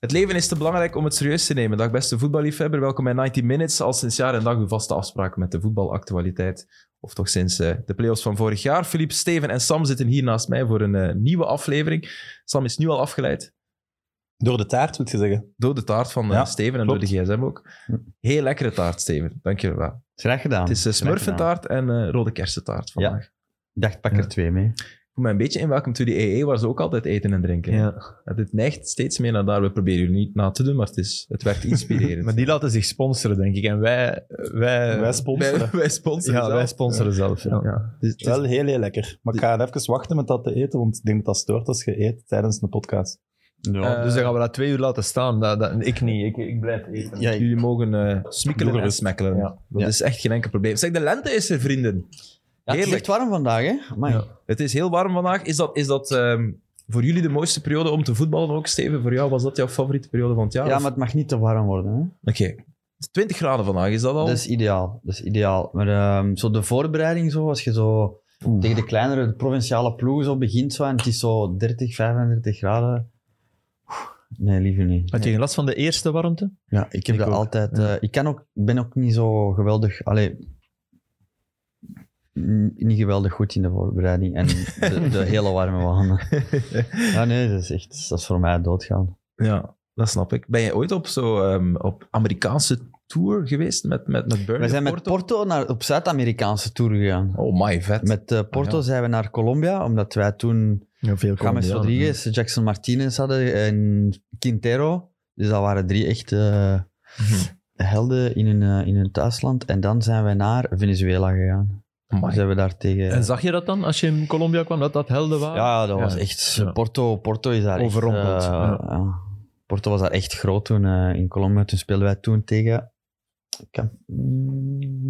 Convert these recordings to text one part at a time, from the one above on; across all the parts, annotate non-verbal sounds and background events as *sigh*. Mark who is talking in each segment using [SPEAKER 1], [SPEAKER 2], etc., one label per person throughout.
[SPEAKER 1] Het leven is te belangrijk om het serieus te nemen. Dag beste voetballiefhebber, welkom bij 90 Minutes. Al sinds jaar en dag uw vaste afspraak met de voetbalactualiteit. Of toch sinds eh, de play-offs van vorig jaar. Filip, Steven en Sam zitten hier naast mij voor een eh, nieuwe aflevering. Sam is nu al afgeleid
[SPEAKER 2] Door de taart, moet je zeggen.
[SPEAKER 1] door de taart van eh,
[SPEAKER 2] Ja,
[SPEAKER 1] Steven en
[SPEAKER 2] klopt. Hm.
[SPEAKER 1] door de gsm ook. Heel lekkere taart, Steven. Dankjewel.
[SPEAKER 3] Graag gedaan.
[SPEAKER 1] Het is eh,
[SPEAKER 3] Graag gedaan.
[SPEAKER 1] smurfentaart en eh, rode kersentaart
[SPEAKER 3] Ja.
[SPEAKER 1] vandaag.
[SPEAKER 3] Ik dacht, pak
[SPEAKER 1] Ja.
[SPEAKER 3] er twee mee.
[SPEAKER 1] Ik voel me een beetje in Welcome to the EE, waar ze ook altijd eten en drinken. Ja, dit neigt steeds meer naar daar. We proberen jullie niet na te doen, maar het, is, het
[SPEAKER 4] *laughs*
[SPEAKER 1] werkt inspirerend.
[SPEAKER 4] Maar die laten zich sponsoren, denk ik. En wij... Wij,
[SPEAKER 2] Wij sponsoren.
[SPEAKER 1] wij, wij sponsoren
[SPEAKER 4] ja,
[SPEAKER 1] zelf.
[SPEAKER 4] wij sponsoren zelf. Ja.
[SPEAKER 1] Ja, dus het is-
[SPEAKER 2] Wel heel, heel lekker. Maar ik ga even wachten met dat te eten, want ik denk dat dat stoort als je eet tijdens een podcast.
[SPEAKER 3] Ja.
[SPEAKER 1] Eh,
[SPEAKER 4] dus dan gaan we dat twee uur laten staan. Dat, dat, ik niet. Ik, ik blijf eten.
[SPEAKER 3] Ja, ik-
[SPEAKER 1] jullie mogen eh
[SPEAKER 2] Doe
[SPEAKER 1] smikkelen en
[SPEAKER 2] gerust.
[SPEAKER 1] smekkelen.
[SPEAKER 2] Ja.
[SPEAKER 1] Dat
[SPEAKER 3] Ja.
[SPEAKER 1] is echt geen enkel probleem. Zeg, de lente is er, vrienden.
[SPEAKER 3] Ja, het is
[SPEAKER 1] heerlijk.
[SPEAKER 3] echt warm vandaag, hè? Amai.
[SPEAKER 4] Ja.
[SPEAKER 1] Het is heel warm vandaag. Is dat, is dat ehm, voor jullie de mooiste periode om te voetballen ook, Steven? Voor jou was dat jouw favoriete periode van het jaar?
[SPEAKER 3] Ja,
[SPEAKER 1] of-
[SPEAKER 3] maar het mag niet te warm worden. Hè?
[SPEAKER 1] Oké. 20 graden vandaag, is dat al?
[SPEAKER 3] Dat is ideaal. Dat is ideaal. Maar ehm, zo de voorbereiding, zo, als je zo tegen de kleinere de provinciale ploegen zo begint zo, en het is zo 30, 35 graden. Oeh, Nee, liever niet.
[SPEAKER 4] Had je geen last van de eerste warmte?
[SPEAKER 3] Ja, ik heb
[SPEAKER 4] Ik
[SPEAKER 3] dat
[SPEAKER 4] ook.
[SPEAKER 3] altijd. eh, ik kan ook, ik ben ook niet zo geweldig. Allee, n- niet geweldig goed in de voorbereiding en de, *laughs* de hele warme wanen. Ja, nee, dat is echt. Dat is voor mij doodgaan.
[SPEAKER 1] Ja, dat snap ik. Ben jij ooit op zo'n op Amerikaanse tour geweest met, met, met Burnley?
[SPEAKER 3] We zijn met Porto naar, op Zuid-Amerikaanse tour gegaan.
[SPEAKER 1] Oh my, vet.
[SPEAKER 3] Met eh, Porto
[SPEAKER 1] Ah,
[SPEAKER 3] zijn we naar Colombia, omdat wij toen
[SPEAKER 4] Ja, veel
[SPEAKER 3] James Rodriguez, Jackson Martinez hadden en Quintero. Dus dat waren drie echte eh, helden in hun, eh, in hun thuisland. En dan zijn wij naar Venezuela gegaan.
[SPEAKER 1] Amai.
[SPEAKER 3] Dus hebben we daar tegen...
[SPEAKER 4] Oh En zag je dat dan, als je in Colombia kwam, dat dat helden
[SPEAKER 3] Ja,
[SPEAKER 4] waren?
[SPEAKER 3] ja, dat was
[SPEAKER 4] Ja.
[SPEAKER 3] echt...
[SPEAKER 4] Ja.
[SPEAKER 3] Porto, Porto is daar
[SPEAKER 4] Overrompeld,
[SPEAKER 3] echt... eh,
[SPEAKER 4] ja.
[SPEAKER 3] ja. Porto was daar echt groot toen eh, in Colombia. Toen speelden wij toen tegen... Kam-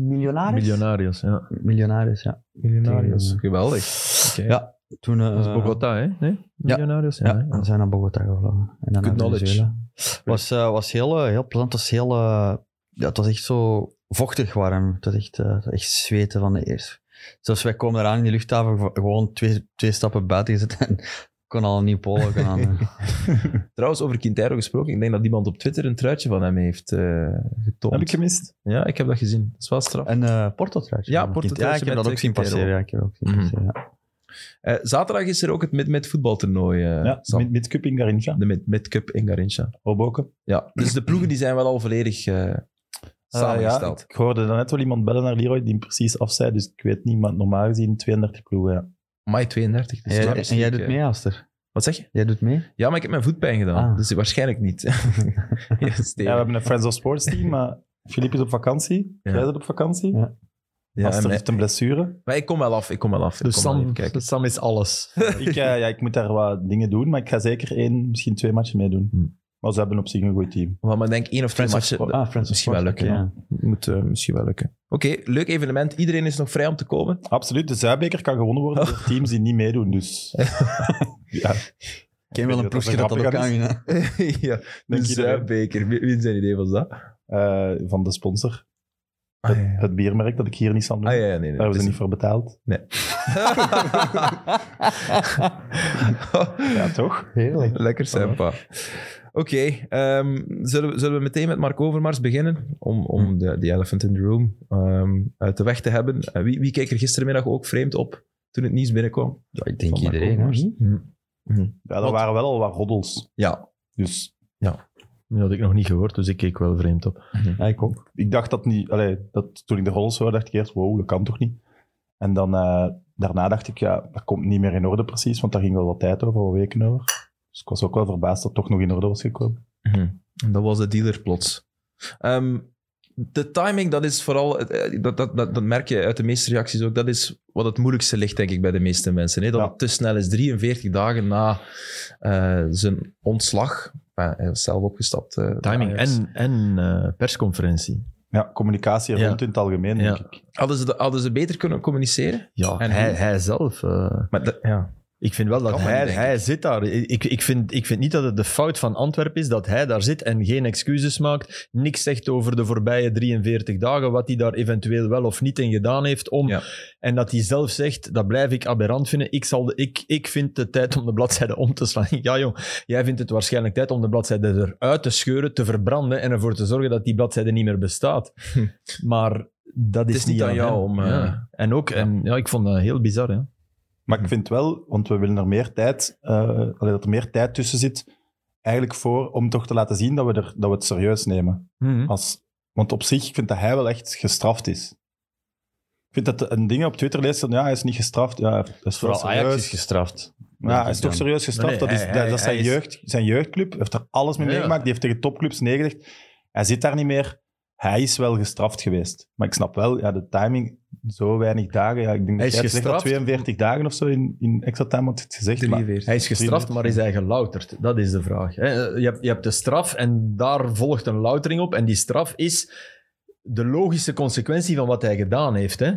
[SPEAKER 3] Milionaris?
[SPEAKER 4] Miljonarios, ja.
[SPEAKER 3] Milionaris, ja.
[SPEAKER 1] Millenarius.
[SPEAKER 3] Tegen-
[SPEAKER 1] Geweldig. Oké.
[SPEAKER 3] Ja. Toen... eh,
[SPEAKER 4] Dat is Bogota, hè? Nee? Miljonarios, ja.
[SPEAKER 3] Ja,
[SPEAKER 4] hè?
[SPEAKER 3] we zijn naar Bogota gevlogen. En
[SPEAKER 1] Good
[SPEAKER 3] dan naar
[SPEAKER 1] knowledge.
[SPEAKER 3] Venezuela. Was, eh, was heel, eh, heel plezant. Het was, heel, eh, ja, het was echt zo vochtig warm. Het was echt, eh, het was echt zweten van de eerste. Zoals wij komen eraan in de luchthaven, gewo- gewoon twee, twee stappen buiten gezet en *laughs* ik kon al een nieuw polo gaan
[SPEAKER 1] *laughs*
[SPEAKER 3] aan. doen.
[SPEAKER 1] Trouwens, over Quintero gesproken. Ik denk dat iemand op Twitter een truitje van hem heeft eh getoond.
[SPEAKER 2] Heb ik gemist?
[SPEAKER 1] Ja, ik heb dat gezien. Dat is wel straf.
[SPEAKER 3] En eh Porto truitje.
[SPEAKER 1] Ja,
[SPEAKER 3] van
[SPEAKER 1] Porto
[SPEAKER 3] Kind- Ja,
[SPEAKER 1] truitje
[SPEAKER 3] ik heb dat
[SPEAKER 1] met,
[SPEAKER 3] ook
[SPEAKER 1] eh,
[SPEAKER 3] zien
[SPEAKER 1] Quintero.
[SPEAKER 3] passeren. Ja, ik heb dat ook zien
[SPEAKER 1] Mhm.
[SPEAKER 3] passeren, ja.
[SPEAKER 1] Eh, zaterdag is er ook het mid voetbaltoernooi. eh,
[SPEAKER 2] Ja,
[SPEAKER 1] Sam.
[SPEAKER 2] met, met Cup in Garincha.
[SPEAKER 1] De mid- Mid-Cup in Garincha.
[SPEAKER 2] Hoboken.
[SPEAKER 1] Ja, dus de ploegen die zijn wel al volledig eh,
[SPEAKER 2] ja,
[SPEAKER 1] samengesteld.
[SPEAKER 2] ik hoorde daarnet wel iemand bellen naar Leroy die hem precies af zei, dus ik weet niet, maar normaal gezien 32 ploegen. Ja.
[SPEAKER 1] Mei 32. Dus
[SPEAKER 3] En jij-
[SPEAKER 1] Champions
[SPEAKER 3] en jij
[SPEAKER 1] League,
[SPEAKER 3] doet
[SPEAKER 1] eh.
[SPEAKER 3] mee, Aster?
[SPEAKER 1] Wat zeg je?
[SPEAKER 3] Jij doet mee?
[SPEAKER 1] Ja, maar ik heb mijn voetpijn gedaan.
[SPEAKER 3] Ah.
[SPEAKER 1] Dus waarschijnlijk niet. *laughs* Ja, Steven.
[SPEAKER 2] Ja, we hebben een Friends of Sports team, maar Filip is op vakantie.
[SPEAKER 1] Ja.
[SPEAKER 2] Jij bent op vakantie.
[SPEAKER 3] Ja.
[SPEAKER 1] Ja,
[SPEAKER 2] Aster
[SPEAKER 1] en-
[SPEAKER 2] heeft een blessure.
[SPEAKER 1] maar ik kom wel af, ik kom wel af. Ik
[SPEAKER 4] Dus
[SPEAKER 1] kom wel
[SPEAKER 4] Sam,
[SPEAKER 1] even kijken.
[SPEAKER 4] Sam is alles.
[SPEAKER 2] ik, eh, ja, ik moet daar wat dingen doen, maar ik ga zeker één, misschien twee matchen meedoen.
[SPEAKER 1] Hm.
[SPEAKER 4] Hmm.
[SPEAKER 2] Maar ze hebben op zich een goed team.
[SPEAKER 1] Want maar ik denk één of twee
[SPEAKER 2] Friends of
[SPEAKER 1] matchen,
[SPEAKER 2] Sport.
[SPEAKER 1] dat
[SPEAKER 3] Ah, Friends
[SPEAKER 1] Misschien wel lukken,
[SPEAKER 3] oké, ja.
[SPEAKER 1] moet eh, misschien wel lukken. Oké, leuk evenement. Iedereen is nog vrij om te komen. *laughs*
[SPEAKER 2] Absoluut, de Zuidbeker kan gewonnen worden
[SPEAKER 4] Oh.
[SPEAKER 2] door teams die niet meedoen.
[SPEAKER 4] *laughs*
[SPEAKER 2] Dus ja,
[SPEAKER 3] Ik ken wel een
[SPEAKER 2] dat dat
[SPEAKER 3] ploegje
[SPEAKER 2] een
[SPEAKER 3] dat dat ook
[SPEAKER 2] grappige
[SPEAKER 3] kan.
[SPEAKER 2] is.
[SPEAKER 3] winnen.
[SPEAKER 1] ja, de
[SPEAKER 2] Dank je wel.
[SPEAKER 1] Zuidbeker. Wie, wie zijn idee was dat?
[SPEAKER 2] eh, van de sponsor.
[SPEAKER 1] Ah ja, ja.
[SPEAKER 2] Het biermerk dat ik hier niet zal noemen.
[SPEAKER 1] Ah, ja, ja, nee, nee.
[SPEAKER 2] Daar hebben
[SPEAKER 4] Dus-
[SPEAKER 1] dat
[SPEAKER 2] ze
[SPEAKER 1] is-
[SPEAKER 2] niet voor betaald.
[SPEAKER 1] *laughs*
[SPEAKER 2] Ja, toch?
[SPEAKER 3] Heerlijk.
[SPEAKER 1] Lekker zijn,
[SPEAKER 2] Voilà.
[SPEAKER 1] pa. Oké, ehm, zullen, we- zullen we meteen met Mark Overmars beginnen? Om,
[SPEAKER 3] Hm.
[SPEAKER 1] om de, die elephant in the room ehm, uit de weg te hebben. Eh, wie, wie keek er gistermiddag ook vreemd op toen het nieuws binnenkwam?
[SPEAKER 3] Ja, ik denk
[SPEAKER 2] Van Marco
[SPEAKER 3] iedereen.
[SPEAKER 2] Overmars.
[SPEAKER 3] hè. Hm.
[SPEAKER 2] Ja, er
[SPEAKER 1] Wat?
[SPEAKER 2] waren wel al wat roddels.
[SPEAKER 1] Hm. Ja,
[SPEAKER 2] Dus
[SPEAKER 4] Dat had ik nog niet gehoord, dus ik keek wel vreemd op.
[SPEAKER 3] Ja, ik ook.
[SPEAKER 2] ik dacht dat niet. Allee, dat, toen ik de roddels hoorde, dacht ik eerst: wow, dat kan toch niet? En dan eh, daarna dacht ik: ja, dat komt niet meer in orde precies, want daar ging wel wat tijd over, wat weken over. Dus ik was ook wel verbaasd dat het toch nog in orde was gekomen.
[SPEAKER 3] Mhm.
[SPEAKER 1] dat was de dealer plots. Ehm, de timing, dat is vooral, eh, dat, dat, dat, dat merk je uit de meeste reacties ook, dat is wat het moeilijkste ligt, denk ik, bij de meeste mensen. Hè? Dat
[SPEAKER 2] Ja.
[SPEAKER 1] het te snel is, 43 dagen na eh, zijn ontslag. Eh, hij was zelf opgestapt. eh, bij
[SPEAKER 4] Timing
[SPEAKER 1] Ajax.
[SPEAKER 4] en, en eh, persconferentie.
[SPEAKER 2] Ja, communicatie
[SPEAKER 4] Ja.
[SPEAKER 2] rond in het algemeen, denk
[SPEAKER 4] Ja.
[SPEAKER 2] ik.
[SPEAKER 1] Hadden ze, hadden ze beter kunnen communiceren?
[SPEAKER 4] Ja,
[SPEAKER 1] En
[SPEAKER 4] hij,
[SPEAKER 1] hoe?
[SPEAKER 4] hij zelf. eh,
[SPEAKER 1] Maar dat, ja.
[SPEAKER 3] Ik vind wel dat
[SPEAKER 1] Kan maar
[SPEAKER 3] hij,
[SPEAKER 1] niet, denk
[SPEAKER 3] hij zit daar. Ik, ik, vind, ik vind niet dat het de fout van Antwerpen is dat hij daar zit en geen excuses maakt. Niks zegt over de voorbije 43 dagen, wat hij daar eventueel wel of niet in gedaan heeft. Om,
[SPEAKER 1] Ja.
[SPEAKER 3] En dat hij zelf zegt, dat blijf ik aberrant vinden. Ik, zal de, ik, ik vind de tijd om de bladzijde om te slaan. *laughs* Ja jong, jij vindt het waarschijnlijk tijd om de bladzijde eruit te scheuren, te verbranden en ervoor te zorgen dat die bladzijde niet meer bestaat. Maar dat is,
[SPEAKER 1] Hm. is niet aan jou
[SPEAKER 3] hem.
[SPEAKER 1] om, eh,
[SPEAKER 3] Ja. En ook, en, ja, ik vond dat heel bizar. Hè?
[SPEAKER 2] Maar
[SPEAKER 5] Mhm.
[SPEAKER 2] ik vind wel, want we willen er meer tijd, eh, allee, dat er meer tijd tussen zit, eigenlijk voor om toch te laten zien dat we, er, dat we het serieus nemen.
[SPEAKER 5] Mhm.
[SPEAKER 2] Als, want op zich, ik vind dat hij wel echt gestraft is. Ik vind dat een ding op Twitter leest van ja, hij is niet gestraft. Ja, hij is
[SPEAKER 5] Vooral
[SPEAKER 2] wel
[SPEAKER 5] Ajax
[SPEAKER 2] serieus.
[SPEAKER 5] is gestraft.
[SPEAKER 2] Ja, hij is toch serieus gestraft.
[SPEAKER 3] Nee,
[SPEAKER 2] dat is,
[SPEAKER 3] hij-
[SPEAKER 2] dat,
[SPEAKER 3] hij-
[SPEAKER 2] dat is zijn,
[SPEAKER 3] hij is-
[SPEAKER 2] jeugd, zijn jeugdclub. Hij heeft er alles mee
[SPEAKER 3] Ja, ja.
[SPEAKER 2] meegemaakt. Die heeft tegen topclubs neergelegd. Hij zit daar niet meer. Hij is wel gestraft geweest. Maar ik snap wel, ja, de timing, zo weinig dagen. Ja, ik denk
[SPEAKER 3] Hij
[SPEAKER 2] dat
[SPEAKER 3] is
[SPEAKER 2] jij het zegt dat
[SPEAKER 3] gestraft.
[SPEAKER 2] 42 dagen of zo in, in extra time had het gezegd. Maar,
[SPEAKER 1] 43.
[SPEAKER 3] Hij is gestraft, maar is hij gelouterd? Dat is de vraag. hè. Je hebt, je hebt de straf en daar volgt een loutering op. En die straf is de logische consequentie van wat hij gedaan heeft. Hè?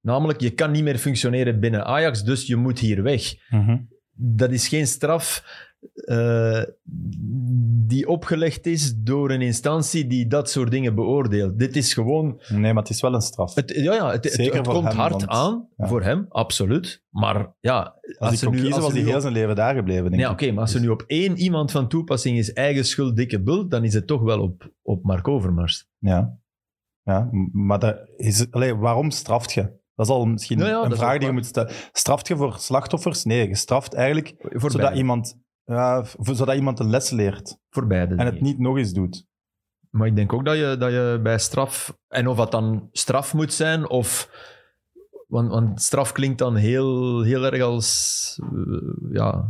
[SPEAKER 3] Namelijk, je kan niet meer functioneren binnen Ajax, dus je moet hier weg.
[SPEAKER 2] Mhm.
[SPEAKER 3] Dat is geen straf eh, die opgelegd is door een instantie die dat soort dingen beoordeelt. Dit is gewoon
[SPEAKER 2] Nee, maar het is wel een straf.
[SPEAKER 3] het, ja, ja, het, het-
[SPEAKER 2] Zeker
[SPEAKER 3] het
[SPEAKER 2] voor
[SPEAKER 3] komt
[SPEAKER 2] hem,
[SPEAKER 3] hard
[SPEAKER 2] want-
[SPEAKER 3] aan
[SPEAKER 2] ja.
[SPEAKER 3] voor hem, absoluut. Maar ja, als,
[SPEAKER 2] als
[SPEAKER 3] ze
[SPEAKER 2] ik kon
[SPEAKER 3] nu-
[SPEAKER 2] kiezen,
[SPEAKER 3] als
[SPEAKER 2] was
[SPEAKER 3] ze
[SPEAKER 2] hij
[SPEAKER 3] nu
[SPEAKER 2] heel
[SPEAKER 3] op-
[SPEAKER 2] zijn leven daar gebleven. Denk
[SPEAKER 3] Ja,
[SPEAKER 2] ik.
[SPEAKER 3] oké, maar als er
[SPEAKER 2] Dus-
[SPEAKER 3] nu op één iemand van toepassing is eigen schuld, dikke bult, dan is het toch wel op, op Mark Overmars.
[SPEAKER 2] Ja. ja m- maar dat is, allee, waarom straft je? Dat is al misschien
[SPEAKER 3] Ja, ja, dat
[SPEAKER 2] een
[SPEAKER 3] is
[SPEAKER 2] vraag
[SPEAKER 3] ook
[SPEAKER 2] die je
[SPEAKER 3] waar.
[SPEAKER 2] moet stellen. Straft je voor slachtoffers? Nee, je straft eigenlijk
[SPEAKER 3] Voor
[SPEAKER 2] zodat
[SPEAKER 3] beide.
[SPEAKER 2] iemand, ja, v- zodat iemand een les leert.
[SPEAKER 3] Voor beide
[SPEAKER 2] En het
[SPEAKER 3] dingen.
[SPEAKER 2] niet nog eens doet.
[SPEAKER 3] Maar ik denk ook dat je, dat je bij straf... En of dat dan straf moet zijn, of... Want, want straf klinkt dan heel, heel erg als... eh, ja...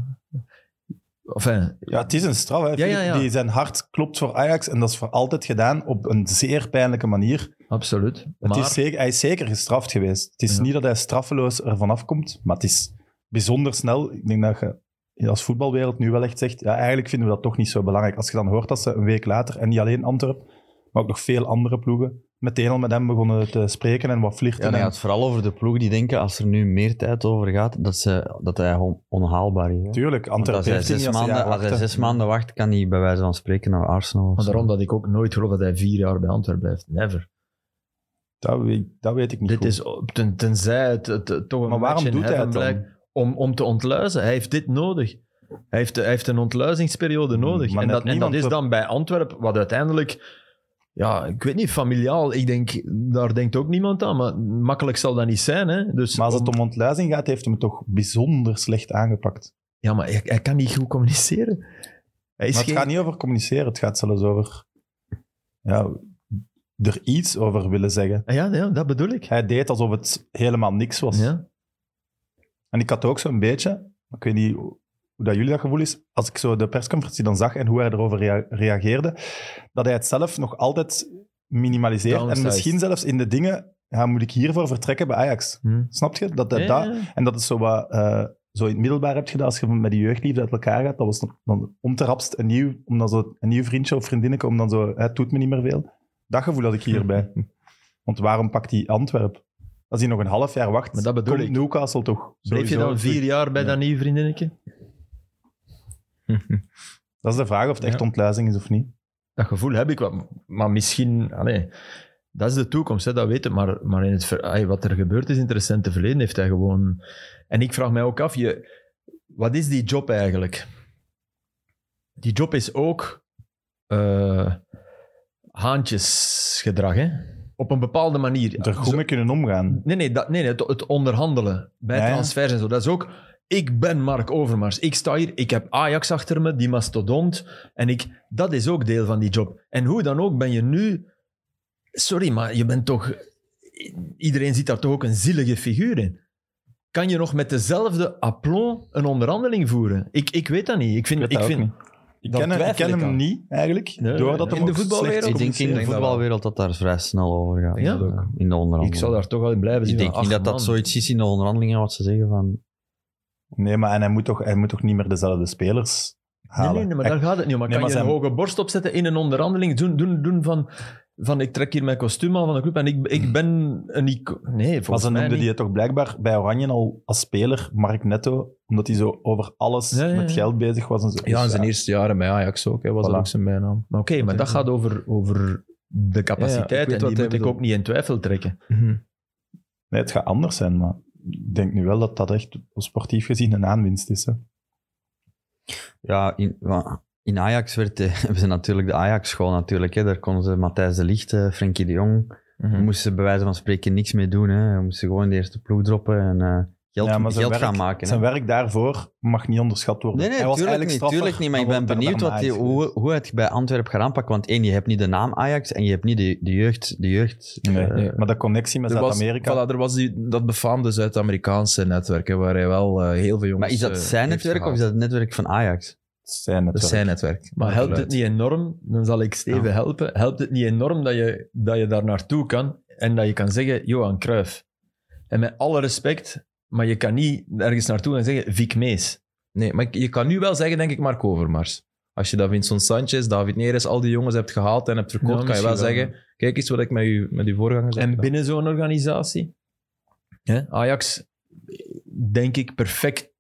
[SPEAKER 3] Enfin,
[SPEAKER 2] Ja, het is een straf. Hè.
[SPEAKER 3] Ja, ja, ja.
[SPEAKER 2] Die zijn hart klopt voor Ajax en dat is voor altijd gedaan op een zeer pijnlijke manier.
[SPEAKER 3] absoluut.
[SPEAKER 2] Het
[SPEAKER 3] maar,
[SPEAKER 2] is zeker, hij is zeker gestraft geweest. Het is
[SPEAKER 3] Ja.
[SPEAKER 2] niet dat hij straffeloos ervan afkomt, maar het is bijzonder snel. Ik denk dat je als voetbalwereld nu wel echt zegt, ja, eigenlijk vinden we dat toch niet zo belangrijk. Als je dan hoort dat ze een week later, en niet alleen Antwerpen, maar ook nog veel andere ploegen, meteen al met hem begonnen te spreken en wat
[SPEAKER 6] Ja,
[SPEAKER 2] flirten.
[SPEAKER 6] dan
[SPEAKER 2] en-
[SPEAKER 6] gaat het vooral over de ploeg die denken, als er nu meer tijd over gaat, dat, ze, dat hij on- onhaalbaar is. hè.
[SPEAKER 2] Tuurlijk,
[SPEAKER 6] Want als
[SPEAKER 2] Antwerpen
[SPEAKER 6] hij,
[SPEAKER 2] heeft hij niet
[SPEAKER 6] zes
[SPEAKER 2] als hij
[SPEAKER 6] maanden,
[SPEAKER 2] jaar
[SPEAKER 6] als hij
[SPEAKER 2] wachtte.
[SPEAKER 6] zes maanden wacht, kan hij bij wijze van spreken naar Arsenal. of
[SPEAKER 3] maar
[SPEAKER 6] zo.
[SPEAKER 3] daarom dat ik ook nooit geloof dat hij vier jaar bij Antwerpen blijft. Never.
[SPEAKER 2] Dat weet, dat weet ik niet
[SPEAKER 3] Dit
[SPEAKER 2] goed.
[SPEAKER 3] is op- ten, tenzij het, het- het toch een
[SPEAKER 2] Maar waarom
[SPEAKER 3] match in
[SPEAKER 2] doet hij
[SPEAKER 3] heaven
[SPEAKER 2] het dan?
[SPEAKER 3] blijkt, Om, om te ontluizen. Hij heeft dit nodig. Hij heeft, hij heeft een ontluizingsperiode
[SPEAKER 2] Hmm,
[SPEAKER 3] nodig.
[SPEAKER 2] maar
[SPEAKER 3] En
[SPEAKER 2] net
[SPEAKER 3] dat, en dat
[SPEAKER 2] niemand
[SPEAKER 3] is
[SPEAKER 2] wil-
[SPEAKER 3] dan bij Antwerpen, wat uiteindelijk... Ja, ik weet niet, familiaal. Ik denk, daar denkt ook niemand aan. Maar makkelijk zal dat niet zijn. Hè? Dus
[SPEAKER 2] Maar als
[SPEAKER 3] om-
[SPEAKER 2] het om ontluizing gaat, heeft hij hem toch bijzonder slecht aangepakt.
[SPEAKER 3] Ja, maar hij, hij kan niet goed communiceren. Hij is
[SPEAKER 2] Maar het
[SPEAKER 3] geen...
[SPEAKER 2] gaat niet over communiceren, het gaat zelfs over ja, er iets over willen zeggen.
[SPEAKER 3] Ah, Ja, ja, dat bedoel ik.
[SPEAKER 2] Hij deed alsof het helemaal niks was.
[SPEAKER 3] Ja.
[SPEAKER 2] En ik had ook zo'n beetje, ik weet niet hoe hoe dat jullie dat gevoel is, als ik zo de persconferentie dan zag en hoe hij erover rea- reageerde, dat hij het zelf nog altijd minimaliseert.
[SPEAKER 3] Downsized.
[SPEAKER 2] En misschien zelfs in de dingen, ja, moet ik hiervoor vertrekken bij Ajax?
[SPEAKER 3] Hm.
[SPEAKER 2] Snap je? Dat, dat,
[SPEAKER 3] Ja,
[SPEAKER 2] dat-
[SPEAKER 3] ja, ja.
[SPEAKER 2] en dat is zo wat... eh, zo in het middelbaar heb je dat als je met die jeugdliefde uit elkaar gaat, dat was dan, dan om te rapst een nieuw, om dan zo, een nieuw vriendje of vriendinnetje, om dan zo, hè, het doet me niet meer veel. Dat gevoel had ik
[SPEAKER 3] *laughs*
[SPEAKER 2] hierbij. Want waarom pakt hij Antwerp? Als hij nog een half jaar wacht,
[SPEAKER 3] Maar dat bedoel
[SPEAKER 2] komt
[SPEAKER 3] ik.
[SPEAKER 2] Newcastle toch?
[SPEAKER 3] Bleef je
[SPEAKER 2] sowieso
[SPEAKER 3] dan vier
[SPEAKER 2] terug.
[SPEAKER 3] jaar bij
[SPEAKER 2] Ja.
[SPEAKER 3] dat nieuwe vriendinnetje?
[SPEAKER 2] Dat is de vraag of het echt
[SPEAKER 1] Ja.
[SPEAKER 2] ontluizing is of niet.
[SPEAKER 3] Dat gevoel heb ik wel. Maar misschien, allee, dat is de toekomst, hè, dat weten we. Maar, maar in het, ver- allee, wat er gebeurd is in het recente verleden heeft hij gewoon. En ik vraag mij ook af, je, wat is die job eigenlijk? Die job is ook eh, haantjesgedrag, hè? Op een bepaalde manier.
[SPEAKER 2] Er goed
[SPEAKER 3] Zo-
[SPEAKER 2] mee kunnen omgaan.
[SPEAKER 3] Nee, nee, dat, nee, nee het, het onderhandelen bij
[SPEAKER 2] Ja, ja.
[SPEAKER 3] transfers en zo. Dat is ook, ik ben Mark Overmars. Ik sta hier, ik heb Ajax achter me, die mastodont. En ik, dat is ook deel van die job. En hoe dan ook ben je nu... Sorry, maar je bent toch... Iedereen ziet daar toch ook een zielige figuur in. Kan je nog met dezelfde aplomb een onderhandeling voeren? Ik, ik weet dat niet. Ik vind...
[SPEAKER 2] Ik
[SPEAKER 3] Ik,
[SPEAKER 2] weet dat ook
[SPEAKER 3] vind
[SPEAKER 2] Ik
[SPEAKER 3] dat
[SPEAKER 2] ken, hem- ik
[SPEAKER 3] twijfel
[SPEAKER 2] ken
[SPEAKER 3] ik
[SPEAKER 2] hem
[SPEAKER 3] aan.
[SPEAKER 2] niet, eigenlijk.
[SPEAKER 3] nee,
[SPEAKER 2] doordat
[SPEAKER 3] nee.
[SPEAKER 2] hem
[SPEAKER 3] In de
[SPEAKER 2] ook slecht
[SPEAKER 3] voetbalwereld?
[SPEAKER 6] Ik denk in de
[SPEAKER 1] Denk dat wel.
[SPEAKER 6] voetbalwereld dat daar vrij snel over gaat.
[SPEAKER 3] Denk
[SPEAKER 1] dat ook.
[SPEAKER 6] In de onderhandelingen.
[SPEAKER 3] ik zou daar toch wel in blijven
[SPEAKER 6] Ik
[SPEAKER 3] zitten.
[SPEAKER 6] denk niet dat dat zoiets is in de onderhandelingen, wat ze zeggen van...
[SPEAKER 2] Nee, maar en hij, moet toch, hij moet toch niet meer dezelfde spelers
[SPEAKER 3] Nee,
[SPEAKER 2] halen?
[SPEAKER 3] nee, nee, maar
[SPEAKER 2] Hij-
[SPEAKER 3] daar gaat het niet om. Maar
[SPEAKER 2] Nee,
[SPEAKER 3] kan
[SPEAKER 2] maar
[SPEAKER 3] je een
[SPEAKER 2] zijn-
[SPEAKER 3] hoge borst opzetten in een onderhandeling? Doen, doen, doen van... van ik trek hier mijn kostuum aan van de club en ik, ik ben een ico. Nee,
[SPEAKER 2] Maar
[SPEAKER 3] volgens
[SPEAKER 2] ze
[SPEAKER 3] mij
[SPEAKER 2] noemde
[SPEAKER 3] niet.
[SPEAKER 2] die toch blijkbaar bij Oranje al als speler Mark Netto, omdat hij zo over alles
[SPEAKER 3] Ja, ja, ja.
[SPEAKER 2] met geld bezig was en zo.
[SPEAKER 1] Ja, in
[SPEAKER 2] Dus
[SPEAKER 1] zijn eerste jaren bij Ajax ook. Hè, was dat
[SPEAKER 2] Voilà.
[SPEAKER 1] ook zijn bijnaam.
[SPEAKER 3] Maar oké, maar dat gaat over, over de
[SPEAKER 1] Ja, ja, ik
[SPEAKER 3] capaciteit
[SPEAKER 1] weet
[SPEAKER 3] en
[SPEAKER 1] wat
[SPEAKER 3] die
[SPEAKER 1] hij
[SPEAKER 3] moet ik
[SPEAKER 1] bedoelt.
[SPEAKER 3] ook niet in twijfel trekken.
[SPEAKER 2] Nee, het gaat anders zijn, maar ik denk nu wel dat dat echt sportief gezien een aanwinst is. Hè.
[SPEAKER 6] Ja, in, wa- in Ajax werd, de- *laughs* hebben ze natuurlijk de Ajax-school natuurlijk. Hè. Daar konden ze Matthijs de Ligt, eh, Frenkie de Jong.
[SPEAKER 2] Hm.
[SPEAKER 1] Mhm.
[SPEAKER 6] Daar moesten ze bij wijze van spreken niks mee doen. Hè. Daar Moesten ze gewoon de eerste ploeg droppen en eh, geld,
[SPEAKER 2] Ja, maar zijn
[SPEAKER 6] geld
[SPEAKER 2] werk-
[SPEAKER 6] gaan maken. hè.
[SPEAKER 2] Zijn werk daarvoor mag niet onderschat worden.
[SPEAKER 6] Nee, nee,
[SPEAKER 2] Hij was
[SPEAKER 6] tuurlijk
[SPEAKER 2] eigenlijk
[SPEAKER 6] niet,
[SPEAKER 2] straffer
[SPEAKER 6] tuurlijk niet. Maar
[SPEAKER 2] dan
[SPEAKER 6] ik ben benieuwd
[SPEAKER 2] daarna
[SPEAKER 6] wat
[SPEAKER 2] is
[SPEAKER 6] die,
[SPEAKER 2] geweest.
[SPEAKER 6] hoe, hoe het bij Antwerpen gaat aanpakken. Want één, je hebt niet de naam Ajax en je hebt niet de, de jeugd. De jeugd
[SPEAKER 2] Nee,
[SPEAKER 6] eh,
[SPEAKER 2] nee. Maar de connectie met
[SPEAKER 1] Er was,
[SPEAKER 2] Zuid-Amerika.
[SPEAKER 1] voilà, er was die, dat befaamde Zuid-Amerikaanse netwerk, hè, waar hij wel eh, heel veel jongens...
[SPEAKER 6] maar is dat
[SPEAKER 1] eh,
[SPEAKER 6] zijn
[SPEAKER 1] heeft
[SPEAKER 6] netwerk of is
[SPEAKER 1] gehaald.
[SPEAKER 6] dat het netwerk van Ajax?
[SPEAKER 2] zijn
[SPEAKER 1] Dat
[SPEAKER 2] het
[SPEAKER 1] is zijn netwerk.
[SPEAKER 3] Maar helpt het
[SPEAKER 1] Geluid.
[SPEAKER 3] niet enorm, dan zal ik Steven
[SPEAKER 6] Ja.
[SPEAKER 3] helpen, helpt het niet enorm dat je, dat je daar naartoe kan en dat je kan zeggen, Johan Cruijff. En met alle respect, maar je kan niet ergens naartoe en zeggen, Vic Mees.
[SPEAKER 1] Nee, maar ik- je kan nu wel zeggen, denk ik, Mark Overmars. Als je dat Vincent Sanchez, David Neres, al die jongens hebt gehaald en hebt verkocht,
[SPEAKER 3] Ja,
[SPEAKER 1] kan je wel
[SPEAKER 3] misschien wel,
[SPEAKER 1] zeggen, kijk eens wat ik met, u, met uw voorgangers heb
[SPEAKER 3] En
[SPEAKER 1] gedaan.
[SPEAKER 3] binnen zo'n organisatie, hè, Ajax, denk ik, perfect,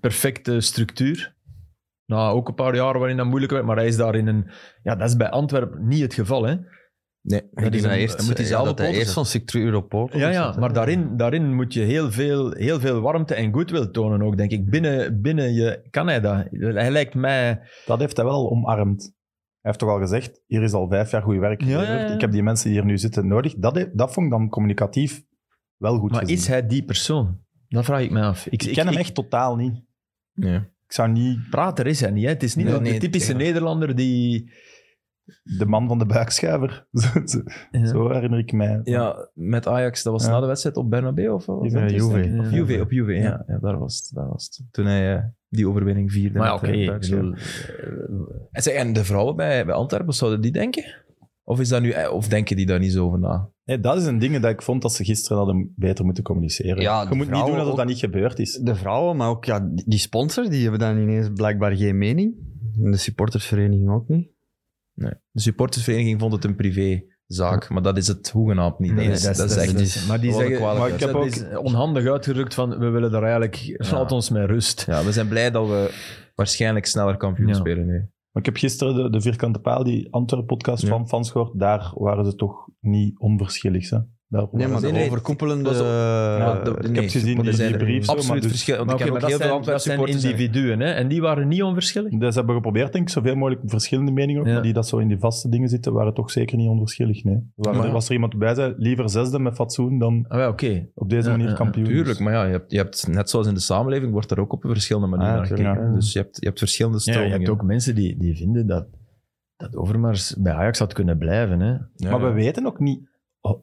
[SPEAKER 3] perfecte structuur. Nou, ook een paar jaar waarin dat moeilijk werd, maar hij is daar in een... Ja, dat is bij Antwerpen niet het geval, hè.
[SPEAKER 1] Nee,
[SPEAKER 6] Ik denk
[SPEAKER 3] is
[SPEAKER 6] dat
[SPEAKER 3] een-
[SPEAKER 6] hij eerst,
[SPEAKER 3] moet hij
[SPEAKER 6] ja,
[SPEAKER 3] zelf
[SPEAKER 6] dat hij
[SPEAKER 3] op
[SPEAKER 6] eerst zo'n structuur op poten
[SPEAKER 3] Ja,
[SPEAKER 6] moet
[SPEAKER 3] ja
[SPEAKER 6] zetten.
[SPEAKER 3] maar daarin, daarin moet je heel veel, heel veel warmte en goodwill tonen ook, denk ik. Binnen, binnen je kan hij dat. Hij lijkt mij...
[SPEAKER 2] Dat heeft hij wel omarmd. Hij heeft toch al gezegd, hier is al vijf jaar goed werk
[SPEAKER 3] Ja, ja,
[SPEAKER 2] geleverd.
[SPEAKER 3] ja.
[SPEAKER 2] Ik heb die mensen die hier nu zitten nodig. Dat, he- dat vond ik dan communicatief wel goed
[SPEAKER 3] Maar
[SPEAKER 2] gezien.
[SPEAKER 3] is hij die persoon? Dat vraag ik me af.
[SPEAKER 2] Ik ken hem echt totaal niet.
[SPEAKER 1] nee.
[SPEAKER 2] Ik zou niet
[SPEAKER 3] Prater is hij niet, hè. Het is niet
[SPEAKER 1] Nee,
[SPEAKER 3] dat
[SPEAKER 1] nee,
[SPEAKER 3] de typische
[SPEAKER 1] tegen-
[SPEAKER 3] Nederlander die...
[SPEAKER 2] de man van de buikschuiver. *laughs* Zo- zo- Zo herinner ik mij.
[SPEAKER 1] Ja, met Ajax, dat was
[SPEAKER 2] Ja.
[SPEAKER 1] na de wedstrijd op Bernabeu of wat? was
[SPEAKER 2] Juventus,
[SPEAKER 1] dat?
[SPEAKER 6] Juve.
[SPEAKER 2] denk ik.
[SPEAKER 3] Ja.
[SPEAKER 1] Of Juve, op Juve, ja. ja. daar, was het, daar was het. Toen hij eh, die overwinning vierde.
[SPEAKER 3] Maar ja,
[SPEAKER 1] met,
[SPEAKER 3] oké.
[SPEAKER 1] eh,
[SPEAKER 3] ik
[SPEAKER 1] Duitsland.
[SPEAKER 3] bedoel,
[SPEAKER 1] eh, En zeg, En de vrouwen bij, bij Antwerpen, zouden die denken? Of, is dat nu, eh, of denken die daar niet zo over na?
[SPEAKER 2] Nee, dat is een ding dat ik vond dat ze gisteren hadden beter moeten communiceren.
[SPEAKER 6] Ja,
[SPEAKER 2] je
[SPEAKER 6] de
[SPEAKER 2] moet niet
[SPEAKER 6] vrouwen
[SPEAKER 2] doen alsof
[SPEAKER 6] ook.
[SPEAKER 2] dat niet gebeurd is.
[SPEAKER 6] De vrouwen, maar ook ja, die die sponsor, die hebben dan ineens blijkbaar geen mening. En de supportersvereniging ook niet.
[SPEAKER 1] De supportersvereniging vond het een privézaak, maar dat is het hoegenaamd niet.
[SPEAKER 3] Nee,
[SPEAKER 1] dat is, dat is echt...
[SPEAKER 6] is-
[SPEAKER 3] Maar die
[SPEAKER 1] dat is
[SPEAKER 3] zeggen...
[SPEAKER 1] kwalijk,
[SPEAKER 2] maar ik
[SPEAKER 3] dat
[SPEAKER 2] heb ook-
[SPEAKER 3] is onhandig uitgedrukt van, we willen daar eigenlijk... Laat ons met rust.
[SPEAKER 1] Ja, we zijn blij dat we waarschijnlijk sneller kampioen
[SPEAKER 3] Ja.
[SPEAKER 1] spelen nu.
[SPEAKER 2] Maar ik heb gisteren de, de Vierkante Paal, die Antwerp-podcast
[SPEAKER 1] Ja.
[SPEAKER 2] van fans gehoord. Daar waren ze toch niet onverschillig. Hè? Daar
[SPEAKER 6] Nee,
[SPEAKER 2] waren
[SPEAKER 6] maar
[SPEAKER 2] ze
[SPEAKER 1] nee,
[SPEAKER 6] de
[SPEAKER 1] nee,
[SPEAKER 6] overkoepelende...
[SPEAKER 1] dat is ook-
[SPEAKER 2] Ja,
[SPEAKER 1] de-
[SPEAKER 2] ik
[SPEAKER 1] nee,
[SPEAKER 2] heb het gezien in
[SPEAKER 1] er
[SPEAKER 2] die
[SPEAKER 1] zijn er
[SPEAKER 2] brief zo,
[SPEAKER 1] Absoluut
[SPEAKER 2] maar dus-
[SPEAKER 1] verschil. Want
[SPEAKER 3] Maar
[SPEAKER 1] ik
[SPEAKER 3] oké,
[SPEAKER 1] ken
[SPEAKER 3] maar
[SPEAKER 1] ook
[SPEAKER 3] dat
[SPEAKER 1] heel veel
[SPEAKER 3] zijn, dat
[SPEAKER 1] Antwerp
[SPEAKER 3] zijn
[SPEAKER 1] supporters.
[SPEAKER 3] individuen, hè. En die waren niet onverschillig.
[SPEAKER 2] Dus ze hebben geprobeerd, denk ik, zoveel mogelijk verschillende meningen. ook,
[SPEAKER 3] Ja.
[SPEAKER 2] Maar die dat zo in die vaste dingen zitten, waren toch zeker niet onverschillig. Nee. Er waren-
[SPEAKER 1] Maar-
[SPEAKER 2] er was er iemand bij, zei liever zesde met fatsoen dan
[SPEAKER 3] Ah, wel, oké.
[SPEAKER 2] op deze
[SPEAKER 3] Ja, ja,
[SPEAKER 2] manier
[SPEAKER 3] ja,
[SPEAKER 2] kampioen.
[SPEAKER 1] Tuurlijk, maar ja, je hebt, je hebt, net zoals in de samenleving, wordt daar ook op een verschillende manier
[SPEAKER 6] Ah,
[SPEAKER 1] naar
[SPEAKER 6] tuurlijk,
[SPEAKER 1] gekeken.
[SPEAKER 2] ja.
[SPEAKER 1] Dus je hebt, je hebt verschillende
[SPEAKER 3] Ja, je
[SPEAKER 1] stromingen.
[SPEAKER 3] hebt ook mensen die, die vinden dat, dat Overmars bij Ajax had kunnen blijven. Hè?
[SPEAKER 1] Ja,
[SPEAKER 2] maar
[SPEAKER 1] ja.
[SPEAKER 2] we weten ook niet,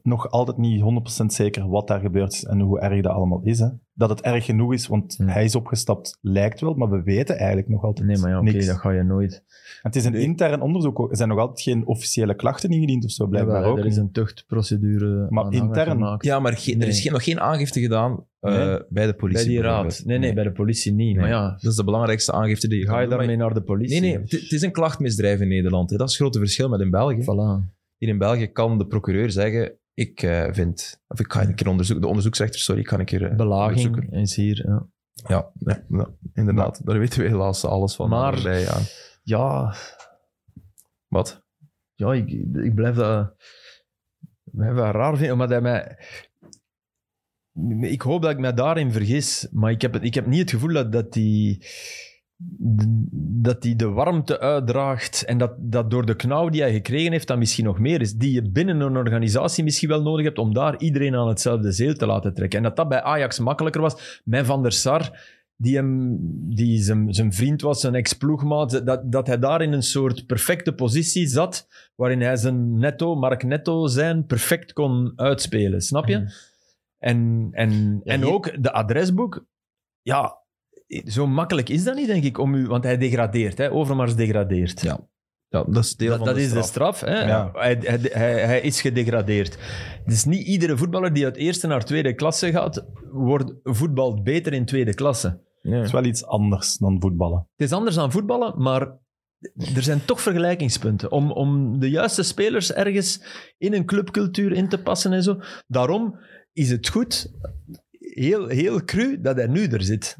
[SPEAKER 2] nog altijd niet 100% zeker wat daar gebeurd is en hoe erg dat allemaal is. Hè. Dat het erg genoeg is, want
[SPEAKER 3] Hmm.
[SPEAKER 2] hij is opgestapt, lijkt wel, maar we weten eigenlijk nog altijd
[SPEAKER 3] Nee, maar ja, oké,
[SPEAKER 2] niks.
[SPEAKER 3] dat ga je nooit.
[SPEAKER 2] Het is een intern onderzoek. ook. Er zijn nog altijd geen officiële klachten ingediend of zo, blijkbaar
[SPEAKER 3] Jawel,
[SPEAKER 2] ook.
[SPEAKER 3] Er is een tuchtprocedure
[SPEAKER 2] Maar
[SPEAKER 3] aan hangen
[SPEAKER 2] intern?
[SPEAKER 3] gemaakt.
[SPEAKER 1] Ja, maar ge- er is
[SPEAKER 3] Nee.
[SPEAKER 1] geen- nog geen aangifte gedaan eh,
[SPEAKER 2] Nee.
[SPEAKER 1] bij de politie.
[SPEAKER 3] bij die raad.
[SPEAKER 1] bijvoorbeeld.
[SPEAKER 3] Nee, nee, bij de politie niet. Maar
[SPEAKER 1] Nee.
[SPEAKER 3] ja,
[SPEAKER 1] Dat is de belangrijkste aangifte die je
[SPEAKER 3] ga je
[SPEAKER 1] gaat doen,
[SPEAKER 3] daarmee
[SPEAKER 1] maar-
[SPEAKER 3] naar de politie?
[SPEAKER 1] Nee, nee, het- het is een klachtmisdrijf in Nederland. hè. Dat is het grote verschil met in België.
[SPEAKER 3] Voilà.
[SPEAKER 1] Hier in België kan de procureur zeggen, ik eh, vind... Of ik ga een keer onderzoeken. De onderzoeksrechter, sorry, ik ga een keer eh,
[SPEAKER 3] Belaging
[SPEAKER 1] onderzoeken.
[SPEAKER 3] is hier. Ja,
[SPEAKER 1] Ja, ja, ja, inderdaad. Daar weten we helaas alles van.
[SPEAKER 3] Maar-
[SPEAKER 1] Allebei, ja.
[SPEAKER 3] ja,
[SPEAKER 1] Wat?
[SPEAKER 3] ja ik, ik blijf dat mij wel raar vinden. Maar dat mij, ik hoop dat ik mij daarin vergis. Maar ik heb, het- ik heb niet het gevoel dat, dat die... Dat die de warmte uitdraagt en dat, dat door de knauw die hij gekregen heeft, dat misschien nog meer is. Die je binnen een organisatie misschien wel nodig hebt om daar iedereen aan hetzelfde zeel te laten trekken. En dat dat bij Ajax makkelijker was. Mijn Van der Sar, die, hem, die zijn, zijn vriend was, zijn ex-ploegmaat, dat, dat hij daar in een soort perfecte positie zat waarin hij zijn netto, Mark Netto zijn, perfect kon uitspelen. Snap je?
[SPEAKER 1] Mhm.
[SPEAKER 3] En, en,
[SPEAKER 6] Ja,
[SPEAKER 3] en
[SPEAKER 6] hier-
[SPEAKER 3] ook de adresboek. Ja, zo makkelijk is dat niet, denk ik, om u... Want hij degradeert, hè. Overmars degradeert.
[SPEAKER 1] Ja, Ja, dat is deel
[SPEAKER 3] Dat,
[SPEAKER 1] van
[SPEAKER 3] dat
[SPEAKER 1] de
[SPEAKER 3] is
[SPEAKER 1] straf.
[SPEAKER 3] de straf. Hè?
[SPEAKER 2] Ja.
[SPEAKER 3] Hij, hij, hij, hij is gedegradeerd. Dus niet iedere voetballer die uit eerste naar tweede klasse gaat, wordt, voetbalt beter in tweede klasse.
[SPEAKER 1] Ja.
[SPEAKER 2] Het is wel iets anders dan voetballen.
[SPEAKER 3] Het is anders dan voetballen, maar er zijn toch vergelijkingspunten. Om, om de juiste spelers ergens in een clubcultuur in te passen en zo. Daarom is het goed, heel, heel cru, dat hij nu er zit.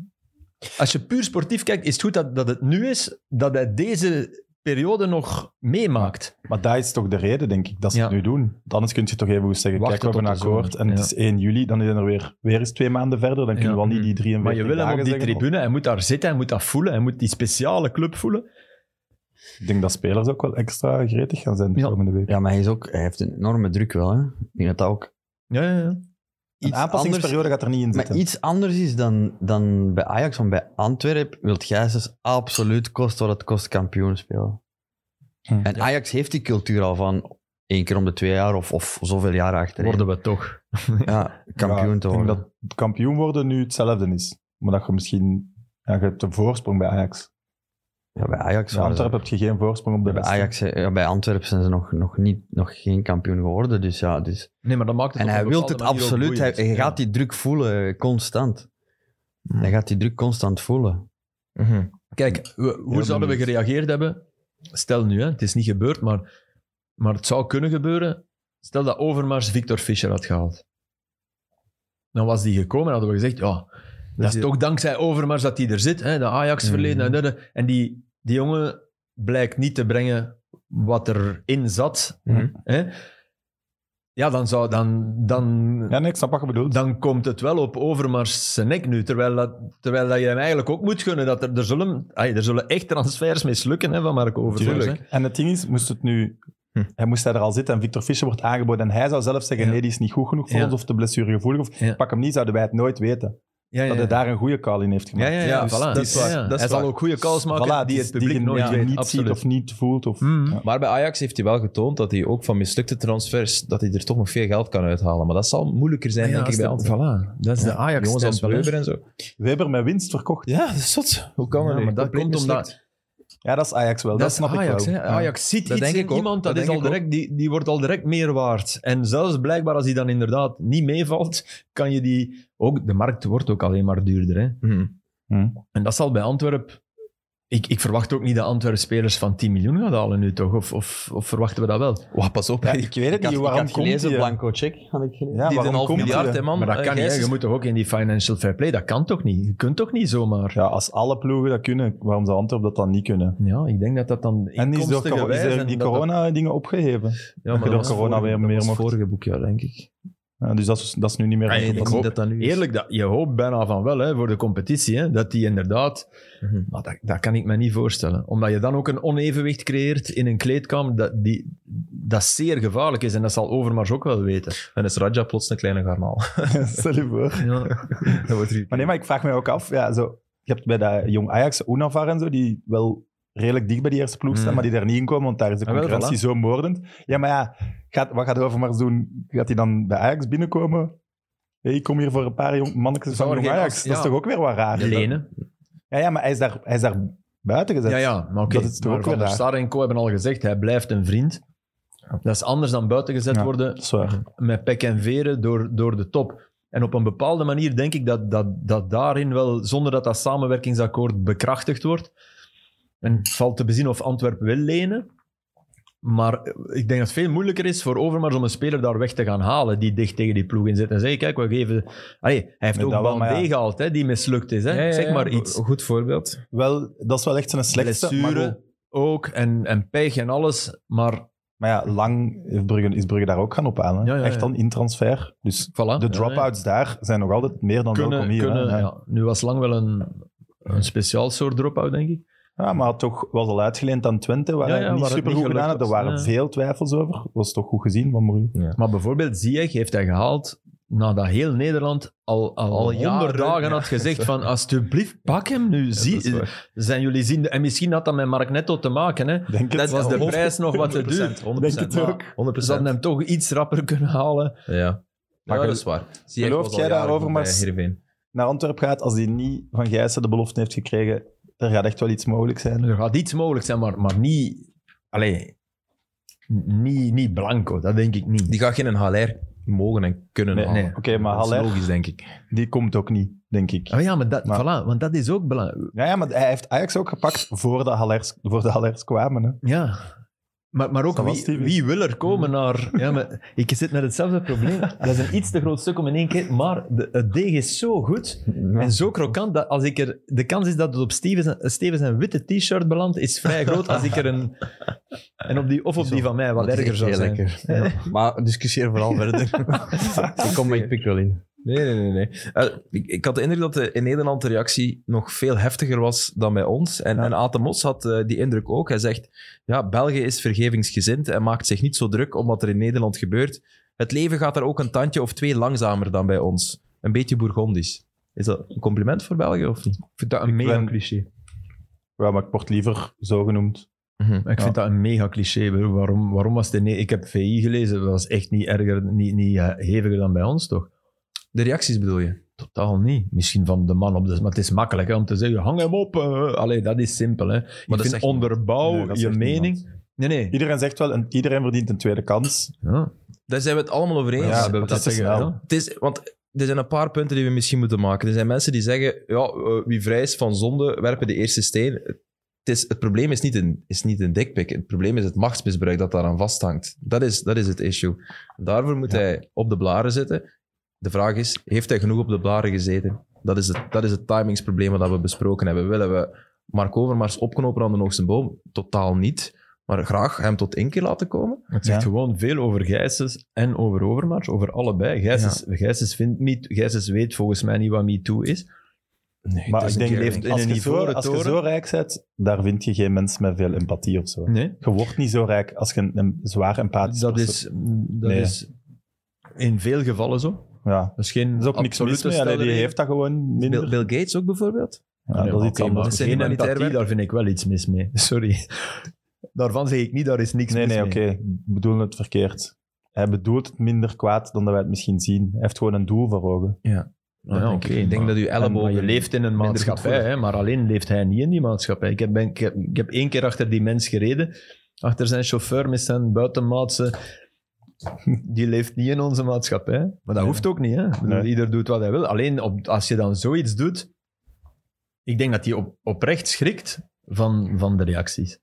[SPEAKER 3] Als je puur sportief kijkt, is het goed dat, dat het nu is dat hij deze periode nog meemaakt.
[SPEAKER 2] Maar dat is toch de reden, denk ik, dat ze
[SPEAKER 3] Ja.
[SPEAKER 2] het nu doen. Want Anders kun je toch even goed zeggen,
[SPEAKER 3] Wachten
[SPEAKER 2] kijk, we hebben een
[SPEAKER 3] tot de
[SPEAKER 2] akkoord en
[SPEAKER 3] zomer,
[SPEAKER 2] het is 1 juli, dan zijn er weer, weer eens twee maanden verder, dan kunnen
[SPEAKER 3] Ja. Mm.
[SPEAKER 2] we al niet die 43
[SPEAKER 3] Maar je wil hem
[SPEAKER 2] dagen
[SPEAKER 3] op die
[SPEAKER 2] zeggen.
[SPEAKER 3] tribune, hij moet daar zitten, hij moet dat voelen, hij moet die speciale club voelen.
[SPEAKER 2] Ik denk dat spelers ook wel extra gretig gaan zijn de
[SPEAKER 3] Ja.
[SPEAKER 2] komende week.
[SPEAKER 6] Ja, maar hij, is ook, hij heeft een enorme druk wel. Hè. Ik denk dat dat ook
[SPEAKER 3] Ja, ja, ja.
[SPEAKER 6] iets
[SPEAKER 2] een aanpassingsperiode
[SPEAKER 6] anders,
[SPEAKER 2] gaat er niet in
[SPEAKER 6] maar
[SPEAKER 2] zitten.
[SPEAKER 6] iets anders is dan, dan bij Ajax, want bij Antwerpen wilt Gijsens absoluut kost wat het kost kampioen spelen.
[SPEAKER 2] Hm.
[SPEAKER 6] En Ajax heeft die cultuur al van één keer om de twee jaar of, of zoveel jaren achtereen.
[SPEAKER 3] Worden we toch.
[SPEAKER 6] ja,
[SPEAKER 2] Ja,
[SPEAKER 6] kampioen te
[SPEAKER 2] Ik denk
[SPEAKER 6] worden.
[SPEAKER 2] dat het kampioen worden nu hetzelfde is. Maar dat je misschien... Ja, je hebt een voorsprong bij Ajax.
[SPEAKER 6] ja, bij Ajax
[SPEAKER 2] Bij
[SPEAKER 6] waren ze-
[SPEAKER 2] Antwerpen heb je geen voorsprong op de
[SPEAKER 6] bij,
[SPEAKER 2] rest.
[SPEAKER 6] Ajax, eh, ja, bij Antwerpen zijn ze nog, nog, niet, nog geen kampioen geworden. Dus ja, dus.
[SPEAKER 3] Nee, maar dat maakt het
[SPEAKER 6] En
[SPEAKER 3] op
[SPEAKER 6] hij
[SPEAKER 3] een
[SPEAKER 6] wil het
[SPEAKER 3] bepaalde manier ook
[SPEAKER 6] absoluut. Hij,
[SPEAKER 3] boeiend.
[SPEAKER 6] hij
[SPEAKER 3] Ja.
[SPEAKER 6] gaat die druk voelen, eh, constant. Hij gaat die druk constant voelen.
[SPEAKER 3] Mhm. Kijk, we- hoe
[SPEAKER 2] Heel
[SPEAKER 3] zouden we
[SPEAKER 2] benieuwd.
[SPEAKER 3] gereageerd hebben? Stel nu, hè, het is niet gebeurd, maar, maar het zou kunnen gebeuren. Stel dat Overmars Victor Fischer had gehaald. Dan was die gekomen en hadden we gezegd, ja, dat is
[SPEAKER 1] die-
[SPEAKER 3] toch dankzij Overmars dat hij er zit. Hè, de Ajax-verleden.
[SPEAKER 6] Mhm.
[SPEAKER 3] en dat- En die, die jongen blijkt niet te brengen wat erin zat.
[SPEAKER 1] Mhm.
[SPEAKER 3] Hè. Ja, dan zou... Dan, dan,
[SPEAKER 2] Ja, nee, ik snap wat je bedoelt.
[SPEAKER 3] dan komt het wel op Overmars zijn nek nu. Terwijl, dat, terwijl dat je hem eigenlijk ook moet gunnen. Dat er, er, zullen, ai, er zullen echt transfers mislukken hè, van Marco Overmars.
[SPEAKER 2] Tuurlijk.
[SPEAKER 3] hè.
[SPEAKER 2] En het ding is, moest het nu...
[SPEAKER 1] Hm.
[SPEAKER 2] Hij moest daar al zitten en Victor Fischer wordt aangeboden. En hij zou zelf zeggen,
[SPEAKER 3] Ja.
[SPEAKER 2] nee, die is niet goed genoeg voor
[SPEAKER 3] Ja.
[SPEAKER 2] ons of te blessuregevoelig. Of
[SPEAKER 3] Ja.
[SPEAKER 2] pak hem niet, zouden wij het nooit weten.
[SPEAKER 3] Ja, ja,
[SPEAKER 2] Dat
[SPEAKER 3] ja.
[SPEAKER 2] hij daar een goede call in heeft
[SPEAKER 3] Ja,
[SPEAKER 2] gemaakt.
[SPEAKER 3] ja, ja,
[SPEAKER 1] Ja,
[SPEAKER 3] voilà.
[SPEAKER 1] dus dat is
[SPEAKER 3] Ja,
[SPEAKER 1] waar,
[SPEAKER 3] ja.
[SPEAKER 1] dat is
[SPEAKER 3] Hij zal
[SPEAKER 1] waar.
[SPEAKER 3] ook goede calls maken
[SPEAKER 2] Voilà,
[SPEAKER 3] die
[SPEAKER 2] is
[SPEAKER 3] het publiek
[SPEAKER 2] je
[SPEAKER 3] nooit
[SPEAKER 2] ja,
[SPEAKER 3] weet.
[SPEAKER 2] niet
[SPEAKER 3] Absoluut.
[SPEAKER 2] ziet of niet voelt. Of,
[SPEAKER 3] Mhm.
[SPEAKER 2] Ja.
[SPEAKER 1] Maar bij Ajax heeft hij wel getoond dat hij ook van mislukte transfers, dat hij er toch nog veel geld kan uithalen. Maar dat zal moeilijker zijn,
[SPEAKER 3] Ah Ja,
[SPEAKER 1] denk ik,
[SPEAKER 3] als
[SPEAKER 1] bij
[SPEAKER 3] de-
[SPEAKER 1] Antwerpen.
[SPEAKER 3] voilà. Dat is de ajax
[SPEAKER 1] Jongens als
[SPEAKER 3] stijl wel, hè.
[SPEAKER 1] Breuber en zo.
[SPEAKER 2] Weber met winst verkocht.
[SPEAKER 1] Ja, dat is zot. Hoe kan
[SPEAKER 3] Ja,
[SPEAKER 1] dat nu?
[SPEAKER 3] maar dat
[SPEAKER 1] Compleet
[SPEAKER 3] komt omdat-
[SPEAKER 1] mislukt.
[SPEAKER 2] Ja, dat is Ajax wel.
[SPEAKER 3] Dat,
[SPEAKER 2] Dat,
[SPEAKER 3] is
[SPEAKER 2] snap
[SPEAKER 3] Ajax.
[SPEAKER 2] ik wel.
[SPEAKER 3] hè. Ajax ziet
[SPEAKER 1] Dat
[SPEAKER 3] iets
[SPEAKER 1] denk
[SPEAKER 3] in
[SPEAKER 1] ik ook.
[SPEAKER 3] iemand, dat
[SPEAKER 1] Dat
[SPEAKER 3] is
[SPEAKER 1] denk
[SPEAKER 3] al
[SPEAKER 1] ik
[SPEAKER 3] direct, die, die wordt al direct meer waard. En zelfs blijkbaar als die dan inderdaad niet meevalt, kan je die... Ook, de markt wordt ook alleen maar duurder. Hè.
[SPEAKER 1] Mhm.
[SPEAKER 2] Hm.
[SPEAKER 3] En dat zal bij Antwerp. Ik, ik verwacht ook niet dat Antwerp spelers van 10 miljoen gaat halen nu toch? Of, of, of verwachten we dat wel? Oh,
[SPEAKER 1] Wauw, pas op.
[SPEAKER 2] Ja,
[SPEAKER 1] hè.
[SPEAKER 2] ik weet het
[SPEAKER 6] Ik had,
[SPEAKER 2] niet,
[SPEAKER 6] ik
[SPEAKER 2] waarom
[SPEAKER 6] had
[SPEAKER 2] komt
[SPEAKER 6] gelezen,
[SPEAKER 2] die, hè?
[SPEAKER 6] blanco check had ik gelezen.
[SPEAKER 2] Ja,
[SPEAKER 1] die is een
[SPEAKER 2] waarom
[SPEAKER 1] half
[SPEAKER 2] komt die,
[SPEAKER 1] miljard,
[SPEAKER 2] hè?
[SPEAKER 1] hè, man.
[SPEAKER 3] maar dat kan
[SPEAKER 1] Eh,
[SPEAKER 3] niet. hè.
[SPEAKER 1] Gijs
[SPEAKER 3] Je
[SPEAKER 1] is-
[SPEAKER 3] moet toch ook in die financial fair play? Dat kan toch niet? Je kunt toch niet zomaar? Ja,
[SPEAKER 2] Ja, als alle ploegen dat kunnen, waarom zou Antwerpen dat dan niet kunnen?
[SPEAKER 3] ik denk dat dat dan.
[SPEAKER 2] En is, door,
[SPEAKER 3] inkomstengewijs
[SPEAKER 2] coro- is
[SPEAKER 3] en
[SPEAKER 2] er die
[SPEAKER 3] dat dat-
[SPEAKER 2] corona-dingen opgeheven.
[SPEAKER 1] Ja,
[SPEAKER 2] dat je door
[SPEAKER 1] was
[SPEAKER 2] corona
[SPEAKER 1] vorige-
[SPEAKER 2] weer
[SPEAKER 1] dat
[SPEAKER 2] meer
[SPEAKER 1] was
[SPEAKER 2] mocht.
[SPEAKER 1] vorige boekjaar, denk ik.
[SPEAKER 2] Ja, dus dat is, dat is nu niet meer...
[SPEAKER 3] Ah,
[SPEAKER 1] Ik
[SPEAKER 3] ik
[SPEAKER 1] denk
[SPEAKER 3] hoop-
[SPEAKER 1] niet dat dat nu is.
[SPEAKER 3] Eerlijk, dat, je hoopt bijna van wel hè, voor de competitie. Hè, dat die inderdaad.
[SPEAKER 1] Mhm.
[SPEAKER 3] Maar dat, dat kan ik me niet voorstellen. Omdat je dan ook een onevenwicht creëert in een kleedkamer. Dat, die, dat zeer gevaarlijk is. En dat zal Overmars ook wel weten.
[SPEAKER 1] Dan is Raja plots een kleine garnaal. *laughs*
[SPEAKER 2] *laughs* Stel je voor.
[SPEAKER 3] Ja,
[SPEAKER 1] Dat wordt
[SPEAKER 2] Maar nee, maar ik vraag me ook af. Ja, zo, je hebt bij dat jong Ajax, Unavar en zo, die wel redelijk dicht bij die eerste ploeg staan,
[SPEAKER 3] Mm.
[SPEAKER 2] maar die daar niet in komen, want daar is de
[SPEAKER 3] Ah, wel,
[SPEAKER 2] concurrentie zo moordend. Ja, maar ja, gaat, wat gaat Overmars doen? Gaat hij dan bij Ajax binnenkomen? Hey, ik kom hier voor een paar jong mannetjes van
[SPEAKER 3] Zou er
[SPEAKER 2] jong
[SPEAKER 3] geen
[SPEAKER 2] Ajax.
[SPEAKER 3] as-
[SPEAKER 2] Dat is
[SPEAKER 3] ja.
[SPEAKER 2] toch ook weer wat raar?
[SPEAKER 3] lenen.
[SPEAKER 2] Ja, ja, maar hij is daar, hij is daar buiten gezet.
[SPEAKER 3] Ja, ja, maar oké.
[SPEAKER 2] Dat is toch
[SPEAKER 3] maar
[SPEAKER 2] ook
[SPEAKER 3] Van
[SPEAKER 2] weer
[SPEAKER 3] der
[SPEAKER 2] raar.
[SPEAKER 3] Sar en Co hebben al gezegd, hij blijft een vriend. Dat is anders dan buitengezet
[SPEAKER 2] Ja.
[SPEAKER 3] worden
[SPEAKER 2] Dat is waar.
[SPEAKER 3] met pek en veren door, door de top. En op een bepaalde manier denk ik dat, dat, dat daarin wel, zonder dat dat samenwerkingsakkoord bekrachtigd wordt, en het valt te bezien of Antwerpen wil lenen, maar ik denk dat het veel moeilijker is voor Overmars om een speler daar weg te gaan halen die dicht tegen die ploeg in zit en zeggen, kijk, we geven... Allee, hij heeft
[SPEAKER 2] Nee,
[SPEAKER 3] ook
[SPEAKER 2] dat wel,
[SPEAKER 3] Bandé
[SPEAKER 2] maar ja.
[SPEAKER 3] gehaald, hè, die mislukt is. Hè.
[SPEAKER 1] Ja, ja,
[SPEAKER 3] zeg
[SPEAKER 1] ja,
[SPEAKER 3] maar
[SPEAKER 1] een
[SPEAKER 3] iets.
[SPEAKER 1] Goed voorbeeld.
[SPEAKER 2] Wel, dat is wel echt zijn slechtste. maar
[SPEAKER 3] blessure
[SPEAKER 2] goed.
[SPEAKER 3] ook en, en pech en alles. Maar
[SPEAKER 2] Maar ja, lang heeft Brugge, is Brugge daar ook gaan op aan. Hè?
[SPEAKER 3] Ja, ja, ja.
[SPEAKER 2] Echt dan in transfer. Dus
[SPEAKER 3] voilà.
[SPEAKER 2] de drop-outs daar zijn nog altijd meer dan welkom
[SPEAKER 3] kunnen.
[SPEAKER 2] hier. hè.
[SPEAKER 3] kunnen
[SPEAKER 2] Ja.
[SPEAKER 3] ja. Nu was lang wel een, een speciaal soort drop-out, denk ik.
[SPEAKER 2] Ja, maar toch was al uitgeleend aan Twente, waar
[SPEAKER 3] Ja, ja,
[SPEAKER 2] hij niet
[SPEAKER 3] waar het
[SPEAKER 2] super
[SPEAKER 3] niet
[SPEAKER 2] goed
[SPEAKER 3] gelukt
[SPEAKER 2] gedaan had. Er
[SPEAKER 3] was,
[SPEAKER 2] waren
[SPEAKER 3] ja.
[SPEAKER 2] veel twijfels over. Was toch goed gezien van Mourinho.
[SPEAKER 3] Maar bijvoorbeeld Ziyech heeft hij gehaald nadat heel Nederland al, al,
[SPEAKER 1] Al
[SPEAKER 3] honderd
[SPEAKER 1] jaren,
[SPEAKER 3] dagen
[SPEAKER 1] ja.
[SPEAKER 3] had gezegd van alsjeblieft, pak hem nu.
[SPEAKER 1] Ja, dat is
[SPEAKER 3] Zie,
[SPEAKER 1] waar.
[SPEAKER 3] zijn jullie zien... En misschien had dat met Mark Netto te maken. Hè.
[SPEAKER 2] Denk het.
[SPEAKER 3] Dat was de prijs nog wat te duur.
[SPEAKER 1] 100%,
[SPEAKER 2] Denk het ook.
[SPEAKER 1] 100%.
[SPEAKER 3] Ze hadden hem toch iets rapper kunnen halen.
[SPEAKER 1] Ja.
[SPEAKER 2] Maar
[SPEAKER 1] Maar ja,
[SPEAKER 2] gel-
[SPEAKER 1] dat is waar. Zie
[SPEAKER 2] gelooft jij daar Overmars?
[SPEAKER 1] Heerenveen.
[SPEAKER 2] Naar Antwerpen gaat, als hij niet van Gijssen de belofte heeft gekregen, er gaat echt wel iets mogelijk zijn.
[SPEAKER 3] Er gaat iets mogelijk zijn, maar, maar niet... Allee, niet, niet blanco, dat denk ik niet.
[SPEAKER 1] Die gaat geen Haller mogen en kunnen
[SPEAKER 2] Nee,
[SPEAKER 1] halen.
[SPEAKER 3] nee.
[SPEAKER 2] Oké, maar
[SPEAKER 1] dat is
[SPEAKER 2] Haller,
[SPEAKER 1] logisch, denk ik.
[SPEAKER 2] die komt ook niet, denk ik.
[SPEAKER 3] Oh ja, maar dat,
[SPEAKER 2] Maar-
[SPEAKER 3] Voilà, want dat is ook belangrijk.
[SPEAKER 2] Ja, ja, maar hij heeft Ajax ook gepakt voordat Hallers, voordat Hallers kwamen. Hè.
[SPEAKER 3] Ja. Maar, maar ook
[SPEAKER 2] Dat was
[SPEAKER 3] wie,
[SPEAKER 2] Steven.
[SPEAKER 3] wie wil er komen naar... Ja, maar ik zit met hetzelfde
[SPEAKER 6] *laughs*
[SPEAKER 3] probleem. Dat is een iets te groot stuk om in één keer... Maar de, het deeg is zo goed en zo krokant dat als ik er... De kans is dat het op Stevens, Stevens een witte t-shirt belandt, is vrij groot als ik er een... En op die, of op die van mij, wat
[SPEAKER 6] Dat is
[SPEAKER 3] erger
[SPEAKER 6] echt
[SPEAKER 3] zou
[SPEAKER 6] heel
[SPEAKER 3] zijn.
[SPEAKER 6] lekker. Ja. Maar discussieer vooral verder. ik kom ik pik wel in.
[SPEAKER 1] Nee, nee, nee. nee. Eh, ik, ik had de indruk dat de, in Nederland de reactie nog veel heftiger was dan bij ons. En, en Aad de Mos had eh, die indruk ook. Hij zegt, ja, België is vergevingsgezind en maakt zich niet zo druk om wat er in Nederland gebeurt. Het leven gaat daar ook een tandje of twee langzamer dan bij ons. Een beetje Bourgondisch. Is dat een compliment voor België of niet?
[SPEAKER 3] Ik vind dat een mega
[SPEAKER 2] ben-
[SPEAKER 3] cliché.
[SPEAKER 2] Ja, maar ik word liever zo genoemd.
[SPEAKER 1] Mhm.
[SPEAKER 3] Ik vind dat een mega cliché. broer. Waarom, waarom was het... Nee, ik heb VI gelezen. Dat was echt niet erger, niet, niet eh, heviger dan bij ons, toch?
[SPEAKER 1] De reacties bedoel je?
[SPEAKER 3] Totaal niet. Misschien van de man op de... Maar het is makkelijk hè, om te zeggen, hang hem op. eh. Allee, dat is simpel. Hè.
[SPEAKER 1] dat
[SPEAKER 3] Maar ik
[SPEAKER 1] zegt
[SPEAKER 3] vind
[SPEAKER 1] niemand.
[SPEAKER 3] onderbouw
[SPEAKER 2] Nee, dat
[SPEAKER 3] je
[SPEAKER 2] zegt niemand.
[SPEAKER 3] mening... Nee, nee.
[SPEAKER 2] Iedereen zegt wel, en iedereen verdient een tweede kans.
[SPEAKER 3] Ja.
[SPEAKER 1] Daar zijn we het allemaal over eens.
[SPEAKER 2] Ja,
[SPEAKER 3] we
[SPEAKER 2] dat is te
[SPEAKER 3] zeggen,
[SPEAKER 2] snel.
[SPEAKER 3] ja.
[SPEAKER 1] Het is, want er zijn een paar punten die we misschien moeten maken. Er zijn mensen die zeggen, ja, eh, wie vrij is van zonde, werpen de eerste steen. Het, is, het probleem is niet een, is niet een dikpik. Het probleem is het machtsmisbruik dat daaraan vasthangt. Dat is, dat is het issue. Daarvoor moet hij op de blaren zitten. De vraag is, heeft hij genoeg op de blaren gezeten? Dat is het, dat is het timingsprobleem dat we besproken hebben. Willen we Mark Overmars opknopen aan de hoogste boom? Totaal niet. Maar graag hem tot één keer laten komen?
[SPEAKER 3] Het zegt
[SPEAKER 2] Ja.
[SPEAKER 3] gewoon veel over Gijsens en over Overmars. Over allebei. Gijsens, Gijsens, vindt Me- Gijsens weet volgens mij niet wat MeToo is.
[SPEAKER 1] Nee,
[SPEAKER 2] Maar
[SPEAKER 1] het is
[SPEAKER 2] ik
[SPEAKER 1] een
[SPEAKER 2] denk,
[SPEAKER 1] keerling.
[SPEAKER 3] in
[SPEAKER 2] als,
[SPEAKER 3] een
[SPEAKER 2] je zo,
[SPEAKER 3] ivoren
[SPEAKER 2] als je
[SPEAKER 3] toren.
[SPEAKER 2] zo rijk bent, daar vind je geen mens met veel empathie of zo.
[SPEAKER 3] Nee.
[SPEAKER 2] Je wordt niet zo rijk als je een, een zwaar empathisch
[SPEAKER 3] Dat
[SPEAKER 2] persoon-
[SPEAKER 3] is, dat
[SPEAKER 2] Nee.
[SPEAKER 3] is in veel gevallen zo.
[SPEAKER 2] Ja.
[SPEAKER 3] Dat is geen
[SPEAKER 2] Er is ook niks mis
[SPEAKER 3] absolute
[SPEAKER 2] mee, allee, die
[SPEAKER 3] stelregel.
[SPEAKER 2] heeft dat gewoon
[SPEAKER 1] Bill,
[SPEAKER 2] minder.
[SPEAKER 1] Bill Gates ook bijvoorbeeld?
[SPEAKER 2] Ja,
[SPEAKER 3] Nee,
[SPEAKER 2] dat is
[SPEAKER 3] maar
[SPEAKER 2] iets
[SPEAKER 3] oké,
[SPEAKER 2] anders.
[SPEAKER 1] dat is
[SPEAKER 3] maar geen
[SPEAKER 1] humanitair
[SPEAKER 3] empathie,
[SPEAKER 1] werk.
[SPEAKER 3] daar vind ik wel iets mis mee. *laughs* Sorry. Daarvan zeg ik niet, daar is niks
[SPEAKER 2] Nee,
[SPEAKER 3] mis
[SPEAKER 2] nee,
[SPEAKER 3] mee.
[SPEAKER 2] oké. Ik bedoel het verkeerd. Hij bedoelt het minder kwaad dan dat wij het misschien zien. Hij heeft gewoon een doel voor ogen.
[SPEAKER 3] Nou ja,
[SPEAKER 1] denk
[SPEAKER 3] oké,
[SPEAKER 1] ik. Ik denk
[SPEAKER 3] maar-
[SPEAKER 1] dat uw
[SPEAKER 3] En- maar
[SPEAKER 1] elleboog...
[SPEAKER 3] je leeft in een
[SPEAKER 1] minder
[SPEAKER 3] maatschappij,
[SPEAKER 1] gevoelig.
[SPEAKER 3] hè, maar alleen leeft hij niet in die maatschappij. Ik heb, ben, ik, heb, ik heb één keer achter die mens gereden, achter zijn chauffeur met zijn buitenmaatse. Die leeft niet in onze maatschappij. Maar dat
[SPEAKER 2] Nee.
[SPEAKER 3] hoeft ook niet. Hè? Ik bedoel,
[SPEAKER 2] Nee.
[SPEAKER 3] Ieder doet wat hij wil. Alleen op, als je dan zoiets doet, ik denk dat hij op, oprecht schrikt van, van de reacties.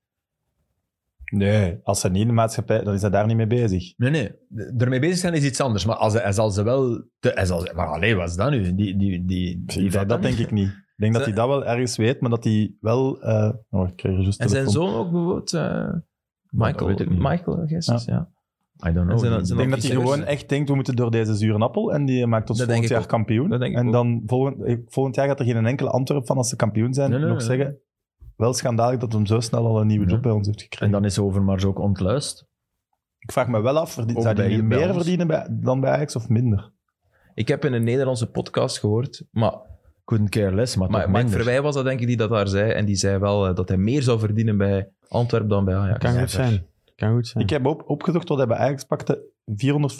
[SPEAKER 2] Nee. Als hij niet in de maatschappij, dan is hij daar niet mee bezig.
[SPEAKER 3] Nee, nee. d- Ermee bezig zijn is iets anders. Maar als hij, hij zal ze wel... Te, hij zal, maar alleen, wat is dat nu? Die, die, die, die,
[SPEAKER 2] dat, dat denk ik niet. Ik denk dat hij dat wel ergens weet, maar dat hij wel... eh, Oh, ik kreeg er juist
[SPEAKER 1] En zijn
[SPEAKER 2] telefoon.
[SPEAKER 1] zoon ook bijvoorbeeld... eh,
[SPEAKER 3] dat
[SPEAKER 1] Michael,
[SPEAKER 3] weet ik niet.
[SPEAKER 1] Michael Gessens, ja.
[SPEAKER 3] I don't know.
[SPEAKER 1] Zijn dat-
[SPEAKER 2] Ik
[SPEAKER 1] zijn
[SPEAKER 2] denk dat hij
[SPEAKER 1] Serieus?
[SPEAKER 2] gewoon echt denkt, we moeten door deze zure appel en die maakt ons
[SPEAKER 1] Dat
[SPEAKER 2] volgend
[SPEAKER 1] denk ik
[SPEAKER 2] jaar
[SPEAKER 1] ook.
[SPEAKER 2] kampioen.
[SPEAKER 1] Dat denk ik
[SPEAKER 2] en
[SPEAKER 1] ook.
[SPEAKER 2] dan volgend, eh, volgend jaar gaat er geen enkele Antwerp van als ze kampioen zijn.
[SPEAKER 3] Nee, nee,
[SPEAKER 2] nog
[SPEAKER 3] nee.
[SPEAKER 2] zeggen, wel schandalig dat hem zo snel al een nieuwe
[SPEAKER 3] Ja.
[SPEAKER 2] job bij ons heeft gekregen.
[SPEAKER 3] En dan is Overmars ook ontluist.
[SPEAKER 2] ik vraag me wel af, verdien-
[SPEAKER 3] Ook
[SPEAKER 2] zou
[SPEAKER 3] bij-
[SPEAKER 2] hij niet
[SPEAKER 3] bij
[SPEAKER 2] meer
[SPEAKER 3] ons.
[SPEAKER 2] verdienen bij- dan bij Ajax of minder?
[SPEAKER 1] Ik heb in een Nederlandse podcast gehoord, maar,
[SPEAKER 3] Couldn't care less, maar,
[SPEAKER 1] maar
[SPEAKER 3] toch
[SPEAKER 1] Mike
[SPEAKER 3] minder.
[SPEAKER 1] Verwij was dat denk ik die dat daar zei. En die zei wel eh, dat hij meer zou verdienen bij Antwerpen dan bij Ajax.
[SPEAKER 6] Kan goed zijn. Kan goed zijn.
[SPEAKER 2] Ik heb op, opgezocht wat hij bij Ajax pakte.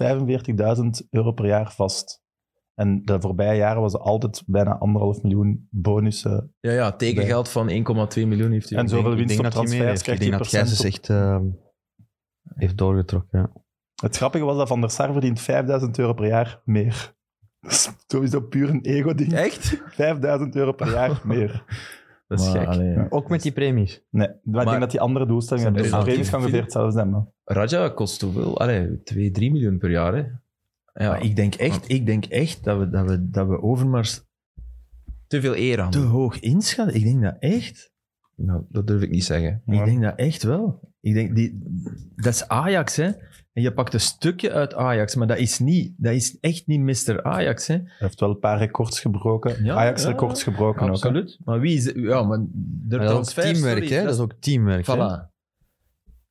[SPEAKER 2] 445.000 euro per jaar vast. En de voorbije jaren was er altijd bijna anderhalf miljoen bonussen.
[SPEAKER 1] Ja, ja, tekengeld van 1,2 miljoen heeft hij.
[SPEAKER 2] En zoveel
[SPEAKER 6] Ik
[SPEAKER 2] winst
[SPEAKER 6] denk
[SPEAKER 2] op
[SPEAKER 6] dat hij meer
[SPEAKER 2] transfers
[SPEAKER 6] heeft. Ik
[SPEAKER 2] krijgt hij
[SPEAKER 6] denk dat
[SPEAKER 2] procent
[SPEAKER 6] Gijsens
[SPEAKER 2] op-
[SPEAKER 6] echt ehm, heeft doorgetrokken. Ja.
[SPEAKER 2] Het grappige was dat Van der Sar verdient 5000 euro per jaar meer. *laughs* Dat is sowieso puur een ego-ding.
[SPEAKER 1] Echt?
[SPEAKER 2] 5000 euro per
[SPEAKER 6] *laughs*
[SPEAKER 2] jaar meer.
[SPEAKER 1] Dat is
[SPEAKER 3] Maar,
[SPEAKER 1] gek.
[SPEAKER 3] allee,
[SPEAKER 6] Ook met die premies.
[SPEAKER 2] Nee, maar, ik
[SPEAKER 1] Maar-
[SPEAKER 2] denk dat die andere doelstellingen
[SPEAKER 1] Zijn
[SPEAKER 2] hebben. Dus de
[SPEAKER 1] er-
[SPEAKER 2] premies kan ongeveer hetzelfde zijn. Maar.
[SPEAKER 1] Raja kost hoeveel? Allee, 2, 3 miljoen per jaar, hè? Ja,
[SPEAKER 3] maar ik denk echt, ik denk echt dat, we, dat, we, dat we Overmars
[SPEAKER 1] te veel eer aan.
[SPEAKER 3] te hoog inschatten. Ik denk dat echt.
[SPEAKER 1] Nou, dat durf ik niet zeggen.
[SPEAKER 2] Ja.
[SPEAKER 3] Ik denk dat echt wel. Ik denk, die, dat is Ajax, hè. En je pakt een stukje uit Ajax, maar dat is, niet, dat is echt niet Mr. Ajax, hè.
[SPEAKER 2] Hij heeft wel een paar records gebroken.
[SPEAKER 3] Ja,
[SPEAKER 2] Ajax-records gebroken ook. hè.
[SPEAKER 3] Maar wie is... Ja, maar de
[SPEAKER 6] Maar dat is ook
[SPEAKER 3] transfer...
[SPEAKER 6] teamwerk,
[SPEAKER 3] sorry,
[SPEAKER 6] hè? Dat is ook teamwerk. hè.
[SPEAKER 3] Voilà.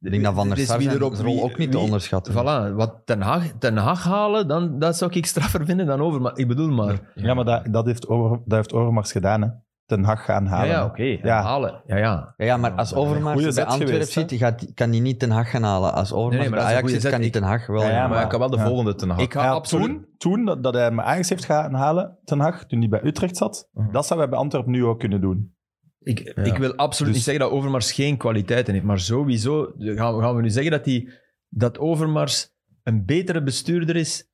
[SPEAKER 6] Ik denk dat Van der
[SPEAKER 3] Dus
[SPEAKER 6] Sar
[SPEAKER 3] wie
[SPEAKER 6] zijn
[SPEAKER 3] erop-
[SPEAKER 6] rol
[SPEAKER 3] wie-
[SPEAKER 6] ook niet te
[SPEAKER 3] wie-
[SPEAKER 6] onderschatten.
[SPEAKER 3] Voilà, wat Ten Haag, ten Haag halen, dan, dat zou ik straffer vinden dan over. Maar ik bedoel maar...
[SPEAKER 2] Ja, maar dat, dat, heeft over, dat heeft Overmars gedaan. Hè. Ten Hag gaan halen.
[SPEAKER 3] ja, ja
[SPEAKER 2] hè.
[SPEAKER 3] oké.
[SPEAKER 2] Ja.
[SPEAKER 3] Halen. Ja, ja.
[SPEAKER 6] Ja, ja, maar als Overmars
[SPEAKER 2] Goeie
[SPEAKER 6] bij
[SPEAKER 2] zet
[SPEAKER 6] Antwerpen
[SPEAKER 2] geweest, hè?
[SPEAKER 6] zit, die gaat, kan hij niet Ten Haag gaan halen. Als Overmars
[SPEAKER 3] Nee, nee, maar
[SPEAKER 6] bij
[SPEAKER 3] dat is een
[SPEAKER 6] Ajax
[SPEAKER 3] goeie
[SPEAKER 6] zit, kan hij
[SPEAKER 3] zet.
[SPEAKER 6] Ten Haag wel.
[SPEAKER 2] Ja, ja,
[SPEAKER 6] halen.
[SPEAKER 1] Maar,
[SPEAKER 2] maar-
[SPEAKER 1] ik kan wel de
[SPEAKER 2] ja.
[SPEAKER 1] volgende ten halen.
[SPEAKER 3] Ik ga
[SPEAKER 2] Ja,
[SPEAKER 3] absoluut...
[SPEAKER 2] toen, toen dat, dat hij hem Ajax heeft gaan halen, Ten Hag, toen hij bij Utrecht zat,
[SPEAKER 1] Mhm.
[SPEAKER 2] dat zouden wij bij Antwerpen nu ook kunnen doen.
[SPEAKER 3] Ik,
[SPEAKER 1] Ja.
[SPEAKER 3] ik wil absoluut
[SPEAKER 2] Dus-
[SPEAKER 3] niet zeggen dat Overmars geen kwaliteiten heeft, maar sowieso gaan we, gaan we nu zeggen dat, die, dat Overmars een betere bestuurder is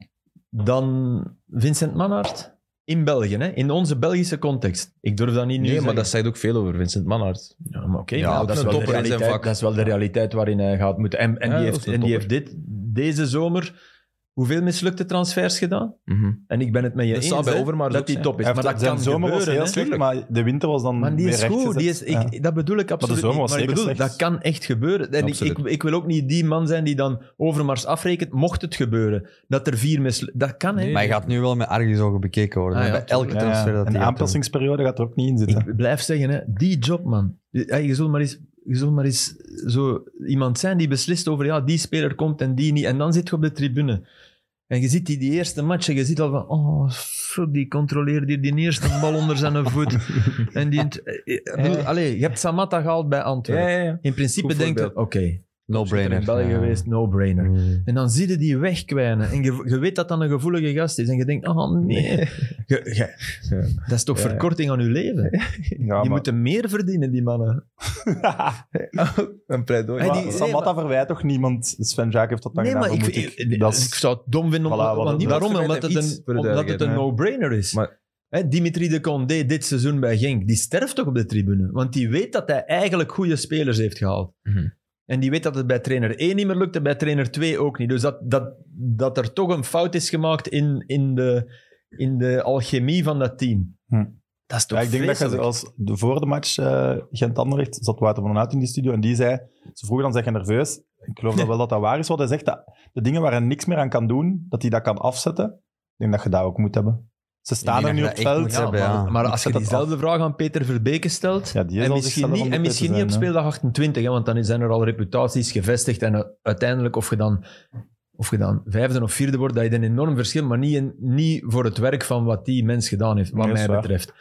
[SPEAKER 3] dan Vincent Manhart in België, hè? in onze Belgische context. Ik durf dat niet nu
[SPEAKER 1] Nee, maar
[SPEAKER 3] zeggen.
[SPEAKER 1] dat zegt ook veel over Vincent Manhart.
[SPEAKER 3] Ja, maar oké,
[SPEAKER 1] Ja,
[SPEAKER 3] maar
[SPEAKER 1] ook
[SPEAKER 3] dat, is
[SPEAKER 1] een
[SPEAKER 3] wel de
[SPEAKER 1] topper in zijn
[SPEAKER 3] realiteit,
[SPEAKER 1] vak.
[SPEAKER 3] dat is wel de realiteit waarin hij gaat moeten. En, en
[SPEAKER 1] Ja,
[SPEAKER 3] die,
[SPEAKER 1] dat
[SPEAKER 3] heeft,
[SPEAKER 1] is een
[SPEAKER 3] en die heeft
[SPEAKER 1] topper.
[SPEAKER 3] dit, deze zomer hoeveel mislukte transfers gedaan?
[SPEAKER 1] Mhm.
[SPEAKER 3] En ik ben het met je
[SPEAKER 1] Dat
[SPEAKER 3] eens
[SPEAKER 1] zou bij
[SPEAKER 3] hè,
[SPEAKER 1] Overmars
[SPEAKER 3] dat
[SPEAKER 1] ook
[SPEAKER 3] die
[SPEAKER 1] zijn.
[SPEAKER 3] top is.
[SPEAKER 2] Hij
[SPEAKER 3] Maar
[SPEAKER 2] heeft-
[SPEAKER 3] dat
[SPEAKER 2] zijn
[SPEAKER 3] kan
[SPEAKER 2] zomer was
[SPEAKER 3] gebeuren,
[SPEAKER 2] heel
[SPEAKER 3] hè.
[SPEAKER 2] slecht, maar de winter was dan
[SPEAKER 3] Maar die
[SPEAKER 2] weer
[SPEAKER 3] is goed.
[SPEAKER 2] rechtgezet.
[SPEAKER 3] Die is, ik,
[SPEAKER 2] Ja.
[SPEAKER 3] Dat bedoel ik absoluut
[SPEAKER 2] zomer
[SPEAKER 3] niet.
[SPEAKER 2] was
[SPEAKER 3] Maar ik
[SPEAKER 2] zeker
[SPEAKER 3] bedoel, dat
[SPEAKER 2] slecht.
[SPEAKER 3] kan echt gebeuren. En ik, ik,
[SPEAKER 1] Absoluut.
[SPEAKER 3] ik wil ook niet die man zijn die dan Overmars afrekent, mocht het gebeuren. Dat er vier mis... Dat kan, hè.
[SPEAKER 1] Nee.
[SPEAKER 6] Maar hij gaat nu wel met argusogen bekeken worden.
[SPEAKER 3] Ah,
[SPEAKER 6] hè,
[SPEAKER 3] ja,
[SPEAKER 6] bij elke
[SPEAKER 2] Ja, ja.
[SPEAKER 6] transfer
[SPEAKER 2] En
[SPEAKER 6] dat hij eh,
[SPEAKER 2] de
[SPEAKER 6] gaat
[SPEAKER 2] aanpassingsperiode gaat er ook niet in zitten.
[SPEAKER 3] Ik blijf zeggen, hè, die job, man. Ja, Je zult maar eens, je zult maar eens zo iemand zijn die beslist over ja, die speler komt en die niet. En dan zit je op de tribune. En je ziet die, die eerste match en je ziet al van... Oh, zo, die controleert hier die eerste bal onder zijn
[SPEAKER 1] *laughs*
[SPEAKER 3] voet. en die... eh, eh, bedoel, Allee, je hebt Samatta gehaald bij Antwerpen.
[SPEAKER 1] ja, ja.
[SPEAKER 3] In principe
[SPEAKER 1] Goed
[SPEAKER 3] denk je, oké,
[SPEAKER 1] voorbeeld.
[SPEAKER 6] doen.
[SPEAKER 3] er
[SPEAKER 6] No-brainer.
[SPEAKER 3] in België
[SPEAKER 6] ja.
[SPEAKER 3] geweest, no-brainer.
[SPEAKER 6] Mm.
[SPEAKER 3] En dan zie je die wegkwijnen. En je, je weet dat dat een gevoelige gast is. En je denkt, oh nee. Je- je- dat is toch
[SPEAKER 1] Ja, ja.
[SPEAKER 3] verkorting aan *laughs* je leven?
[SPEAKER 2] Ja,
[SPEAKER 3] die
[SPEAKER 2] maar-
[SPEAKER 3] moeten meer verdienen, die mannen.
[SPEAKER 2] *laughs*
[SPEAKER 1] *laughs* Een pleidooi.
[SPEAKER 3] Hey,
[SPEAKER 2] Maar
[SPEAKER 3] die- nee,
[SPEAKER 2] Samatta verwijt toch niemand? Sven Jaak heeft dat dan
[SPEAKER 3] nee,
[SPEAKER 2] gedaan.
[SPEAKER 3] maar ik,
[SPEAKER 2] dan moet
[SPEAKER 3] ik, ik,
[SPEAKER 2] dat is-
[SPEAKER 3] zou het dom vinden om...
[SPEAKER 2] Voilà, wat
[SPEAKER 3] want
[SPEAKER 2] dat-
[SPEAKER 3] niet
[SPEAKER 2] dat
[SPEAKER 3] waarom,
[SPEAKER 1] verwijt
[SPEAKER 3] omdat het
[SPEAKER 1] hem iets,
[SPEAKER 3] een,
[SPEAKER 1] voor de
[SPEAKER 3] omdat het een
[SPEAKER 1] duidelijkheid,
[SPEAKER 3] no-brainer is.
[SPEAKER 1] Maar-
[SPEAKER 3] Hè, Dimitri de Condé dit seizoen bij Genk, die sterft toch op de tribune? Want die weet dat hij eigenlijk goede spelers heeft gehaald.
[SPEAKER 1] Mhm.
[SPEAKER 3] En die weet dat het bij trainer 1 niet meer lukt en bij trainer 2 ook niet. Dus dat, dat, dat er toch een fout is gemaakt in, in, de, in de alchemie van dat team.
[SPEAKER 2] Hm.
[SPEAKER 3] Dat is toch
[SPEAKER 2] Ja, ik denk dat je
[SPEAKER 3] vreselijk?
[SPEAKER 2] als de, voor de match eh Gent-Anderlecht zat Wouter van den Hout in die studio en die zei, ze vroegen dan, zeg je nerveus? Ik geloof dat wel dat dat waar is wat hij zegt, dat de dingen waar hij niks meer aan kan doen, dat hij dat kan afzetten. Ik denk dat je dat ook moet hebben. Ze staan er
[SPEAKER 6] denk
[SPEAKER 2] nu op
[SPEAKER 6] dat
[SPEAKER 2] het
[SPEAKER 6] je dat echt
[SPEAKER 2] veld.
[SPEAKER 6] moet hebben, ja.
[SPEAKER 3] Maar als je
[SPEAKER 2] zet dat
[SPEAKER 3] diezelfde vraag aan Peter Verbeke stelt,
[SPEAKER 2] Ja, die is
[SPEAKER 3] en
[SPEAKER 2] al
[SPEAKER 3] misschien
[SPEAKER 2] zichzelf
[SPEAKER 3] niet,
[SPEAKER 2] aan
[SPEAKER 3] en
[SPEAKER 2] het
[SPEAKER 3] misschien niet op
[SPEAKER 2] zijn, hè.
[SPEAKER 3] speeldag 28, hè, want dan zijn er al reputaties gevestigd en eh, uiteindelijk of je dan, of je dan vijfde of vierde wordt, dat je een enorm verschil, maar niet, in- niet voor het werk van wat die mens gedaan heeft, wat
[SPEAKER 2] Nee, dat
[SPEAKER 3] mij
[SPEAKER 2] is waar.
[SPEAKER 3] betreft.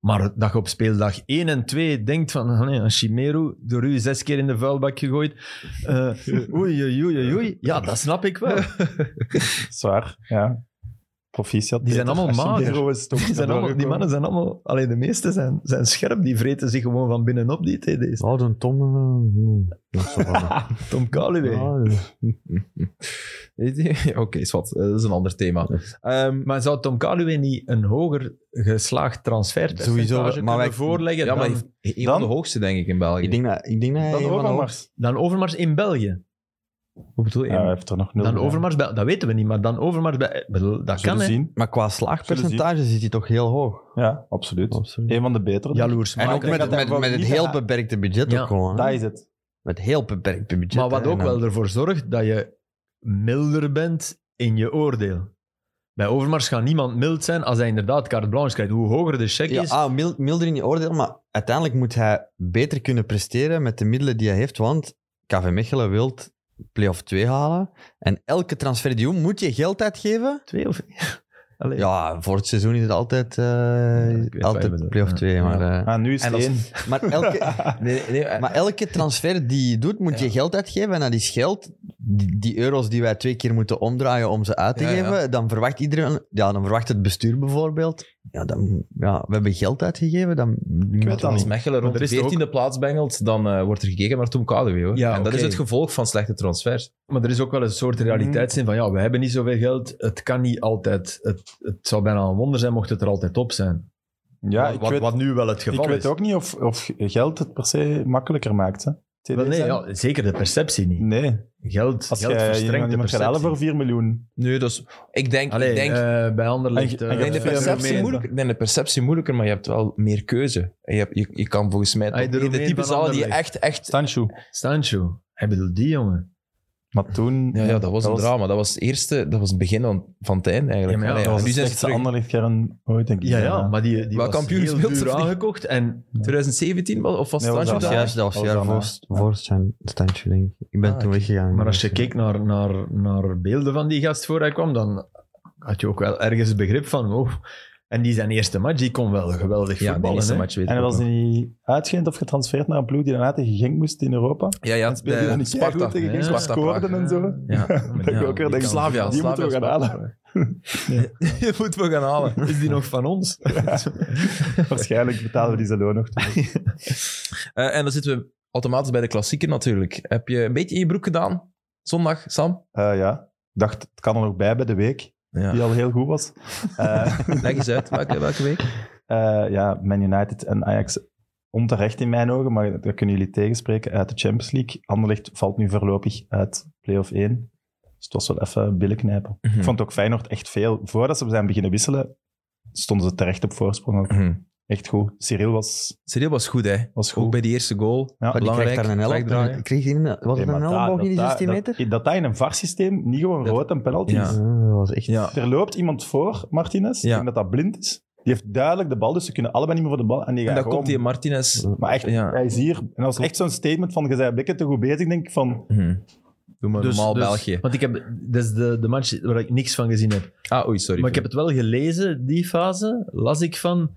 [SPEAKER 3] Maar dat je op speeldag 1 en 2 denkt van, ah, nee, een Chimero, door u zes keer in de vuilbak gegooid, eh, oei, oei, oei, oei, ja, dat snap ik wel.
[SPEAKER 2] Zwaar, ja. Proficiat.
[SPEAKER 3] Die zijn
[SPEAKER 2] Peter.
[SPEAKER 3] allemaal mager.
[SPEAKER 2] Casimiro is toch
[SPEAKER 3] *laughs* Die, zijn allemaal, die
[SPEAKER 2] doorgekomen.
[SPEAKER 3] mannen zijn allemaal, alleen de meeste zijn, zijn scherp, die vreten zich gewoon van binnenop, die TD's.
[SPEAKER 6] Oh, dan Tom. eh,
[SPEAKER 2] hmm.
[SPEAKER 6] mm, dat is wel van-
[SPEAKER 1] *laughs*
[SPEAKER 3] Tom Kaluwe.
[SPEAKER 6] Ah, ja.
[SPEAKER 1] Oké, zwart. Eh, dat is een ander thema. Ehm,
[SPEAKER 3] Maar zou Tom Kaluwe niet een hoger geslaagd transferpercentage
[SPEAKER 6] Sowieso, maar
[SPEAKER 3] kunnen
[SPEAKER 6] wij-
[SPEAKER 3] voorleggen
[SPEAKER 1] ja, maar
[SPEAKER 3] dan,
[SPEAKER 1] hij- een
[SPEAKER 2] Dan?
[SPEAKER 1] van de hoogste, denk ik, in België.
[SPEAKER 6] Ik denk dat, ik denk dat hij
[SPEAKER 2] Dan
[SPEAKER 6] een van de hoogste-
[SPEAKER 2] Overmars.
[SPEAKER 3] dan Overmars in België?
[SPEAKER 1] Hoe bedoel je?
[SPEAKER 2] Ja, hij heeft er nog nul.
[SPEAKER 3] Dan
[SPEAKER 2] bij.
[SPEAKER 3] Overmars bij, dat weten we niet, maar dan Overmars bij... ik bedoel, dat
[SPEAKER 2] Zullen
[SPEAKER 3] kan, hè.
[SPEAKER 2] zien.
[SPEAKER 6] Maar qua slaagpercentage zit hij toch heel hoog.
[SPEAKER 2] Ja, absoluut.
[SPEAKER 6] Absoluut.
[SPEAKER 2] Een van de betere.
[SPEAKER 3] Jaloers
[SPEAKER 6] En ook
[SPEAKER 3] maken.
[SPEAKER 2] denk
[SPEAKER 6] met,
[SPEAKER 2] dat hij
[SPEAKER 6] met, met het
[SPEAKER 2] niet
[SPEAKER 6] heel
[SPEAKER 2] gaat-
[SPEAKER 6] beperkte budget
[SPEAKER 3] Ja.
[SPEAKER 6] ook gewoon. hè.
[SPEAKER 2] Dat is het.
[SPEAKER 6] Met heel beperkt budget.
[SPEAKER 3] Maar wat
[SPEAKER 6] hè.
[SPEAKER 3] ook
[SPEAKER 6] En dan-
[SPEAKER 3] wel ervoor zorgt dat je milder bent in je oordeel. Bij Overmars gaat niemand mild zijn als hij inderdaad carte blanche krijgt. Hoe hoger de check
[SPEAKER 6] Ja,
[SPEAKER 3] is...
[SPEAKER 6] ah, mil- milder in je oordeel, maar uiteindelijk moet hij beter kunnen presteren met de middelen die hij heeft, want KV Mechelen wil play-off 2 halen. En elke transfer die je doet, moet je geld uitgeven.
[SPEAKER 3] Twee of... Allee.
[SPEAKER 6] Ja, voor het seizoen is het altijd, eh,
[SPEAKER 3] ik weet wat je
[SPEAKER 6] altijd
[SPEAKER 3] bedoelt,
[SPEAKER 6] play-off
[SPEAKER 3] ja.
[SPEAKER 6] 2. Maar, eh,
[SPEAKER 2] Ah, nu is
[SPEAKER 1] En
[SPEAKER 2] het
[SPEAKER 1] als-
[SPEAKER 2] één.
[SPEAKER 6] maar,
[SPEAKER 3] *laughs*
[SPEAKER 6] elke,
[SPEAKER 2] *laughs*
[SPEAKER 1] Nee, nee, eh,
[SPEAKER 6] maar elke transfer die je doet, moet je geld uitgeven. En dat is geld, die, die euro's die wij twee keer moeten omdraaien om ze uit te
[SPEAKER 1] Ja, ja.
[SPEAKER 6] geven, dan verwacht iedereen, ja, dan verwacht het bestuur bijvoorbeeld, ja, dan, ja we hebben geld uitgegeven, dan moeten we
[SPEAKER 2] dat niet.
[SPEAKER 1] als Mechelen rond
[SPEAKER 3] er
[SPEAKER 1] de
[SPEAKER 3] is toch
[SPEAKER 1] 14e plaats bengelt, dan eh, wordt er gekeken naar Tom Kaluwe. Hoor.
[SPEAKER 3] Ja,
[SPEAKER 1] en dat
[SPEAKER 3] oké.
[SPEAKER 1] is het gevolg van slechte transfers.
[SPEAKER 3] Maar er is ook wel een
[SPEAKER 2] Mhm.
[SPEAKER 3] soort realiteitszin van, ja, we hebben niet zoveel geld, het kan niet altijd, het, het zou bijna een wonder zijn mocht het er altijd op zijn.
[SPEAKER 2] Ja,
[SPEAKER 3] wat,
[SPEAKER 2] ik
[SPEAKER 3] wat,
[SPEAKER 2] weet,
[SPEAKER 3] wat nu wel het
[SPEAKER 2] ik
[SPEAKER 3] geval
[SPEAKER 2] weet
[SPEAKER 3] is.
[SPEAKER 2] ook niet of, of geld het per se makkelijker maakt. Hè. TD
[SPEAKER 3] Wel, nee,
[SPEAKER 2] zijn?
[SPEAKER 3] ja, zeker de perceptie niet.
[SPEAKER 2] nee,
[SPEAKER 3] Geld,
[SPEAKER 2] als
[SPEAKER 3] geld
[SPEAKER 2] jij
[SPEAKER 3] verstrengt
[SPEAKER 2] iemand
[SPEAKER 3] de
[SPEAKER 2] iemand gaat
[SPEAKER 3] perceptie.
[SPEAKER 2] halen voor 4 miljoen.
[SPEAKER 1] Nu, dus ik denk...
[SPEAKER 3] Allee,
[SPEAKER 1] ik denk
[SPEAKER 3] eh, bij
[SPEAKER 2] En
[SPEAKER 3] Anderlecht...
[SPEAKER 2] je-
[SPEAKER 3] eh,
[SPEAKER 2] en je
[SPEAKER 1] ik denk de
[SPEAKER 2] eh,
[SPEAKER 1] perceptie
[SPEAKER 2] Roemeen,
[SPEAKER 1] moeilijker, ik denk de perceptie moeilijker, maar je hebt wel meer keuze. En Je, hebt, je, je kan volgens mij
[SPEAKER 3] Ah,
[SPEAKER 1] toch
[SPEAKER 3] de
[SPEAKER 1] in de
[SPEAKER 3] Roemeen
[SPEAKER 1] type
[SPEAKER 3] van
[SPEAKER 1] zalen die
[SPEAKER 3] Anderlecht.
[SPEAKER 1] echt, echt...
[SPEAKER 2] Stanchu.
[SPEAKER 3] Sancho, hij bedoelt die jongen.
[SPEAKER 2] Maar toen...
[SPEAKER 1] Ja, ja, dat was een drama. Dat was het eerste, dat was het begin van, van het eind eigenlijk.
[SPEAKER 3] Ja, maar ja,
[SPEAKER 1] Allee,
[SPEAKER 3] dat
[SPEAKER 1] nu
[SPEAKER 2] Dat was de
[SPEAKER 1] zijn ze
[SPEAKER 2] slechtste
[SPEAKER 1] terug.
[SPEAKER 2] anderlichtkern ooit, denk ik.
[SPEAKER 3] Ja, ja, maar die, die
[SPEAKER 1] Wel
[SPEAKER 3] was
[SPEAKER 1] kampioen
[SPEAKER 3] heel
[SPEAKER 1] gespeeld,
[SPEAKER 3] duur
[SPEAKER 1] vriend.
[SPEAKER 3] aangekocht en
[SPEAKER 1] 2017 wel? of was
[SPEAKER 2] Nee,
[SPEAKER 1] het
[SPEAKER 2] was
[SPEAKER 1] Sancho
[SPEAKER 2] dat
[SPEAKER 6] Dat
[SPEAKER 1] daar?
[SPEAKER 6] was juist, dat was
[SPEAKER 2] Dat
[SPEAKER 6] juist
[SPEAKER 2] was dan,
[SPEAKER 6] voor, voor zijn standje, denk ik. Ik ben
[SPEAKER 1] Ah,
[SPEAKER 6] toen
[SPEAKER 1] oké.
[SPEAKER 6] weggegaan.
[SPEAKER 3] Maar
[SPEAKER 2] Mm.
[SPEAKER 3] als je keek naar, naar, naar beelden van die gast voor hij kwam, dan had je ook wel ergens begrip van, oh. En die zijn eerste match, die kon wel geweldig
[SPEAKER 1] Ja, de
[SPEAKER 3] voetballen.
[SPEAKER 1] eerste
[SPEAKER 3] hè.
[SPEAKER 1] match weet
[SPEAKER 2] En
[SPEAKER 1] ik
[SPEAKER 2] hij was
[SPEAKER 1] nog.
[SPEAKER 2] niet uitgeënt of getransfeerd naar een ploeg die daarna tegen Genk moest in Europa.
[SPEAKER 1] Ja, ja,
[SPEAKER 2] en speelde
[SPEAKER 1] de-
[SPEAKER 2] hij dan
[SPEAKER 1] Sparta.
[SPEAKER 2] goed tegen Genk,
[SPEAKER 3] ja,
[SPEAKER 2] maar
[SPEAKER 1] Sparta
[SPEAKER 2] scoorde
[SPEAKER 1] Praag.
[SPEAKER 2] en zo.
[SPEAKER 1] Ja.
[SPEAKER 2] Dat ik ook weer denk,
[SPEAKER 1] Slavia,
[SPEAKER 2] die moeten we
[SPEAKER 1] Slavia,
[SPEAKER 2] gaan halen. *laughs*
[SPEAKER 1] *laughs* Je moet wel gaan halen.
[SPEAKER 3] Is die nog van ons? *laughs*
[SPEAKER 2] Waarschijnlijk betalen we die zijn loon nog.
[SPEAKER 1] Eh, en dan zitten we automatisch bij de klassieker natuurlijk. Heb je een beetje in je broek gedaan zondag, Sam?
[SPEAKER 2] Eh, ja, ik dacht, het kan er nog bij bij de week.
[SPEAKER 1] Ja.
[SPEAKER 2] die al heel goed
[SPEAKER 3] *laughs*
[SPEAKER 2] was. Eh,
[SPEAKER 1] Leg eens uit, welke, welke week?
[SPEAKER 2] *laughs* eh, ja, Man United en Ajax onterecht in mijn ogen, maar daar kunnen jullie tegenspreken, uit de Champions League. Anderlecht valt nu voorlopig uit play-off 1. Dus het was wel even billen knijpen.
[SPEAKER 1] Hmm. Mhm.
[SPEAKER 2] Ik vond ook Feyenoord echt veel. Voordat ze zijn beginnen wisselen, stonden ze terecht op voorsprong. Echt goed. Cyril was,
[SPEAKER 1] Cyril Mhm. was goed, hè?
[SPEAKER 2] was goed.
[SPEAKER 1] Ook bij die eerste goal.
[SPEAKER 2] Ja.
[SPEAKER 6] Maar die krijgt daar een
[SPEAKER 1] Belangrijk,
[SPEAKER 6] elleboog.
[SPEAKER 1] terugdraaien.
[SPEAKER 6] Die Kreeg die een, was
[SPEAKER 2] Nee,
[SPEAKER 6] het een
[SPEAKER 2] maar daar-
[SPEAKER 6] elleboog in die
[SPEAKER 2] dat-
[SPEAKER 6] 16
[SPEAKER 2] dat-
[SPEAKER 6] meter?
[SPEAKER 2] Dat, dat in een VAR-systeem niet gewoon
[SPEAKER 1] Dat-
[SPEAKER 2] rood en penalty
[SPEAKER 1] Ja.
[SPEAKER 2] is.
[SPEAKER 6] Ah, dat was echt...
[SPEAKER 1] Ja.
[SPEAKER 2] Er loopt iemand voor, Martinez.
[SPEAKER 1] Ja.
[SPEAKER 2] Ik denk dat dat blind is. Die heeft duidelijk de bal, dus ze kunnen allebei niet meer voor de bal. En, die
[SPEAKER 1] En
[SPEAKER 2] gaat
[SPEAKER 1] dan
[SPEAKER 2] gewoon-
[SPEAKER 1] komt die Martinez.
[SPEAKER 2] Maar echt,
[SPEAKER 1] Ja.
[SPEAKER 2] hij is hier. En dat was echt zo'n statement van, je bent bikken te goed bezig, denk ik. Van,
[SPEAKER 1] Mhm. Doe maar
[SPEAKER 3] Dus-
[SPEAKER 1] normaal
[SPEAKER 3] dus-
[SPEAKER 1] België.
[SPEAKER 3] Want ik heb, dat is de, de match waar ik niks van gezien heb.
[SPEAKER 1] Ah, oei, sorry.
[SPEAKER 3] Maar ik heb het wel gelezen, die fase, las ik van...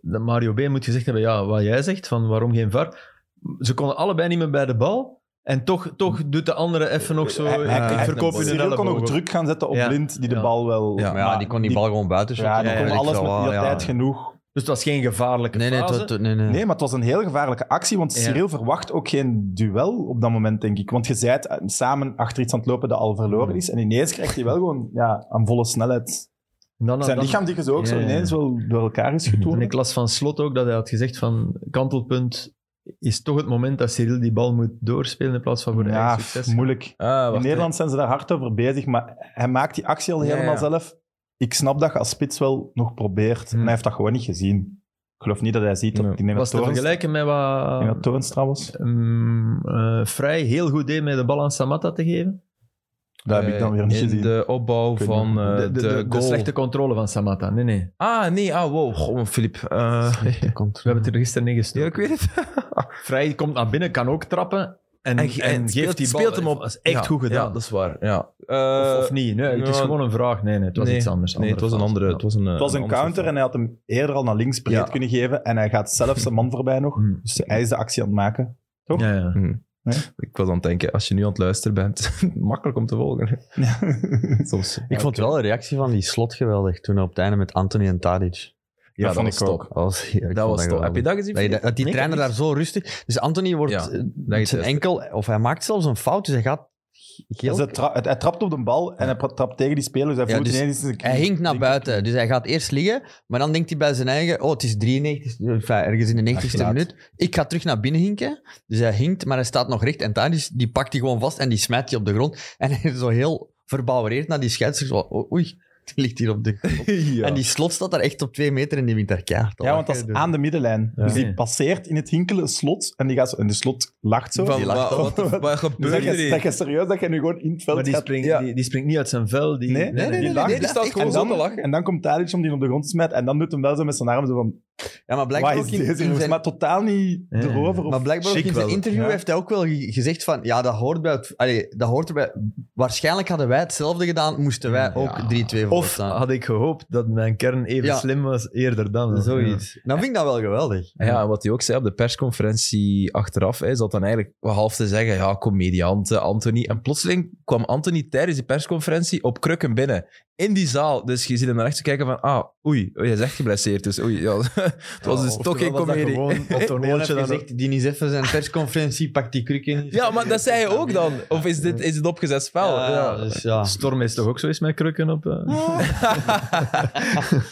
[SPEAKER 3] dat Mario B. moet gezegd hebben, ja, wat jij zegt, van waarom geen VAR. Ze konden allebei niet meer bij de bal. En toch, toch doet de andere even nog zo... eh,
[SPEAKER 2] hij, hij-
[SPEAKER 3] ik
[SPEAKER 2] hij-
[SPEAKER 3] verkoop je een
[SPEAKER 2] Cyril kon nog
[SPEAKER 3] elleboog.
[SPEAKER 2] druk gaan zetten op
[SPEAKER 3] Ja.
[SPEAKER 2] blind, die de
[SPEAKER 3] Ja.
[SPEAKER 2] bal wel...
[SPEAKER 1] Ja,
[SPEAKER 6] Maar ja, die kon die bal gewoon buiten
[SPEAKER 2] Ja, die
[SPEAKER 6] shotten.
[SPEAKER 2] kon
[SPEAKER 6] weet ik
[SPEAKER 2] alles
[SPEAKER 6] veel
[SPEAKER 2] met
[SPEAKER 6] wat,
[SPEAKER 2] die
[SPEAKER 6] ja.
[SPEAKER 2] tijd genoeg.
[SPEAKER 3] Dus het was geen gevaarlijke
[SPEAKER 6] Nee, nee,
[SPEAKER 3] fase.
[SPEAKER 6] tot, tot- nee, nee.
[SPEAKER 2] Nee, maar het was een heel gevaarlijke actie, want
[SPEAKER 3] Ja.
[SPEAKER 2] Cyril verwacht ook geen duel op dat moment, denk ik. Want je zijt eh, samen achter iets aan het lopen dat al verloren is. En ineens krijgt hij wel gewoon ja, aan volle snelheid
[SPEAKER 3] En dan-
[SPEAKER 2] Zijn
[SPEAKER 3] dan-
[SPEAKER 2] lichaam die is ook zo
[SPEAKER 3] Ja, ja.
[SPEAKER 2] ineens wel door elkaar is
[SPEAKER 3] En
[SPEAKER 2] getoond.
[SPEAKER 3] ik las van Slot ook dat hij had gezegd van... Kantelpunt is toch het moment dat Cyril die bal moet doorspelen in plaats van voor de
[SPEAKER 2] Ja,
[SPEAKER 3] eigen succes.
[SPEAKER 2] moeilijk.
[SPEAKER 1] Ah, wacht,
[SPEAKER 2] In
[SPEAKER 1] hè.
[SPEAKER 2] Nederland zijn ze daar hard over bezig, maar hij maakt die actie al
[SPEAKER 1] Ja,
[SPEAKER 2] helemaal
[SPEAKER 1] ja.
[SPEAKER 2] zelf. Ik snap dat je als spits wel nog probeert.
[SPEAKER 3] Hmm.
[SPEAKER 2] En hij heeft dat gewoon niet gezien. Ik geloof niet dat hij ziet.
[SPEAKER 1] Nee.
[SPEAKER 2] Dat, ik denk
[SPEAKER 3] Was
[SPEAKER 2] dat
[SPEAKER 3] te
[SPEAKER 2] Toorns-
[SPEAKER 3] vergelijken met wat...
[SPEAKER 2] ik denk dat Toornstra was.
[SPEAKER 3] ehm, eh, Vrij heel goed deed met de bal aan Samatta te geven.
[SPEAKER 2] Dat heb ik dan weer niet
[SPEAKER 1] Eh, in
[SPEAKER 2] gezien.
[SPEAKER 1] de opbouw
[SPEAKER 2] weet
[SPEAKER 1] van eh,
[SPEAKER 3] de, de, de- de
[SPEAKER 1] goal.
[SPEAKER 3] slechte controle van Samatta. Nee, nee.
[SPEAKER 1] Ah, nee, ah, wow. Goh, Filip. Eh,
[SPEAKER 3] We
[SPEAKER 6] *laughs* Komt-
[SPEAKER 3] hebben het er gisteren in
[SPEAKER 1] ja,
[SPEAKER 3] gestuurd.
[SPEAKER 1] ik weet het.
[SPEAKER 3] *laughs* Vrij komt naar binnen, kan ook trappen. En,
[SPEAKER 1] En
[SPEAKER 3] en,
[SPEAKER 1] ge- en
[SPEAKER 3] geeft
[SPEAKER 1] speelt-
[SPEAKER 3] die bal.
[SPEAKER 1] speelt hem op.
[SPEAKER 3] Dat is echt
[SPEAKER 1] Ja,
[SPEAKER 3] goed gedaan.
[SPEAKER 1] Ja, dat is waar. Ja.
[SPEAKER 3] of,
[SPEAKER 1] Eh,
[SPEAKER 3] of niet? Nee, het is
[SPEAKER 1] ja.
[SPEAKER 3] gewoon een vraag. Nee, nee het was
[SPEAKER 1] nee.
[SPEAKER 3] iets anders.
[SPEAKER 1] Nee, het was een
[SPEAKER 3] fase.
[SPEAKER 1] andere.
[SPEAKER 3] Ja.
[SPEAKER 1] Het was een, eh,
[SPEAKER 2] het was een counter en hij had hem eerder al naar links breed
[SPEAKER 1] Ja.
[SPEAKER 2] kunnen geven. En hij gaat zelf zijn man voorbij nog.
[SPEAKER 3] Hmm.
[SPEAKER 2] Dus hij is de actie aan het maken. toch?
[SPEAKER 3] Mm. Ja, ja.
[SPEAKER 1] Ik was aan het denken, als je nu aan het luisteren bent, *laughs* makkelijk om te volgen. Soms.
[SPEAKER 6] Ik vond wel de reactie van die slot geweldig toen hij op het einde met Anthony en Tadic.
[SPEAKER 1] Ja,
[SPEAKER 2] vond ik ook.
[SPEAKER 1] top.
[SPEAKER 3] *laughs*
[SPEAKER 6] Dat was, ja, ik vond
[SPEAKER 1] Dat was top.
[SPEAKER 6] geweldig.
[SPEAKER 1] Heb je dat gezien?
[SPEAKER 6] Dat je-
[SPEAKER 1] Filip?
[SPEAKER 6] dat- dat die
[SPEAKER 1] Nee, ik
[SPEAKER 6] trainer
[SPEAKER 1] heb
[SPEAKER 6] daar zo rustig... Dus Anthony wordt
[SPEAKER 1] Ja,
[SPEAKER 6] eh,
[SPEAKER 1] is
[SPEAKER 6] met zijn
[SPEAKER 1] juist.
[SPEAKER 6] enkel... Of hij maakt zelfs een fout, dus hij gaat geel...
[SPEAKER 2] Dus hij, tra- hij- hij trapt op de bal en hij pra- trapt tegen die speler. Dus hij
[SPEAKER 6] Ja,
[SPEAKER 2] voelt
[SPEAKER 6] dus
[SPEAKER 2] ineens een
[SPEAKER 6] Hij hinkt naar buiten, dus hij gaat eerst liggen, maar dan denkt hij bij zijn eigen... Oh, het is 93, enfin, ergens in de 90ste
[SPEAKER 2] laat.
[SPEAKER 6] minuut. Ik ga terug naar binnen hinken. Dus hij hinkt, maar hij staat nog recht. En Tadic, die pakt hij gewoon vast en die smijt hij op de grond. En hij is zo heel verbouwereerd naar die scheidsrechter. zo, oh, Oei, die ligt hier op de grond.
[SPEAKER 1] Ja.
[SPEAKER 6] En die slot staat daar echt op twee meter en die wint daar keihard.
[SPEAKER 2] Ja, want dat is aan de middenlijn.
[SPEAKER 6] Ja.
[SPEAKER 2] Dus die
[SPEAKER 3] Ja.
[SPEAKER 2] passeert in het hinkelen slot en, die gaat zo, en de slot lacht zo.
[SPEAKER 1] Van,
[SPEAKER 2] Die
[SPEAKER 1] wa-
[SPEAKER 2] lacht zo.
[SPEAKER 1] wat, wat,
[SPEAKER 2] Dus
[SPEAKER 1] gebeurt
[SPEAKER 2] dat
[SPEAKER 1] er
[SPEAKER 2] je, dat
[SPEAKER 1] hier?
[SPEAKER 2] je serieus dat je nu gewoon in het veld
[SPEAKER 3] Maar die
[SPEAKER 2] gaat.
[SPEAKER 3] springt,
[SPEAKER 1] Ja.
[SPEAKER 3] die, die springt niet uit zijn vel. Die,
[SPEAKER 2] Nee, nee, nee, nee, nee,
[SPEAKER 1] Nee, die
[SPEAKER 6] dat-
[SPEAKER 1] staat
[SPEAKER 6] en
[SPEAKER 1] gewoon
[SPEAKER 2] en,
[SPEAKER 1] zo
[SPEAKER 2] dan,
[SPEAKER 1] te lachen.
[SPEAKER 2] en dan komt Tadic om die op de grond te smijten en dan doet hem wel zo met zijn arm zo van,
[SPEAKER 6] Ja, maar blijkbaar
[SPEAKER 2] wat
[SPEAKER 6] ook
[SPEAKER 2] is
[SPEAKER 6] in, in
[SPEAKER 2] deze? jongens?"
[SPEAKER 6] zijn,
[SPEAKER 2] maar totaal niet
[SPEAKER 3] Ja.
[SPEAKER 2] erover. Of,
[SPEAKER 6] maar blijkbaar ook
[SPEAKER 3] Chic
[SPEAKER 6] in zijn
[SPEAKER 3] wel.
[SPEAKER 6] interview
[SPEAKER 2] Ja.
[SPEAKER 6] heeft hij ook wel ge- gezegd van... Ja, dat hoort bij het... Allee, dat hoort erbij. Waarschijnlijk hadden wij hetzelfde gedaan, moesten wij ook 3-2 voor
[SPEAKER 3] Of
[SPEAKER 6] staan.
[SPEAKER 3] had ik gehoopt dat mijn kern even
[SPEAKER 6] Ja.
[SPEAKER 3] slim was eerder dan.
[SPEAKER 6] Zoiets. Dan vind ik dat wel geweldig.
[SPEAKER 1] Ah Ja, en wat hij ook zei op de persconferentie achteraf, hij zat dan eigenlijk half te zeggen, ja, comediante, Anthony. En plotseling kwam Anthony tijdens die persconferentie op krukken binnen. In die zaal. Dus je ziet hem naar rechts kijken van, ah, oei, oh, hij is echt geblesseerd. Dus oei, ja. *laughs* het was dus toch geen comedie.
[SPEAKER 3] *laughs* Of
[SPEAKER 6] Gewoon even gezegd, die is even zijn persconferentie, pakt die kruk in.
[SPEAKER 1] Ja, maar dat zei hij ook dan. Of is dit is het opgezet spel?
[SPEAKER 6] Ja,
[SPEAKER 1] Ja.
[SPEAKER 6] dus ja.
[SPEAKER 3] Storm is toch ook zo eens met krukken op... eh?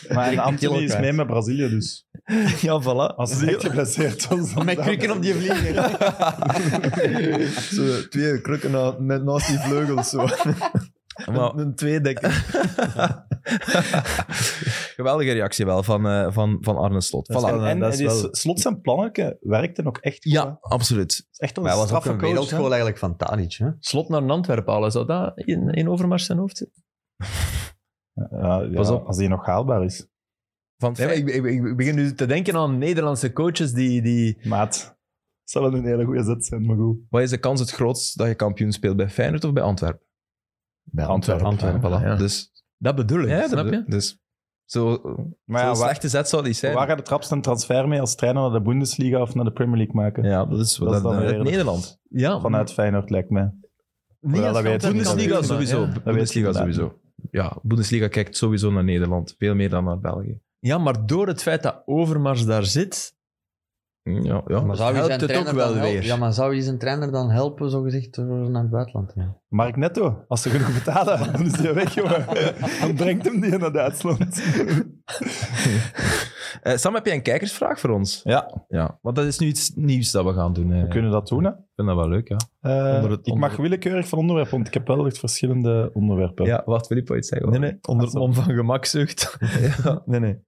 [SPEAKER 2] maar en
[SPEAKER 6] kilo
[SPEAKER 2] Anthony is
[SPEAKER 6] kwijt.
[SPEAKER 2] mee met Brazilië, dus
[SPEAKER 3] *laughs* Ja, voilà.
[SPEAKER 2] als hij echt geblesseerd was...
[SPEAKER 6] *laughs*
[SPEAKER 2] dan-
[SPEAKER 6] Met krukken op die vliegen.
[SPEAKER 3] *laughs* Zo, twee krukken na, met naast die vleugels. *laughs* Zo.
[SPEAKER 1] Maar
[SPEAKER 3] Een, een tweedekker.
[SPEAKER 1] geweldige reactie wel van, eh, van, van Arne Slot.
[SPEAKER 3] Dat is
[SPEAKER 1] Voilà.
[SPEAKER 3] wel-
[SPEAKER 2] En, en
[SPEAKER 3] dat is
[SPEAKER 2] die
[SPEAKER 3] wel-
[SPEAKER 2] slot zijn plannen werkten ook echt goed, hè.
[SPEAKER 1] Ja, absoluut.
[SPEAKER 2] Het is echt wel
[SPEAKER 6] Maar
[SPEAKER 2] een
[SPEAKER 6] hij was ook
[SPEAKER 2] straffe
[SPEAKER 6] een
[SPEAKER 2] coach, hè.
[SPEAKER 6] wereldschool eigenlijk van Tadic. Hè?
[SPEAKER 3] Slot naar een Antwerpen halen, zou dat in, in Overmars zijn hoofd zitten?
[SPEAKER 2] Ja, ja,
[SPEAKER 1] Pas op.
[SPEAKER 2] Als die nog haalbaar is.
[SPEAKER 1] Van
[SPEAKER 3] Nee, maar ik, ik, ik begin nu te denken aan Nederlandse coaches die... die
[SPEAKER 2] Maat, het zal wel een hele goede zet zijn, maar goed.
[SPEAKER 1] Wat is de kans het grootst dat je kampioen speelt bij Feyenoord of bij Antwerpen?
[SPEAKER 3] bij
[SPEAKER 2] Antwerpen.
[SPEAKER 1] Antwerpen, voilà.
[SPEAKER 3] ja.
[SPEAKER 1] Dus,
[SPEAKER 3] Dat bedoel ik,
[SPEAKER 1] ja,
[SPEAKER 3] snap
[SPEAKER 1] dat-
[SPEAKER 3] je?
[SPEAKER 1] Dus zo,
[SPEAKER 2] Maar
[SPEAKER 1] zo'n
[SPEAKER 2] ja, waar,
[SPEAKER 1] slechte zet zou die zijn.
[SPEAKER 2] waar gaat de traps een transfer mee als trainer naar de Bundesliga of naar de Premier League maken?
[SPEAKER 1] ja, dat is,
[SPEAKER 2] Dat
[SPEAKER 1] dat
[SPEAKER 2] is dan
[SPEAKER 1] dat-
[SPEAKER 2] weer-
[SPEAKER 1] het Nederland.
[SPEAKER 3] Ja,
[SPEAKER 2] Vanuit Feyenoord, lijkt mij.
[SPEAKER 3] niet
[SPEAKER 2] Mm. Ja,
[SPEAKER 3] als
[SPEAKER 2] dat weten we
[SPEAKER 3] Antwerpen,
[SPEAKER 2] niet.
[SPEAKER 3] Bundesliga
[SPEAKER 2] Dat
[SPEAKER 3] sowieso.
[SPEAKER 1] Ja, Bundesliga sowieso. Ja, Bundesliga kijkt sowieso naar Nederland. Veel meer dan naar België.
[SPEAKER 3] Ja, maar door het feit dat Overmars daar zit,
[SPEAKER 1] Mm, Ja, ja.
[SPEAKER 6] Maar zou je
[SPEAKER 3] helpt
[SPEAKER 6] zijn
[SPEAKER 3] het
[SPEAKER 6] trainer
[SPEAKER 3] ook wel
[SPEAKER 6] dan helpen?
[SPEAKER 3] weer.
[SPEAKER 6] Ja, maar zou je zijn trainer dan helpen, zogezegd, door naar het buitenland te gaan?
[SPEAKER 2] Mark Netto, als ze genoeg betalen, dan is hij weg, jongen. Dan brengt hem die naar Duitsland.
[SPEAKER 1] Eh, Sam, heb jij een kijkersvraag voor ons?
[SPEAKER 2] Ja,
[SPEAKER 1] Ja, want dat is nu iets nieuws dat we gaan doen. eh.
[SPEAKER 2] we kunnen dat doen, hè.
[SPEAKER 1] Ik vind dat wel leuk, ja.
[SPEAKER 2] Eh,
[SPEAKER 3] Onder het-
[SPEAKER 2] ik mag willekeurig van onderwerp, want ik heb wel echt verschillende onderwerpen.
[SPEAKER 1] Ja, wacht, Filippo, iets zeggen?
[SPEAKER 3] Nee, nee, onder het mom van
[SPEAKER 2] *laughs*
[SPEAKER 3] gemakzucht.
[SPEAKER 1] Ja.
[SPEAKER 3] Nee, nee.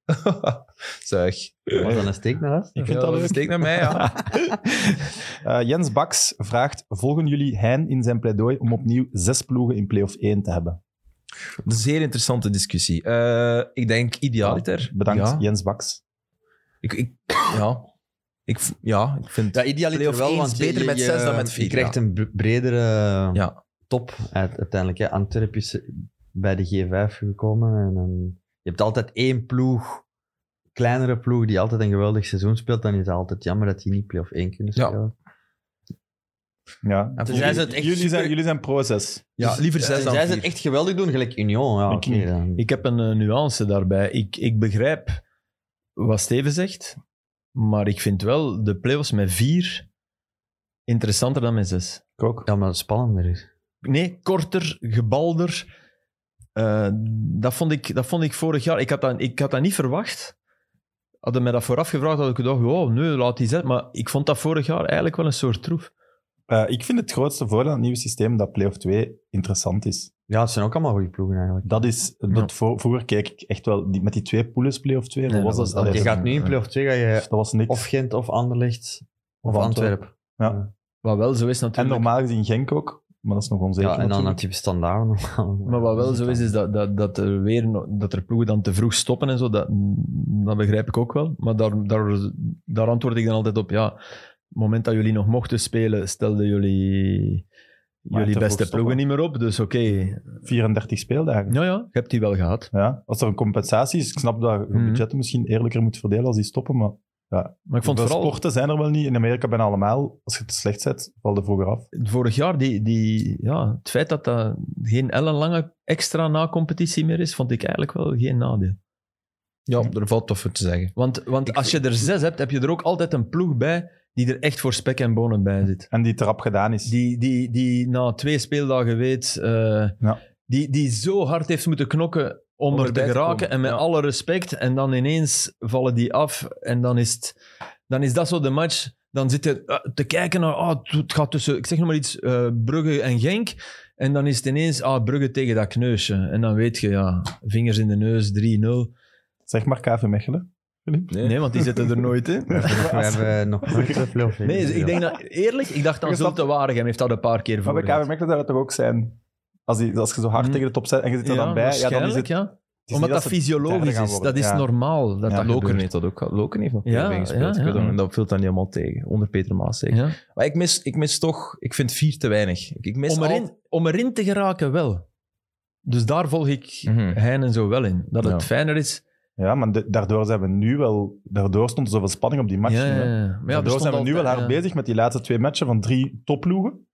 [SPEAKER 1] *laughs* zeg.
[SPEAKER 6] Was dat een steek naar huis?
[SPEAKER 2] Ik vind
[SPEAKER 1] Ja,
[SPEAKER 2] dat leuk.
[SPEAKER 1] Steek naar mij, ja.
[SPEAKER 2] *laughs* Eh, Jens Baks vraagt, volgen jullie Hein in zijn pleidooi om opnieuw zes ploegen in play-off 1 te hebben?
[SPEAKER 1] *laughs* Een zeer interessante discussie. Eh, ik denk idealiter.
[SPEAKER 2] Bedankt,
[SPEAKER 1] Ja.
[SPEAKER 2] Jens Baks.
[SPEAKER 1] Ik, ik, ja. Ik, v- ja, ik vind...
[SPEAKER 6] Ja, idealiter
[SPEAKER 1] Play-off één
[SPEAKER 6] wel,
[SPEAKER 1] is
[SPEAKER 6] want je-
[SPEAKER 1] beter
[SPEAKER 6] je-
[SPEAKER 1] met
[SPEAKER 6] je-
[SPEAKER 1] zes dan met vier,
[SPEAKER 6] Je krijgt
[SPEAKER 1] ja.
[SPEAKER 6] een b- bredere um,
[SPEAKER 1] Ja.
[SPEAKER 6] top uit- uiteindelijk. Hè. Antwerp is bij de G5 gekomen. En, dan- je hebt altijd één ploeg, kleinere ploeg, die altijd een geweldig seizoen speelt. Dan is het altijd jammer dat die niet play-off 1 kunnen
[SPEAKER 1] Ja.
[SPEAKER 6] spelen.
[SPEAKER 2] Ja.
[SPEAKER 1] En
[SPEAKER 6] Dus
[SPEAKER 1] voor-
[SPEAKER 6] jij is het echt
[SPEAKER 2] jullie, zijn,
[SPEAKER 6] super-
[SPEAKER 2] jullie zijn pro-zes.
[SPEAKER 1] ja, liever
[SPEAKER 6] Dus,
[SPEAKER 1] zes
[SPEAKER 6] eh,
[SPEAKER 1] dan
[SPEAKER 6] Zij
[SPEAKER 1] vier.
[SPEAKER 6] ze het echt geweldig doen, gelijk Union. Ja,
[SPEAKER 2] Ik
[SPEAKER 6] oké,
[SPEAKER 2] niet.
[SPEAKER 6] dan-
[SPEAKER 3] Ik heb een eh, nuance daarbij. Ik, ik begrijp wat Steven zegt, maar ik vind wel de playoffs met vier interessanter dan met zes.
[SPEAKER 2] Ik ook.
[SPEAKER 6] Ja, maar het spannender is.
[SPEAKER 3] Nee, korter, gebalder. Eh, dat, vond ik, dat vond ik vorig jaar. Ik had dat, ik had dat niet verwacht. Hadden mij dat vooraf gevraagd, had ik gedacht: wow, nee, laat die zetten. Maar ik vond dat vorig jaar eigenlijk wel een soort troef.
[SPEAKER 2] Eh, ik vind het grootste voordeel aan het nieuwe systeem dat play-off 2 interessant is.
[SPEAKER 6] Ja, het zijn ook allemaal goede ploegen eigenlijk.
[SPEAKER 2] Dat is, dat voor- vroeger keek ik echt wel die, met die twee poolers play-off 2. was
[SPEAKER 3] Nee, dat
[SPEAKER 2] dat,
[SPEAKER 3] was- dat
[SPEAKER 2] allee,
[SPEAKER 6] je
[SPEAKER 3] is-
[SPEAKER 6] gaat nu in play-off 2 ga je
[SPEAKER 2] dat was niks.
[SPEAKER 6] of Gent of Anderlecht of,
[SPEAKER 2] Of Antwerp.
[SPEAKER 6] Antwerpen.
[SPEAKER 3] Wat wel zo is
[SPEAKER 2] en
[SPEAKER 3] natuurlijk.
[SPEAKER 2] normaal gezien Genk ook, maar dat is nog onzeker.
[SPEAKER 6] Ja, en dan
[SPEAKER 2] natuurlijk.
[SPEAKER 6] had je standaard nog. *laughs* Dus
[SPEAKER 3] Maar wat wel zo is, is dat, dat, dat, er weer, no- dat er ploegen dan te vroeg stoppen en zo. Dat, dat begrijp ik ook wel. Maar daar, daar, daar antwoord ik dan altijd op: ja, het moment dat jullie nog mochten spelen, stelden jullie
[SPEAKER 2] Maar te
[SPEAKER 3] jullie
[SPEAKER 2] vroeg
[SPEAKER 3] beste
[SPEAKER 2] stoppen.
[SPEAKER 3] ploegen niet meer op. Dus oké,
[SPEAKER 2] 34 speeldagen.
[SPEAKER 3] nou ja, je hebt die wel gehad.
[SPEAKER 2] Ja, als er een compensatie is, ik snap dat je
[SPEAKER 3] Mhm.
[SPEAKER 2] budgetten misschien eerlijker moet verdelen als die stoppen, maar
[SPEAKER 3] Maar ik vond
[SPEAKER 2] hoeveel
[SPEAKER 3] vooral
[SPEAKER 2] sporten zijn er wel niet. In Amerika bijna allemaal, als je het slecht zet, valt er vroeger af.
[SPEAKER 3] vorig jaar die, die, ja, het feit dat dat geen ellenlange extra na-competitie meer is, vond ik eigenlijk wel geen nadeel.
[SPEAKER 1] Ja, er valt toch voor te zeggen.
[SPEAKER 3] Want, want als je er zes hebt, heb je er ook altijd een ploeg bij die er echt voor spek en bonen bij zit.
[SPEAKER 2] En die te rap gedaan is.
[SPEAKER 3] Die, die, die na twee speeldagen weet, eh,
[SPEAKER 2] Ja.
[SPEAKER 3] die, die zo hard heeft moeten knokken om,
[SPEAKER 1] Om
[SPEAKER 3] er te
[SPEAKER 1] erbij te
[SPEAKER 3] geraken.
[SPEAKER 1] komen,
[SPEAKER 3] en met
[SPEAKER 1] ja.
[SPEAKER 3] alle respect. En dan ineens vallen die af. En dan is, het, dan is dat zo de match. Dan zit je eh, te kijken naar, ah, het- het gaat tussen, ik zeg nog maar iets, eh, Brugge en Genk. En dan is het ineens, ah, Brugge tegen dat kneusje. En dan weet je, ja, vingers in de neus, 3-0.
[SPEAKER 2] Zeg maar KV Mechelen.
[SPEAKER 1] Nee.
[SPEAKER 3] Nee, want die zitten er
[SPEAKER 1] *laughs*
[SPEAKER 3] nooit in.
[SPEAKER 6] *laughs* We hebben nog nooit een play-off
[SPEAKER 3] *laughs*
[SPEAKER 6] één
[SPEAKER 3] Nee,
[SPEAKER 6] gespeeld.
[SPEAKER 3] ik denk dat, eerlijk, ik
[SPEAKER 2] *laughs*
[SPEAKER 3] dacht
[SPEAKER 2] Je
[SPEAKER 3] dan
[SPEAKER 2] snapt-
[SPEAKER 3] Zulte Waregem heeft dat een paar keer
[SPEAKER 2] Maar bij
[SPEAKER 3] voor.
[SPEAKER 2] KV Mechelen zou dat toch ook zijn? Als, die, als je zo hard
[SPEAKER 3] Mm.
[SPEAKER 2] tegen de top zet en je zit er dan bij, ja, dan is het... het is
[SPEAKER 3] ja.
[SPEAKER 2] niet
[SPEAKER 3] Omdat dat,
[SPEAKER 2] ze derde
[SPEAKER 3] fysiologisch
[SPEAKER 2] gaan
[SPEAKER 3] is.
[SPEAKER 2] worden.
[SPEAKER 3] Dat is
[SPEAKER 2] Ja.
[SPEAKER 3] normaal. Dat
[SPEAKER 2] Ja,
[SPEAKER 3] dat
[SPEAKER 1] Loken
[SPEAKER 3] gebeurt.
[SPEAKER 1] heeft dat ook gehad. Loken heeft nog
[SPEAKER 3] Ja,
[SPEAKER 1] PSV
[SPEAKER 3] ja,
[SPEAKER 1] gespeeld.
[SPEAKER 3] ja.
[SPEAKER 1] Ik weet dat- Dat viel dan niet helemaal tegen, onder Peter Maas zeker.
[SPEAKER 3] Ja.
[SPEAKER 1] Maar ik mis, ik mis toch... Ik vind vier te weinig. Ik, ik mis
[SPEAKER 3] Om,
[SPEAKER 1] al-
[SPEAKER 3] erin, om erin te geraken wel. Dus daar volg ik
[SPEAKER 1] Mhm.
[SPEAKER 3] Hein en zo wel in. Dat het
[SPEAKER 1] Ja.
[SPEAKER 3] fijner is.
[SPEAKER 2] Ja, maar de- daardoor zijn we nu wel... Daardoor stond er zoveel spanning op die match.
[SPEAKER 3] ja, ja,
[SPEAKER 2] hè.
[SPEAKER 3] ja. Maar ja, er
[SPEAKER 2] daardoor
[SPEAKER 3] stond
[SPEAKER 2] zijn we nu
[SPEAKER 3] altijd,
[SPEAKER 2] wel hard
[SPEAKER 3] ja.
[SPEAKER 2] bezig met die laatste twee matchen van drie topploegen.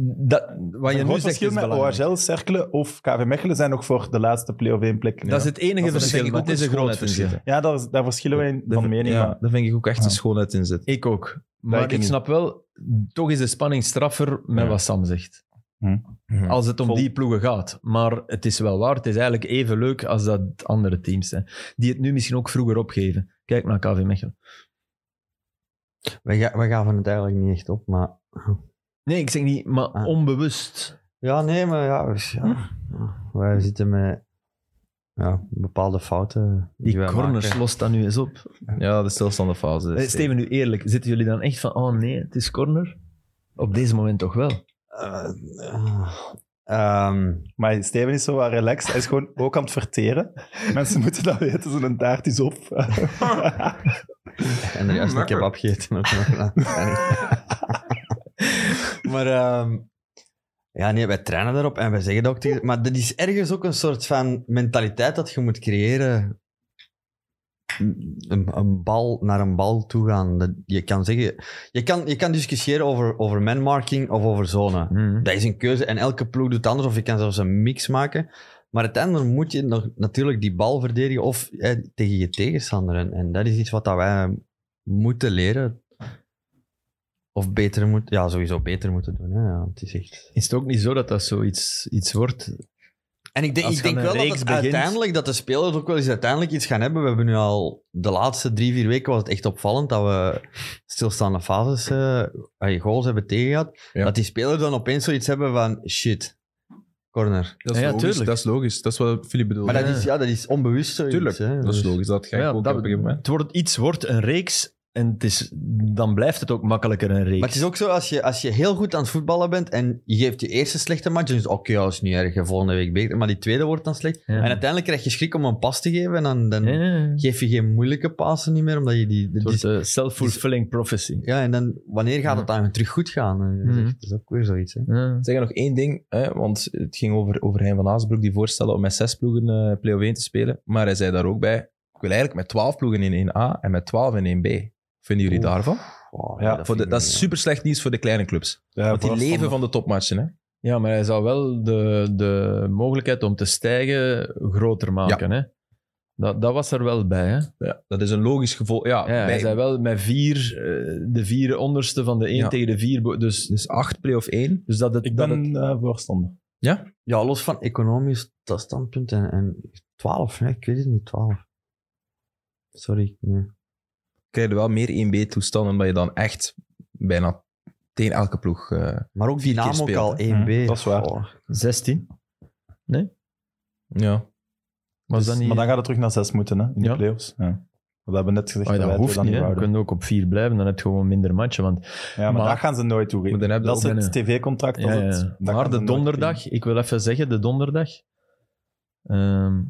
[SPEAKER 3] Dat, wat je
[SPEAKER 2] een
[SPEAKER 3] nu
[SPEAKER 2] groot
[SPEAKER 3] zegt
[SPEAKER 2] verschil
[SPEAKER 3] is
[SPEAKER 2] met
[SPEAKER 3] belangrijk.
[SPEAKER 2] OHL, Cerkelen of KV Mechelen zijn nog voor de laatste play-off één plek.
[SPEAKER 3] Dat is het
[SPEAKER 1] Dat
[SPEAKER 3] enige
[SPEAKER 1] is
[SPEAKER 3] verschil,
[SPEAKER 1] denk ik
[SPEAKER 3] maar
[SPEAKER 1] ook
[SPEAKER 3] het is een
[SPEAKER 1] een
[SPEAKER 3] groot
[SPEAKER 1] schoonheid in
[SPEAKER 3] verschil.
[SPEAKER 1] zitten.
[SPEAKER 2] Ja, daar, daar verschillen we in van mening.
[SPEAKER 1] Ja,
[SPEAKER 2] maar
[SPEAKER 1] daar vind ik ook echt
[SPEAKER 2] Ja.
[SPEAKER 1] een schoonheid in zitten.
[SPEAKER 3] Ik ook.
[SPEAKER 2] ik
[SPEAKER 3] Maar ik
[SPEAKER 2] niet.
[SPEAKER 3] snap wel, toch is de spanning straffer met
[SPEAKER 1] Ja.
[SPEAKER 3] wat Sam zegt.
[SPEAKER 1] Mhm.
[SPEAKER 3] Als het om
[SPEAKER 2] Vol.
[SPEAKER 3] die ploegen gaat. Maar het is wel waar. Het is eigenlijk even leuk als dat andere teams zijn. Die het nu misschien ook vroeger opgeven. Kijk naar KV Mechelen.
[SPEAKER 6] We, ga- we gaven het eigenlijk niet echt op, maar...
[SPEAKER 3] Nee, ik zeg niet, maar
[SPEAKER 6] Ah.
[SPEAKER 3] onbewust.
[SPEAKER 6] Ja, nee, maar ja... we- ja.
[SPEAKER 3] Hm.
[SPEAKER 6] Wij zitten met ja, bepaalde fouten.
[SPEAKER 3] Die
[SPEAKER 6] wij
[SPEAKER 3] corners,
[SPEAKER 6] maken.
[SPEAKER 3] lost dat nu eens op.
[SPEAKER 1] Ja, de stilstandenfase.
[SPEAKER 3] Eh, Steven, nu eerlijk, zitten jullie dan echt van, oh nee, het is corner? Op deze moment toch wel.
[SPEAKER 6] Eh, eh, ehm,
[SPEAKER 2] Maar Steven is zo wat relaxed. Hij is gewoon ook aan het verteren. *laughs* Mensen moeten dat weten, zo'n taart is op.
[SPEAKER 6] en er juist
[SPEAKER 1] Mm,
[SPEAKER 6] een kebab gegeten. ook nog. maar ehm, ja, nee, wij trainen daarop en wij zeggen dat ook tegen... Maar dat is ergens ook een soort van mentaliteit dat je moet creëren. Een, een bal naar een bal toe gaan. Dat, je kan zeggen... Je kan, je kan discussiëren over, over manmarking of over zone.
[SPEAKER 3] Hmm.
[SPEAKER 6] Dat is een keuze en elke ploeg doet anders. Of je kan zelfs een mix maken. Maar uiteindelijk moet je nog, natuurlijk die bal verdedigen of eh, tegen je tegenstander. En, en dat is iets wat dat wij moeten leren. Of beter moet, ja, sowieso beter moeten doen. Hè. Ja, het is echt...
[SPEAKER 3] Is het ook niet zo dat dat zoiets iets wordt?
[SPEAKER 6] En ik denk,
[SPEAKER 3] Als
[SPEAKER 6] ik
[SPEAKER 3] je
[SPEAKER 6] denk
[SPEAKER 3] aan
[SPEAKER 6] wel
[SPEAKER 3] een
[SPEAKER 6] dat
[SPEAKER 3] reeks
[SPEAKER 6] het
[SPEAKER 3] begint-
[SPEAKER 6] uiteindelijk dat de spelers ook wel eens uiteindelijk iets gaan hebben. We hebben nu al de laatste drie, vier weken was het echt opvallend dat we stilstaande fases, eh, ay, goals hebben tegengehad.
[SPEAKER 1] Ja.
[SPEAKER 6] Dat die spelers dan opeens zoiets hebben van shit, corner.
[SPEAKER 1] Dat is
[SPEAKER 3] Ja, ja,
[SPEAKER 1] logisch.
[SPEAKER 3] tuurlijk.
[SPEAKER 1] Dat is logisch. Dat is wat Philippe bedoelt.
[SPEAKER 6] Maar dat
[SPEAKER 3] Ja.
[SPEAKER 6] is, ja, dat is onbewust zoiets.
[SPEAKER 1] Tuurlijk,
[SPEAKER 6] hè.
[SPEAKER 1] dat
[SPEAKER 6] Dus-
[SPEAKER 1] is logisch. Dat ga ik
[SPEAKER 3] Ja,
[SPEAKER 1] ook
[SPEAKER 3] dat-
[SPEAKER 1] op een gegeven moment.
[SPEAKER 3] Het wordt, iets wordt een reeks en het is, dan blijft het ook makkelijker een reeks.
[SPEAKER 6] Maar het is ook zo, als je, als je heel goed aan het voetballen bent en je geeft je eerste slechte match, dan is het oké, ja, dat is niet erg, hè, volgende week beter. Maar die tweede wordt dan slecht.
[SPEAKER 3] Ja.
[SPEAKER 6] En uiteindelijk krijg je schrik om een pas te geven en dan, dan
[SPEAKER 3] Ja, ja, ja.
[SPEAKER 6] geef je geen moeilijke pasen niet meer, omdat je die...
[SPEAKER 3] Het
[SPEAKER 6] die-
[SPEAKER 3] wordt eh, self-fulfilling prophecy.
[SPEAKER 6] ja, en dan, wanneer gaat het dan terug goed gaan? Eh, Dat is,
[SPEAKER 3] Mhm.
[SPEAKER 6] echt- dat is ook weer zoiets, hè.
[SPEAKER 3] Ja.
[SPEAKER 1] Zeggen nog één ding, hè, want het ging over, over Hein van Aasbroek, die voorstellen om met zes ploegen eh play-off 1 te spelen. Maar hij zei daar ook bij, ik wil eigenlijk met twaalf ploegen in 1A en met twaalf in 1B. Vinden jullie
[SPEAKER 6] Oeh.
[SPEAKER 1] daarvan?
[SPEAKER 6] Wow,
[SPEAKER 2] Ja,
[SPEAKER 1] Voor de,
[SPEAKER 6] vind
[SPEAKER 1] dat
[SPEAKER 6] ik
[SPEAKER 1] is
[SPEAKER 6] niet,
[SPEAKER 1] super slecht nieuws voor de kleine clubs.
[SPEAKER 2] Ja,
[SPEAKER 1] Want die
[SPEAKER 2] vooral
[SPEAKER 1] leven van de topmatchen. Hè?
[SPEAKER 3] Ja, maar hij zou wel de, de mogelijkheid om te stijgen groter maken. Hè? Dat, dat was er wel bij. Hè? Ja,
[SPEAKER 1] Ja, dat is een logisch gevolg. Ja,
[SPEAKER 3] hij
[SPEAKER 1] bij-
[SPEAKER 3] zei wel met vier, eh, de vier onderste van de één
[SPEAKER 1] Ja.
[SPEAKER 3] tegen de vier. bo- Dus,
[SPEAKER 1] Dus acht play-off 1.
[SPEAKER 3] dus dat het,
[SPEAKER 2] Ik
[SPEAKER 3] dat
[SPEAKER 2] ben
[SPEAKER 3] het-
[SPEAKER 2] eh, voorstander.
[SPEAKER 6] Ja, los van economisch dat standpunt en, en 12, hè, ik weet het niet, 12. Sorry. nee.
[SPEAKER 1] krijg je wel meer 1B-toestanden, omdat je dan echt bijna tegen elke ploeg... eh,
[SPEAKER 6] Maar ook
[SPEAKER 1] Vier keer
[SPEAKER 6] Dynamo ook
[SPEAKER 1] speelt,
[SPEAKER 6] al
[SPEAKER 1] hè.
[SPEAKER 6] 1B.
[SPEAKER 2] Mhm, dat is waar.
[SPEAKER 6] Goh.
[SPEAKER 3] 16.
[SPEAKER 1] ja.
[SPEAKER 3] Was
[SPEAKER 2] Dus-
[SPEAKER 3] dat niet...
[SPEAKER 2] Maar dan gaat het terug naar zes moeten, hè, in de
[SPEAKER 3] Ja.
[SPEAKER 2] play-offs. Ja. Want we hebben net gezegd dat
[SPEAKER 3] Ah, dat
[SPEAKER 2] wij het
[SPEAKER 3] hoeft
[SPEAKER 2] dan
[SPEAKER 3] niet.
[SPEAKER 2] niet
[SPEAKER 3] hè. Je
[SPEAKER 2] wouden.
[SPEAKER 3] kunt ook op vier blijven, dan heb je gewoon minder matchen. Want
[SPEAKER 2] Ja, maar,
[SPEAKER 3] Maar-
[SPEAKER 2] dat gaan ze nooit
[SPEAKER 1] Maar dan
[SPEAKER 2] toegeven.
[SPEAKER 1] heb je
[SPEAKER 2] Dat is
[SPEAKER 1] ook
[SPEAKER 2] het
[SPEAKER 3] een- eh,
[SPEAKER 2] tv-contract. dat
[SPEAKER 3] Ja,
[SPEAKER 2] is
[SPEAKER 3] ja.
[SPEAKER 2] het- dat gaan
[SPEAKER 3] Maar
[SPEAKER 2] ze
[SPEAKER 3] de
[SPEAKER 2] nooit
[SPEAKER 3] donderdag, ik wil even zeggen, de donderdag. Ehm,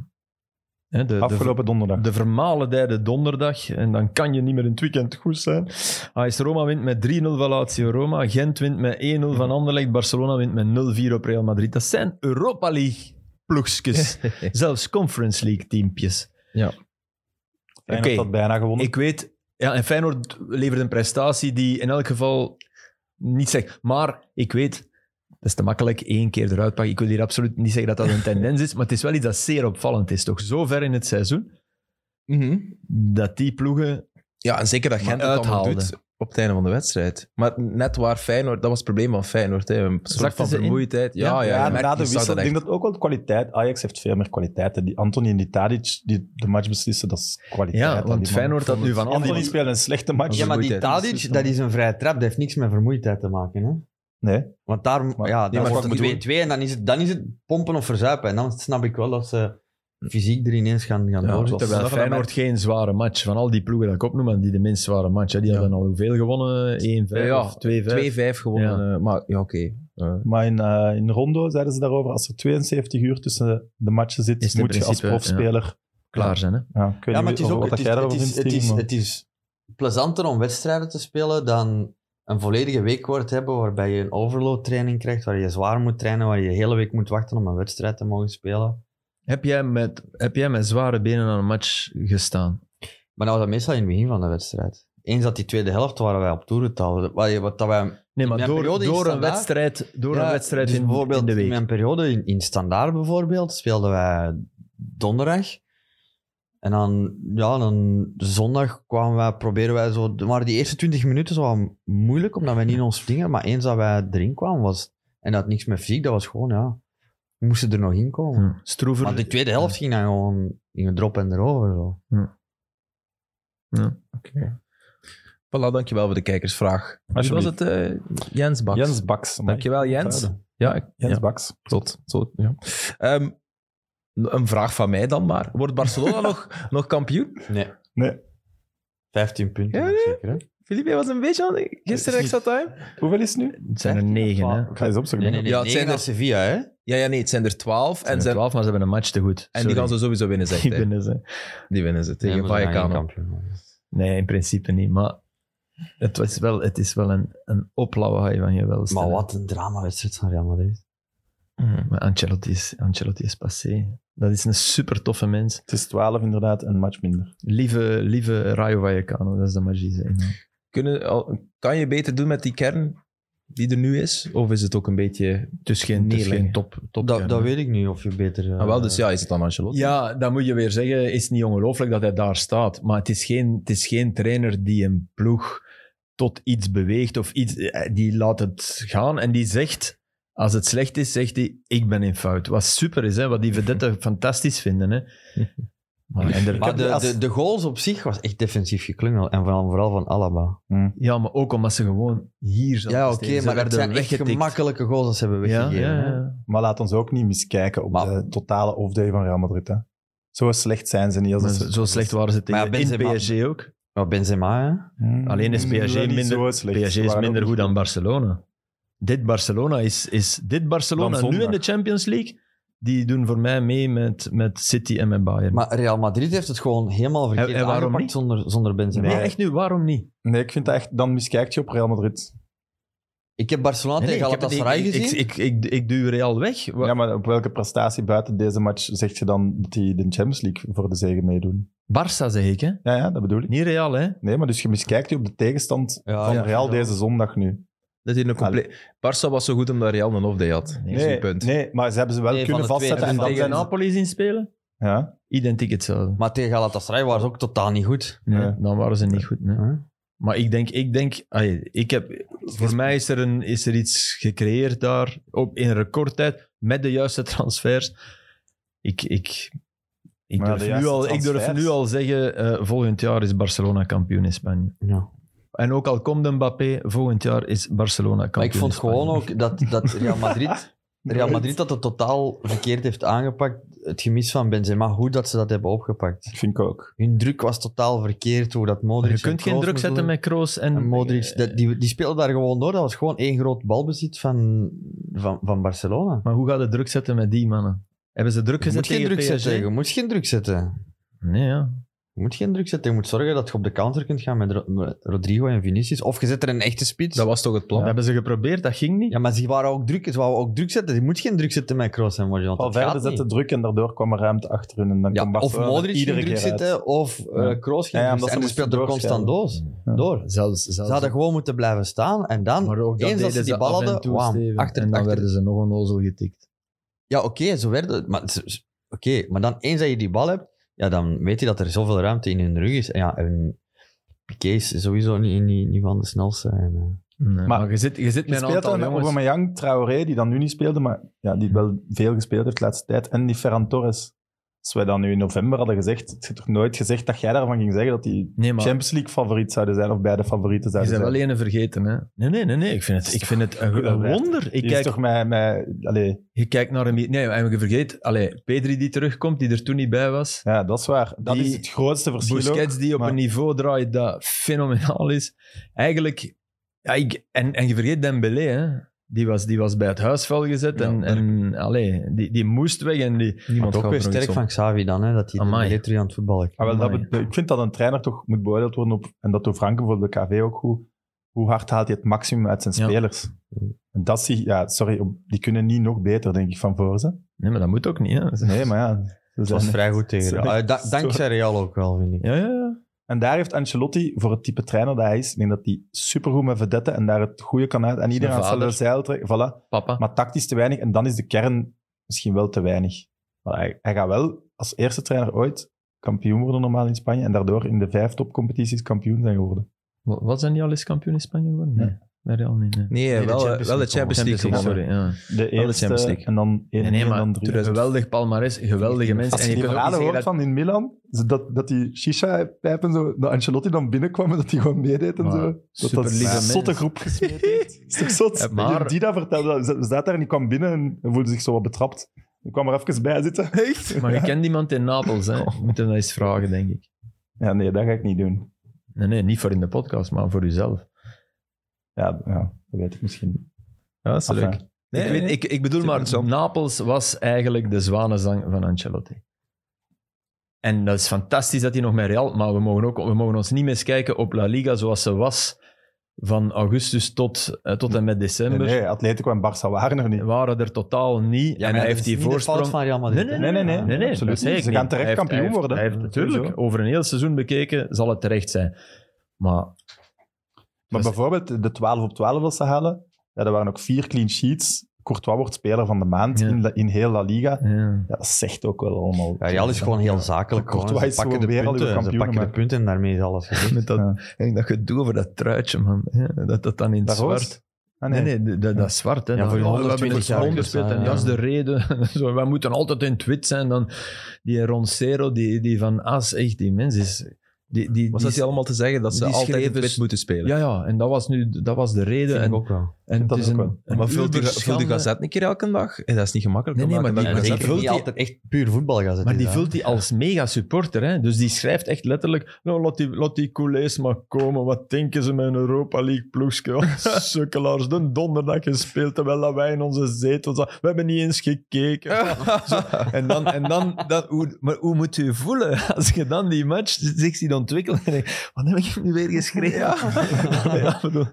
[SPEAKER 3] hè, de,
[SPEAKER 2] doen.
[SPEAKER 3] de,
[SPEAKER 2] Afgelopen donderdag.
[SPEAKER 3] de vermalendijde donderdag. En dan kan je niet meer in het weekend goed zijn. AS Roma wint met 3-0 van Lazio Roma. Gent wint met 1-0 van Anderlecht. Barcelona wint met 0-4 op Real Madrid. Dat zijn Europa
[SPEAKER 1] Dus-
[SPEAKER 3] League *laughs* ploegjes. Zelfs Conference League teampjes.
[SPEAKER 2] Feyenoord
[SPEAKER 3] Oké.
[SPEAKER 2] had bijna gewonnen.
[SPEAKER 3] Ik weet... Ja, en Feyenoord levert een prestatie die in elk geval niet zegt. Maar ik weet... Dat is te makkelijk één keer eruit pakken. Ik wil hier absoluut niet zeggen dat dat een tendens is, maar het is wel iets dat zeer opvallend is. Toch zo ver in het seizoen
[SPEAKER 1] Mhm.
[SPEAKER 3] dat die ploegen
[SPEAKER 1] Ja, en zeker dat
[SPEAKER 3] Maar
[SPEAKER 1] Gent het allemaal
[SPEAKER 3] uithaalde.
[SPEAKER 1] doet op het einde van de wedstrijd. Maar net waar Feyenoord, dat was het probleem van Feyenoord. Hè. Een soort
[SPEAKER 3] Zakten
[SPEAKER 1] van
[SPEAKER 3] ze in?
[SPEAKER 1] vermoeidheid. Ja, ja,
[SPEAKER 3] Ja,
[SPEAKER 1] je
[SPEAKER 2] Ja,
[SPEAKER 1] merkt-
[SPEAKER 2] na de
[SPEAKER 1] je zag
[SPEAKER 2] wissel.
[SPEAKER 1] dat
[SPEAKER 2] Ik
[SPEAKER 1] echt.
[SPEAKER 2] denk dat ook wel kwaliteit. Ajax heeft veel meer kwaliteiten. Die Anthony en die Tadic, die de match beslissen, dat is kwaliteit.
[SPEAKER 3] Ja,
[SPEAKER 2] aan die
[SPEAKER 3] want
[SPEAKER 2] man.
[SPEAKER 3] Feyenoord had nu van
[SPEAKER 2] Anthony
[SPEAKER 3] Anthony...
[SPEAKER 2] speelt een slechte match.
[SPEAKER 6] Ja, maar die
[SPEAKER 1] Vermoeidheid.
[SPEAKER 6] Tadic, dat is een vrije trap. Dat heeft niks met vermoeidheid te maken. Hè?
[SPEAKER 2] Nee.
[SPEAKER 6] Want daar,
[SPEAKER 2] Maar-
[SPEAKER 6] ja,
[SPEAKER 2] maar
[SPEAKER 6] dan wordt
[SPEAKER 2] wat
[SPEAKER 6] het
[SPEAKER 2] moet
[SPEAKER 6] 2-2 en dan is het, dan is het pompen of verzuipen. En dan snap ik wel dat ze fysiek er ineens gaan, gaan
[SPEAKER 1] Ja,
[SPEAKER 6] doorzetten.
[SPEAKER 3] Terwijl
[SPEAKER 2] Vanaf dat
[SPEAKER 3] Feyenoord geen zware match. Van al die ploegen dat ik opnoem, hadden die de minst zware match. Hè. Die
[SPEAKER 1] Ja.
[SPEAKER 3] hadden al hoeveel gewonnen? 1-5
[SPEAKER 1] Ja,
[SPEAKER 3] of 2-5?
[SPEAKER 1] 2-5 gewonnen. eh, maar ja, oké. Eh,
[SPEAKER 2] Maar in, eh, in Rondo zeiden ze daarover, als er 72 uur tussen de matchen zit,
[SPEAKER 3] Is het in
[SPEAKER 2] moet je als
[SPEAKER 3] principe,
[SPEAKER 2] profspeler...
[SPEAKER 3] Klaar zijn, hè?
[SPEAKER 2] Ja, ik weet
[SPEAKER 6] Ja, maar
[SPEAKER 2] niet
[SPEAKER 6] het is ook
[SPEAKER 2] wat
[SPEAKER 6] het is,
[SPEAKER 2] jij
[SPEAKER 6] het,
[SPEAKER 2] daarover
[SPEAKER 6] is,
[SPEAKER 2] vindt,
[SPEAKER 6] het, is,
[SPEAKER 2] Steven,
[SPEAKER 6] het is plezanter om wedstrijden te spelen dan een volledige weekwoord hebben waarbij je een overload training krijgt, waar je zwaar moet trainen, waar je de hele week moet wachten om een wedstrijd te mogen spelen.
[SPEAKER 3] Heb jij, met, heb jij met zware benen aan een match gestaan?
[SPEAKER 6] Maar dat was dat meestal in het begin van de wedstrijd. Eens dat die tweede helft waren wij op toerentaal. Wat, je- wat dat wij
[SPEAKER 3] Nee, maar
[SPEAKER 6] Mijn
[SPEAKER 3] door,
[SPEAKER 6] periode is
[SPEAKER 3] door, een,
[SPEAKER 6] standaard.
[SPEAKER 3] wedstrijd, door
[SPEAKER 6] Ja,
[SPEAKER 3] een wedstrijd
[SPEAKER 6] dus
[SPEAKER 3] in,
[SPEAKER 6] bijvoorbeeld
[SPEAKER 3] in de
[SPEAKER 6] In
[SPEAKER 3] week.
[SPEAKER 6] mijn periode in, in Standaard bijvoorbeeld speelden wij donderdag. En dan, ja, dan zondag kwamen wij, proberen wij zo... Maar die eerste 20 minuten was wel moeilijk, omdat wij niet in ons dingen... Maar eens dat wij erin kwamen, was... En dat had niks met fysiek, dat was gewoon, ja... We moesten er nog in komen.
[SPEAKER 3] Hm. Stroever.
[SPEAKER 6] Want de tweede helft ging dan gewoon in een drop en erover. Zo.
[SPEAKER 1] voilà, dankjewel voor de kijkersvraag. Wie was
[SPEAKER 2] Alsjeblieft.
[SPEAKER 1] het? eh, Jens Baks.
[SPEAKER 2] Jens Baks. Amai.
[SPEAKER 1] Dankjewel, Jens. Ja, ik-
[SPEAKER 2] Jens
[SPEAKER 1] ja,
[SPEAKER 2] Baks.
[SPEAKER 1] tot. tot ja. Ehm, een vraag van mij dan maar. Wordt Barcelona nog, nog kampioen?
[SPEAKER 6] Nee.
[SPEAKER 2] Nee.
[SPEAKER 6] 15 punten,
[SPEAKER 1] Ja, nee.
[SPEAKER 6] zeker, hè?
[SPEAKER 1] Philippe was een beetje aan gisteren extra time.
[SPEAKER 2] Hoeveel is het nu?
[SPEAKER 3] Het zijn er negen, hè?
[SPEAKER 2] Ik ga eens opzoeken.
[SPEAKER 6] Nee, nee, nee.
[SPEAKER 1] Ja,
[SPEAKER 6] Ja,
[SPEAKER 1] het zijn er-
[SPEAKER 6] Sevilla, hè?
[SPEAKER 1] Ja, ja, nee, het zijn er twaalf.
[SPEAKER 3] En
[SPEAKER 1] En,
[SPEAKER 3] zijn
[SPEAKER 1] zijn,
[SPEAKER 3] twaalf, maar ze hebben een match te goed.
[SPEAKER 1] en die gaan ze sowieso winnen,
[SPEAKER 3] *laughs*
[SPEAKER 1] zegt hij.
[SPEAKER 3] ze...
[SPEAKER 1] Die winnen ze tegen
[SPEAKER 6] Nee, maar ze zijn geen
[SPEAKER 1] Vallecano.
[SPEAKER 6] kampioen, man.
[SPEAKER 3] Nee, in principe niet, maar... Het, was wel, het is wel een, een oplawaai van je welstand.
[SPEAKER 6] Maar wat een dramawedstrijd van Real Madrid.
[SPEAKER 3] Eh, Maar Ancelotti is, Ancelotti is passé. Dat is een super toffe mens.
[SPEAKER 2] Het is 12 inderdaad, een match minder.
[SPEAKER 3] Lieve, lieve Rayo Vallecano, dat is de magie. zeg maar.
[SPEAKER 1] Kunnen, al- kan je beter doen met die kern die er nu is? Of is het ook een beetje...
[SPEAKER 3] Het is geen, het is
[SPEAKER 1] Neerleggen.
[SPEAKER 3] geen top. top
[SPEAKER 6] Dat, dat weet ik niet of je beter... eh,
[SPEAKER 1] Ah, wel, dus ja, is het dan Ancelotti?
[SPEAKER 3] ja, dat moet je weer zeggen. Is niet ongelooflijk dat hij daar staat. Maar het is geen, het is geen trainer die een ploeg tot iets beweegt of iets, eh, die laat het gaan en die zegt, als het slecht is, zegt hij, ik ben in fout. Wat super is, hè? wat die *laughs* vedetten fantastisch vinden. Hè? Maar, en er-
[SPEAKER 6] Maar
[SPEAKER 2] die
[SPEAKER 6] de,
[SPEAKER 2] als-
[SPEAKER 6] de, de goals op zich was echt defensief geklungel. En vooral, vooral van Alaba.
[SPEAKER 3] ja, maar ook omdat ze gewoon hier zaten.
[SPEAKER 6] Ja, oké,
[SPEAKER 3] Steven. Ze
[SPEAKER 6] maar dat
[SPEAKER 3] werden
[SPEAKER 6] zijn echt
[SPEAKER 3] weggetikt.
[SPEAKER 6] gemakkelijke goals dat ze hebben
[SPEAKER 3] Ja,
[SPEAKER 6] weggegeven.
[SPEAKER 3] ja,
[SPEAKER 6] hè.
[SPEAKER 3] ja.
[SPEAKER 2] Maar laat ons ook niet miskijken op
[SPEAKER 6] Maar-
[SPEAKER 2] de totale off-day van Real Madrid. Hè. Zo slecht zijn ze niet. Als
[SPEAKER 3] Maar
[SPEAKER 2] dat ze-
[SPEAKER 3] zo slecht waren ze tegen
[SPEAKER 6] Maar ja, Benzema-
[SPEAKER 3] in PSG ook.
[SPEAKER 6] Maar Benzema, hè?
[SPEAKER 2] Hmm,
[SPEAKER 3] Alleen is PSG
[SPEAKER 2] niet
[SPEAKER 3] minder-
[SPEAKER 2] zo slecht.
[SPEAKER 3] PSG
[SPEAKER 2] Ze
[SPEAKER 3] is
[SPEAKER 2] waren
[SPEAKER 3] minder
[SPEAKER 2] ook
[SPEAKER 3] goed
[SPEAKER 2] niet
[SPEAKER 3] dan Barcelona. Dit Barcelona is, is dit Barcelona
[SPEAKER 2] Dan
[SPEAKER 3] nu
[SPEAKER 2] zondag.
[SPEAKER 3] in de Champions League. Die doen voor mij mee met, met City en met Bayern.
[SPEAKER 6] Maar Real Madrid heeft het gewoon helemaal verkeerd
[SPEAKER 3] En- en waarom
[SPEAKER 6] aangepakt
[SPEAKER 3] niet?
[SPEAKER 6] zonder, zonder Benzema.
[SPEAKER 3] nee, echt nu, waarom niet?
[SPEAKER 2] Nee, ik vind dat echt... Dan miskijkt je op Real Madrid.
[SPEAKER 6] Ik heb Barcelona
[SPEAKER 3] Nee, nee,
[SPEAKER 6] tegen
[SPEAKER 3] ik heb het
[SPEAKER 6] Galatasaray
[SPEAKER 3] niet- ik-
[SPEAKER 6] gezien.
[SPEAKER 3] Ik, ik, ik, ik duw Real weg. Wa-
[SPEAKER 2] Ja, maar op welke prestatie buiten deze match zeg je dan dat die de Champions League voor de zege meedoen?
[SPEAKER 3] Barça zeg ik, hè?
[SPEAKER 2] Ja, ja, dat bedoel ik.
[SPEAKER 3] Niet Real, hè?
[SPEAKER 2] Nee, maar dus je miskijkt je op de tegenstand
[SPEAKER 6] Ja,
[SPEAKER 2] van
[SPEAKER 6] ja,
[SPEAKER 2] Real
[SPEAKER 6] ja.
[SPEAKER 2] deze zondag nu.
[SPEAKER 1] Dat hier een compleet... Barça was zo goed omdat Real een off-day had.
[SPEAKER 3] Nee.
[SPEAKER 1] Dat is
[SPEAKER 2] Nee,
[SPEAKER 1] een punt.
[SPEAKER 2] nee, maar ze hebben ze wel
[SPEAKER 6] Nee,
[SPEAKER 2] kunnen
[SPEAKER 6] van de tweede.
[SPEAKER 2] vastzetten. En
[SPEAKER 3] En
[SPEAKER 2] dan
[SPEAKER 3] tegen
[SPEAKER 2] zijn ze-
[SPEAKER 3] Napoli zien spelen?
[SPEAKER 2] Ja,
[SPEAKER 3] Identiek hetzelfde.
[SPEAKER 6] Maar tegen Galatasaray waren ze ook totaal niet goed.
[SPEAKER 3] Nee,
[SPEAKER 2] Nee.
[SPEAKER 3] dan waren ze niet goed. nee.
[SPEAKER 6] Huh?
[SPEAKER 3] Maar ik denk, ik denk ai, ik heb, voor mij is er, een, is er iets gecreëerd daar, op, in recordtijd, met de juiste transfers. Ik, ik, ik,
[SPEAKER 2] Maar ja, de
[SPEAKER 3] durf, nu
[SPEAKER 2] juiste
[SPEAKER 3] al, ik durf
[SPEAKER 2] transfers.
[SPEAKER 3] nu al zeggen, eh, volgend jaar is Barcelona kampioen in Spanje.
[SPEAKER 6] Ja.
[SPEAKER 3] En ook al komt Mbappé, volgend jaar is Barcelona kampioen
[SPEAKER 6] Maar ik vond
[SPEAKER 3] in Spanje.
[SPEAKER 6] gewoon ook dat, *laughs* dat Real Madrid... Real Madrid dat het totaal verkeerd heeft aangepakt. Het gemis van Benzema, hoe dat ze dat hebben opgepakt.
[SPEAKER 2] dat vind ik ook.
[SPEAKER 6] Hun druk was totaal verkeerd, hoe dat Modric...
[SPEAKER 3] Je kunt
[SPEAKER 6] en
[SPEAKER 3] geen
[SPEAKER 6] Kroos
[SPEAKER 3] druk zetten
[SPEAKER 6] moesten-
[SPEAKER 3] met Kroos en,
[SPEAKER 6] En Modric, dat- die, die speelden daar gewoon door. Dat was gewoon één groot balbezit van, van, van Barcelona.
[SPEAKER 3] Maar hoe gaat het druk zetten met die mannen? Hebben ze druk
[SPEAKER 6] Je
[SPEAKER 3] gezet
[SPEAKER 6] moet geen
[SPEAKER 3] tegen
[SPEAKER 6] druk
[SPEAKER 3] PSG?
[SPEAKER 6] zetten. Je moet geen druk zetten.
[SPEAKER 3] Nee, ja.
[SPEAKER 6] Je moet geen druk zetten. Je moet zorgen dat je op de counter kunt gaan met Ro- met Rodrigo en Vinicius. Of je zet er een echte spits.
[SPEAKER 1] Dat was toch het plan?
[SPEAKER 3] Dat hebben ze geprobeerd, dat ging niet.
[SPEAKER 6] Ja, maar ze waren ook druk. Ze wouden ook druk zetten. Je moet geen druk zetten met Kroos en Modric. want
[SPEAKER 2] Al
[SPEAKER 6] dat
[SPEAKER 2] verder
[SPEAKER 6] gaat
[SPEAKER 2] zette
[SPEAKER 6] niet.
[SPEAKER 2] druk en daardoor kwam er ruimte achter hun. En dan
[SPEAKER 6] Ja,
[SPEAKER 2] kwam
[SPEAKER 6] of
[SPEAKER 2] Barcelona
[SPEAKER 6] Modric
[SPEAKER 2] iedere
[SPEAKER 6] ging druk
[SPEAKER 2] keer uit.
[SPEAKER 6] zitten, of
[SPEAKER 2] Ja.
[SPEAKER 6] eh Kroos ging
[SPEAKER 2] Ja, ja,
[SPEAKER 6] druk
[SPEAKER 2] omdat ze
[SPEAKER 6] zitten. En ze
[SPEAKER 2] moesten
[SPEAKER 6] speelden constant doos,
[SPEAKER 2] Ja.
[SPEAKER 6] door.
[SPEAKER 3] Zelfs, zelfs
[SPEAKER 6] Ze hadden gewoon moeten blijven staan. En dan,
[SPEAKER 3] maar ook dat
[SPEAKER 6] eens dat ze
[SPEAKER 3] deden
[SPEAKER 6] die
[SPEAKER 3] ze
[SPEAKER 6] bal
[SPEAKER 3] af en
[SPEAKER 6] hadden,
[SPEAKER 3] toe,
[SPEAKER 6] wauw,
[SPEAKER 3] Steven.
[SPEAKER 6] achter,
[SPEAKER 3] en dan
[SPEAKER 6] achter,
[SPEAKER 3] werden ze nog een ozel getikt.
[SPEAKER 6] Ja, oké, zo werd het. Maar, ze- ze- oké, maar dan eens dat je die bal hebt, ja, dan weet je dat er zoveel ruimte in hun rug is. En ja, en Piqué is sowieso niet, niet, niet van de snelste. En, eh,
[SPEAKER 3] Nee, maar, je zit, je zit
[SPEAKER 2] Je
[SPEAKER 3] met een
[SPEAKER 2] speelt
[SPEAKER 3] aantal
[SPEAKER 2] dan met
[SPEAKER 3] jongens...
[SPEAKER 2] Aubameyang, Traoré, die dan nu niet speelde, maar ja, die wel veel gespeeld heeft de laatste tijd. En die Ferran Torres. Als wij dan nu in november hadden gezegd, het is toch nooit gezegd dat jij daarvan ging zeggen dat die
[SPEAKER 3] Nee, maar
[SPEAKER 2] Champions League favoriet zouden zijn of beide favorieten
[SPEAKER 3] je
[SPEAKER 2] zouden
[SPEAKER 3] bent
[SPEAKER 2] zijn.
[SPEAKER 3] wel ene vergeten, hè. Nee, nee, nee, nee. Ik vind het, ik vind het een, een wonder. Ik
[SPEAKER 2] Die is
[SPEAKER 3] kijk,
[SPEAKER 2] toch met... met allee,
[SPEAKER 3] je kijkt naar hem... Nee, en je vergeet... Allee, Pedri die terugkomt, die er toen niet bij was.
[SPEAKER 2] ja, dat is waar. Dat
[SPEAKER 3] Die
[SPEAKER 2] is het grootste verschil ook.
[SPEAKER 3] Busquets die op
[SPEAKER 2] maar-
[SPEAKER 3] een niveau draait dat fenomenaal is. Eigenlijk, ja, ik, en, en je vergeet Dembélé, hè. Die was, die was bij het huisvuil gezet
[SPEAKER 1] Ja,
[SPEAKER 3] en, en allee, die, die moest weg en die...
[SPEAKER 1] Niemand
[SPEAKER 6] maar ook
[SPEAKER 1] gaat
[SPEAKER 6] weer
[SPEAKER 1] er nog iets
[SPEAKER 6] sterk
[SPEAKER 1] om.
[SPEAKER 6] van Xavi dan, hè, dat hij de
[SPEAKER 3] Amai.
[SPEAKER 6] militaire aan het voetballen
[SPEAKER 2] Ah, wel, dat
[SPEAKER 3] Amai.
[SPEAKER 2] be- ik vind dat een trainer toch moet beoordeeld worden op, en dat doet Franken voor de KV ook goed, hoe hard haalt hij het maximum uit zijn
[SPEAKER 3] Ja.
[SPEAKER 2] spelers. En dat zie ja, sorry, op- die kunnen niet nog beter, denk ik, van voor ze.
[SPEAKER 3] Nee, maar dat moet ook niet, hè.
[SPEAKER 2] Nee, maar ja. ze
[SPEAKER 6] Het was
[SPEAKER 2] zijn-
[SPEAKER 6] vrij goed tegen.
[SPEAKER 2] Sorry.
[SPEAKER 6] Ah, da- dankzij Real ook wel, vind ik.
[SPEAKER 3] Ja, ja, ja.
[SPEAKER 2] En daar heeft Ancelotti, voor het type trainer dat hij is, ik denk dat hij supergoed met vedetten en daar het goede kan uit. En iedereen
[SPEAKER 3] mijn
[SPEAKER 2] aan hetzelfde zeil trekken, voilà.
[SPEAKER 3] Papa.
[SPEAKER 2] Maar tactisch te weinig en dan is de kern misschien wel te weinig. Maar hij, hij gaat wel als eerste trainer ooit kampioen worden normaal in Spanje en daardoor in de vijf topcompetities kampioen zijn geworden.
[SPEAKER 3] Wa- Was hij niet al eens kampioen in Spanje geworden?
[SPEAKER 2] Nee.
[SPEAKER 3] Nee, bij Real niet, nee.
[SPEAKER 1] Nee,
[SPEAKER 2] de
[SPEAKER 1] wel,
[SPEAKER 6] eh,
[SPEAKER 2] Champions
[SPEAKER 1] wel de
[SPEAKER 2] League
[SPEAKER 1] Champions League
[SPEAKER 2] gewonnen.
[SPEAKER 1] gewonnen.
[SPEAKER 3] sorry. Ja.
[SPEAKER 2] De eerste
[SPEAKER 1] Champions League.
[SPEAKER 2] en dan e- één
[SPEAKER 3] Nee, nee,
[SPEAKER 2] en dan
[SPEAKER 3] maar
[SPEAKER 2] drie.
[SPEAKER 3] geweldig palmares, geweldige mensen.
[SPEAKER 2] Als
[SPEAKER 3] En
[SPEAKER 2] je
[SPEAKER 3] je
[SPEAKER 2] die
[SPEAKER 3] kunt ook niet
[SPEAKER 2] verhalen hoort
[SPEAKER 3] zeggen dat...
[SPEAKER 2] van in Milan, dat, dat die shisha-pijp en zo, dat Ancelotti dan binnenkwam en dat hij gewoon meedeed en
[SPEAKER 3] Maar
[SPEAKER 2] zo. Dat dat
[SPEAKER 3] superlieve
[SPEAKER 2] een
[SPEAKER 3] mens.
[SPEAKER 2] zotte groep gesmeed heeft. is *laughs* toch zot?
[SPEAKER 3] Ja, maar-
[SPEAKER 2] Die dat vertelde, ze ze zat daar en die kwam binnen en voelde zich zo wat betrapt. Ik kwam er even bij
[SPEAKER 3] *laughs*
[SPEAKER 2] zitten. Echt?
[SPEAKER 3] Maar je kent iemand in Napels, hè. Je moet hem dat eens vragen, denk ik.
[SPEAKER 2] Ja, nee, dat ga ik niet doen.
[SPEAKER 3] Nee, nee, niet voor in de podcast, maar voor uzelf.
[SPEAKER 2] Ja, ja dat weet ik misschien.
[SPEAKER 1] Ja, dat is
[SPEAKER 2] Enfin.
[SPEAKER 1] leuk. Nee, nee,
[SPEAKER 3] ik, weet-
[SPEAKER 1] nee.
[SPEAKER 3] ik, ik bedoel maar,
[SPEAKER 1] Superinteressant.
[SPEAKER 3] Napels was eigenlijk de zwanenzang van Ancelotti. En dat is fantastisch dat hij nog met Real... Maar we mogen, ook, we mogen ons niet miskijken op La Liga zoals ze was van augustus tot, eh, tot en met
[SPEAKER 2] Nee,
[SPEAKER 3] december.
[SPEAKER 2] nee, Atletico en Barça waren er niet.
[SPEAKER 3] Waren er totaal niet. en hij heeft die voorsprong...
[SPEAKER 6] van Real Madrid.
[SPEAKER 3] Nee,
[SPEAKER 6] hè?
[SPEAKER 2] Nee, nee, nee.
[SPEAKER 6] Ja.
[SPEAKER 3] Nee, nee,
[SPEAKER 2] absoluut
[SPEAKER 3] dat zei
[SPEAKER 2] niet.
[SPEAKER 3] ik
[SPEAKER 2] Ze gaan
[SPEAKER 3] niet.
[SPEAKER 2] terecht
[SPEAKER 3] Hij heeft-
[SPEAKER 2] kampioen
[SPEAKER 3] hij heeft-
[SPEAKER 2] worden.
[SPEAKER 3] hij heeft-
[SPEAKER 2] Sowieso.
[SPEAKER 3] Natuurlijk, over een heel seizoen bekeken zal het terecht zijn. Maar
[SPEAKER 2] Maar
[SPEAKER 3] Dus-
[SPEAKER 2] bijvoorbeeld de 12 op 12 dat ze halen, ja, dat waren ook vier clean sheets. Courtois wordt speler van de maand
[SPEAKER 3] Ja.
[SPEAKER 2] in, La- in heel La Liga.
[SPEAKER 3] Ja.
[SPEAKER 2] Ja, dat zegt ook wel allemaal.
[SPEAKER 6] Ja, Real is gewoon heel zakelijk. Gewoon.
[SPEAKER 2] Courtois
[SPEAKER 6] Ze
[SPEAKER 2] is
[SPEAKER 6] pakken de
[SPEAKER 2] gewoon weer al uw
[SPEAKER 6] punten, ze
[SPEAKER 2] kampioen
[SPEAKER 6] pakken de
[SPEAKER 2] gemaakt.
[SPEAKER 6] punten en daarmee is alles gezegd.
[SPEAKER 3] *laughs* Met dat,
[SPEAKER 2] Ja.
[SPEAKER 3] en dat gedoe over dat truitje, man. hè, Dat dat dan in het
[SPEAKER 2] Dat rood?
[SPEAKER 3] zwart...
[SPEAKER 2] Ah,
[SPEAKER 3] Nee, nee, dat, Eh, dat is zwart. Hè.
[SPEAKER 6] Ja,
[SPEAKER 3] Dat-
[SPEAKER 6] voor die
[SPEAKER 3] oh, we hebben in het
[SPEAKER 6] 120 jaar
[SPEAKER 3] rond gespeeld en
[SPEAKER 6] gestaan,
[SPEAKER 3] dat is
[SPEAKER 6] ja.
[SPEAKER 3] de reden. *laughs* Zo, we moeten altijd in het wit zijn. Dan die Roncero, die, die van As, echt, die mens is... Die, die,
[SPEAKER 1] Was dat
[SPEAKER 3] die-
[SPEAKER 1] die allemaal te zeggen? Dat ze
[SPEAKER 3] die
[SPEAKER 1] altijd in
[SPEAKER 3] schreef
[SPEAKER 1] het wit
[SPEAKER 3] dus-
[SPEAKER 1] moeten spelen?
[SPEAKER 3] Ja, ja, en dat was, nu, dat was de reden. En,
[SPEAKER 6] ook wel.
[SPEAKER 3] en
[SPEAKER 2] Dat
[SPEAKER 3] het is
[SPEAKER 2] ook
[SPEAKER 3] een,
[SPEAKER 2] wel.
[SPEAKER 3] een
[SPEAKER 1] maar vult de, vult
[SPEAKER 3] uberschande.
[SPEAKER 1] de gazette een keer elke dag? Eh, dat is niet gemakkelijk.
[SPEAKER 3] Nee,
[SPEAKER 1] om
[SPEAKER 3] nee,
[SPEAKER 1] elke dag
[SPEAKER 3] maar die-
[SPEAKER 1] een
[SPEAKER 3] maar
[SPEAKER 1] gazette
[SPEAKER 6] zeker
[SPEAKER 1] te
[SPEAKER 3] vult
[SPEAKER 1] *laughs*
[SPEAKER 6] niet
[SPEAKER 3] die-
[SPEAKER 6] altijd echt puur voetbal gaan
[SPEAKER 3] Maar die vult die als mega supporter. Hè? Dus die schrijft echt letterlijk: nou, laat, die, laat die coulés maar komen. Wat denken ze met een Europa League ploegje? Oh, *laughs* Sukkelaars, de donderdag gespeeld terwijl dat wij in onze zetels zaten. We hebben niet eens gekeken. Zo, en dan, en dan, dan hoe, maar hoe moet je voelen *laughs* als je dan die match zich ziet ontwikkelen? En denk, wat heb ik nu weer geschreven? Nee, *laughs* ja, bedoel,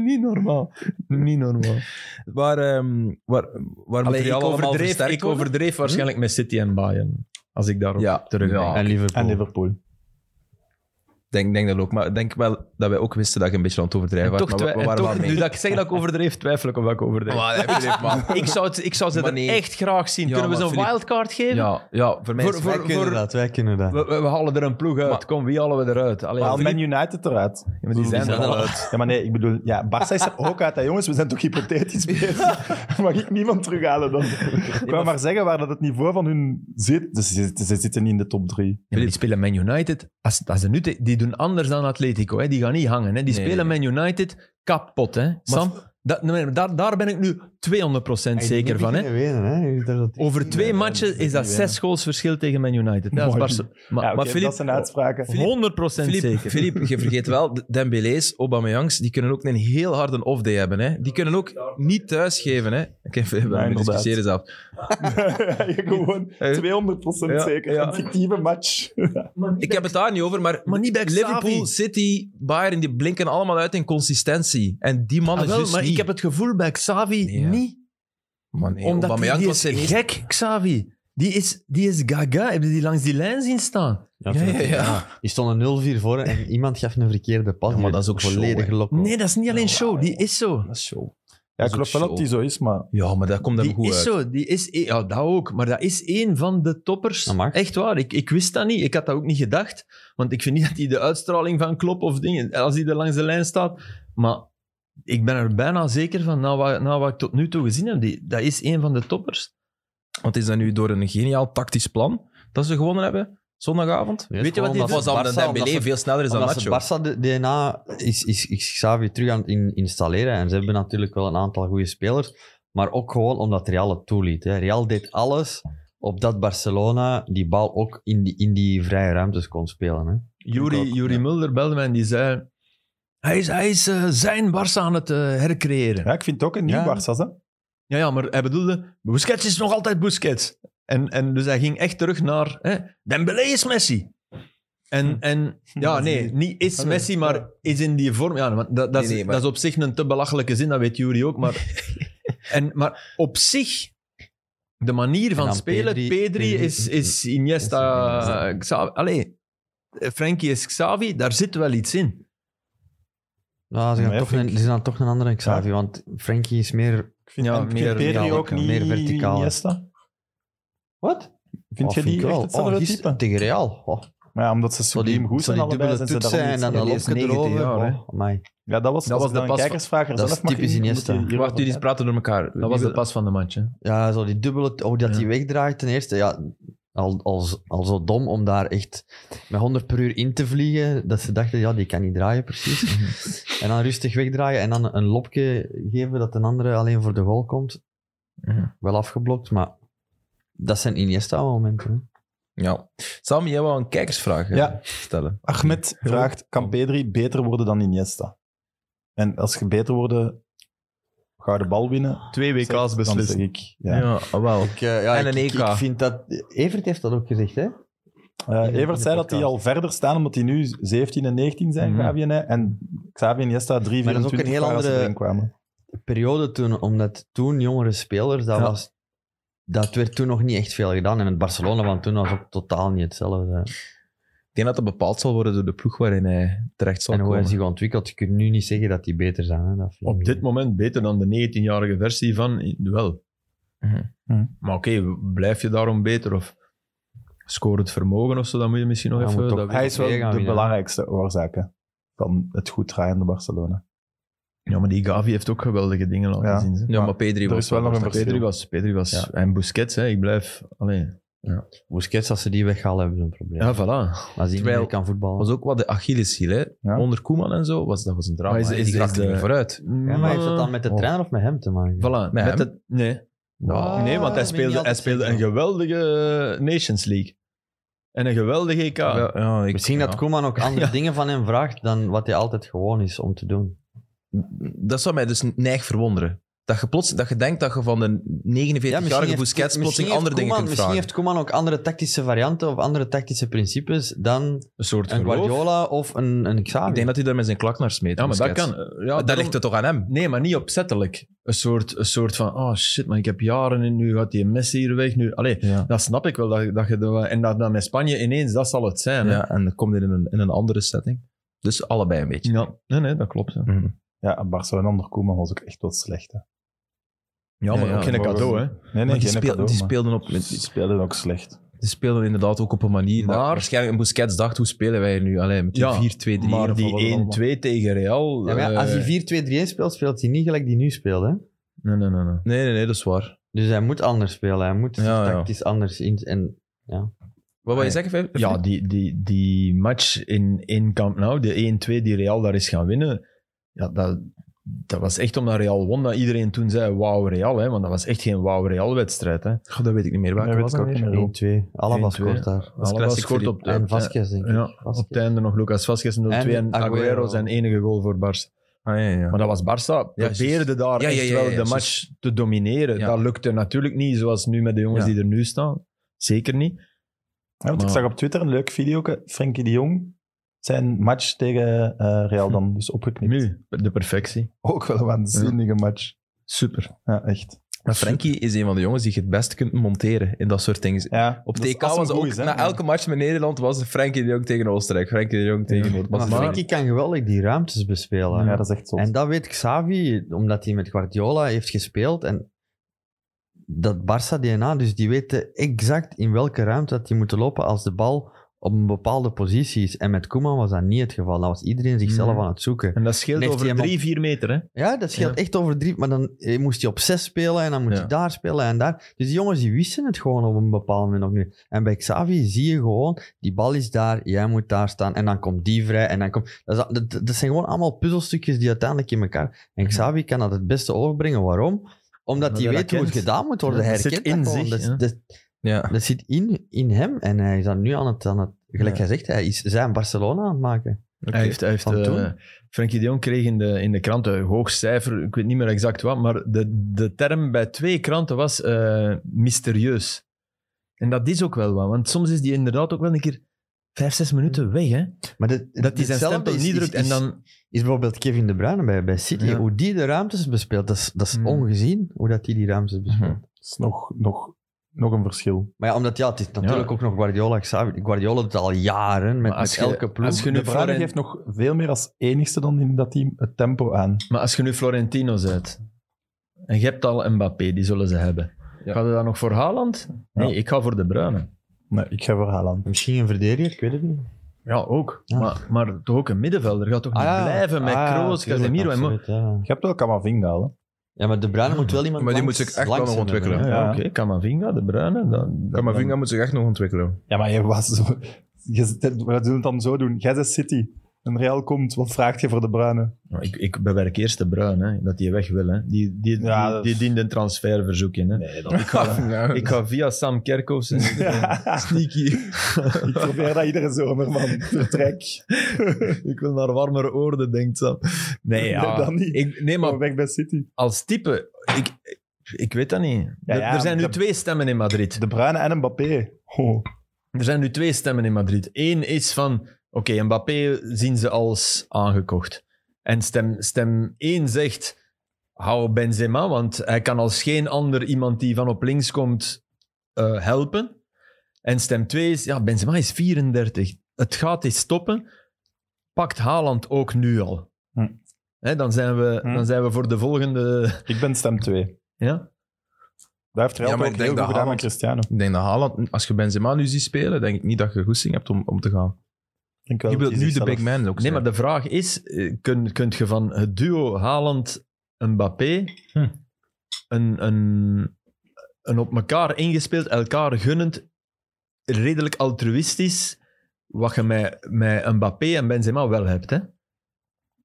[SPEAKER 3] niet normaal. Niet normaal.
[SPEAKER 1] doen. Waar, ehm, waar, waar moet
[SPEAKER 3] Allee, ik,
[SPEAKER 1] Real allemaal
[SPEAKER 3] overdreef,
[SPEAKER 1] versterkt
[SPEAKER 3] ik
[SPEAKER 1] worden?
[SPEAKER 3] overdreef waarschijnlijk met City en Bayern. Als ik daarop
[SPEAKER 1] Ja,
[SPEAKER 3] terugdenk.
[SPEAKER 1] ja.
[SPEAKER 6] En Liverpool.
[SPEAKER 2] En Ah, Liverpool.
[SPEAKER 1] Denk, denk dat ook. Maar ik denk wel dat wij ook wisten dat je een beetje aan het overdrijven
[SPEAKER 3] En
[SPEAKER 1] was.
[SPEAKER 3] toch,
[SPEAKER 1] Maar we,
[SPEAKER 3] twi-
[SPEAKER 1] we
[SPEAKER 3] en
[SPEAKER 1] waren
[SPEAKER 3] toch
[SPEAKER 1] wel mee.
[SPEAKER 3] nu dat ik zeg dat ik overdreef, twijfel ik of ik *laughs* overdreef.
[SPEAKER 1] *laughs*
[SPEAKER 3] ik, zou het, ik zou ze
[SPEAKER 1] Maar
[SPEAKER 3] dan
[SPEAKER 1] nee.
[SPEAKER 3] echt graag zien.
[SPEAKER 1] Ja,
[SPEAKER 3] Kunnen we ze
[SPEAKER 1] maar
[SPEAKER 3] een
[SPEAKER 1] Filip-
[SPEAKER 3] wildcard geven?
[SPEAKER 1] ja, ja, voor mij
[SPEAKER 3] Voor-
[SPEAKER 1] is-
[SPEAKER 6] Wij
[SPEAKER 3] voor-
[SPEAKER 6] kunnen
[SPEAKER 3] voor-
[SPEAKER 6] dat, wij kunnen dat.
[SPEAKER 3] We, we- we halen er een ploeg uit.
[SPEAKER 1] Maar-
[SPEAKER 3] Kom, wie halen we eruit? Allee,
[SPEAKER 2] Maar al
[SPEAKER 3] Filip-
[SPEAKER 2] Man United eruit.
[SPEAKER 3] Ja, maar die zijn er al.
[SPEAKER 2] Ja, maar nee, ik bedoel, ja, Barça is er ook uit. Hè, jongens, we zijn toch hypothetisch
[SPEAKER 3] *laughs*
[SPEAKER 2] bezig. Mag ik niemand terughalen dan? Ik wou maar zeggen waar dat het niveau van hun zit. Dus ze, ze zitten niet in de top drie.
[SPEAKER 3] Ja, maar die spelen Man United. Als, als ze nu te- die doen anders dan Atletico. Hè. Die gaan niet hangen. Hè. Die
[SPEAKER 1] Nee,
[SPEAKER 3] spelen
[SPEAKER 1] nee,
[SPEAKER 3] Man United kapot. Hè. Sam, dat, nee, daar, daar ben ik nu 200% zeker van. Hè. Over
[SPEAKER 2] Nee,
[SPEAKER 3] twee
[SPEAKER 2] nee,
[SPEAKER 3] matchen
[SPEAKER 2] dat is
[SPEAKER 3] is dat
[SPEAKER 2] niet
[SPEAKER 3] zes goals verschil tegen Man United. Dat is
[SPEAKER 2] Mooi.
[SPEAKER 3] Barca- maar,
[SPEAKER 2] Ja, oké,
[SPEAKER 3] maar Filip,
[SPEAKER 2] dat zijn uitspraken.
[SPEAKER 3] 100%
[SPEAKER 1] Philippe,
[SPEAKER 3] zeker.
[SPEAKER 1] Philippe, je vergeet wel, de- Dembele's, Aubameyangs, die kunnen ook een heel harde off-day hebben. Hè. Die kunnen ook niet thuisgeven. Hè. Ik heb we
[SPEAKER 2] inderdaad.
[SPEAKER 1] discussiëren zelf.
[SPEAKER 2] *laughs* Je gewoon 200%
[SPEAKER 1] Ja,
[SPEAKER 2] zeker.
[SPEAKER 1] ja.
[SPEAKER 2] Een fictieve match.
[SPEAKER 1] Ik heb het daar niet over, maar,
[SPEAKER 3] Maar niet bij Xavi.
[SPEAKER 1] Liverpool, City, Bayern, die blinken allemaal uit in consistentie. En die mannen
[SPEAKER 3] Ah, wel,
[SPEAKER 1] dus
[SPEAKER 3] maar
[SPEAKER 1] niet.
[SPEAKER 3] ik heb het gevoel bij Xavi
[SPEAKER 1] Nee, ja.
[SPEAKER 3] niet.
[SPEAKER 1] Maar nee,
[SPEAKER 3] omdat die,
[SPEAKER 1] Aubameyang
[SPEAKER 3] die
[SPEAKER 1] was
[SPEAKER 3] is
[SPEAKER 1] zijn eerste-
[SPEAKER 3] gek, Xavi. Die is, die is gaga. Heb je die langs die lijn zien staan?
[SPEAKER 1] Ja, ja, ja.
[SPEAKER 6] Die stonden 0-4
[SPEAKER 2] *laughs*
[SPEAKER 6] voor en iemand gaf een verkeerde pas.
[SPEAKER 1] Ja, maar dat is ook show,
[SPEAKER 6] volledig
[SPEAKER 1] hè.
[SPEAKER 6] loco.
[SPEAKER 3] Nee, dat is niet alleen show. Die is zo.
[SPEAKER 1] Dat is zo.
[SPEAKER 2] Ja,
[SPEAKER 1] is
[SPEAKER 2] ik
[SPEAKER 6] Dus
[SPEAKER 2] geloof
[SPEAKER 1] ook
[SPEAKER 2] wel dat
[SPEAKER 1] zo.
[SPEAKER 2] die zo is, maar
[SPEAKER 1] Ja, maar dat komt hem
[SPEAKER 3] Die
[SPEAKER 1] goed
[SPEAKER 3] is
[SPEAKER 1] uit.
[SPEAKER 3] zo. Die is, e- ja, dat ook. Maar dat is één van de toppers.
[SPEAKER 2] Ah,
[SPEAKER 6] Dat mag.
[SPEAKER 3] Echt waar. Ik, ik wist dat niet. Ik had dat ook niet gedacht. Want ik vind niet dat hij de uitstraling van Klopp of dingen... Als hij er langs de lijn staat. Maar ik ben er bijna zeker van, na wat, na wat ik tot nu toe gezien heb, die, dat is één van de toppers.
[SPEAKER 1] Want is dat nu door een geniaal tactisch plan dat ze gewonnen hebben? Zondagavond?
[SPEAKER 6] Nee,
[SPEAKER 1] Weet je wat
[SPEAKER 6] gewoon
[SPEAKER 1] dit was?
[SPEAKER 6] omdat
[SPEAKER 1] Dan
[SPEAKER 6] Barca- omdat
[SPEAKER 1] Dembélé
[SPEAKER 6] ze-
[SPEAKER 1] veel sneller is dan
[SPEAKER 6] Omdat ze
[SPEAKER 1] Nacho.
[SPEAKER 6] Barça-DNA is, is, is Xavi terug aan het in- installeren. En ze hebben natuurlijk wel een aantal goede spelers. Maar ook gewoon omdat Real het toeliet. Hè. Real deed alles opdat Barcelona die bal ook in die, in die vrije ruimtes kon spelen. Hè.
[SPEAKER 3] Juri,
[SPEAKER 2] ook,
[SPEAKER 3] Juri
[SPEAKER 2] ja.
[SPEAKER 3] Mulder belde mij en die zei... Hij is, hij is eh, zijn Barça aan het eh, hercreëren.
[SPEAKER 2] ja, ik vind het ook een nieuw
[SPEAKER 3] Ja.
[SPEAKER 2] Barça. Hè?
[SPEAKER 3] Ja, ja, maar hij bedoelde... Busquets is nog altijd Busquets. En, en dus hij ging echt terug naar... Hè, Dembélé is Messi. En, en ja,
[SPEAKER 2] Dat is
[SPEAKER 3] nee,
[SPEAKER 2] niet-
[SPEAKER 3] niet is
[SPEAKER 2] dat is-
[SPEAKER 3] Messi, maar
[SPEAKER 2] ja.
[SPEAKER 3] is in die vorm. Ja, want dat,
[SPEAKER 1] Nee,
[SPEAKER 3] dat, is,
[SPEAKER 1] nee, maar-
[SPEAKER 3] dat is op zich een te belachelijke zin, dat weet Juri ook. Maar, en, maar op zich, de manier van
[SPEAKER 6] dan
[SPEAKER 3] spelen,
[SPEAKER 6] Pedri-
[SPEAKER 3] P3
[SPEAKER 6] Pedri-
[SPEAKER 3] is, is Iniesta, eh, Xavi. Allee, eh, Frankie is Xavi, daar zit wel iets in.
[SPEAKER 6] Nou, ze, gaan
[SPEAKER 2] Maar
[SPEAKER 6] toch
[SPEAKER 2] ja,
[SPEAKER 6] een,
[SPEAKER 2] vind ik-
[SPEAKER 6] ze gaan toch een andere Xavi. Want Frenkie is meer...
[SPEAKER 2] Ik vind,
[SPEAKER 3] Ja,
[SPEAKER 2] en ik vind
[SPEAKER 3] meer-
[SPEAKER 2] Pedri
[SPEAKER 6] meer-
[SPEAKER 2] ook niet
[SPEAKER 6] meer verticaal. Oh,
[SPEAKER 2] Iniesta.
[SPEAKER 6] Wat?
[SPEAKER 2] Vind je die echt hetzelfde type?
[SPEAKER 6] Tegen Real. Oh,
[SPEAKER 2] Maar ja, omdat ze
[SPEAKER 6] zo
[SPEAKER 2] subliem
[SPEAKER 6] die,
[SPEAKER 2] goed
[SPEAKER 6] zo
[SPEAKER 2] zijn,
[SPEAKER 6] die
[SPEAKER 2] allebei
[SPEAKER 6] dubbele
[SPEAKER 2] zijn ze
[SPEAKER 6] toetsen
[SPEAKER 2] daarom
[SPEAKER 6] en
[SPEAKER 2] niet
[SPEAKER 6] dan een
[SPEAKER 2] zo-
[SPEAKER 3] die is
[SPEAKER 6] lopje
[SPEAKER 3] 19
[SPEAKER 6] erover.
[SPEAKER 3] jaar, hè.
[SPEAKER 6] oh, amai.
[SPEAKER 2] Ja, dat was,
[SPEAKER 3] Dat
[SPEAKER 2] als ik
[SPEAKER 3] was
[SPEAKER 2] dan
[SPEAKER 3] de pas
[SPEAKER 2] een
[SPEAKER 3] van-
[SPEAKER 2] kijkersvraag er
[SPEAKER 6] dat
[SPEAKER 2] zelf
[SPEAKER 6] is
[SPEAKER 2] mag
[SPEAKER 6] typisch
[SPEAKER 2] in-
[SPEAKER 6] Iniesta.
[SPEAKER 2] moet je hier
[SPEAKER 1] Wacht, jullie
[SPEAKER 2] over-
[SPEAKER 1] praten door elkaar.
[SPEAKER 3] Dat was de pas van de match. Hè.
[SPEAKER 6] Ja, zo die dubbele, ook dat
[SPEAKER 3] Ja.
[SPEAKER 6] die wegdraait ten eerste. Ja, al, al, al zo dom om daar echt met 100 per uur in te vliegen, dat ze dachten, ja, die kan niet draaien
[SPEAKER 1] *laughs*
[SPEAKER 6] precies.
[SPEAKER 1] Mhm.
[SPEAKER 6] en dan rustig wegdraaien en dan een lopje geven dat een andere alleen voor de goal komt.
[SPEAKER 1] Mhm.
[SPEAKER 3] Ja.
[SPEAKER 6] Wel afgeblokt, maar dat zijn Iniesta-momenten. hè.
[SPEAKER 1] Ja. Sam, jij wou een kijkersvraag eh,
[SPEAKER 2] Ja.
[SPEAKER 1] stellen.
[SPEAKER 2] Ahmed vraagt, kan Pedri beter worden dan Iniesta? En als je beter worden, gouden bal winnen,
[SPEAKER 3] Twee
[SPEAKER 2] WK's dan zeg ik. Ja.
[SPEAKER 1] Ja, wel.
[SPEAKER 6] Ik, eh, ja,
[SPEAKER 1] En
[SPEAKER 6] ik-
[SPEAKER 1] een
[SPEAKER 6] ik-
[SPEAKER 1] EK.
[SPEAKER 6] Ik vind dat... Evert heeft dat ook gezegd, hè?
[SPEAKER 2] Eh,
[SPEAKER 6] In de- in
[SPEAKER 2] Evert
[SPEAKER 6] de
[SPEAKER 2] zei dat die al
[SPEAKER 6] podcast.
[SPEAKER 2] verder staan, omdat die nu 17 en 19 zijn,
[SPEAKER 3] Mhm.
[SPEAKER 2] Xavi en hij. En Xavi en Iniesta 3,
[SPEAKER 6] Maar dat is
[SPEAKER 2] 24
[SPEAKER 6] ook een heel
[SPEAKER 2] waren als ze
[SPEAKER 6] andere-
[SPEAKER 2] erin kwamen.
[SPEAKER 6] periode toen, omdat toen jongere spelers, dat,
[SPEAKER 2] Ja.
[SPEAKER 6] was, dat werd toen nog niet echt veel gedaan. En het Barcelona van toen was ook totaal niet hetzelfde.
[SPEAKER 1] denk dat dat bepaald zal worden door de ploeg waarin hij terecht zal
[SPEAKER 6] En hoe hij
[SPEAKER 1] komen.
[SPEAKER 6] zich ontwikkelt, je kunt nu niet zeggen dat die beter zijn. Hè? Dat vind
[SPEAKER 3] Op
[SPEAKER 6] ik-
[SPEAKER 3] dit moment beter dan de 19-jarige versie van wel.
[SPEAKER 1] Mhm.
[SPEAKER 2] Mhm.
[SPEAKER 3] Maar oké, blijf je daarom beter of score het vermogen of zo, dan moet je misschien nog
[SPEAKER 6] Ja,
[SPEAKER 3] even...
[SPEAKER 6] moet toch-
[SPEAKER 3] dat weet
[SPEAKER 2] Hij
[SPEAKER 3] ik.
[SPEAKER 2] is wel
[SPEAKER 6] Tegen gaan
[SPEAKER 2] de
[SPEAKER 6] winnen.
[SPEAKER 2] belangrijkste oorzaak hè, van het goed draaiende Barcelona.
[SPEAKER 3] Ja, maar die Gavi heeft ook geweldige dingen laten
[SPEAKER 2] Ja.
[SPEAKER 3] zien. Ze.
[SPEAKER 1] Ja, maar P3
[SPEAKER 2] Er is
[SPEAKER 1] was
[SPEAKER 2] wel nog een
[SPEAKER 3] Pedri
[SPEAKER 2] verschil.
[SPEAKER 3] was, Pedri was
[SPEAKER 2] Ja.
[SPEAKER 3] en Busquets, hè, ik blijf alleen.
[SPEAKER 6] Busquets, als ze die weghalen, hebben ze een probleem.
[SPEAKER 3] Ja, voilà.
[SPEAKER 6] als hij
[SPEAKER 1] terwijl-
[SPEAKER 6] niet meer kan voetballen.
[SPEAKER 1] was ook wat de Achilleshiel, hè?
[SPEAKER 2] Ja.
[SPEAKER 1] Onder Koeman en zo, was, dat was een drama.
[SPEAKER 3] Maar is-
[SPEAKER 1] hè.
[SPEAKER 3] is-
[SPEAKER 1] die
[SPEAKER 3] is
[SPEAKER 1] raakte
[SPEAKER 3] de-
[SPEAKER 1] niet meer vooruit.
[SPEAKER 6] Ja, maar heeft dat dan met de
[SPEAKER 1] Oh.
[SPEAKER 6] trainer of met hem te maken?
[SPEAKER 1] Met
[SPEAKER 3] Voilà, met
[SPEAKER 1] hem?
[SPEAKER 3] het, nee.
[SPEAKER 1] Ja.
[SPEAKER 3] nee, want hij
[SPEAKER 6] dat weet ik
[SPEAKER 3] speelde,
[SPEAKER 6] niet
[SPEAKER 3] hij
[SPEAKER 6] altijd
[SPEAKER 3] speelde een
[SPEAKER 6] zeker.
[SPEAKER 3] geweldige Nations League. En een geweldige E EK.
[SPEAKER 1] Ja, ja, ik-
[SPEAKER 6] Misschien dat
[SPEAKER 1] ja.
[SPEAKER 3] *laughs*
[SPEAKER 6] Koeman ook andere dingen van hem vraagt dan wat hij altijd gewoon is om te doen.
[SPEAKER 1] Dat zou mij dus neig verwonderen. Dat je, plots, dat je denkt dat je van de 49-jarige Busquets plotseling andere dingen kunt
[SPEAKER 6] Misschien
[SPEAKER 1] vragen.
[SPEAKER 6] heeft Koeman ook andere tactische varianten of andere tactische principes dan
[SPEAKER 3] Een soort
[SPEAKER 6] een
[SPEAKER 3] geloof.
[SPEAKER 6] Guardiola of een, een Xavi.
[SPEAKER 1] Ik denk dat hij daar met zijn klak naar smeet.
[SPEAKER 3] Ja, maar dat
[SPEAKER 1] Busquets.
[SPEAKER 3] kan.
[SPEAKER 1] Daar
[SPEAKER 3] eh, Ja, daarom-
[SPEAKER 1] ligt het toch aan hem?
[SPEAKER 3] Nee, maar niet opzettelijk. Een soort, een soort van, oh shit, maar ik heb jaren in, nu gaat die Messi hier weg. Nu. Allee,
[SPEAKER 1] Ja.
[SPEAKER 3] dat snap ik wel. Dat, dat je er wel- en dat, dan met Spanje ineens, dat zal het zijn. hè.
[SPEAKER 1] Ja, en dan komt hij in een, in een andere setting. Dus allebei een beetje.
[SPEAKER 3] Ja, nee, nee, dat klopt. hè.
[SPEAKER 1] Mhm.
[SPEAKER 2] Ja, Barcelona onder Koeman was ook echt wel slecht. Hè.
[SPEAKER 1] Ja, maar
[SPEAKER 3] ook geen
[SPEAKER 2] maar-
[SPEAKER 3] cadeau, hè.
[SPEAKER 2] Nee, nee,
[SPEAKER 1] Maar die,
[SPEAKER 2] geen
[SPEAKER 1] speel-
[SPEAKER 2] cadeau,
[SPEAKER 1] die,
[SPEAKER 2] maar
[SPEAKER 1] speelden op,
[SPEAKER 2] die speelden ook slecht.
[SPEAKER 1] die speelden inderdaad ook op een manier. Maar,
[SPEAKER 3] Maar-
[SPEAKER 1] waarschijnlijk een Busquets dacht, hoe spelen wij nu? Allee, met die
[SPEAKER 3] Ja,
[SPEAKER 1] 4-2-3.
[SPEAKER 3] Maar
[SPEAKER 1] of wat dan ook.
[SPEAKER 3] die 1-2 tegen Real...
[SPEAKER 6] Ja, maar ja, als
[SPEAKER 3] eh,
[SPEAKER 6] hij 4-2-3-1 speelt, speelt hij niet gelijk die nu speelt. Hè?
[SPEAKER 3] Nee, nee, nee. nee.
[SPEAKER 1] Nee, nee, nee, dat is waar.
[SPEAKER 6] Dus hij moet anders spelen. Hij moet zich
[SPEAKER 1] Ja, ja.
[SPEAKER 6] tactisch anders in. En
[SPEAKER 1] Wat wil je
[SPEAKER 3] Nee.
[SPEAKER 1] zeggen, Vijf?
[SPEAKER 3] Ja, die, die, die match in, in Camp Nou, de 1-2 die Real daar is gaan winnen, ja, dat, dat was echt omdat Real won dat iedereen toen zei wauw Real, hè, want dat was echt geen wauw Real-wedstrijd. hè.
[SPEAKER 1] Goh, dat weet ik niet meer. Welke
[SPEAKER 2] Nee, weet
[SPEAKER 1] was
[SPEAKER 2] ik
[SPEAKER 1] dat
[SPEAKER 2] ook
[SPEAKER 1] weer?
[SPEAKER 2] niet meer.
[SPEAKER 6] 1-2.
[SPEAKER 3] 1-2.
[SPEAKER 6] Alaba scoort daar.
[SPEAKER 1] Dat is
[SPEAKER 3] Alaba
[SPEAKER 1] classic
[SPEAKER 3] scoort
[SPEAKER 1] voor
[SPEAKER 3] op,
[SPEAKER 6] En
[SPEAKER 3] op, het-
[SPEAKER 6] Vasquez, denk ik.
[SPEAKER 3] ja, op het einde nog Lucas Vasquez 0-2 en,
[SPEAKER 6] En
[SPEAKER 3] Aguero
[SPEAKER 6] Agüero.
[SPEAKER 3] zijn enige goal voor Barça.
[SPEAKER 1] Ah, ja, ja.
[SPEAKER 3] Maar dat was Barça.
[SPEAKER 1] Ja,
[SPEAKER 3] probeerde daar
[SPEAKER 1] Ja, ja,
[SPEAKER 3] echt
[SPEAKER 1] ja, ja,
[SPEAKER 3] wel de
[SPEAKER 1] juist.
[SPEAKER 3] match te domineren.
[SPEAKER 1] Ja.
[SPEAKER 3] Dat lukte natuurlijk niet, zoals nu met de jongens
[SPEAKER 1] Ja.
[SPEAKER 3] die er nu staan. Zeker niet.
[SPEAKER 2] Ja, want ik
[SPEAKER 3] Maar-
[SPEAKER 2] zag op Twitter een leuk video. Frenkie de Jong zijn match tegen eh, Real *laughs* dan dus opgeknipt.
[SPEAKER 3] Nu, de perfectie.
[SPEAKER 2] Ook wel een waanzinnige match.
[SPEAKER 3] Super.
[SPEAKER 2] Ja, echt.
[SPEAKER 1] Maar Frenkie is een van de jongens die je het best kunt monteren in dat soort dingen.
[SPEAKER 2] Ja,
[SPEAKER 1] Op
[SPEAKER 2] dat is
[SPEAKER 1] TK
[SPEAKER 2] als hem
[SPEAKER 1] was
[SPEAKER 2] goed
[SPEAKER 1] ook,
[SPEAKER 2] is, hè.
[SPEAKER 1] na
[SPEAKER 2] Ja.
[SPEAKER 1] elke match met Nederland was Frenkie de Jong tegen Oostenrijk, Frenkie de Jong tegen Noord.
[SPEAKER 6] Maar
[SPEAKER 1] was
[SPEAKER 3] Maar-
[SPEAKER 6] Frenkie kan geweldig die ruimtes bespelen.
[SPEAKER 2] Ja, dat is echt zo.
[SPEAKER 6] En dat weet Xavi, omdat hij met Guardiola heeft gespeeld. En dat Barça-DNA, dus die weten exact in welke ruimte dat die moeten lopen als de bal op een bepaalde positie is. En met Koeman was dat niet het geval. Dan was iedereen zichzelf
[SPEAKER 3] Mhm.
[SPEAKER 6] aan het zoeken.
[SPEAKER 3] En dat scheelt
[SPEAKER 6] En heeft
[SPEAKER 3] over
[SPEAKER 6] hij hem
[SPEAKER 3] drie, vier meter, hè?
[SPEAKER 6] Ja, dat scheelt echt over drie. Maar dan eh, moest hij op zes spelen en dan moet
[SPEAKER 1] Ja.
[SPEAKER 6] hij daar spelen en daar. Dus die jongens die wisten het gewoon op een bepaald moment nog niet. En bij Xavi zie je gewoon, die bal is daar, jij moet daar staan. En dan komt die vrij en dan komt... Dat, is- dat, dat zijn gewoon allemaal puzzelstukjes die uiteindelijk in elkaar... En Xavi kan dat het beste overbrengen. Waarom? Omdat
[SPEAKER 3] Omdat
[SPEAKER 6] hij
[SPEAKER 3] hij
[SPEAKER 6] weet
[SPEAKER 3] dat
[SPEAKER 6] hoe het
[SPEAKER 3] kent.
[SPEAKER 6] gedaan moet worden.
[SPEAKER 3] Ja,
[SPEAKER 6] hij
[SPEAKER 3] dat zit
[SPEAKER 6] herkent dat
[SPEAKER 3] in
[SPEAKER 6] gewoon.
[SPEAKER 3] zich,
[SPEAKER 6] Dat, is-
[SPEAKER 3] ja.
[SPEAKER 6] dat,
[SPEAKER 1] Ja.
[SPEAKER 6] dat zit in, in hem. En hij is dat nu aan het... Aan het gelijk
[SPEAKER 1] Ja.
[SPEAKER 6] hij zegt, hij is zijn Barcelona aan het maken.
[SPEAKER 3] Hij heeft, hij heeft
[SPEAKER 6] Van
[SPEAKER 3] eh,
[SPEAKER 6] toen?
[SPEAKER 3] Frenkie de Jong kreeg in de, in de krant een hoog cijfer, ik weet niet meer exact wat, maar de, de term bij twee kranten was eh, mysterieus. En dat is ook wel wat, want soms is die inderdaad ook wel een keer vijf, zes minuten weg, hè?
[SPEAKER 6] Maar dit-
[SPEAKER 3] Dat die zijn
[SPEAKER 6] Mm. hetzelfde
[SPEAKER 3] stempel
[SPEAKER 6] is-
[SPEAKER 3] niet
[SPEAKER 6] is-
[SPEAKER 3] drukt
[SPEAKER 6] is-
[SPEAKER 3] en dan...
[SPEAKER 6] is bijvoorbeeld Kevin De Bruyne bij, bij City.
[SPEAKER 3] Ja.
[SPEAKER 6] Hoe die de ruimtes bespeelt, dat is, dat is
[SPEAKER 3] Hmm.
[SPEAKER 6] ongezien hoe dat die die ruimtes bespeelt.
[SPEAKER 1] Mhm.
[SPEAKER 2] Dat is nog, nog, nog een verschil.
[SPEAKER 6] Maar ja, omdat ja, het is natuurlijk
[SPEAKER 3] Ja.
[SPEAKER 6] ook nog Guardiola. Xavi. Guardiola doet het al jaren met,
[SPEAKER 3] Maar als
[SPEAKER 6] met
[SPEAKER 3] je-
[SPEAKER 6] elke ploeg.
[SPEAKER 3] als je nu
[SPEAKER 2] De Bruyne
[SPEAKER 3] Floren-
[SPEAKER 2] geeft nog veel meer als enigste dan in dat team het tempo aan.
[SPEAKER 3] Maar als je nu Florentino zet en je hebt al Mbappé, die zullen ze hebben.
[SPEAKER 1] Ja.
[SPEAKER 3] Ga je dan nog voor Haaland? Nee,
[SPEAKER 2] Ja.
[SPEAKER 3] ik ga voor De Bruyne.
[SPEAKER 2] Nee, ik ga voor Haaland.
[SPEAKER 6] Misschien een verdediger, ik weet het niet.
[SPEAKER 3] Ja, ook.
[SPEAKER 6] Ja. Ah
[SPEAKER 3] Maar, maar toch ook een middenvelder. Gaat toch niet blijven met Kroos, Casemiro en... Mo-
[SPEAKER 6] absoluut, ja.
[SPEAKER 2] Je hebt wel Camavinga al, hè.
[SPEAKER 6] ja, maar De Bruyne moet wel iemand
[SPEAKER 1] Maar die
[SPEAKER 6] langs-
[SPEAKER 1] moet zich echt wel
[SPEAKER 6] langs
[SPEAKER 1] nog
[SPEAKER 6] hem
[SPEAKER 1] ontwikkelen.
[SPEAKER 6] hebben, hè.
[SPEAKER 3] Ja,
[SPEAKER 2] Ja.
[SPEAKER 3] oké. Camavinga, De Bruyne. Dan,
[SPEAKER 1] Camavinga moet zich echt nog *laughs* ontwikkelen.
[SPEAKER 2] Ja, maar je was zo... *laughs* Je, we doen het dan zo doen. Jij zegt City. En Real komt. Wat vraagt je voor de Bruyne?
[SPEAKER 3] Nou, Ik, ik bewerk eerst de Bruin, hè, dat die weg wil. Hè. Die, die,
[SPEAKER 2] Ja,
[SPEAKER 3] die,
[SPEAKER 2] dat-
[SPEAKER 3] die dient een transferverzoek in. Hè.
[SPEAKER 2] Nee, dat...
[SPEAKER 3] *laughs* Ik ga via Sam Kerkhoffs en
[SPEAKER 2] *laughs*
[SPEAKER 3] Sneaky.
[SPEAKER 2] ik probeer dat iedere zomer, man. *laughs* Vertrek.
[SPEAKER 3] ik wil naar warmere oorden, denkt Sam. Nee, ja.
[SPEAKER 2] Nee, dat niet.
[SPEAKER 3] Ik, nee,
[SPEAKER 2] Maar
[SPEAKER 3] maar
[SPEAKER 2] weg bij City.
[SPEAKER 3] als type, ik, ik weet dat niet.
[SPEAKER 2] Ja,
[SPEAKER 3] Er-
[SPEAKER 2] ja,
[SPEAKER 3] er zijn nu
[SPEAKER 2] dat-
[SPEAKER 3] twee stemmen in Madrid.
[SPEAKER 2] De Bruyne en Mbappé. Oh.
[SPEAKER 3] Er zijn nu twee stemmen in Madrid. Eén is van, oké, Mbappé zien ze als aangekocht. En stem, stem één zegt, hou Benzema, want hij kan als geen ander iemand die van op links komt eh, helpen. En stem twee is, ja, Benzema is 34. het gaat eens stoppen, pakt Haaland ook nu al.
[SPEAKER 2] Hm.
[SPEAKER 3] Hè, dan, zijn we,
[SPEAKER 2] Hm.
[SPEAKER 3] dan zijn we voor de volgende... *laughs*
[SPEAKER 2] Ik ben stem 2.
[SPEAKER 3] Ja?
[SPEAKER 2] Daar heeft Real
[SPEAKER 1] Ja, maar
[SPEAKER 2] ook
[SPEAKER 1] ik denk
[SPEAKER 2] heel
[SPEAKER 1] dat
[SPEAKER 2] goed gedaan met
[SPEAKER 1] Haaland-
[SPEAKER 2] Cristiano.
[SPEAKER 1] Ik denk dat Haaland, als je Benzema nu ziet spelen, denk ik niet dat je goesting hebt om, om te gaan.
[SPEAKER 2] Ik denk wel
[SPEAKER 1] Je
[SPEAKER 2] dat
[SPEAKER 1] wilt
[SPEAKER 2] hij
[SPEAKER 1] nu de
[SPEAKER 2] zichzelf-
[SPEAKER 1] big man ook
[SPEAKER 3] Nee,
[SPEAKER 1] zijn.
[SPEAKER 3] maar de vraag is, eh, kun, kunt je van het duo Haaland-Mbappé
[SPEAKER 1] Hm.
[SPEAKER 3] een, een, een op elkaar ingespeeld, elkaar gunnend, redelijk altruïstisch, wat je met, met Mbappé en Benzema wel hebt, hè?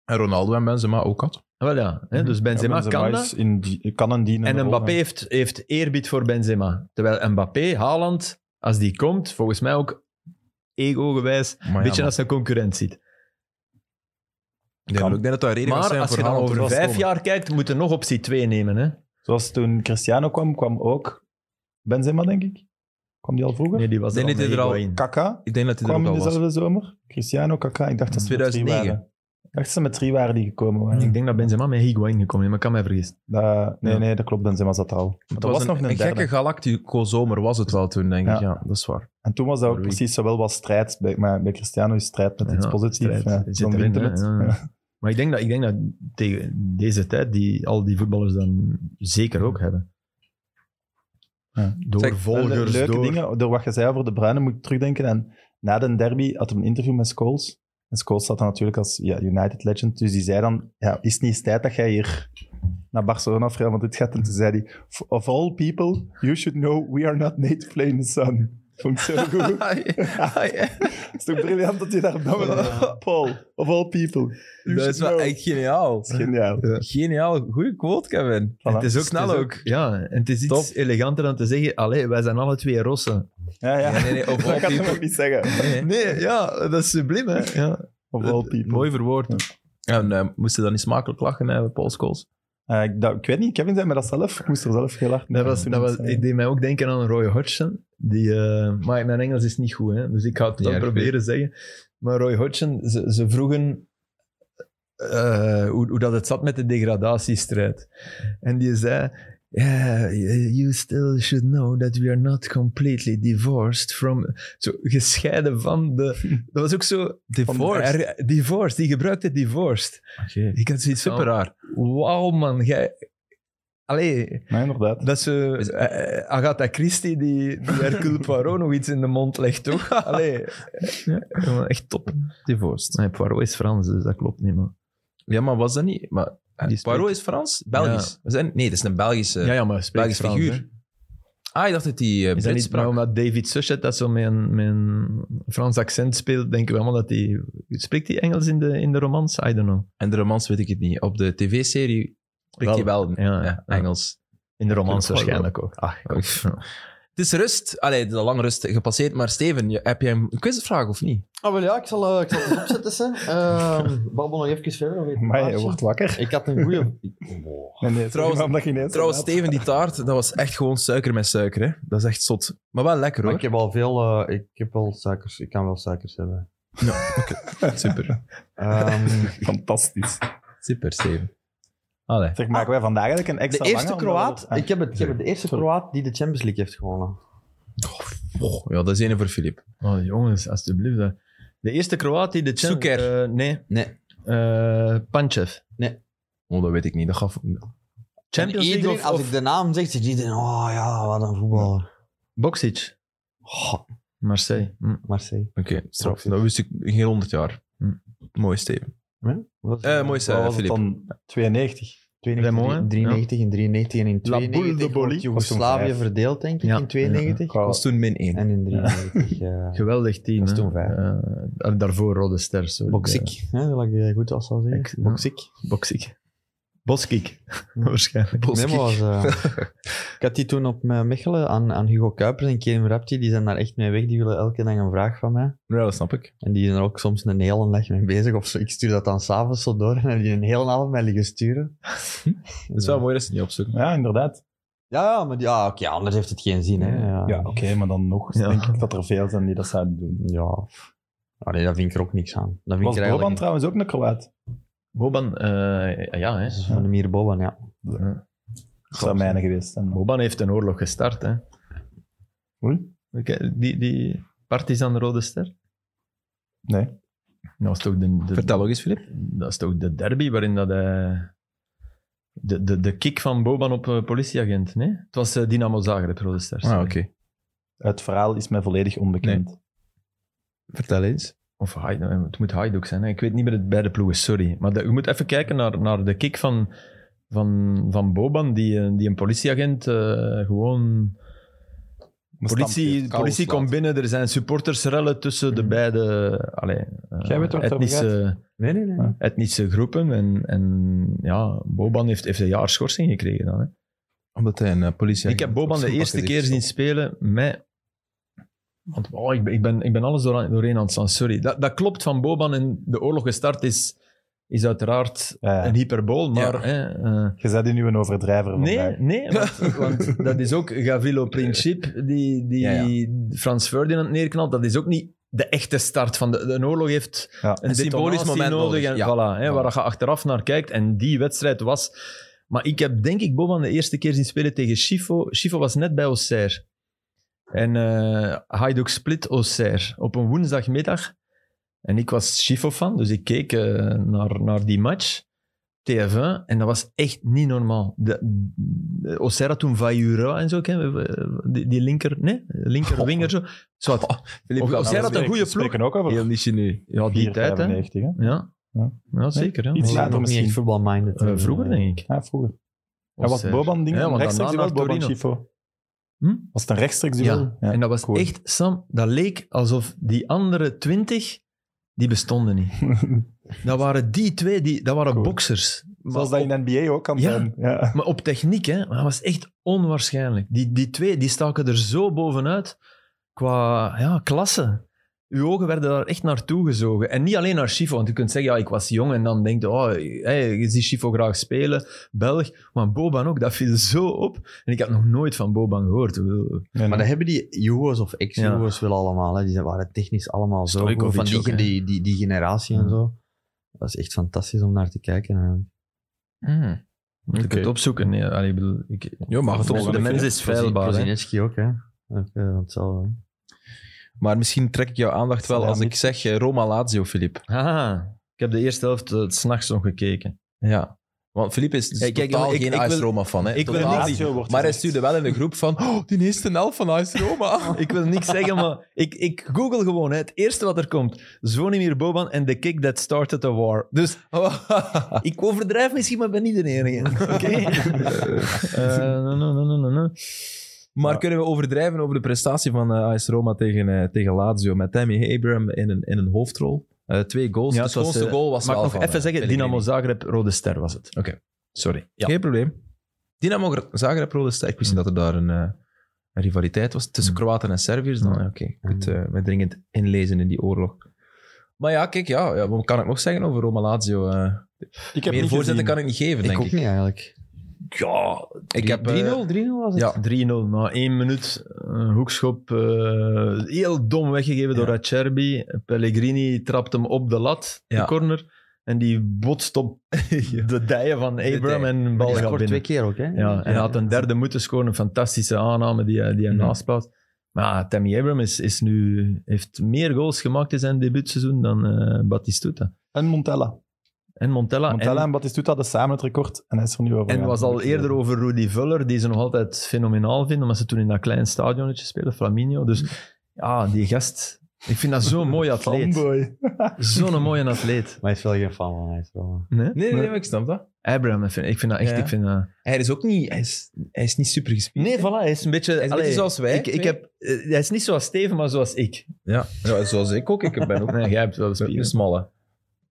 [SPEAKER 1] En Ronaldo en Benzema ook had.
[SPEAKER 3] Wel ja,
[SPEAKER 1] Mhm.
[SPEAKER 3] hè? dus
[SPEAKER 2] Mhm. Ja,
[SPEAKER 3] Benzema, kan dat.
[SPEAKER 2] is in die, kan een dienende
[SPEAKER 3] En
[SPEAKER 2] rol,
[SPEAKER 3] Mbappé
[SPEAKER 2] hè.
[SPEAKER 3] heeft, heeft eerbied voor Benzema. Terwijl Mbappé, Haaland, als die komt, volgens mij ook ego-gewijs, een
[SPEAKER 1] Maar Ah, ja,
[SPEAKER 3] beetje
[SPEAKER 1] man.
[SPEAKER 3] als een concurrent ziet.
[SPEAKER 1] Ik denk
[SPEAKER 2] Kan.
[SPEAKER 1] ook- ik denk dat dat reden gaat
[SPEAKER 3] Maar
[SPEAKER 1] zijn
[SPEAKER 3] als
[SPEAKER 1] voor
[SPEAKER 3] je dan
[SPEAKER 1] Haaland om
[SPEAKER 3] over
[SPEAKER 1] te
[SPEAKER 3] vijf
[SPEAKER 1] komen.
[SPEAKER 3] jaar kijkt, moet je nog optie 2 nemen. Hè?
[SPEAKER 2] Zoals toen Cristiano kwam, kwam ook Benzema, denk ik. Kwam die al vroeger?
[SPEAKER 3] Nee, die was
[SPEAKER 1] Nee,
[SPEAKER 3] er, al
[SPEAKER 1] nee, die
[SPEAKER 3] met
[SPEAKER 1] er al-
[SPEAKER 3] Higuaín.
[SPEAKER 2] Kaka
[SPEAKER 1] Ik denk dat hij er
[SPEAKER 2] kwam
[SPEAKER 1] ook
[SPEAKER 2] in
[SPEAKER 1] al was.
[SPEAKER 2] dezelfde zomer. Cristiano, Kaka. Ik dacht dat ze met drie
[SPEAKER 1] 2009.
[SPEAKER 2] waren. Ik dacht dat ze met drie waren die gekomen waren.
[SPEAKER 3] Ik denk dat Benzema met Higuain gekomen is, maar ik kan mij vergissen.
[SPEAKER 2] Dat- nee,
[SPEAKER 3] Mhm. Ja.
[SPEAKER 2] nee, dat klopt. Benzema zat er al. Maar
[SPEAKER 1] Het
[SPEAKER 2] dat was,
[SPEAKER 1] was,
[SPEAKER 2] nog een,
[SPEAKER 1] een, een
[SPEAKER 2] derde.
[SPEAKER 1] gekke Galactico-zomer was het wel toen, denk ik.
[SPEAKER 2] Ja.
[SPEAKER 1] Ja, dat is waar.
[SPEAKER 2] En toen was dat ook
[SPEAKER 1] Voor wie?
[SPEAKER 2] precies zowel wat strijd. Bij, maar bij Cristiano is strijd met
[SPEAKER 3] Ja,
[SPEAKER 2] iets positiefs.
[SPEAKER 3] strijd.
[SPEAKER 2] Ja,
[SPEAKER 3] Het zit
[SPEAKER 2] dan
[SPEAKER 3] erin,
[SPEAKER 2] wint
[SPEAKER 3] hè.
[SPEAKER 2] het.
[SPEAKER 3] Ja.
[SPEAKER 2] Ja.
[SPEAKER 3] Maar ik denk dat, ik denk dat tegen deze tijd die, al die voetballers dan zeker ook hebben.
[SPEAKER 2] Ja.
[SPEAKER 3] Door
[SPEAKER 1] Zeg,
[SPEAKER 3] volgers,
[SPEAKER 2] leuke
[SPEAKER 3] door...
[SPEAKER 2] dingen. Door wat je zei over de Bruinen moet ik terugdenken. En na de derby had hij een interview met Scholes. En Scholes zat dan natuurlijk als ja, United legend. Dus die zei dan, ja, is het niet eens tijd dat jij hier naar Barcelona of Real Madrid gaat? En toen zei hij, of all people, you should know we are not native play in the sun. Vond ik zo
[SPEAKER 1] *laughs*
[SPEAKER 2] goed. Oh, Het is toch briljant dat je daar dan met- Paul, of all people, you
[SPEAKER 1] Dat
[SPEAKER 2] should
[SPEAKER 1] is wel
[SPEAKER 2] know.
[SPEAKER 1] echt geniaal.
[SPEAKER 2] Dat is geniaal.
[SPEAKER 1] Geniaal. Goeie quote, Kevin.
[SPEAKER 2] Voilà.
[SPEAKER 3] Het is ook
[SPEAKER 1] Snel
[SPEAKER 3] het is
[SPEAKER 1] ook.
[SPEAKER 3] Ja, en het is iets
[SPEAKER 1] Top.
[SPEAKER 3] eleganter dan te zeggen, allee, wij zijn alle twee rossen.
[SPEAKER 2] Ja, ja.
[SPEAKER 1] Nee, nee, nee, of all
[SPEAKER 2] *laughs* dat kan ik
[SPEAKER 1] people.
[SPEAKER 2] ook niet zeggen.
[SPEAKER 1] Nee,
[SPEAKER 3] Nee, ja, dat is subliem, hè. Ja.
[SPEAKER 2] Of all people.
[SPEAKER 1] Mooi verwoord. En eh, moest je dan niet smakelijk lachen, hè, Paul Scholes?
[SPEAKER 2] Eh, ik, dat, ik weet niet, Kevin zei me dat zelf. Ik moest er zelf heel hard dus,
[SPEAKER 3] Dat was,
[SPEAKER 2] toen
[SPEAKER 3] dat was,
[SPEAKER 2] ik zei.
[SPEAKER 3] ik deed mij ook denken aan Roy Hodgson. Die, eh, maar mijn Engels is niet goed, hè, dus ik ga het
[SPEAKER 1] Niet
[SPEAKER 3] dan
[SPEAKER 1] erg,
[SPEAKER 3] proberen zeggen. Maar Roy Hodgson, ze, ze vroegen eh, hoe, hoe dat het zat met de degradatiestrijd. En die zei... Yeah, you still should know that we are not completely divorced from... Zo, gescheiden van de... Dat was ook zo...
[SPEAKER 1] Divorced.
[SPEAKER 3] Er- divorced, die gebruikte divorced. Ik had zoiets
[SPEAKER 1] Super
[SPEAKER 3] van...
[SPEAKER 1] raar.
[SPEAKER 3] Wauw, man, jij... Allee,
[SPEAKER 2] Nee, inderdaad.
[SPEAKER 3] dat ze eh, eh, Agatha Christie, die, die *laughs* Hercule Poirot nog iets in de mond legt, *laughs* toch? Allee, eh, echt top.
[SPEAKER 1] Divorced.
[SPEAKER 3] Nee, Poirot is Frans, dus dat klopt niet, man.
[SPEAKER 1] Ja, maar was dat niet? Maar, eh,
[SPEAKER 3] Ah, Die spreekt-
[SPEAKER 1] Poirot is Frans? Belgisch? We zijn, nee, dat is een Belgische,
[SPEAKER 3] Ja, ja, maar spreekt
[SPEAKER 1] Belgische
[SPEAKER 3] Frans,
[SPEAKER 1] figuur.
[SPEAKER 3] hè.
[SPEAKER 1] Ah, ik dacht dat die eh
[SPEAKER 3] Is dat
[SPEAKER 1] Brits
[SPEAKER 3] niet maar
[SPEAKER 1] sprak.
[SPEAKER 3] omdat David Suchet dat zo met een, met een Frans accent speelt, denken we allemaal dat hij... Spreekt hij Engels in de, in de romans? I don't know.
[SPEAKER 1] En de romans weet ik het niet. Op de tv-serie spreekt hij wel
[SPEAKER 3] Ja, Ah,
[SPEAKER 1] eh,
[SPEAKER 3] ja.
[SPEAKER 1] Engels.
[SPEAKER 3] In de romans
[SPEAKER 1] Poirot.
[SPEAKER 3] waarschijnlijk ook. Ach,
[SPEAKER 1] kom. Het is rust. Allee, het is al lang rust gepasseerd. Maar Steven, je- heb jij een quizvraag of niet?
[SPEAKER 6] Oh, wel ja, ik zal, eh, ik zal het opzetten. Sam. Ehm, babbel nog even verder. dan weet ik het
[SPEAKER 2] Maar je
[SPEAKER 6] plaatje.
[SPEAKER 2] wordt wakker.
[SPEAKER 6] Ik had een goede. Wow.
[SPEAKER 2] Nee, nee,
[SPEAKER 1] Trouwens-
[SPEAKER 2] trouwens, omdat je ineens
[SPEAKER 1] Trouwens,
[SPEAKER 2] laat.
[SPEAKER 1] Steven, die taart, dat was echt gewoon suiker met suiker. Hè? Dat is echt zot. Maar wel lekker
[SPEAKER 6] Maar
[SPEAKER 1] hoor.
[SPEAKER 6] ik heb al veel. eh, ik heb wel suikers. Ik kan wel suikers hebben.
[SPEAKER 1] Super.
[SPEAKER 6] Ehm,
[SPEAKER 2] Fantastisch.
[SPEAKER 1] Super, Steven. Allee.
[SPEAKER 2] Zeg,
[SPEAKER 3] Ah,
[SPEAKER 2] maken wij vandaag eigenlijk een
[SPEAKER 6] de
[SPEAKER 2] extra
[SPEAKER 6] eerste
[SPEAKER 2] lange, omdat
[SPEAKER 6] Kroaat.
[SPEAKER 2] we- Ah,
[SPEAKER 6] Ik heb, het, ik heb het, de eerste
[SPEAKER 2] Sorry.
[SPEAKER 6] Kroaat die de Champions League heeft gewonnen.
[SPEAKER 1] Oh, ja, dat is ene voor Filip.
[SPEAKER 3] Oh, jongens, alsjeblieft. hè. De eerste Kroaat die de Champions...
[SPEAKER 1] Suker.
[SPEAKER 3] Eh, nee.
[SPEAKER 6] Nee.
[SPEAKER 3] Eh, Panchev.
[SPEAKER 1] Oh, dat weet ik niet. Dat gaf...
[SPEAKER 3] Champions
[SPEAKER 6] En
[SPEAKER 3] League
[SPEAKER 6] iedereen,
[SPEAKER 3] of,
[SPEAKER 6] als
[SPEAKER 3] of
[SPEAKER 6] ik de naam zeg, zegt iedereen: oh ja, wat een voetballer.
[SPEAKER 3] Boxic?
[SPEAKER 6] Goh,
[SPEAKER 3] Marseille. Hm.
[SPEAKER 6] Marseille.
[SPEAKER 1] Oké, straf. Dat wist ik geen honderd jaar.
[SPEAKER 3] Hm.
[SPEAKER 1] Mooi, Steven.
[SPEAKER 6] Wat was
[SPEAKER 1] Eh,
[SPEAKER 6] het?
[SPEAKER 1] mooi,
[SPEAKER 2] Ah. wat
[SPEAKER 1] eh,
[SPEAKER 2] was het
[SPEAKER 1] Filip.
[SPEAKER 2] dan? 92.
[SPEAKER 6] 92,
[SPEAKER 3] Ehm, Raymond, hè?
[SPEAKER 6] 93 in 93 en in
[SPEAKER 2] La Boule de
[SPEAKER 6] 92
[SPEAKER 2] Bolly.
[SPEAKER 6] wordt Joegoslavië
[SPEAKER 2] Vijf.
[SPEAKER 6] verdeeld, denk ik,
[SPEAKER 3] Ja.
[SPEAKER 6] in 92.
[SPEAKER 1] Dat was toen min één.
[SPEAKER 6] En in
[SPEAKER 3] *laughs*
[SPEAKER 6] 93 eh
[SPEAKER 3] Geweldig team.
[SPEAKER 6] Dat is
[SPEAKER 3] hè.
[SPEAKER 6] toen vijf.
[SPEAKER 3] Eh, da- daarvoor Rode Ster. Sorry.
[SPEAKER 6] Boksik.
[SPEAKER 3] Eh,
[SPEAKER 6] hè, dat ik eh, goed als zou
[SPEAKER 3] Ik-
[SPEAKER 6] zeggen.
[SPEAKER 3] ja.
[SPEAKER 6] Boksik.
[SPEAKER 3] Boksik. Boskik. *laughs* Waarschijnlijk.
[SPEAKER 6] Nee, maar was,
[SPEAKER 3] *laughs*
[SPEAKER 6] eh, ik had die toen op eh, Mechelen aan, aan Hugo Kuipers en Kerem Rapti. Die zijn daar echt mee weg. Die willen elke dag een vraag van mij.
[SPEAKER 1] Ja, dat snap ik.
[SPEAKER 6] En die zijn er ook soms een hele dag mee bezig. Of zo. ik stuur dat dan s'avonds zo door en dan hebben die een hele avond mij liggen sturen.
[SPEAKER 1] Het is wel mooi dat ze het niet opzoeken.
[SPEAKER 2] Ja, inderdaad.
[SPEAKER 6] Ja, ja, maar die- ja, oké, anders heeft het geen zin. Hè. Ja.
[SPEAKER 2] Ja, oké, maar dan nog
[SPEAKER 3] Ja.
[SPEAKER 2] denk ik dat er veel zijn die dat zouden doen.
[SPEAKER 6] Ja. Ah, nee, daar vind ik er ook niks aan. Dat vind
[SPEAKER 2] Was
[SPEAKER 6] ik
[SPEAKER 2] Boban
[SPEAKER 6] er eigenlijk...
[SPEAKER 2] trouwens ook een Kroaat?
[SPEAKER 3] Boban, eh, ja, hè.
[SPEAKER 6] Dat is van de Mier Boban, ja.
[SPEAKER 2] Dat zou mijne geweest zijn.
[SPEAKER 3] Boban heeft een oorlog gestart. Hè.
[SPEAKER 2] Oei.
[SPEAKER 3] Oké, Die, die Partizan Rode Ster.
[SPEAKER 2] Nee.
[SPEAKER 3] Dat is toch de, de-
[SPEAKER 1] Vertel ook eens, Filip.
[SPEAKER 3] dat is toch de derby waarin dat hij... De, de, de kick van Boban op eh, politieagent, nee? Het was eh, Dynamo Zagreb, Rode Ster.
[SPEAKER 1] Ah,
[SPEAKER 3] sorry.
[SPEAKER 1] oké.
[SPEAKER 2] Het verhaal is mij volledig onbekend.
[SPEAKER 1] Vertel eens.
[SPEAKER 3] Of Haid- eh, het moet Hajduk zijn. Hè? Ik weet niet bij de, bij de ploegen, sorry. Maar de- je moet even kijken naar, naar de kick van, van, van Boban, die, eh, die een politieagent eh, gewoon...
[SPEAKER 2] Een
[SPEAKER 3] Politie,
[SPEAKER 2] stampje. Kous
[SPEAKER 3] politie
[SPEAKER 2] laat.
[SPEAKER 3] komt binnen, er zijn supportersrellen tussen de
[SPEAKER 1] Mhm.
[SPEAKER 3] beide allee, eh,
[SPEAKER 2] Jij weet waar het over
[SPEAKER 3] etnische,
[SPEAKER 1] Nee, nee, nee.
[SPEAKER 2] Ah.
[SPEAKER 3] etnische groepen. En, en ja, Boban heeft, heeft een jaar schorsing gekregen dan. Hè.
[SPEAKER 1] Omdat hij een eh, politie...
[SPEAKER 3] ik heb Boban de eerste keer zien spelen met... Want oh, ik, ben- ik, ben, ik ben alles door, doorheen aan het staan, sorry. Dat, dat klopt van Boban en de oorlog gestart is, is uiteraard
[SPEAKER 2] Ja, ja.
[SPEAKER 3] een hyperbool, maar...
[SPEAKER 1] Ja.
[SPEAKER 3] Hè, eh,
[SPEAKER 2] Je bent nu een overdrijver vandaag.
[SPEAKER 3] Nee, Oh, nee want, *laughs* want dat is ook Gavillo Principe, die, die
[SPEAKER 1] Ja,
[SPEAKER 3] Frans Ferdinand neerknalt. Dat is ook niet de echte start van de, de oorlog. heeft
[SPEAKER 2] Ja.
[SPEAKER 3] een,
[SPEAKER 1] Een symbolisch
[SPEAKER 3] symbolisch moment
[SPEAKER 1] moment
[SPEAKER 3] nodig.
[SPEAKER 1] nodig,
[SPEAKER 3] En,
[SPEAKER 1] ja.
[SPEAKER 3] voilà, hè, waar je achteraf naar kijkt. En die wedstrijd was... Maar ik heb denk ik Boban de eerste keer zien spelen tegen Schifo. Schifo was net bij Auxerre. En eh Hajduk split Auxerre op een woensdagmiddag. En ik was Schifo-fan, dus ik keek eh, naar, naar die match. TF1, en dat was echt niet normaal. De, de Auxerre had toen Vajura en zo, ken je, die, die linker, nee, linker winger zo. Zwart. Of-
[SPEAKER 2] Nou,
[SPEAKER 3] of zij dat een goede
[SPEAKER 2] We spreken ook
[SPEAKER 1] Heel
[SPEAKER 2] over
[SPEAKER 1] niche nu.
[SPEAKER 3] ja, die
[SPEAKER 2] 4,
[SPEAKER 3] tijd, hè.
[SPEAKER 2] 95, hè?
[SPEAKER 3] Ja.
[SPEAKER 2] Ja.
[SPEAKER 3] ja. zeker, ja.
[SPEAKER 2] Iets
[SPEAKER 6] Die zijn
[SPEAKER 2] later
[SPEAKER 6] nog niet echt
[SPEAKER 2] misschien.
[SPEAKER 6] voetbalminded.
[SPEAKER 3] Eh, vroeger, denk ik.
[SPEAKER 2] Ja, vroeger. Ja, was
[SPEAKER 3] Auxerre.
[SPEAKER 2] Boban ding?
[SPEAKER 3] eh, Ja, want
[SPEAKER 2] rechtstreeks
[SPEAKER 3] daarna
[SPEAKER 2] duel,
[SPEAKER 3] naar
[SPEAKER 2] Boban
[SPEAKER 3] Torino.
[SPEAKER 2] Schifo.
[SPEAKER 3] Hm?
[SPEAKER 2] Was het een rechtstreeks duel?
[SPEAKER 3] Ja.
[SPEAKER 2] *laughs*
[SPEAKER 3] en dat was
[SPEAKER 2] cool.
[SPEAKER 3] echt, Sam, dat leek alsof die andere twintig, die bestonden niet. dat waren die twee, die, dat waren
[SPEAKER 2] Cool.
[SPEAKER 3] boxers.
[SPEAKER 2] Zoals dat
[SPEAKER 3] op,
[SPEAKER 2] in de NBA ook kan
[SPEAKER 3] Ja.
[SPEAKER 2] zijn. Ja.
[SPEAKER 3] maar op techniek, hè, maar dat was echt onwaarschijnlijk. Die, die twee, die staken er zo bovenuit qua ja, klasse. Uw ogen werden daar echt naartoe gezogen. En niet alleen naar Schifo, want je kunt zeggen, ja, ik was jong en dan denk je, oh, hey, je ziet Schifo graag spelen, Belg. Maar Boban ook, dat viel zo op. En ik had nog nooit van Boban gehoord. Ik bedoel,
[SPEAKER 6] Maar dat hebben die Juwo's of ex-Juwo's wel allemaal. Hè. Die zijn- waren technisch allemaal zo goed.
[SPEAKER 3] Stojkovic
[SPEAKER 6] Van die,
[SPEAKER 3] ook, hè.
[SPEAKER 6] die, die, die generatie en
[SPEAKER 3] Ja.
[SPEAKER 6] zo. Dat is echt fantastisch om naar te kijken. eigenlijk.
[SPEAKER 1] Ah. Hmm.
[SPEAKER 3] Je kunt het opzoeken. Nee, allee, ik bedoel, ik,
[SPEAKER 1] Ja, mag het
[SPEAKER 3] de
[SPEAKER 1] opzoeken,
[SPEAKER 3] mens
[SPEAKER 1] hè.
[SPEAKER 3] is feilbaar. hè.
[SPEAKER 6] Prozinecki ook, hè. Ook, eh, want zo, hè.
[SPEAKER 1] Maar misschien trek ik jouw aandacht wel
[SPEAKER 2] Ja,
[SPEAKER 1] als ik
[SPEAKER 2] niet.
[SPEAKER 1] zeg eh, Roma-Lazio, Filip.
[SPEAKER 3] Ah, ik heb de eerste helft eh, 's s'nachts nog gekeken.
[SPEAKER 1] Ja. Want Filip is dus
[SPEAKER 3] Hey, kijk,
[SPEAKER 1] totaal
[SPEAKER 3] jongen, ik-
[SPEAKER 1] geen
[SPEAKER 3] ik wil-
[SPEAKER 1] AS Roma fan. Hè?
[SPEAKER 3] ik wil
[SPEAKER 1] Totaal niet.
[SPEAKER 3] niet-
[SPEAKER 2] Lazio wordt
[SPEAKER 1] Maar hij
[SPEAKER 2] gezegd.
[SPEAKER 1] stuurde wel in de groep van... Oh, die eerste helft van AS Roma. *laughs*
[SPEAKER 3] Ik wil niks zeggen, maar ik, ik google gewoon. Hè. Het eerste wat er komt. Zvonimir Boban en the kick that started the war. Dus ik overdrijf misschien, maar ben niet de enige. *laughs* Oké? Eh, no, no, no, no, no, no.
[SPEAKER 1] maar kunnen we overdrijven over de prestatie van eh, AS Roma tegen, eh, tegen Lazio met Tammy Abraham in een, in een hoofdrol? Eh, twee goals.
[SPEAKER 3] Ja,
[SPEAKER 1] de
[SPEAKER 3] het was,
[SPEAKER 1] schoonste
[SPEAKER 3] eh,
[SPEAKER 1] goal was
[SPEAKER 3] Mag ik
[SPEAKER 1] wel
[SPEAKER 3] nog
[SPEAKER 1] van,
[SPEAKER 3] even
[SPEAKER 1] eh,
[SPEAKER 3] zeggen?
[SPEAKER 1] Pellegrini.
[SPEAKER 3] Dynamo Zagreb, Rode Ster was het.
[SPEAKER 1] Oké.
[SPEAKER 3] Sorry. Ja.
[SPEAKER 1] Geen probleem. Dynamo Gr- Zagreb rolde sterk. Ik wist niet dat er daar een, eh, een rivaliteit was tussen
[SPEAKER 3] Mm.
[SPEAKER 1] Kroaten en Serviërs. Dan,
[SPEAKER 3] Mm.
[SPEAKER 1] ja, oké, goed. eh we dringend inlezen in die oorlog. Maar ja, kijk, ja, ja, wat kan ik nog zeggen over Roma Lazio? Eh,
[SPEAKER 2] Ik heb
[SPEAKER 1] meer
[SPEAKER 2] niet
[SPEAKER 1] voorzetten
[SPEAKER 2] gezien.
[SPEAKER 1] kan ik niet geven,
[SPEAKER 6] Ik
[SPEAKER 1] denk
[SPEAKER 6] ook
[SPEAKER 1] ik.
[SPEAKER 6] niet, eigenlijk.
[SPEAKER 1] Ja, ik heb... eh,
[SPEAKER 6] 3-0, 3-0 was het?
[SPEAKER 1] ja,
[SPEAKER 3] 3-0 na één minuut. Een hoekschop. eh, heel dom weggegeven door Acerbi. Pellegrini trapt hem op de lat,
[SPEAKER 1] Ja.
[SPEAKER 3] de corner. En die botst
[SPEAKER 1] *laughs*
[SPEAKER 3] op de dijen van
[SPEAKER 1] De
[SPEAKER 3] Abram
[SPEAKER 1] dij.
[SPEAKER 3] en een
[SPEAKER 6] Maar
[SPEAKER 3] bal
[SPEAKER 6] die
[SPEAKER 3] gaat
[SPEAKER 6] scoort
[SPEAKER 3] binnen.
[SPEAKER 6] twee keer ook, hè.
[SPEAKER 3] Ja, en hij had een derde moeten scoren. Een fantastische aanname die hij, die hij
[SPEAKER 1] Mhm.
[SPEAKER 3] naasplaat. Maar ja, Tammy Abram is, is nu, heeft meer goals gemaakt in zijn debuutseizoen dan eh Batistuta.
[SPEAKER 2] En Montella.
[SPEAKER 3] Ah, En Montella.
[SPEAKER 2] Montella en,
[SPEAKER 3] en,
[SPEAKER 2] Batistuta hadden samen het record en hij is er nu over. eh,
[SPEAKER 3] en
[SPEAKER 2] gegaan.
[SPEAKER 3] was al eerder over Rudy Vuller, die ze nog altijd fenomenaal vinden, omdat ze toen in dat klein stadionnetje spelen, Flaminio.
[SPEAKER 1] Mhm.
[SPEAKER 3] Dus ja, die gast. Ik vind dat
[SPEAKER 1] *laughs*
[SPEAKER 3] zo'n mooi atleet.
[SPEAKER 2] Fanboy.
[SPEAKER 3] Zo'n mooie atleet.
[SPEAKER 6] Maar hij is wel geen fan van hij is wel... eh,
[SPEAKER 3] Nee?
[SPEAKER 1] nee, nee, maar ik snap dat.
[SPEAKER 3] Abraham, ik vind, ik vind dat echt...
[SPEAKER 1] Ja.
[SPEAKER 3] Ik vind dat...
[SPEAKER 1] Hij is ook niet... Hij is, hij is niet super gespeeld.
[SPEAKER 3] Nee, voilà, hij is een beetje...
[SPEAKER 1] Hij is een
[SPEAKER 3] allee,
[SPEAKER 1] beetje zoals wij.
[SPEAKER 3] ik, ik
[SPEAKER 1] twee.
[SPEAKER 3] heb, eh, hij is niet zoals Steven, maar zoals ik.
[SPEAKER 1] Ja. ja, zoals ik ook. Ik ben ook *laughs*
[SPEAKER 3] Nee, jij hebt wel
[SPEAKER 1] een
[SPEAKER 3] spieren.
[SPEAKER 1] smalle.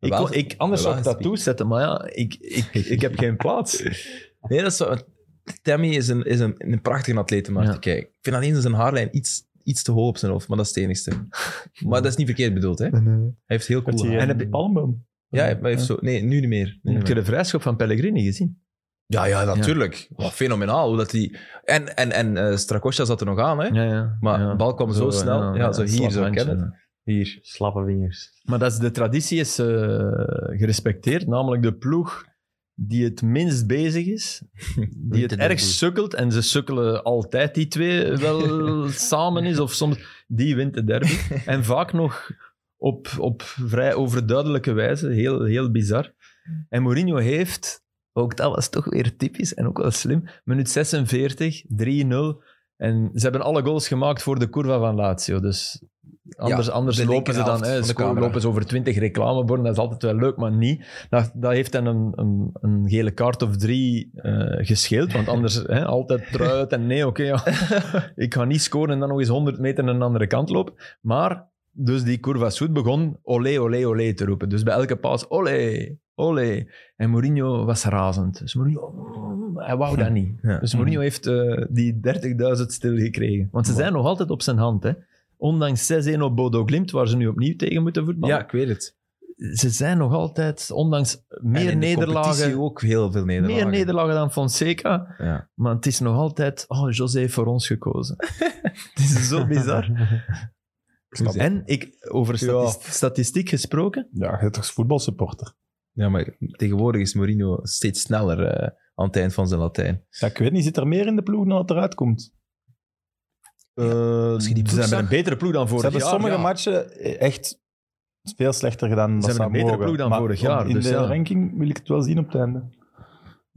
[SPEAKER 3] Ik,
[SPEAKER 1] Wel-
[SPEAKER 3] kon- ik, anders
[SPEAKER 1] wel
[SPEAKER 3] zou ik dat
[SPEAKER 1] gespierd.
[SPEAKER 3] toezetten, maar ja, ik, ik, ik heb geen plaats.
[SPEAKER 1] Nee, dat is zo. Tammy is een, is een, een prachtige atleet om naar
[SPEAKER 3] Ja.
[SPEAKER 1] te kijken. Ik vind alleen zijn haarlijn iets, iets te hoog op zijn hoofd, maar dat is het enigste. *laughs* Maar dat is niet verkeerd bedoeld, hè? Hij heeft heel
[SPEAKER 2] Met
[SPEAKER 1] cool
[SPEAKER 2] die,
[SPEAKER 1] haar.
[SPEAKER 2] eh,
[SPEAKER 3] En heb je-
[SPEAKER 2] palmboom.
[SPEAKER 1] Ja, hij heeft- hij heeft zo... Nee, nu niet meer. Nu niet
[SPEAKER 3] Heb je
[SPEAKER 1] meer.
[SPEAKER 3] de vrijschop van Pellegrini gezien?
[SPEAKER 1] Ja, ja, natuurlijk. Wat fenomenaal hoe dat die... En, en, en eh, Strakosja zat er nog aan, hè?
[SPEAKER 3] Ja, ja.
[SPEAKER 1] Maar
[SPEAKER 3] ja.
[SPEAKER 1] de bal kwam zo snel. Ja, zo
[SPEAKER 3] een
[SPEAKER 1] hier,
[SPEAKER 3] slap
[SPEAKER 1] zo
[SPEAKER 3] handje.
[SPEAKER 1] kennen. Hier.
[SPEAKER 6] Slappe vingers.
[SPEAKER 3] Maar dat is, de traditie is eh, gerespecteerd, namelijk de ploeg die het minst bezig is, die het
[SPEAKER 6] de
[SPEAKER 3] ergst
[SPEAKER 6] derby.
[SPEAKER 3] sukkelt, en ze sukkelen altijd, die twee, wel samen is of soms, die wint de derby. En vaak nog op, op vrij overduidelijke wijze. Heel, heel bizar. En Mourinho heeft, ook dat was toch weer typisch en ook wel slim, minuut 46, 3-0. En ze hebben alle goals gemaakt voor de curva van Lazio. Dus anders,
[SPEAKER 1] Ja,
[SPEAKER 3] anders
[SPEAKER 1] de
[SPEAKER 3] lopen ze dan
[SPEAKER 1] linkerhelft
[SPEAKER 3] hè,
[SPEAKER 1] van de
[SPEAKER 3] scoren,
[SPEAKER 1] camera.
[SPEAKER 3] lopen ze over 20 reclameborden. Dat is altijd wel leuk, maar niet. Dat, dat heeft dan een, een, een gele kaart of drie eh gescheeld. Want anders hè, altijd truit en nee, oké.
[SPEAKER 1] *laughs*
[SPEAKER 3] ja. Ik ga niet scoren en dan nog eens 100 meter naar de andere kant lopen. Maar dus die Curva Soet begon olé, olé, olé te roepen. Dus bij elke paas olé, olé. En Mourinho was razend. Dus Mourinho, mm, hij wou
[SPEAKER 1] *laughs*
[SPEAKER 3] dat niet.
[SPEAKER 1] Ja. Mm-hmm.
[SPEAKER 3] Dus Mourinho heeft eh, die 30.000 stilgekregen. Want ze zijn nog altijd op zijn hand. Hè. Ondanks 6-1 op Bodo Glimt, waar ze nu opnieuw tegen moeten voetballen.
[SPEAKER 1] Ja, ik weet het.
[SPEAKER 3] Ze zijn nog altijd, ondanks
[SPEAKER 1] En
[SPEAKER 3] meer
[SPEAKER 1] in de competitie
[SPEAKER 3] nederlagen,
[SPEAKER 1] ook heel veel nederlagen.
[SPEAKER 3] meer nederlagen dan Fonseca.
[SPEAKER 1] Ja.
[SPEAKER 3] Maar het is nog altijd, oh, José heeft voor ons gekozen. *laughs* het is zo
[SPEAKER 1] *laughs*
[SPEAKER 3] bizar.
[SPEAKER 2] snap het.
[SPEAKER 3] En ik, over statist- statistiek gesproken,
[SPEAKER 2] Ja, je bent toch voetbalsupporter?
[SPEAKER 1] Ja, maar tegenwoordig is Mourinho steeds sneller eh, aan het eind van zijn Latijn.
[SPEAKER 2] Ja, ik weet niet, zit er meer in de ploeg dan dat eruit komt?
[SPEAKER 1] Als je die
[SPEAKER 3] Ehm, ze
[SPEAKER 1] ploeg
[SPEAKER 3] zijn met
[SPEAKER 1] zag-
[SPEAKER 3] een betere ploeg dan
[SPEAKER 2] Ze
[SPEAKER 3] vorig
[SPEAKER 2] hebben
[SPEAKER 3] jaar.
[SPEAKER 2] sommige
[SPEAKER 3] ja.
[SPEAKER 2] matchen eh, echt veel slechter gedaan dan
[SPEAKER 3] Ze
[SPEAKER 2] dat
[SPEAKER 3] hebben
[SPEAKER 2] zouden
[SPEAKER 3] een betere
[SPEAKER 2] mogen.
[SPEAKER 3] ploeg dan
[SPEAKER 2] Maar
[SPEAKER 3] vorig jaar,
[SPEAKER 2] In
[SPEAKER 3] dus
[SPEAKER 2] de
[SPEAKER 3] ja.
[SPEAKER 2] ranking wil ik het wel zien op het einde.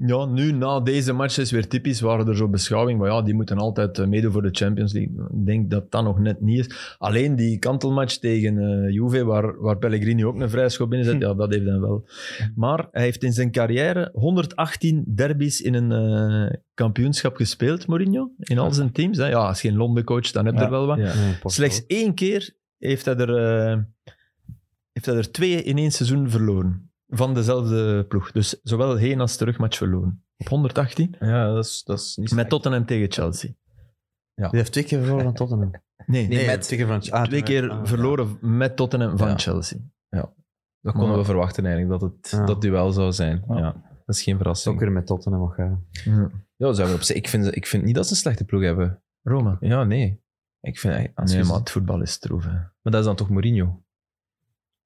[SPEAKER 3] Ja, nu na deze match is weer typisch, waren er zo beschouwing, maar ja, die moeten altijd eh, meedoen voor de Champions League. Ik denk dat dat nog net niet is. Alleen die kantelmatch tegen eh, Juve, waar, waar Pellegrini ook een vrijschop binnenzet,
[SPEAKER 2] Hm.
[SPEAKER 3] ja, dat heeft hij wel. Maar hij heeft in zijn carrière 118 derbies in een eh, kampioenschap gespeeld, Mourinho, in al zijn teams. Hè. Ja, als je in Londen coach, dan heb je
[SPEAKER 2] Ja,
[SPEAKER 3] er wel wat.
[SPEAKER 1] Ja.
[SPEAKER 3] Slechts één keer heeft hij er, eh, heeft hij er twee in één seizoen verloren. Van dezelfde ploeg. Dus zowel heen als terugmatch verloren. Op 118.
[SPEAKER 1] Ja, dat is, dat is niet
[SPEAKER 3] Met Tottenham tegen Chelsea.
[SPEAKER 6] Die heeft twee keer verloren van Tottenham.
[SPEAKER 3] Nee,
[SPEAKER 1] Nee, met-
[SPEAKER 6] twee keer van ah,
[SPEAKER 3] twee keer
[SPEAKER 6] ah,
[SPEAKER 3] verloren met Tottenham van
[SPEAKER 1] Ja. Ah,
[SPEAKER 3] Chelsea.
[SPEAKER 1] Dat konden
[SPEAKER 3] Maar-
[SPEAKER 1] we verwachten eigenlijk, dat het
[SPEAKER 6] Ja.
[SPEAKER 1] dat duel zou zijn. Ja.
[SPEAKER 2] Ja.
[SPEAKER 1] Dat is geen
[SPEAKER 6] Ook
[SPEAKER 1] verrassing.
[SPEAKER 6] weer met Tottenham mag gaan.
[SPEAKER 1] Ja, zou ik op zich- ik, vind, ik vind niet dat ze een slechte ploeg hebben.
[SPEAKER 3] Roma.
[SPEAKER 1] Ja, nee. Ik vind, eigenlijk- als
[SPEAKER 3] Nee,
[SPEAKER 1] je-
[SPEAKER 3] maar het voetbal is troef. Hè.
[SPEAKER 1] maar dat is dan toch Mourinho?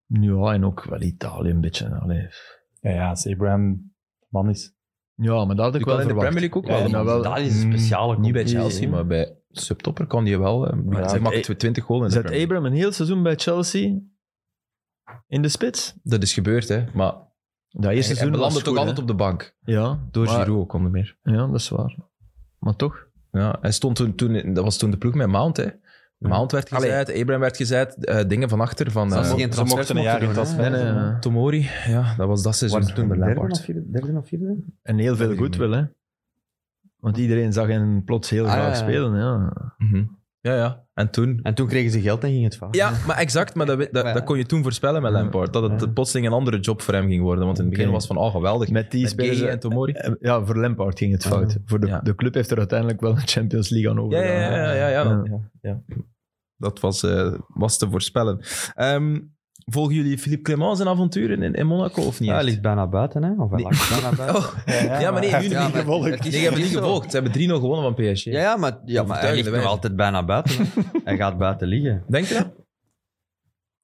[SPEAKER 3] Ja, en ook wel Italië een beetje. Allee.
[SPEAKER 2] Ja, ja, als Abraham man is.
[SPEAKER 3] Ja, maar dat had ik
[SPEAKER 1] Die
[SPEAKER 3] wel
[SPEAKER 1] kan in de
[SPEAKER 3] verwacht.
[SPEAKER 1] Premier League ook
[SPEAKER 3] Ja,
[SPEAKER 1] wel.
[SPEAKER 3] maar wel-
[SPEAKER 6] Dat is een speciale
[SPEAKER 1] Niet bij
[SPEAKER 6] competitie,
[SPEAKER 1] Chelsea,
[SPEAKER 6] hè.
[SPEAKER 1] maar bij subtopper kan die wel. eh,
[SPEAKER 2] Ja,
[SPEAKER 1] Hij
[SPEAKER 2] zet-
[SPEAKER 3] e-
[SPEAKER 1] maakt 20 goals in de
[SPEAKER 3] Zet
[SPEAKER 1] Premier League.
[SPEAKER 3] Abraham een heel seizoen bij Chelsea in de spits?
[SPEAKER 1] Dat is gebeurd, hè. Maar
[SPEAKER 3] Dat
[SPEAKER 1] hij,
[SPEAKER 3] eerste
[SPEAKER 1] hij
[SPEAKER 3] seizoen
[SPEAKER 1] belandde
[SPEAKER 3] was
[SPEAKER 1] toch
[SPEAKER 3] goed,
[SPEAKER 1] altijd
[SPEAKER 3] hè.
[SPEAKER 1] op de bank.
[SPEAKER 3] Ja,
[SPEAKER 1] Door
[SPEAKER 3] maar-
[SPEAKER 1] Giroud kwam er meer.
[SPEAKER 3] Ja, dat is waar. Maar toch?
[SPEAKER 1] Ja, hij stond toen, toen, dat was toen de ploeg met Mount, hè. Mount werd gezet, Abraham werd gezet, eh, dingen van achter, van
[SPEAKER 6] Dat
[SPEAKER 1] eh,
[SPEAKER 6] is geen
[SPEAKER 2] Ze
[SPEAKER 6] transfer
[SPEAKER 2] mochten een jaar in
[SPEAKER 6] mochten doen, hè?
[SPEAKER 2] transfer.
[SPEAKER 3] Nee, nee, nee.
[SPEAKER 1] Tomori. Ja, dat was dat
[SPEAKER 6] Waren
[SPEAKER 1] seizoen.
[SPEAKER 6] ze toen
[SPEAKER 1] met
[SPEAKER 6] derde
[SPEAKER 1] Lampard.
[SPEAKER 6] of vierde? Derde of vierde?
[SPEAKER 3] En heel veel
[SPEAKER 1] weet ik
[SPEAKER 3] goed
[SPEAKER 1] niet.
[SPEAKER 3] wel, hè? Want iedereen zag hen plots heel
[SPEAKER 6] Ah,
[SPEAKER 3] graag
[SPEAKER 6] ja, ja.
[SPEAKER 3] spelen. Ja.
[SPEAKER 1] Mhm. Ja, ja. En toen
[SPEAKER 6] En toen kregen ze geld en ging het fout.
[SPEAKER 1] Ja, maar exact. Maar dat, we- dat,
[SPEAKER 6] Maar ja.
[SPEAKER 1] dat kon je toen voorspellen met Lampard. Dat het
[SPEAKER 6] Ja.
[SPEAKER 1] plotseling een andere job voor hem ging worden. Want in het begin
[SPEAKER 3] Oké.
[SPEAKER 1] was van, oh geweldig. Met
[SPEAKER 3] Met die spelen
[SPEAKER 1] Gay
[SPEAKER 3] ze-
[SPEAKER 1] en Tomori.
[SPEAKER 3] Eh, Ja, voor Lampard ging het fout.
[SPEAKER 6] Ah.
[SPEAKER 3] voor de,
[SPEAKER 1] Ja.
[SPEAKER 3] de club heeft er uiteindelijk wel een Champions League aan
[SPEAKER 1] Ja,
[SPEAKER 3] over.
[SPEAKER 1] ja, ja. ja, ja, dat- ja. Dat was, eh, was te voorspellen. Ehm, volgen jullie Philippe Clement zijn avonturen in, in Monaco of niet?
[SPEAKER 6] Ja, hij
[SPEAKER 1] echt?
[SPEAKER 6] ligt bijna buiten, hè? Of hij
[SPEAKER 1] Nee.
[SPEAKER 6] lag bijna buiten.
[SPEAKER 1] Oh, ja, maar nee,
[SPEAKER 2] hij
[SPEAKER 1] nu
[SPEAKER 2] heeft
[SPEAKER 1] niet.
[SPEAKER 2] niet
[SPEAKER 6] Ja, maar-
[SPEAKER 2] gevolgd.
[SPEAKER 1] nee, die hebben niet
[SPEAKER 6] Zo.
[SPEAKER 1] gevolgd. Ze hebben 3-0 gewonnen van PSG.
[SPEAKER 6] *laughs* Ja, ja, maar, ja, maar hij
[SPEAKER 1] Overtuigende
[SPEAKER 6] ligt nog
[SPEAKER 1] wijze.
[SPEAKER 6] altijd bijna buiten. hè. hij gaat buiten liggen.
[SPEAKER 1] Denk je dat?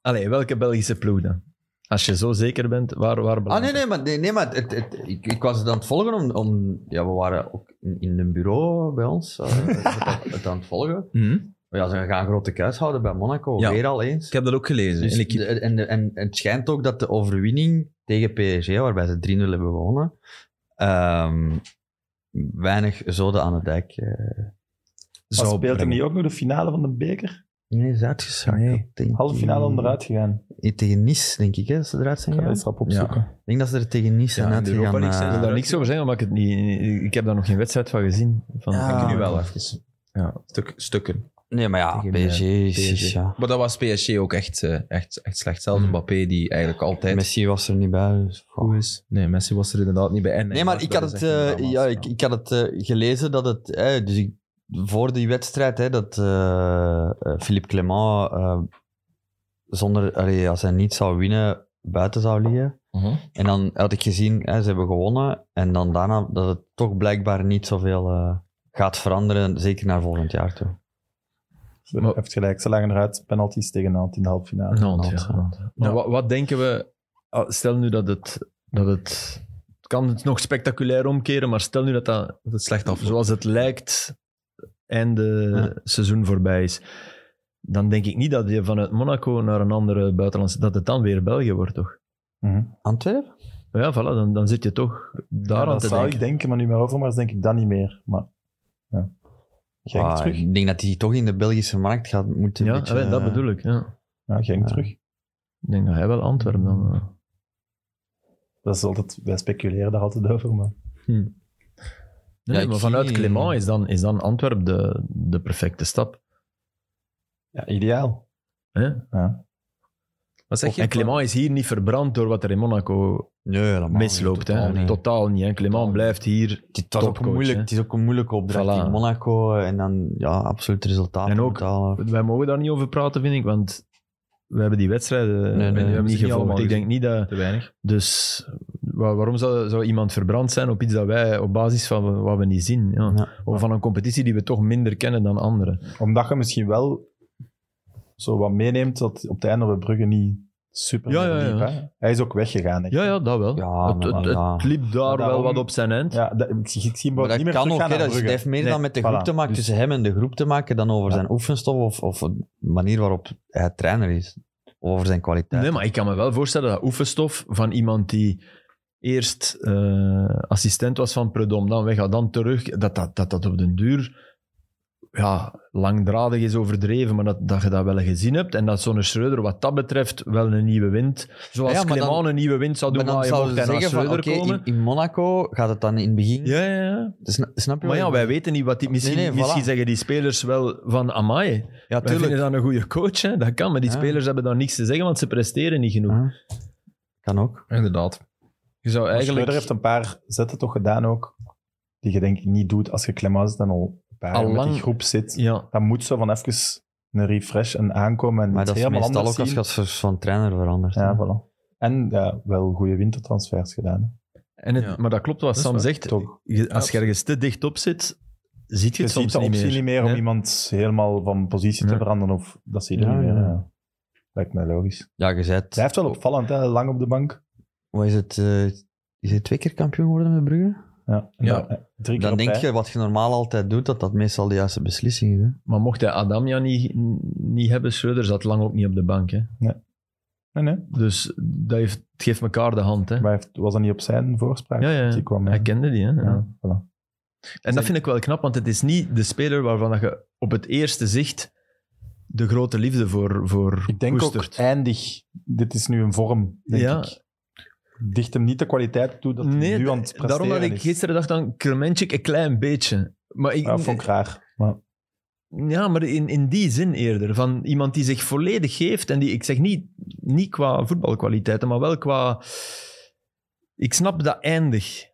[SPEAKER 3] Allee, welke Belgische ploeg dan? Als je zo zeker bent, waar, waar
[SPEAKER 6] Ah,
[SPEAKER 3] belandt
[SPEAKER 6] nee, nee, maar, nee, nee, maar het, het- ik, ik was het aan het volgen om... om ja, we waren ook in, in een bureau bij
[SPEAKER 1] *laughs*
[SPEAKER 6] ons eh, het, het aan het volgen.
[SPEAKER 1] Mhm.
[SPEAKER 6] Maar ja, ze gaan grote kuis houden bij Monaco,
[SPEAKER 1] Ja.
[SPEAKER 6] weer al eens.
[SPEAKER 1] Ik heb dat ook gelezen.
[SPEAKER 6] Dus
[SPEAKER 1] in de keep-
[SPEAKER 6] de- en, de- en, en het schijnt ook dat de overwinning tegen PSG, waarbij ze 3-0 hebben gewonnen, ehm, weinig zoden aan de dijk eh,
[SPEAKER 2] Maar
[SPEAKER 1] zou
[SPEAKER 2] speelt hij
[SPEAKER 1] brengen.
[SPEAKER 2] niet ook nog de finale van de beker?
[SPEAKER 6] nee, is uitgeschakeld.
[SPEAKER 1] Nee.
[SPEAKER 6] denk
[SPEAKER 2] Halve
[SPEAKER 6] ik.
[SPEAKER 1] Mm.
[SPEAKER 2] finale onderuit gegaan.
[SPEAKER 6] Tegen Nice, denk ik, hè, dat ze eruit zijn
[SPEAKER 2] Ik ga dat
[SPEAKER 6] gegaan.
[SPEAKER 2] eens rap opzoeken.
[SPEAKER 6] Ik denk dat ze er tegen Nice zijn
[SPEAKER 1] Ja, in de
[SPEAKER 6] uitgegaan.
[SPEAKER 1] Europa League
[SPEAKER 6] eh,
[SPEAKER 1] zijn
[SPEAKER 3] Ik wil daar niks over zeggen, omdat ik het niet... Ik heb daar nog geen wedstrijd van gezien. Van,
[SPEAKER 1] Ik
[SPEAKER 6] Ja.
[SPEAKER 1] nu wel even. Ja, stuk- stukken.
[SPEAKER 6] Nee, maar ja,
[SPEAKER 1] Tegen, eh,
[SPEAKER 6] PSG is...
[SPEAKER 1] PSG.
[SPEAKER 6] is- Ja.
[SPEAKER 1] Maar dat was PSG ook echt, eh, echt, echt slecht. Zelfs
[SPEAKER 6] Mm.
[SPEAKER 1] Mbappé, die eigenlijk altijd
[SPEAKER 6] Messi was er niet bij. dus-
[SPEAKER 1] goed is. Nee, Messi was er inderdaad niet bij. En
[SPEAKER 6] Nee, maar ik
[SPEAKER 1] dat
[SPEAKER 6] had
[SPEAKER 1] is
[SPEAKER 6] het,
[SPEAKER 1] echt een
[SPEAKER 6] eh,
[SPEAKER 1] drama's,
[SPEAKER 6] ja, ik, ik had het eh, gelezen dat het... eh, dus ik, voor die wedstrijd, hè, dat eh, eh, Philippe Clement eh, zonder, allee, als hij niet zou winnen, buiten zou liggen.
[SPEAKER 1] Mhm.
[SPEAKER 6] En dan had ik gezien, hè, ze hebben gewonnen. En dan daarna dat het toch blijkbaar niet zoveel eh, gaat veranderen, zeker naar volgend jaar toe.
[SPEAKER 2] Ze
[SPEAKER 3] Maar-
[SPEAKER 2] heeft gelijk, ze lagen eruit. Penalties tegen Nantes in de halve finale. Mhm.
[SPEAKER 3] Nantes,
[SPEAKER 6] Nantes,
[SPEAKER 3] ja.
[SPEAKER 6] ja.
[SPEAKER 3] Maar
[SPEAKER 2] Ja.
[SPEAKER 3] wat, wat denken we... ah, Stel nu dat het... Dat het kan het nog spectaculair omkeren, maar stel nu dat dat
[SPEAKER 1] Dat het slecht af.
[SPEAKER 3] zoals het lijkt, einde seizoen voorbij is. dan denk ik niet dat je vanuit Monaco naar een andere buitenlandse... Dat het dan weer België wordt, toch?
[SPEAKER 2] Mhm.
[SPEAKER 6] Antwerpen?
[SPEAKER 3] Ja, voilà, dan, dan zit je toch daar
[SPEAKER 2] Ja,
[SPEAKER 3] aan
[SPEAKER 2] dat
[SPEAKER 3] te
[SPEAKER 2] zou
[SPEAKER 3] denken.
[SPEAKER 2] ik denken, maar nu met Overmars denk ik dat niet meer. Maar, ja. Genk
[SPEAKER 6] Ah,
[SPEAKER 2] terug.
[SPEAKER 6] ik denk dat hij toch in de Belgische markt gaat moeten.
[SPEAKER 3] ja,
[SPEAKER 6] een beetje,
[SPEAKER 3] allee, dat
[SPEAKER 6] eh,
[SPEAKER 3] bedoel ik. Ja.
[SPEAKER 2] Ja, Genk
[SPEAKER 6] Ja.
[SPEAKER 2] terug.
[SPEAKER 3] Ik denk dat hij wel Antwerpen dan... eh,
[SPEAKER 2] Dat is altijd, wij speculeren daar altijd over, maar
[SPEAKER 3] Nee,
[SPEAKER 6] Ja, ik
[SPEAKER 3] maar vanuit
[SPEAKER 6] zie-
[SPEAKER 3] Clément is dan, is dan Antwerpen de, de perfecte stap.
[SPEAKER 2] ja, ideaal.
[SPEAKER 3] Hè?
[SPEAKER 1] Wat zeg je?
[SPEAKER 3] Oh, En Clément is hier niet verbrand door wat er in Monaco
[SPEAKER 6] Nee, helemaal niet,
[SPEAKER 3] misloopt.
[SPEAKER 6] totaal
[SPEAKER 3] Totaal,
[SPEAKER 6] niet.
[SPEAKER 3] totaal niet. Hè? Clément
[SPEAKER 6] Totaal
[SPEAKER 3] blijft hier.
[SPEAKER 6] Het was ook
[SPEAKER 3] topcoach,
[SPEAKER 6] een moeilijk,
[SPEAKER 3] hè.
[SPEAKER 6] het is ook een moeilijke opdracht
[SPEAKER 3] Voilà.
[SPEAKER 6] in Monaco. En dan, ja, absoluut resultaat
[SPEAKER 3] En ook-
[SPEAKER 6] betalen.
[SPEAKER 3] Wij mogen daar niet over praten, vind ik, want we hebben die wedstrijden eh,
[SPEAKER 6] nee, we hebben
[SPEAKER 1] ze
[SPEAKER 3] niet
[SPEAKER 1] niet
[SPEAKER 3] gevolgd.
[SPEAKER 1] allemaal
[SPEAKER 3] Ik denk
[SPEAKER 1] gezien.
[SPEAKER 3] niet dat...
[SPEAKER 1] Te weinig.
[SPEAKER 3] Dus wa- waarom zou, zou iemand verbrand zijn op iets dat wij op basis van wat we niet zien? Ja.
[SPEAKER 6] Ja.
[SPEAKER 3] Of van een competitie die we toch minder kennen dan anderen.
[SPEAKER 2] Omdat je misschien wel zo wat meeneemt dat op het einde bij Brugge niet super
[SPEAKER 3] Ja, ja,
[SPEAKER 2] diep,
[SPEAKER 3] ja.
[SPEAKER 2] hè. Hij is ook weggegaan. echt.
[SPEAKER 3] Ja, ja, dat wel.
[SPEAKER 6] Ja,
[SPEAKER 3] het,
[SPEAKER 6] maar
[SPEAKER 3] het,
[SPEAKER 6] ja.
[SPEAKER 3] het liep daar wel
[SPEAKER 2] daarom-
[SPEAKER 3] wat op zijn eind.
[SPEAKER 2] Ja, dat, ik, zie- ik zie hem
[SPEAKER 6] Maar
[SPEAKER 2] ook
[SPEAKER 6] dat
[SPEAKER 2] niet meer
[SPEAKER 6] kan ook,
[SPEAKER 2] teruggaan
[SPEAKER 6] hè.
[SPEAKER 2] naar
[SPEAKER 6] dat
[SPEAKER 2] Brugge.
[SPEAKER 6] heeft meer
[SPEAKER 2] Nee,
[SPEAKER 6] dan met de
[SPEAKER 2] voilà.
[SPEAKER 6] groep te maken,
[SPEAKER 2] Dus
[SPEAKER 6] tussen hem en de groep te maken, dan over
[SPEAKER 2] Ja.
[SPEAKER 6] zijn oefenstof of, of de manier waarop hij trainer is. Of over zijn kwaliteit.
[SPEAKER 3] Nee, maar ik kan me wel voorstellen dat oefenstof van iemand die eerst eh, assistent was van Predom, dan weggaat, dan terug, dat dat, dat, dat op den duur ja, langdradig is overdreven, maar dat, dat je dat wel gezien hebt. En dat zo'n Schreuder wat dat betreft wel een nieuwe wind, zoals
[SPEAKER 6] Ja, maar
[SPEAKER 3] Clément
[SPEAKER 6] dan-
[SPEAKER 3] een nieuwe wind zou doen,
[SPEAKER 6] maar
[SPEAKER 3] maar,
[SPEAKER 6] dan
[SPEAKER 3] je
[SPEAKER 6] zouden
[SPEAKER 3] mocht
[SPEAKER 6] ze
[SPEAKER 3] hij naar
[SPEAKER 6] zeggen van,
[SPEAKER 3] Schreuder
[SPEAKER 6] oké,
[SPEAKER 3] komen.
[SPEAKER 6] in, in Monaco gaat het dan in het begin... dus
[SPEAKER 3] Ja, ja, ja.
[SPEAKER 6] Sna- snap je
[SPEAKER 3] Maar ja,
[SPEAKER 6] wat ik
[SPEAKER 3] wij
[SPEAKER 6] bedoel?
[SPEAKER 3] weten niet wat die... Misschien,
[SPEAKER 6] Nee, nee, voilà.
[SPEAKER 3] misschien zeggen die spelers wel van Amai.
[SPEAKER 6] Ja,
[SPEAKER 3] Wij
[SPEAKER 6] tuurlijk.
[SPEAKER 3] vinden dan een goede coach, hè? dat kan. Maar die
[SPEAKER 6] Ja.
[SPEAKER 3] spelers hebben dan niks te zeggen, want ze presteren niet genoeg.
[SPEAKER 6] Ja. Kan ook.
[SPEAKER 1] Inderdaad.
[SPEAKER 3] Je zou
[SPEAKER 2] Maar Schreuder
[SPEAKER 3] eigenlijk...
[SPEAKER 2] heeft een paar zetten toch gedaan ook, die je denk ik niet doet als je Clemens dan al een paar
[SPEAKER 3] Al
[SPEAKER 2] jaar met
[SPEAKER 3] lang-
[SPEAKER 2] die groep zit.
[SPEAKER 3] Ja,
[SPEAKER 2] Dan moet zo van even een refresh en aankomen en
[SPEAKER 6] Maar
[SPEAKER 2] iets
[SPEAKER 6] dat is
[SPEAKER 2] helemaal
[SPEAKER 6] meestal
[SPEAKER 2] anders
[SPEAKER 6] ook als
[SPEAKER 2] zien.
[SPEAKER 6] je als vers- van trainer verandert. hè.
[SPEAKER 2] Ja, voilà. En ja, wel goede wintertransfers gedaan. hè.
[SPEAKER 3] En het,
[SPEAKER 1] Ja.
[SPEAKER 3] Maar dat klopt wat
[SPEAKER 1] Dat is
[SPEAKER 3] Sam
[SPEAKER 1] waar.
[SPEAKER 3] zegt.
[SPEAKER 2] Toch.
[SPEAKER 3] Je- als je ergens te dicht op zit, ziet je
[SPEAKER 2] Je
[SPEAKER 3] het
[SPEAKER 2] ziet
[SPEAKER 3] soms
[SPEAKER 2] de
[SPEAKER 3] niet
[SPEAKER 2] optie
[SPEAKER 3] meer.
[SPEAKER 2] om
[SPEAKER 3] Nee.
[SPEAKER 2] iemand helemaal van positie
[SPEAKER 3] Nee.
[SPEAKER 2] te veranderen. Of, dat zie je
[SPEAKER 6] Ja,
[SPEAKER 2] niet meer.
[SPEAKER 6] ja.
[SPEAKER 2] ja. Lijkt mij logisch.
[SPEAKER 6] Ja, je bent...
[SPEAKER 2] Hij heeft wel opvallend, hè? lang op de bank.
[SPEAKER 6] Wat is het? eh, is hij twee keer kampioen geworden met Brugge?
[SPEAKER 2] Ja. En
[SPEAKER 1] Ja.
[SPEAKER 2] dan- eh, Drie keer
[SPEAKER 6] Dan
[SPEAKER 2] op
[SPEAKER 6] denk
[SPEAKER 2] rij.
[SPEAKER 6] je, wat je normaal altijd doet, dat dat meestal de juiste beslissing is. Hè?
[SPEAKER 3] Maar mocht hij Adamja niet, niet hebben, Schreuder zat lang ook niet op de bank. Hè?
[SPEAKER 2] Nee, nee.
[SPEAKER 3] Dus dat heeft, het geeft elkaar de hand. Hè?
[SPEAKER 2] Maar hij heeft- was dat niet op zijn voorspraak?
[SPEAKER 3] Ja, ja, ja.
[SPEAKER 2] Die kwam, hè.
[SPEAKER 3] Hij kende die. Hè?
[SPEAKER 2] ja, voilà.
[SPEAKER 3] En dat vind ik wel knap, want het is niet de speler waarvan dat je op het eerste zicht de grote liefde voor, voor
[SPEAKER 2] Ik denk ook
[SPEAKER 3] koestert.
[SPEAKER 2] eindig. Dit is nu een vorm, denk
[SPEAKER 3] Ja.
[SPEAKER 2] ik. Dicht hem niet de kwaliteit toe dat hij
[SPEAKER 3] Nee,
[SPEAKER 2] nu aan het presteren
[SPEAKER 3] daarom had ik
[SPEAKER 2] is.
[SPEAKER 3] gisteren dacht aan Kremenchik een klein beetje. Maar ik,
[SPEAKER 2] Ja, vond ik raar. Maar
[SPEAKER 3] Ja, maar in, in die zin eerder. Van iemand die zich volledig geeft. En die, ik zeg niet, niet qua voetbalkwaliteiten, maar wel qua... Ik snap dat eindig,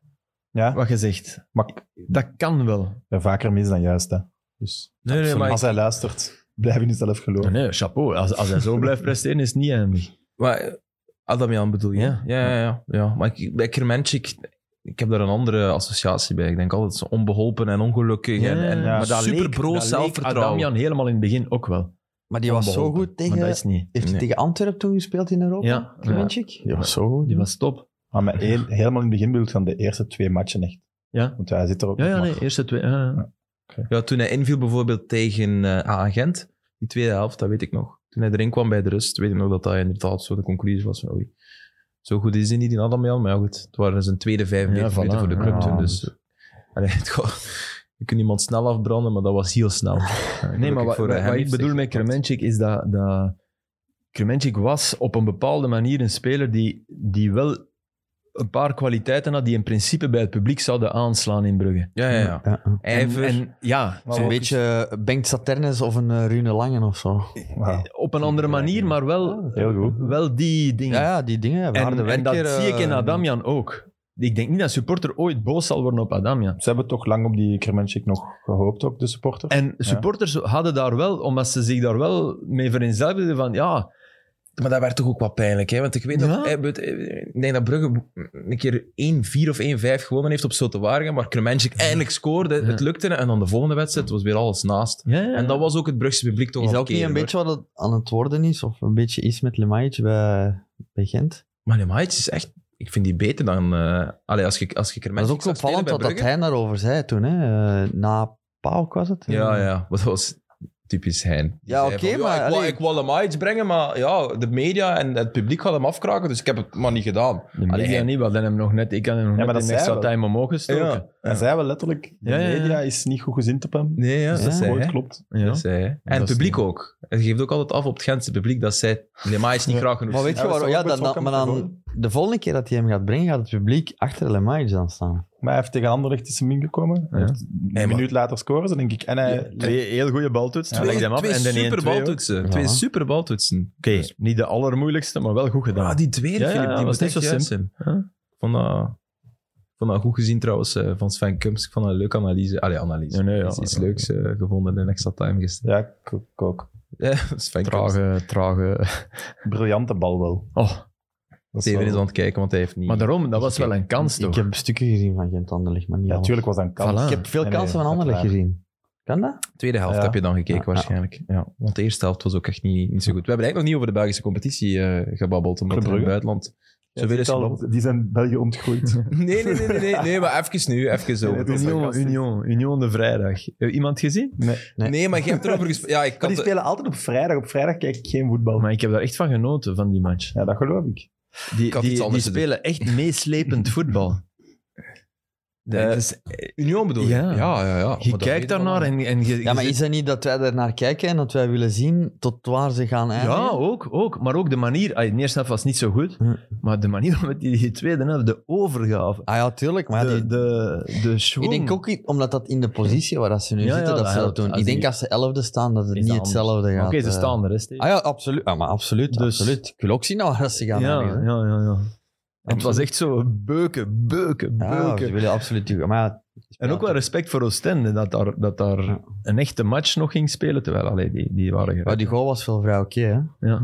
[SPEAKER 2] ja,
[SPEAKER 3] wat je zegt.
[SPEAKER 2] maar ik
[SPEAKER 3] Dat kan wel.
[SPEAKER 2] ben vaker mis dan juist. Hè. Dus
[SPEAKER 1] Nee, nee, maar
[SPEAKER 2] als hij luistert, *laughs* blijf je nu zelf geloven.
[SPEAKER 3] Nee, chapeau. Als, als hij zo blijft presteren, is het niet eindig.
[SPEAKER 1] Maar eh, Adam Jan bedoel je?
[SPEAKER 3] Ja.
[SPEAKER 1] ja, ja. ja, ja. Maar ik, bij Kermenchik, ik heb daar een andere associatie bij. Ik denk altijd zo onbeholpen en ongelukkig. en, en,
[SPEAKER 2] ja.
[SPEAKER 1] Maar dat super broos zelfvertrouwen.
[SPEAKER 3] Adamjan helemaal in het begin ook wel.
[SPEAKER 6] Maar die was zo
[SPEAKER 3] Onbeholpen.
[SPEAKER 6] goed
[SPEAKER 3] Oh, Maar
[SPEAKER 6] tegen...
[SPEAKER 3] dat is niet...
[SPEAKER 6] Heeft hij
[SPEAKER 1] Nee.
[SPEAKER 6] tegen Antwerpen toegespeeld in Europa?
[SPEAKER 3] Ja.
[SPEAKER 6] Klemenchik?
[SPEAKER 3] Die was zo goed. Die was top.
[SPEAKER 2] Maar met heel- helemaal in het begin bedoel ik dan de eerste twee matchen echt.
[SPEAKER 3] Ja.
[SPEAKER 2] Want hij zit er ook
[SPEAKER 3] Ja,
[SPEAKER 2] nog
[SPEAKER 3] ja,
[SPEAKER 2] maar.
[SPEAKER 3] nee. Eerste twee... ja, ja.
[SPEAKER 1] Ja, toen hij inviel bijvoorbeeld tegen eh Agent, die tweede helft, dat weet ik nog. Toen hij erin kwam bij de rust, weet ik nog dat dat inderdaad zo de conclusie was van oei, zo goed is hij niet in Adam Jan. Maar ja, goed, het waren zijn tweede 95
[SPEAKER 3] Ja, voilà.
[SPEAKER 1] minuten voor de club
[SPEAKER 6] Ja,
[SPEAKER 1] toen. Dus, allee, *laughs* het kon- je kunt iemand snel afbranden, maar dat was heel snel.
[SPEAKER 3] Nee, maar
[SPEAKER 1] Gelukkig
[SPEAKER 3] wat,
[SPEAKER 1] voor eh,
[SPEAKER 3] wat-
[SPEAKER 1] hem
[SPEAKER 3] wat ik
[SPEAKER 1] heeft
[SPEAKER 3] bedoel
[SPEAKER 1] zich
[SPEAKER 3] met
[SPEAKER 1] gepakt.
[SPEAKER 3] Kremenchik is dat, dat Kremenchik was op een bepaalde manier een speler die, die wel een paar kwaliteiten had die in principe bij het publiek zouden aanslaan in Brugge.
[SPEAKER 1] Ja, ja, ja.
[SPEAKER 6] Ja. ja.
[SPEAKER 1] Ijver.
[SPEAKER 3] En, en ja,
[SPEAKER 2] Maar
[SPEAKER 6] Zo'n
[SPEAKER 2] ook-
[SPEAKER 6] beetje eh, Bengt Saternes of een eh, Rune Langen of zo.
[SPEAKER 2] Wauw.
[SPEAKER 3] op een andere manier, maar wel,
[SPEAKER 2] Heel goed.
[SPEAKER 1] Ah.
[SPEAKER 3] wel die dingen.
[SPEAKER 6] Ja, ja die dingen.
[SPEAKER 3] en,
[SPEAKER 6] harde
[SPEAKER 3] en
[SPEAKER 6] werker,
[SPEAKER 3] dat zie ik in
[SPEAKER 6] eh,
[SPEAKER 3] Adamjan ook. Ik denk niet dat een supporter ooit boos zal worden op Adamjan.
[SPEAKER 2] Ze hebben toch lang op die Kremenchik nog gehoopt, ook de supporters.
[SPEAKER 3] En supporters hadden daar wel, omdat ze zich daar wel mee vereenzelvigden van, ja,
[SPEAKER 1] Maar dat werd toch ook wat pijnlijk, hè? Want ik weet
[SPEAKER 3] Ja.
[SPEAKER 1] dat... eh, but- eh, Ik denk dat Brugge een keer 1-4 of 1-5 gewonnen heeft op Sotewaargen, maar Kremenchik eindelijk scoorde, het
[SPEAKER 3] Ja.
[SPEAKER 1] lukte, en dan de volgende wedstrijd was weer alles naast.
[SPEAKER 3] ja, ja,
[SPEAKER 1] En dat was ook het Brugse publiek toch
[SPEAKER 6] Is dat
[SPEAKER 1] al
[SPEAKER 6] ook niet een
[SPEAKER 1] keren,
[SPEAKER 6] beetje wat het aan het worden is? Of een beetje iets met Lemaitre bij, bij Gent?
[SPEAKER 1] hoor. Maar Lemaitis is echt... Ik vind die beter dan... eh allee, als je, als je
[SPEAKER 6] Maar dat
[SPEAKER 1] Kremenchik
[SPEAKER 6] is ook
[SPEAKER 1] zag spelen
[SPEAKER 6] opvallend
[SPEAKER 1] bij
[SPEAKER 6] wat dat
[SPEAKER 1] Brugge-
[SPEAKER 6] hij daarover zei toen. Hè? Eh, Na Pauk was het.
[SPEAKER 1] Ja, ja. Maar dat was typisch Hein. Die
[SPEAKER 6] Ja,
[SPEAKER 1] zei
[SPEAKER 6] oké,
[SPEAKER 1] van,
[SPEAKER 6] maar,
[SPEAKER 1] Ik, wou,
[SPEAKER 6] allee.
[SPEAKER 1] ik wou hem iets brengen, maar ja, de media en het publiek hadden hem afkraken, dus ik heb het maar niet gedaan.
[SPEAKER 3] De media
[SPEAKER 1] Allee,
[SPEAKER 3] niet, we hadden hem nog net... Ik had hem nog
[SPEAKER 2] maar
[SPEAKER 3] net
[SPEAKER 2] dat
[SPEAKER 3] in
[SPEAKER 2] zei
[SPEAKER 3] extra
[SPEAKER 2] wel.
[SPEAKER 3] time omhoog gestoken.
[SPEAKER 1] Ja.
[SPEAKER 2] En zij wel letterlijk, de
[SPEAKER 3] Ja, ja, ja.
[SPEAKER 2] media is niet goed gezind op hem.
[SPEAKER 1] Nee, ja,
[SPEAKER 2] Dus
[SPEAKER 1] dat
[SPEAKER 2] dat
[SPEAKER 1] zei
[SPEAKER 2] ooit
[SPEAKER 1] hij.
[SPEAKER 2] klopt.
[SPEAKER 3] Ja.
[SPEAKER 1] Dat zei hij. En het
[SPEAKER 3] is
[SPEAKER 1] publiek
[SPEAKER 3] niet-
[SPEAKER 1] ook. Hij geeft ook altijd af op het Gentse publiek dat zij... Nee, maar hij is niet
[SPEAKER 2] Ja.
[SPEAKER 1] graag genoeg.
[SPEAKER 6] Maar weet
[SPEAKER 2] Ja,
[SPEAKER 6] je
[SPEAKER 2] dat
[SPEAKER 6] waarom?
[SPEAKER 2] zou
[SPEAKER 6] Ja,
[SPEAKER 2] ook
[SPEAKER 6] dan,
[SPEAKER 2] best wel
[SPEAKER 6] dan- maar
[SPEAKER 2] kunnen
[SPEAKER 6] dan de volgende keer dat hij hem gaat brengen, gaat het public achter Lemaitre dan staan.
[SPEAKER 2] Maar hij heeft tegen Anderlecht is hem ingekomen. Hij
[SPEAKER 3] Ja.
[SPEAKER 2] heeft Een
[SPEAKER 1] maar-
[SPEAKER 2] minuut later scoren ze, denk ik. En hij...
[SPEAKER 3] Twee heel goede baltoetsen.
[SPEAKER 2] Ja,
[SPEAKER 3] Hij
[SPEAKER 1] Twee,
[SPEAKER 3] legt hem af
[SPEAKER 1] twee
[SPEAKER 3] en de 1-2 ook.
[SPEAKER 1] superbaltoetsen.
[SPEAKER 6] Ja.
[SPEAKER 1] Twee superbaltoetsen.
[SPEAKER 3] Oké, niet de allermoeilijkste, maar wel goed gedaan.
[SPEAKER 1] Ah, die tweede,
[SPEAKER 3] Ja, ja,
[SPEAKER 1] Filip,
[SPEAKER 3] ja,
[SPEAKER 1] die
[SPEAKER 3] was
[SPEAKER 1] was
[SPEAKER 3] niet
[SPEAKER 1] echt
[SPEAKER 3] zo
[SPEAKER 1] juist
[SPEAKER 3] simpel.
[SPEAKER 1] zijn.
[SPEAKER 3] Ja.
[SPEAKER 1] Ik vond dat, ik vond dat goed gezien trouwens eh, van Sven Kums. Ik vond dat een leuke analyse. Allee, analyse.
[SPEAKER 3] Ja, nee, ja.
[SPEAKER 1] Is iets leuks eh, gevonden in extra time gisteren.
[SPEAKER 2] Ja, ik ook- ook.
[SPEAKER 1] Ja, Sven Kums.
[SPEAKER 3] Trage, trage... *laughs*
[SPEAKER 2] Briljante bal wel.
[SPEAKER 3] Oh,
[SPEAKER 2] Dat is
[SPEAKER 1] Steven
[SPEAKER 2] wel-
[SPEAKER 1] is aan het kijken, want hij heeft niet...
[SPEAKER 3] maar daarom, dat was wel een kans
[SPEAKER 6] Ik
[SPEAKER 3] toch?
[SPEAKER 6] heb stukken gezien van Gent Anderlecht, maar niet
[SPEAKER 2] Ja,
[SPEAKER 6] alles.
[SPEAKER 2] natuurlijk was dat een kans.
[SPEAKER 3] Voilà.
[SPEAKER 6] Ik heb veel
[SPEAKER 2] Nee,
[SPEAKER 6] kansen
[SPEAKER 2] nee,
[SPEAKER 6] van Anderlecht
[SPEAKER 2] uiteraard.
[SPEAKER 6] gezien. Kan dat?
[SPEAKER 1] Tweede helft
[SPEAKER 2] Ja.
[SPEAKER 1] heb je dan gekeken
[SPEAKER 6] Ja, ja.
[SPEAKER 1] waarschijnlijk. Ja, want de eerste helft was ook echt niet, niet zo goed. We hebben eigenlijk nog niet over de Belgische competitie eh, gebabbeld, omdat
[SPEAKER 2] Club
[SPEAKER 1] er in het
[SPEAKER 2] Brugge.
[SPEAKER 1] buitenland
[SPEAKER 2] Ja,
[SPEAKER 1] zoveel is
[SPEAKER 2] het is al-
[SPEAKER 1] gebabbeld.
[SPEAKER 2] Die zijn België ontgroeid.
[SPEAKER 1] Nee, nee, nee, nee, nee, nee, maar even nu, even zo.
[SPEAKER 3] *laughs*
[SPEAKER 2] Nee, dat is
[SPEAKER 3] Union,
[SPEAKER 2] fantastisch.
[SPEAKER 3] Union, Union de vrijdag. Eh, Iemand gezien?
[SPEAKER 6] Nee.
[SPEAKER 1] Nee, maar je hebt erover gesproken. Ja, ik
[SPEAKER 2] Maar
[SPEAKER 1] kan
[SPEAKER 2] die
[SPEAKER 1] het-
[SPEAKER 2] spelen altijd op vrijdag. Op vrijdag kijk ik geen voetbal.
[SPEAKER 3] Oh, Maar ik heb daar echt van genoten, van die match.
[SPEAKER 2] Ja, dat geloof ik.
[SPEAKER 3] Die,
[SPEAKER 1] Ik had
[SPEAKER 3] die,
[SPEAKER 1] iets
[SPEAKER 3] die
[SPEAKER 1] anders te doen.
[SPEAKER 3] spelen echt meeslepend voetbal.
[SPEAKER 1] De-
[SPEAKER 3] Het is-
[SPEAKER 1] Union bedoel je?
[SPEAKER 3] Ja.
[SPEAKER 1] ja, ja. Maar
[SPEAKER 3] je
[SPEAKER 1] dat weet
[SPEAKER 3] kijkt daarnaar
[SPEAKER 1] je
[SPEAKER 3] en, en je...
[SPEAKER 6] Ja, maar
[SPEAKER 3] je
[SPEAKER 6] is
[SPEAKER 3] zit-
[SPEAKER 6] het niet dat wij daar naar kijken en dat wij willen zien tot waar ze gaan eindigen?
[SPEAKER 3] ja ook, ook. Maar ook de manier... ah, De eerste helft was niet zo goed,
[SPEAKER 6] Hm.
[SPEAKER 3] maar de manier waarop die, die tweede helft, de overgave.
[SPEAKER 6] Ah ja, tuurlijk. Maar ja,
[SPEAKER 3] de, de,
[SPEAKER 6] die-
[SPEAKER 3] de schwung.
[SPEAKER 6] ik denk ook niet, omdat dat in de positie waar dat ze nu
[SPEAKER 3] Ja, ja,
[SPEAKER 6] zitten, dat
[SPEAKER 3] dat
[SPEAKER 6] ze dat
[SPEAKER 3] helpt.
[SPEAKER 6] doen.
[SPEAKER 3] Als
[SPEAKER 6] Ik denk
[SPEAKER 3] die-
[SPEAKER 6] als ze elfde staan, dat het
[SPEAKER 3] Is
[SPEAKER 6] niet
[SPEAKER 3] dat
[SPEAKER 6] hetzelfde
[SPEAKER 3] Oké,
[SPEAKER 6] gaat.
[SPEAKER 3] ze
[SPEAKER 6] eh.
[SPEAKER 3] staan er, hè, Steven?
[SPEAKER 6] Ah ja, absoluut. Ja, maar absoluut,
[SPEAKER 3] Dus-
[SPEAKER 6] absoluut. Ik wil ook zien naar waar ze gaan.
[SPEAKER 3] ja,
[SPEAKER 6] eindigen,
[SPEAKER 3] ja,
[SPEAKER 6] hè.
[SPEAKER 3] ja, ja. En het was echt zo beuken, beuken,
[SPEAKER 6] Ja,
[SPEAKER 3] beuken.
[SPEAKER 6] ze willen absoluut. die- Maar ja,
[SPEAKER 3] en ook wel respect voor Oostende, dat daar, dat daar
[SPEAKER 6] Ja.
[SPEAKER 3] een echte match nog ging spelen. Terwijl, allee, die, die waren
[SPEAKER 6] Maar
[SPEAKER 3] gered.
[SPEAKER 6] die goal was wel vrij oké, hè?
[SPEAKER 3] Ja.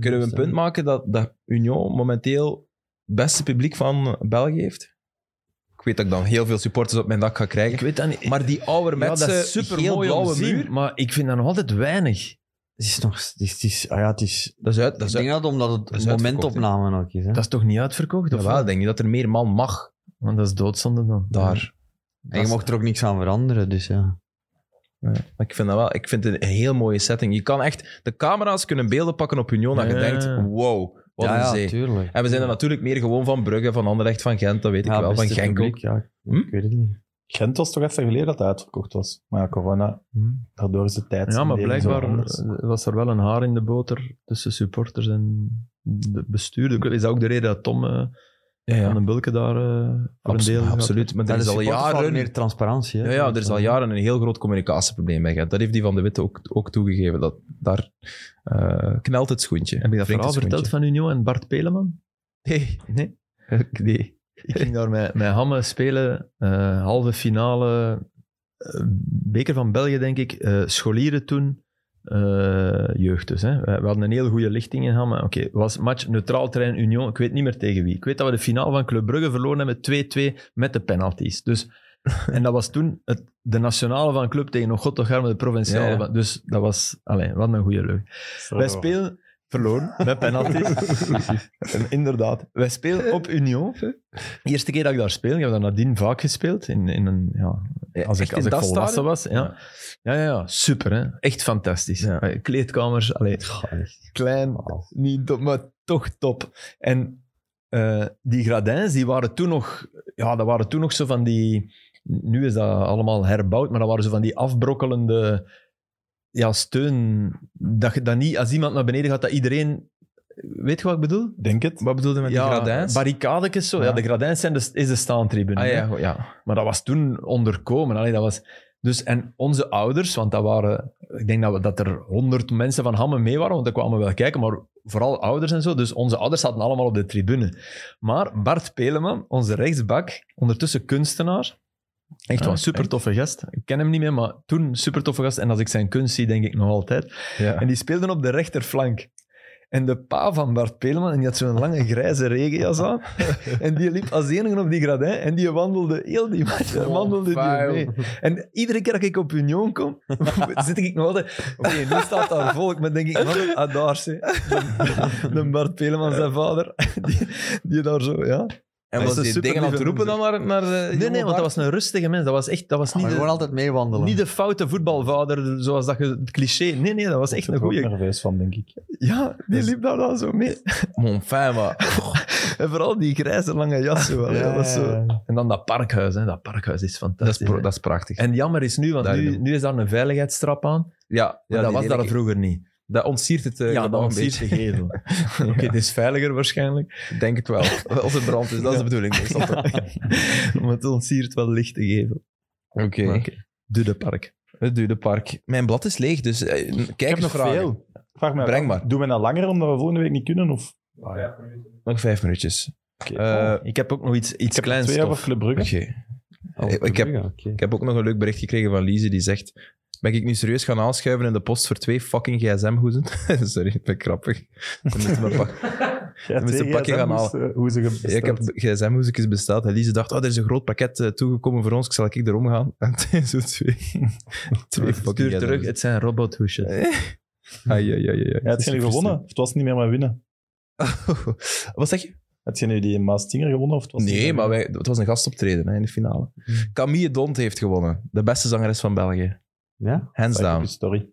[SPEAKER 1] Kunnen we een punt maken dat, dat Union momenteel het beste publiek van België heeft? Ik weet dat ik dan heel veel supporters op mijn dak ga
[SPEAKER 3] Ik
[SPEAKER 1] krijgen.
[SPEAKER 3] weet dat niet.
[SPEAKER 1] Maar die ouderwetse,
[SPEAKER 3] ja, dat
[SPEAKER 6] eh,
[SPEAKER 3] is
[SPEAKER 1] super
[SPEAKER 3] supermooi om te
[SPEAKER 1] blauwe
[SPEAKER 3] zien,
[SPEAKER 1] muur,
[SPEAKER 3] Maar ik vind dat nog altijd weinig.
[SPEAKER 6] Het is nog... Het is, het is, ah ja, het is,
[SPEAKER 1] dat is uit. Dat
[SPEAKER 6] ik
[SPEAKER 1] is
[SPEAKER 6] denk
[SPEAKER 1] uit.
[SPEAKER 6] dat omdat
[SPEAKER 1] dat
[SPEAKER 6] het
[SPEAKER 1] is uitverkocht,
[SPEAKER 6] momentopname ook is. Hè?
[SPEAKER 3] Dat is toch niet uitverkocht? Of
[SPEAKER 1] Jawel,
[SPEAKER 3] wel?
[SPEAKER 1] ik denk niet dat er meer man mag
[SPEAKER 3] Want dat is doodzonde dan.
[SPEAKER 1] daar.
[SPEAKER 6] en je mocht er ook niks aan veranderen, dus ja.
[SPEAKER 1] Maar ik vind dat wel, ik vind het een heel mooie setting. Je kan echt, de camera's kunnen beelden pakken op Union dat je
[SPEAKER 3] Ja.
[SPEAKER 1] denkt, wow, wat
[SPEAKER 6] ja,
[SPEAKER 1] een
[SPEAKER 6] ja,
[SPEAKER 1] zee.
[SPEAKER 6] tuurlijk.
[SPEAKER 1] En we zijn er natuurlijk meer gewoon van Brugge, van Anderlecht, van Gent, dat weet ik
[SPEAKER 6] Ja,
[SPEAKER 1] wel, van
[SPEAKER 6] beste
[SPEAKER 1] Genk ook.
[SPEAKER 6] publiek, ja.
[SPEAKER 1] Hm?
[SPEAKER 6] Ik weet het niet.
[SPEAKER 2] Gent was toch even geleden dat hij uitverkocht was. Maar ja, corona,
[SPEAKER 3] Hm.
[SPEAKER 2] daardoor is de tijd.
[SPEAKER 3] Ja, maar
[SPEAKER 2] indeling zo
[SPEAKER 3] blijkbaar
[SPEAKER 2] anders.
[SPEAKER 3] eh, was er wel een haar in de boter tussen supporters en de bestuurder. Is dat ook de reden dat Tom eh,
[SPEAKER 1] Ja, ja.
[SPEAKER 3] van den Bulke daar eh, voor
[SPEAKER 1] Abs-
[SPEAKER 3] een deel gaat?
[SPEAKER 1] absoluut. Maar er
[SPEAKER 6] Ja,
[SPEAKER 1] is
[SPEAKER 6] de
[SPEAKER 1] al
[SPEAKER 6] supporters hadden
[SPEAKER 1] jaren
[SPEAKER 6] meer transparantie. Hè?
[SPEAKER 1] Ja, ja, er is al jaren een heel groot communicatieprobleem bij Gent. Dat heeft die Van de Witte ook, ook toegegeven. Dat, daar eh, knelt het schoentje.
[SPEAKER 3] Heb je dat
[SPEAKER 1] Wringt
[SPEAKER 3] verhaal
[SPEAKER 1] het
[SPEAKER 3] verteld van Union en Bart Peleman?
[SPEAKER 1] schoentje.
[SPEAKER 3] Nee.
[SPEAKER 1] Nee. *laughs* nee.
[SPEAKER 3] Ik ging daar met, met Hamme spelen, eh, halve finale, eh, beker van België denk ik, eh, scholieren toen, eh, jeugd dus. Hè. We, we hadden een heel goede lichting in Hamme. Oké, was match neutraal terrein Union, ik weet niet meer tegen wie. Ik weet dat we de finale van Club Brugge verloren hebben met 2-2 met de
[SPEAKER 1] *laughs*
[SPEAKER 3] penalties. Dus, en dat was toen het, de nationale van club tegen nog god toch arme de provinciale.
[SPEAKER 1] Ja, ja.
[SPEAKER 3] van- Dus dat was, alleen wat een goede leuk.
[SPEAKER 2] Zo.
[SPEAKER 3] Wij spelen verloren met penalties. En inderdaad, wij spelen op Union. De eerste keer dat ik daar speel, ik heb dat nadien vaak gespeeld. In, in een, ja, als ik,
[SPEAKER 1] Echt in
[SPEAKER 3] als ik
[SPEAKER 1] dat
[SPEAKER 3] volwassen
[SPEAKER 1] stadion?
[SPEAKER 3] was. Ja. Ja, ja, ja, super. Hè? Echt fantastisch.
[SPEAKER 1] Ja.
[SPEAKER 3] Eh, Kleedkamers, allee,
[SPEAKER 6] Goh, echt.
[SPEAKER 3] klein,
[SPEAKER 6] Wauw.
[SPEAKER 3] niet top, maar toch top. En eh, die gradins, die waren toen nog... Ja, dat waren toen nog zo van die... Nu is dat allemaal herbouwd, maar dat waren zo van die afbrokkelende ja, steun. Dat je dat niet... Als iemand naar beneden gaat, dat iedereen... Weet je wat ik bedoel?
[SPEAKER 2] Denk het.
[SPEAKER 1] Wat bedoelde met die gradijns?
[SPEAKER 3] barricadekes zo. Ja,
[SPEAKER 2] Ja.
[SPEAKER 3] de gradijns zijn de, is de staantribune.
[SPEAKER 1] Ah,
[SPEAKER 3] hè.
[SPEAKER 1] ja, ja.
[SPEAKER 3] Maar dat was toen onderkomen. Allee, dat was... Dus, en onze ouders, want dat waren... Ik denk dat, we, dat er honderd mensen van Hamme mee waren, want daar kwamen we wel kijken, maar vooral ouders en zo. Dus onze ouders zaten allemaal op de tribune. Maar Bart Peleman, onze rechtsbak, ondertussen kunstenaar, echt wel
[SPEAKER 1] Ah,
[SPEAKER 3] een super toffe gast. Ik ken hem niet meer, maar toen super toffe gast. En als ik zijn kunst zie, denk ik nog altijd.
[SPEAKER 1] ja.
[SPEAKER 3] En die speelden op de rechterflank. En de pa van Bart Peleman, en die had zo'n lange grijze regenjas *laughs* aan. En die liep als enige op die gradin. En die wandelde heel die match. daar
[SPEAKER 1] Oh,
[SPEAKER 3] wandelde
[SPEAKER 1] vuil.
[SPEAKER 3] die mee. En iedere keer dat ik op Union kom, *laughs* zit ik nog altijd... Oké, nu staat daar volk. Maar denk ik, man, ah, *laughs* daar, zeg. De Bart Peleman, zijn vader. Die, die daar zo, ja.
[SPEAKER 1] En
[SPEAKER 2] Dat
[SPEAKER 1] was
[SPEAKER 2] is een
[SPEAKER 1] die
[SPEAKER 2] super
[SPEAKER 1] dingen aan het
[SPEAKER 2] lieve
[SPEAKER 1] roepen dan naar, naar eh,
[SPEAKER 3] Nee,
[SPEAKER 1] Johan
[SPEAKER 3] nee, want
[SPEAKER 1] Bart? Ah,
[SPEAKER 3] dat was een rustige mens. Dat was echt dat was niet,
[SPEAKER 6] Maar gewoon
[SPEAKER 3] de,
[SPEAKER 6] altijd meewandelen.
[SPEAKER 3] niet de foute voetbalvader, zoals dat je het cliché. Nee, nee, dat was echt een
[SPEAKER 2] Ik ben
[SPEAKER 3] goeie.
[SPEAKER 2] er nerveus van, denk ik.
[SPEAKER 3] Ja, die liep daar dan zo mee.
[SPEAKER 1] Maar enfin, *laughs* maar...
[SPEAKER 3] *laughs* En vooral die grijze lange jas. Zo, wel, ja, dat is zo.
[SPEAKER 6] Ja.
[SPEAKER 3] En dan dat parkhuis. Hè. Dat parkhuis is
[SPEAKER 1] dat, is
[SPEAKER 3] fantastisch.
[SPEAKER 1] pro-
[SPEAKER 3] hè.
[SPEAKER 1] dat is prachtig.
[SPEAKER 3] En jammer is nu, want
[SPEAKER 1] Daar in
[SPEAKER 3] nu,
[SPEAKER 1] de-
[SPEAKER 3] nu is daar een veiligheidstrap aan. Maar
[SPEAKER 1] ja, ja,
[SPEAKER 3] dat
[SPEAKER 1] die
[SPEAKER 3] was
[SPEAKER 1] lelijke-
[SPEAKER 3] daar vroeger niet.
[SPEAKER 1] Dat ontsiert het eh,
[SPEAKER 3] ja,
[SPEAKER 1] gebouw
[SPEAKER 3] dat
[SPEAKER 1] een
[SPEAKER 3] was hier de
[SPEAKER 1] beetje.
[SPEAKER 3] gevel.
[SPEAKER 1] *laughs*
[SPEAKER 3] *laughs* Oké, het is veiliger waarschijnlijk. *laughs*
[SPEAKER 1] Ik Denk het wel. *laughs* Als het brand is, dat is de bedoeling. meestal toch? *laughs*
[SPEAKER 3] maar het ontsiert wel licht te geven.
[SPEAKER 1] Oké.
[SPEAKER 3] Maar oké. Doe de park.
[SPEAKER 1] Het duurde park. Mijn blad is leeg, dus eh, kijk
[SPEAKER 2] heb
[SPEAKER 1] eens
[SPEAKER 2] nog
[SPEAKER 1] vragen.
[SPEAKER 2] veel. Ik Vraag me af,
[SPEAKER 1] Breng maar.
[SPEAKER 2] Doen we dat langer omdat we volgende week niet kunnen? Of?
[SPEAKER 1] Nog vijf minuutjes.
[SPEAKER 2] Oké.
[SPEAKER 1] Eh,
[SPEAKER 3] Oh, ik heb ook nog iets,
[SPEAKER 2] ik
[SPEAKER 3] iets
[SPEAKER 2] heb
[SPEAKER 3] kleins.
[SPEAKER 2] twee
[SPEAKER 3] toch.
[SPEAKER 2] over Club
[SPEAKER 1] *laughs*
[SPEAKER 2] Brugge.
[SPEAKER 1] Oké.
[SPEAKER 6] Oh,
[SPEAKER 1] Ik- ik heb- Ik heb ook nog een leuk bericht gekregen van Lise die zegt. Ben ik nu serieus gaan aanschuiven in de post voor twee fucking gsm-hoezen? *laughs* Sorry, ik ben grappig. *laughs* Dan moeten we pak-
[SPEAKER 2] Ja,
[SPEAKER 1] moest
[SPEAKER 2] twee
[SPEAKER 1] een pakje
[SPEAKER 2] GSM
[SPEAKER 1] gaan
[SPEAKER 2] moesten- Hoe ze
[SPEAKER 1] Ja, ik heb gsm-hoezetjes besteld. En Lise dacht, oh, er is een groot pakket eh, toegekomen voor ons. Ik zal ik erom gaan. *laughs* En het zijn zo twee,
[SPEAKER 2] *laughs*
[SPEAKER 1] twee fucking
[SPEAKER 3] Stuur terug, het zijn robothoesjes.
[SPEAKER 1] Ai, ai, ai, ai.
[SPEAKER 2] Ja, het zijn nu gewonnen. Of het was niet meer maar winnen.
[SPEAKER 1] *laughs* Wat zeg je?
[SPEAKER 2] Het zijn nu die Maas Tinger gewonnen? Mm. Of het was niet
[SPEAKER 1] Nee,
[SPEAKER 2] meer
[SPEAKER 1] maar
[SPEAKER 2] winnen?
[SPEAKER 1] wij, het was een gastoptreden hè, in de finale. Camille Dont heeft gewonnen. De beste zangeres van België.
[SPEAKER 6] Ja?
[SPEAKER 1] Hands
[SPEAKER 2] Like
[SPEAKER 1] down.
[SPEAKER 2] your Story.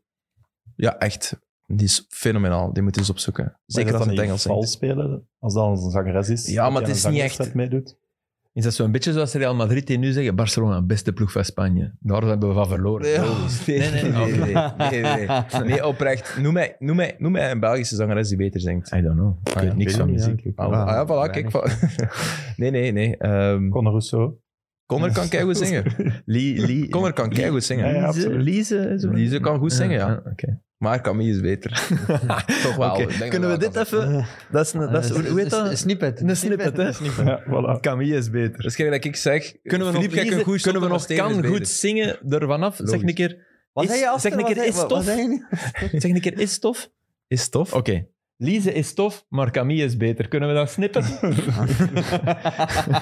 [SPEAKER 1] Ja, echt. Die is fenomenaal. Die moet je eens opzoeken. Zeker
[SPEAKER 2] Maar
[SPEAKER 1] als
[SPEAKER 2] is dat
[SPEAKER 1] het
[SPEAKER 2] dan
[SPEAKER 1] Engels
[SPEAKER 2] niet vals
[SPEAKER 1] zingt.
[SPEAKER 2] spelen, als dat een zangeres is.
[SPEAKER 1] Ja,
[SPEAKER 2] dat
[SPEAKER 1] maar
[SPEAKER 2] die
[SPEAKER 1] het is
[SPEAKER 2] aan een
[SPEAKER 1] niet echt.
[SPEAKER 2] zangerswet meedoet.
[SPEAKER 3] Is dat zo'n beetje zoals Real Madrid die nu zeggen, Barcelona, beste ploeg van Spanje. Daar hebben we van verloren.
[SPEAKER 1] Nee,
[SPEAKER 3] Logisch.
[SPEAKER 1] oh, nee, nee, nee, nee,
[SPEAKER 6] *laughs*
[SPEAKER 1] nee, nee, nee, nee. Ah, Nee, oprecht. Noem mij, noem, mij, noem mij een Belgische zangeres die beter zingt.
[SPEAKER 3] I don't know.
[SPEAKER 1] Ah, ja, niks
[SPEAKER 2] weet
[SPEAKER 1] van
[SPEAKER 2] het niet,
[SPEAKER 1] muziek.
[SPEAKER 6] ja.
[SPEAKER 1] Ah, ah, ja, voilà, kijk.
[SPEAKER 6] Weinig.
[SPEAKER 1] voilà. *laughs* Nee, nee, nee. ehm,
[SPEAKER 2] Conor Rousseau.
[SPEAKER 1] Connor kan *laughs* keigoed zingen.
[SPEAKER 3] Lee, *laughs* Lee,
[SPEAKER 1] Connor kan keigoed zingen.
[SPEAKER 2] Ja, ja,
[SPEAKER 3] Lize,
[SPEAKER 2] absoluut.
[SPEAKER 3] Lize, zo.
[SPEAKER 1] Lize kan goed zingen, ja.
[SPEAKER 3] Oké.
[SPEAKER 1] Maar Camille is beter. *laughs* Toch wel.
[SPEAKER 3] Oké,
[SPEAKER 1] Ik denk
[SPEAKER 3] Kunnen we
[SPEAKER 1] dat
[SPEAKER 3] dit
[SPEAKER 1] wel kan.
[SPEAKER 3] even... Dat is een, dat Ah, is, hoe hoe heet dat?
[SPEAKER 6] Eh, Een snippet.
[SPEAKER 3] Een snippet, hè?
[SPEAKER 2] *laughs* Ja, voilà.
[SPEAKER 3] Camille is beter.
[SPEAKER 1] Dus kijk dat ik zeg...
[SPEAKER 3] Kunnen we
[SPEAKER 1] Philippe,
[SPEAKER 3] nog,
[SPEAKER 1] kijk een
[SPEAKER 3] Lize-
[SPEAKER 1] goed
[SPEAKER 3] kunnen we
[SPEAKER 1] shot,
[SPEAKER 3] nog
[SPEAKER 1] Steven is
[SPEAKER 3] kan
[SPEAKER 1] beter.
[SPEAKER 3] goed zingen er vanaf? Zeg
[SPEAKER 1] Logisch.
[SPEAKER 3] een keer,
[SPEAKER 6] Wat
[SPEAKER 3] Is-
[SPEAKER 6] zei je af?
[SPEAKER 3] zeg een keer, is tof?
[SPEAKER 1] *laughs*
[SPEAKER 3] zeg een keer, is tof?
[SPEAKER 1] Is tof.
[SPEAKER 3] Oké. Lize is tof, maar Camille is beter. Kunnen we dat *laughs* snippen?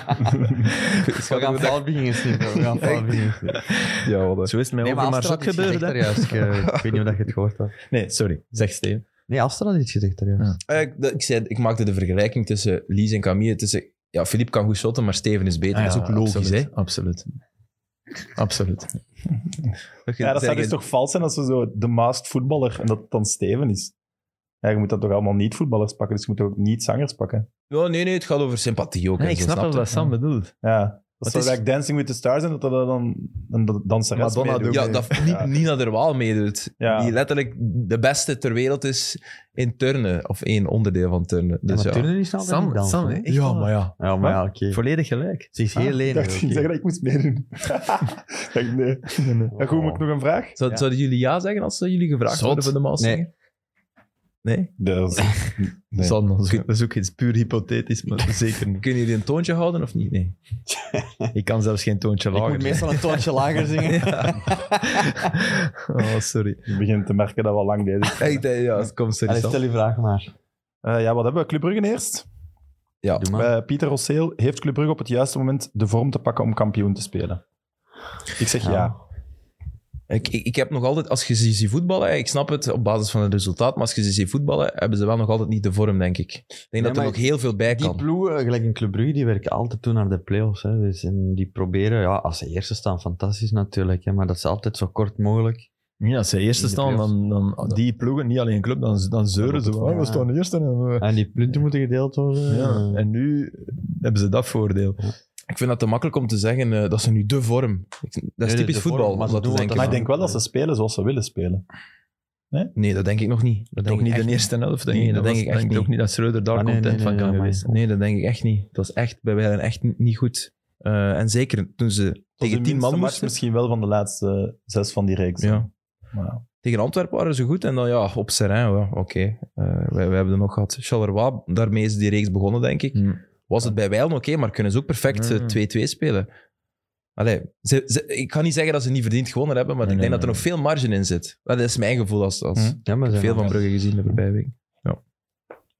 [SPEAKER 6] We gaan fout beginnen snippen. We gaan
[SPEAKER 1] *laughs*
[SPEAKER 6] fout beginnen snippen.
[SPEAKER 1] Ja, wat
[SPEAKER 3] Zo is het met
[SPEAKER 6] Nee,
[SPEAKER 3] over
[SPEAKER 6] maar
[SPEAKER 3] maar
[SPEAKER 6] Astra had
[SPEAKER 3] zot
[SPEAKER 6] iets
[SPEAKER 3] gebeurd.
[SPEAKER 6] gezegd
[SPEAKER 3] hè.
[SPEAKER 6] daarjuist. Ik eh, ik weet niet of dat je het gehoord hebt.
[SPEAKER 3] Nee, sorry. Zeg Steven.
[SPEAKER 6] Nee, Astra had iets gezegd daarjuist.
[SPEAKER 1] Eh, Ik, dat- ik, zei, ik maakte de vergelijking tussen Lies en Camille. Tussen, ja, Philippe kan goed shotten, maar Steven is
[SPEAKER 2] Ah,
[SPEAKER 1] beter. dat is ook logisch,
[SPEAKER 3] Ah, absoluut,
[SPEAKER 1] hè?
[SPEAKER 3] Absoluut. Absoluut.
[SPEAKER 2] Ja, dat zou
[SPEAKER 1] Zeg
[SPEAKER 2] dus
[SPEAKER 1] je-
[SPEAKER 2] toch vals zijn als ze zo de maast voetballer en dat het dan Steven is. Ja, je moet dat toch allemaal niet voetballers pakken, dus je moet ook niet zangers pakken.
[SPEAKER 1] Ja, Oh, nee, nee, het gaat over sympathie ook.
[SPEAKER 3] Nee,
[SPEAKER 1] en
[SPEAKER 3] ik
[SPEAKER 1] zo,
[SPEAKER 3] snap
[SPEAKER 1] snap
[SPEAKER 3] wel
[SPEAKER 1] je?
[SPEAKER 3] wat Sam bedoelt.
[SPEAKER 2] Ja, dat
[SPEAKER 3] Het
[SPEAKER 2] zou
[SPEAKER 3] is-
[SPEAKER 2] like Dancing with the Stars en dat dat dan een da- danseres
[SPEAKER 3] Madonna
[SPEAKER 2] meedoet.
[SPEAKER 1] Ja, dat
[SPEAKER 2] Ja.
[SPEAKER 1] Ni- Nina der Waal meedoet.
[SPEAKER 2] Ja.
[SPEAKER 1] Die letterlijk de beste ter wereld is in turnen. Of één onderdeel van turnen. Dus ja,
[SPEAKER 6] turnen is altijd niet
[SPEAKER 3] Sam,
[SPEAKER 6] dansen,
[SPEAKER 3] Sam
[SPEAKER 6] hè?
[SPEAKER 3] echt wel.
[SPEAKER 2] ja.
[SPEAKER 6] Ja, maar ja, oké.
[SPEAKER 3] Volledig gelijk.
[SPEAKER 6] Ze is heel
[SPEAKER 2] Ah, Ik
[SPEAKER 6] lenig.
[SPEAKER 2] dacht, ik
[SPEAKER 6] oké.
[SPEAKER 2] zeg dat ik moest *laughs* meedoen. Ik dacht, nee. Ja, goed, moet ik nog een vraag?
[SPEAKER 1] Zou, Zouden jullie ja zeggen als eh, jullie gevraagd
[SPEAKER 3] Zot.
[SPEAKER 1] worden voor de Maas?
[SPEAKER 6] Nee.
[SPEAKER 1] zingen? Nee?
[SPEAKER 2] Dat is- Nee.
[SPEAKER 3] Sam, dat is ook iets puur hypothetisch, maar zeker niet.
[SPEAKER 1] Kunnen jullie een toontje houden of niet? Nee.
[SPEAKER 3] Ik kan zelfs geen toontje
[SPEAKER 6] Ik
[SPEAKER 3] lager.
[SPEAKER 6] moet meestal een toontje lager zingen.
[SPEAKER 3] *laughs* Oh, sorry.
[SPEAKER 2] Ik begin te merken dat we al lang bezig zijn.
[SPEAKER 1] Echt, eh, ja, kom, sorry.
[SPEAKER 6] Allee,
[SPEAKER 1] Sam.
[SPEAKER 6] stel je vraag maar.
[SPEAKER 2] Eh, ja, wat hebben we? Club Brugge eerst.
[SPEAKER 1] Ja.
[SPEAKER 6] Doe maar.
[SPEAKER 2] Eh, Pieter Rosseel, heeft Club Brugge op het juiste moment de vorm te pakken om kampioen te spelen? Ik zeg ja.
[SPEAKER 6] Ja.
[SPEAKER 1] Ik, ik, ik heb nog altijd, als je ze ziet voetballen, ik snap het op basis van het resultaat, maar als je ze ziet voetballen, hebben ze wel nog altijd niet de vorm, denk ik. Ik denk dat er
[SPEAKER 6] maar
[SPEAKER 1] nog heel veel bij
[SPEAKER 6] Die
[SPEAKER 1] kan.
[SPEAKER 6] ploegen, eh, gelijk in Club Brugge, die werken altijd toe naar de play-offs. Hè. Dus, en die proberen, ja, als ze eerste staan, fantastisch natuurlijk. Hè, maar dat is altijd zo kort mogelijk.
[SPEAKER 3] Ja, als ze eerste
[SPEAKER 6] In de
[SPEAKER 3] staan,
[SPEAKER 6] playoffs.
[SPEAKER 3] dan, dan die ploegen, niet alleen club, dan, dan zeuren ze.
[SPEAKER 6] Ja.
[SPEAKER 3] wel. Ah, We staan eerste. En, we-
[SPEAKER 6] En die punten moeten gedeeld worden.
[SPEAKER 3] ja. en nu hebben ze dat voordeel.
[SPEAKER 1] Ik vind dat te makkelijk om te zeggen eh, dat ze nu de vorm. Ik- dat is
[SPEAKER 6] de
[SPEAKER 1] typisch
[SPEAKER 6] vorm,
[SPEAKER 1] voetbal.
[SPEAKER 6] maar
[SPEAKER 1] om
[SPEAKER 6] ze
[SPEAKER 1] dat te
[SPEAKER 6] doen wat
[SPEAKER 1] denken.
[SPEAKER 2] Maar
[SPEAKER 6] dat-
[SPEAKER 2] ik denk wel dat ze spelen zoals ze willen spelen.
[SPEAKER 1] Nee, dat denk ik nog niet. Dat denk
[SPEAKER 3] Toch
[SPEAKER 1] ik
[SPEAKER 3] niet
[SPEAKER 1] echt
[SPEAKER 3] de eerste helft, denk
[SPEAKER 1] Nee,
[SPEAKER 3] ik.
[SPEAKER 1] dat denk
[SPEAKER 3] was-
[SPEAKER 1] ik echt
[SPEAKER 3] ook
[SPEAKER 1] niet.
[SPEAKER 3] niet dat Schreuder daar
[SPEAKER 6] Ah, nee,
[SPEAKER 3] content
[SPEAKER 6] nee,
[SPEAKER 3] van
[SPEAKER 6] nee,
[SPEAKER 3] kan
[SPEAKER 6] nee, maar-
[SPEAKER 3] geweest zijn.
[SPEAKER 1] Nee, dat denk ik echt niet. Dat was echt bij wijlen echt n- niet goed. Eh, en zeker toen ze
[SPEAKER 2] Tot
[SPEAKER 1] tegen
[SPEAKER 2] de
[SPEAKER 1] tien man
[SPEAKER 2] minste match
[SPEAKER 1] moesten.
[SPEAKER 2] Misschien wel van de laatste zes van die reeks.
[SPEAKER 1] Ja.
[SPEAKER 2] Maar ja.
[SPEAKER 1] Tegen Antwerpen waren ze goed en dan ja, op Serrain, ja, oké. Eh, wij, wij hebben er nog gehad. Charleroi, daarmee is die reeks begonnen, denk ik.
[SPEAKER 3] Hmm.
[SPEAKER 1] Was het bij Weilen oké, maar kunnen ze ook perfect eh,
[SPEAKER 3] Mm.
[SPEAKER 1] 2-2 spelen. Allee, ze, ze- ik ga niet zeggen dat ze niet verdiend gewonnen hebben, maar
[SPEAKER 3] Nee,
[SPEAKER 1] ik denk
[SPEAKER 3] nee,
[SPEAKER 1] dat er nog veel marge in zit. Dat is mijn gevoel als, als
[SPEAKER 2] Hm.
[SPEAKER 6] Ja, maar ze
[SPEAKER 1] veel van Brugge gezien de voorbije week.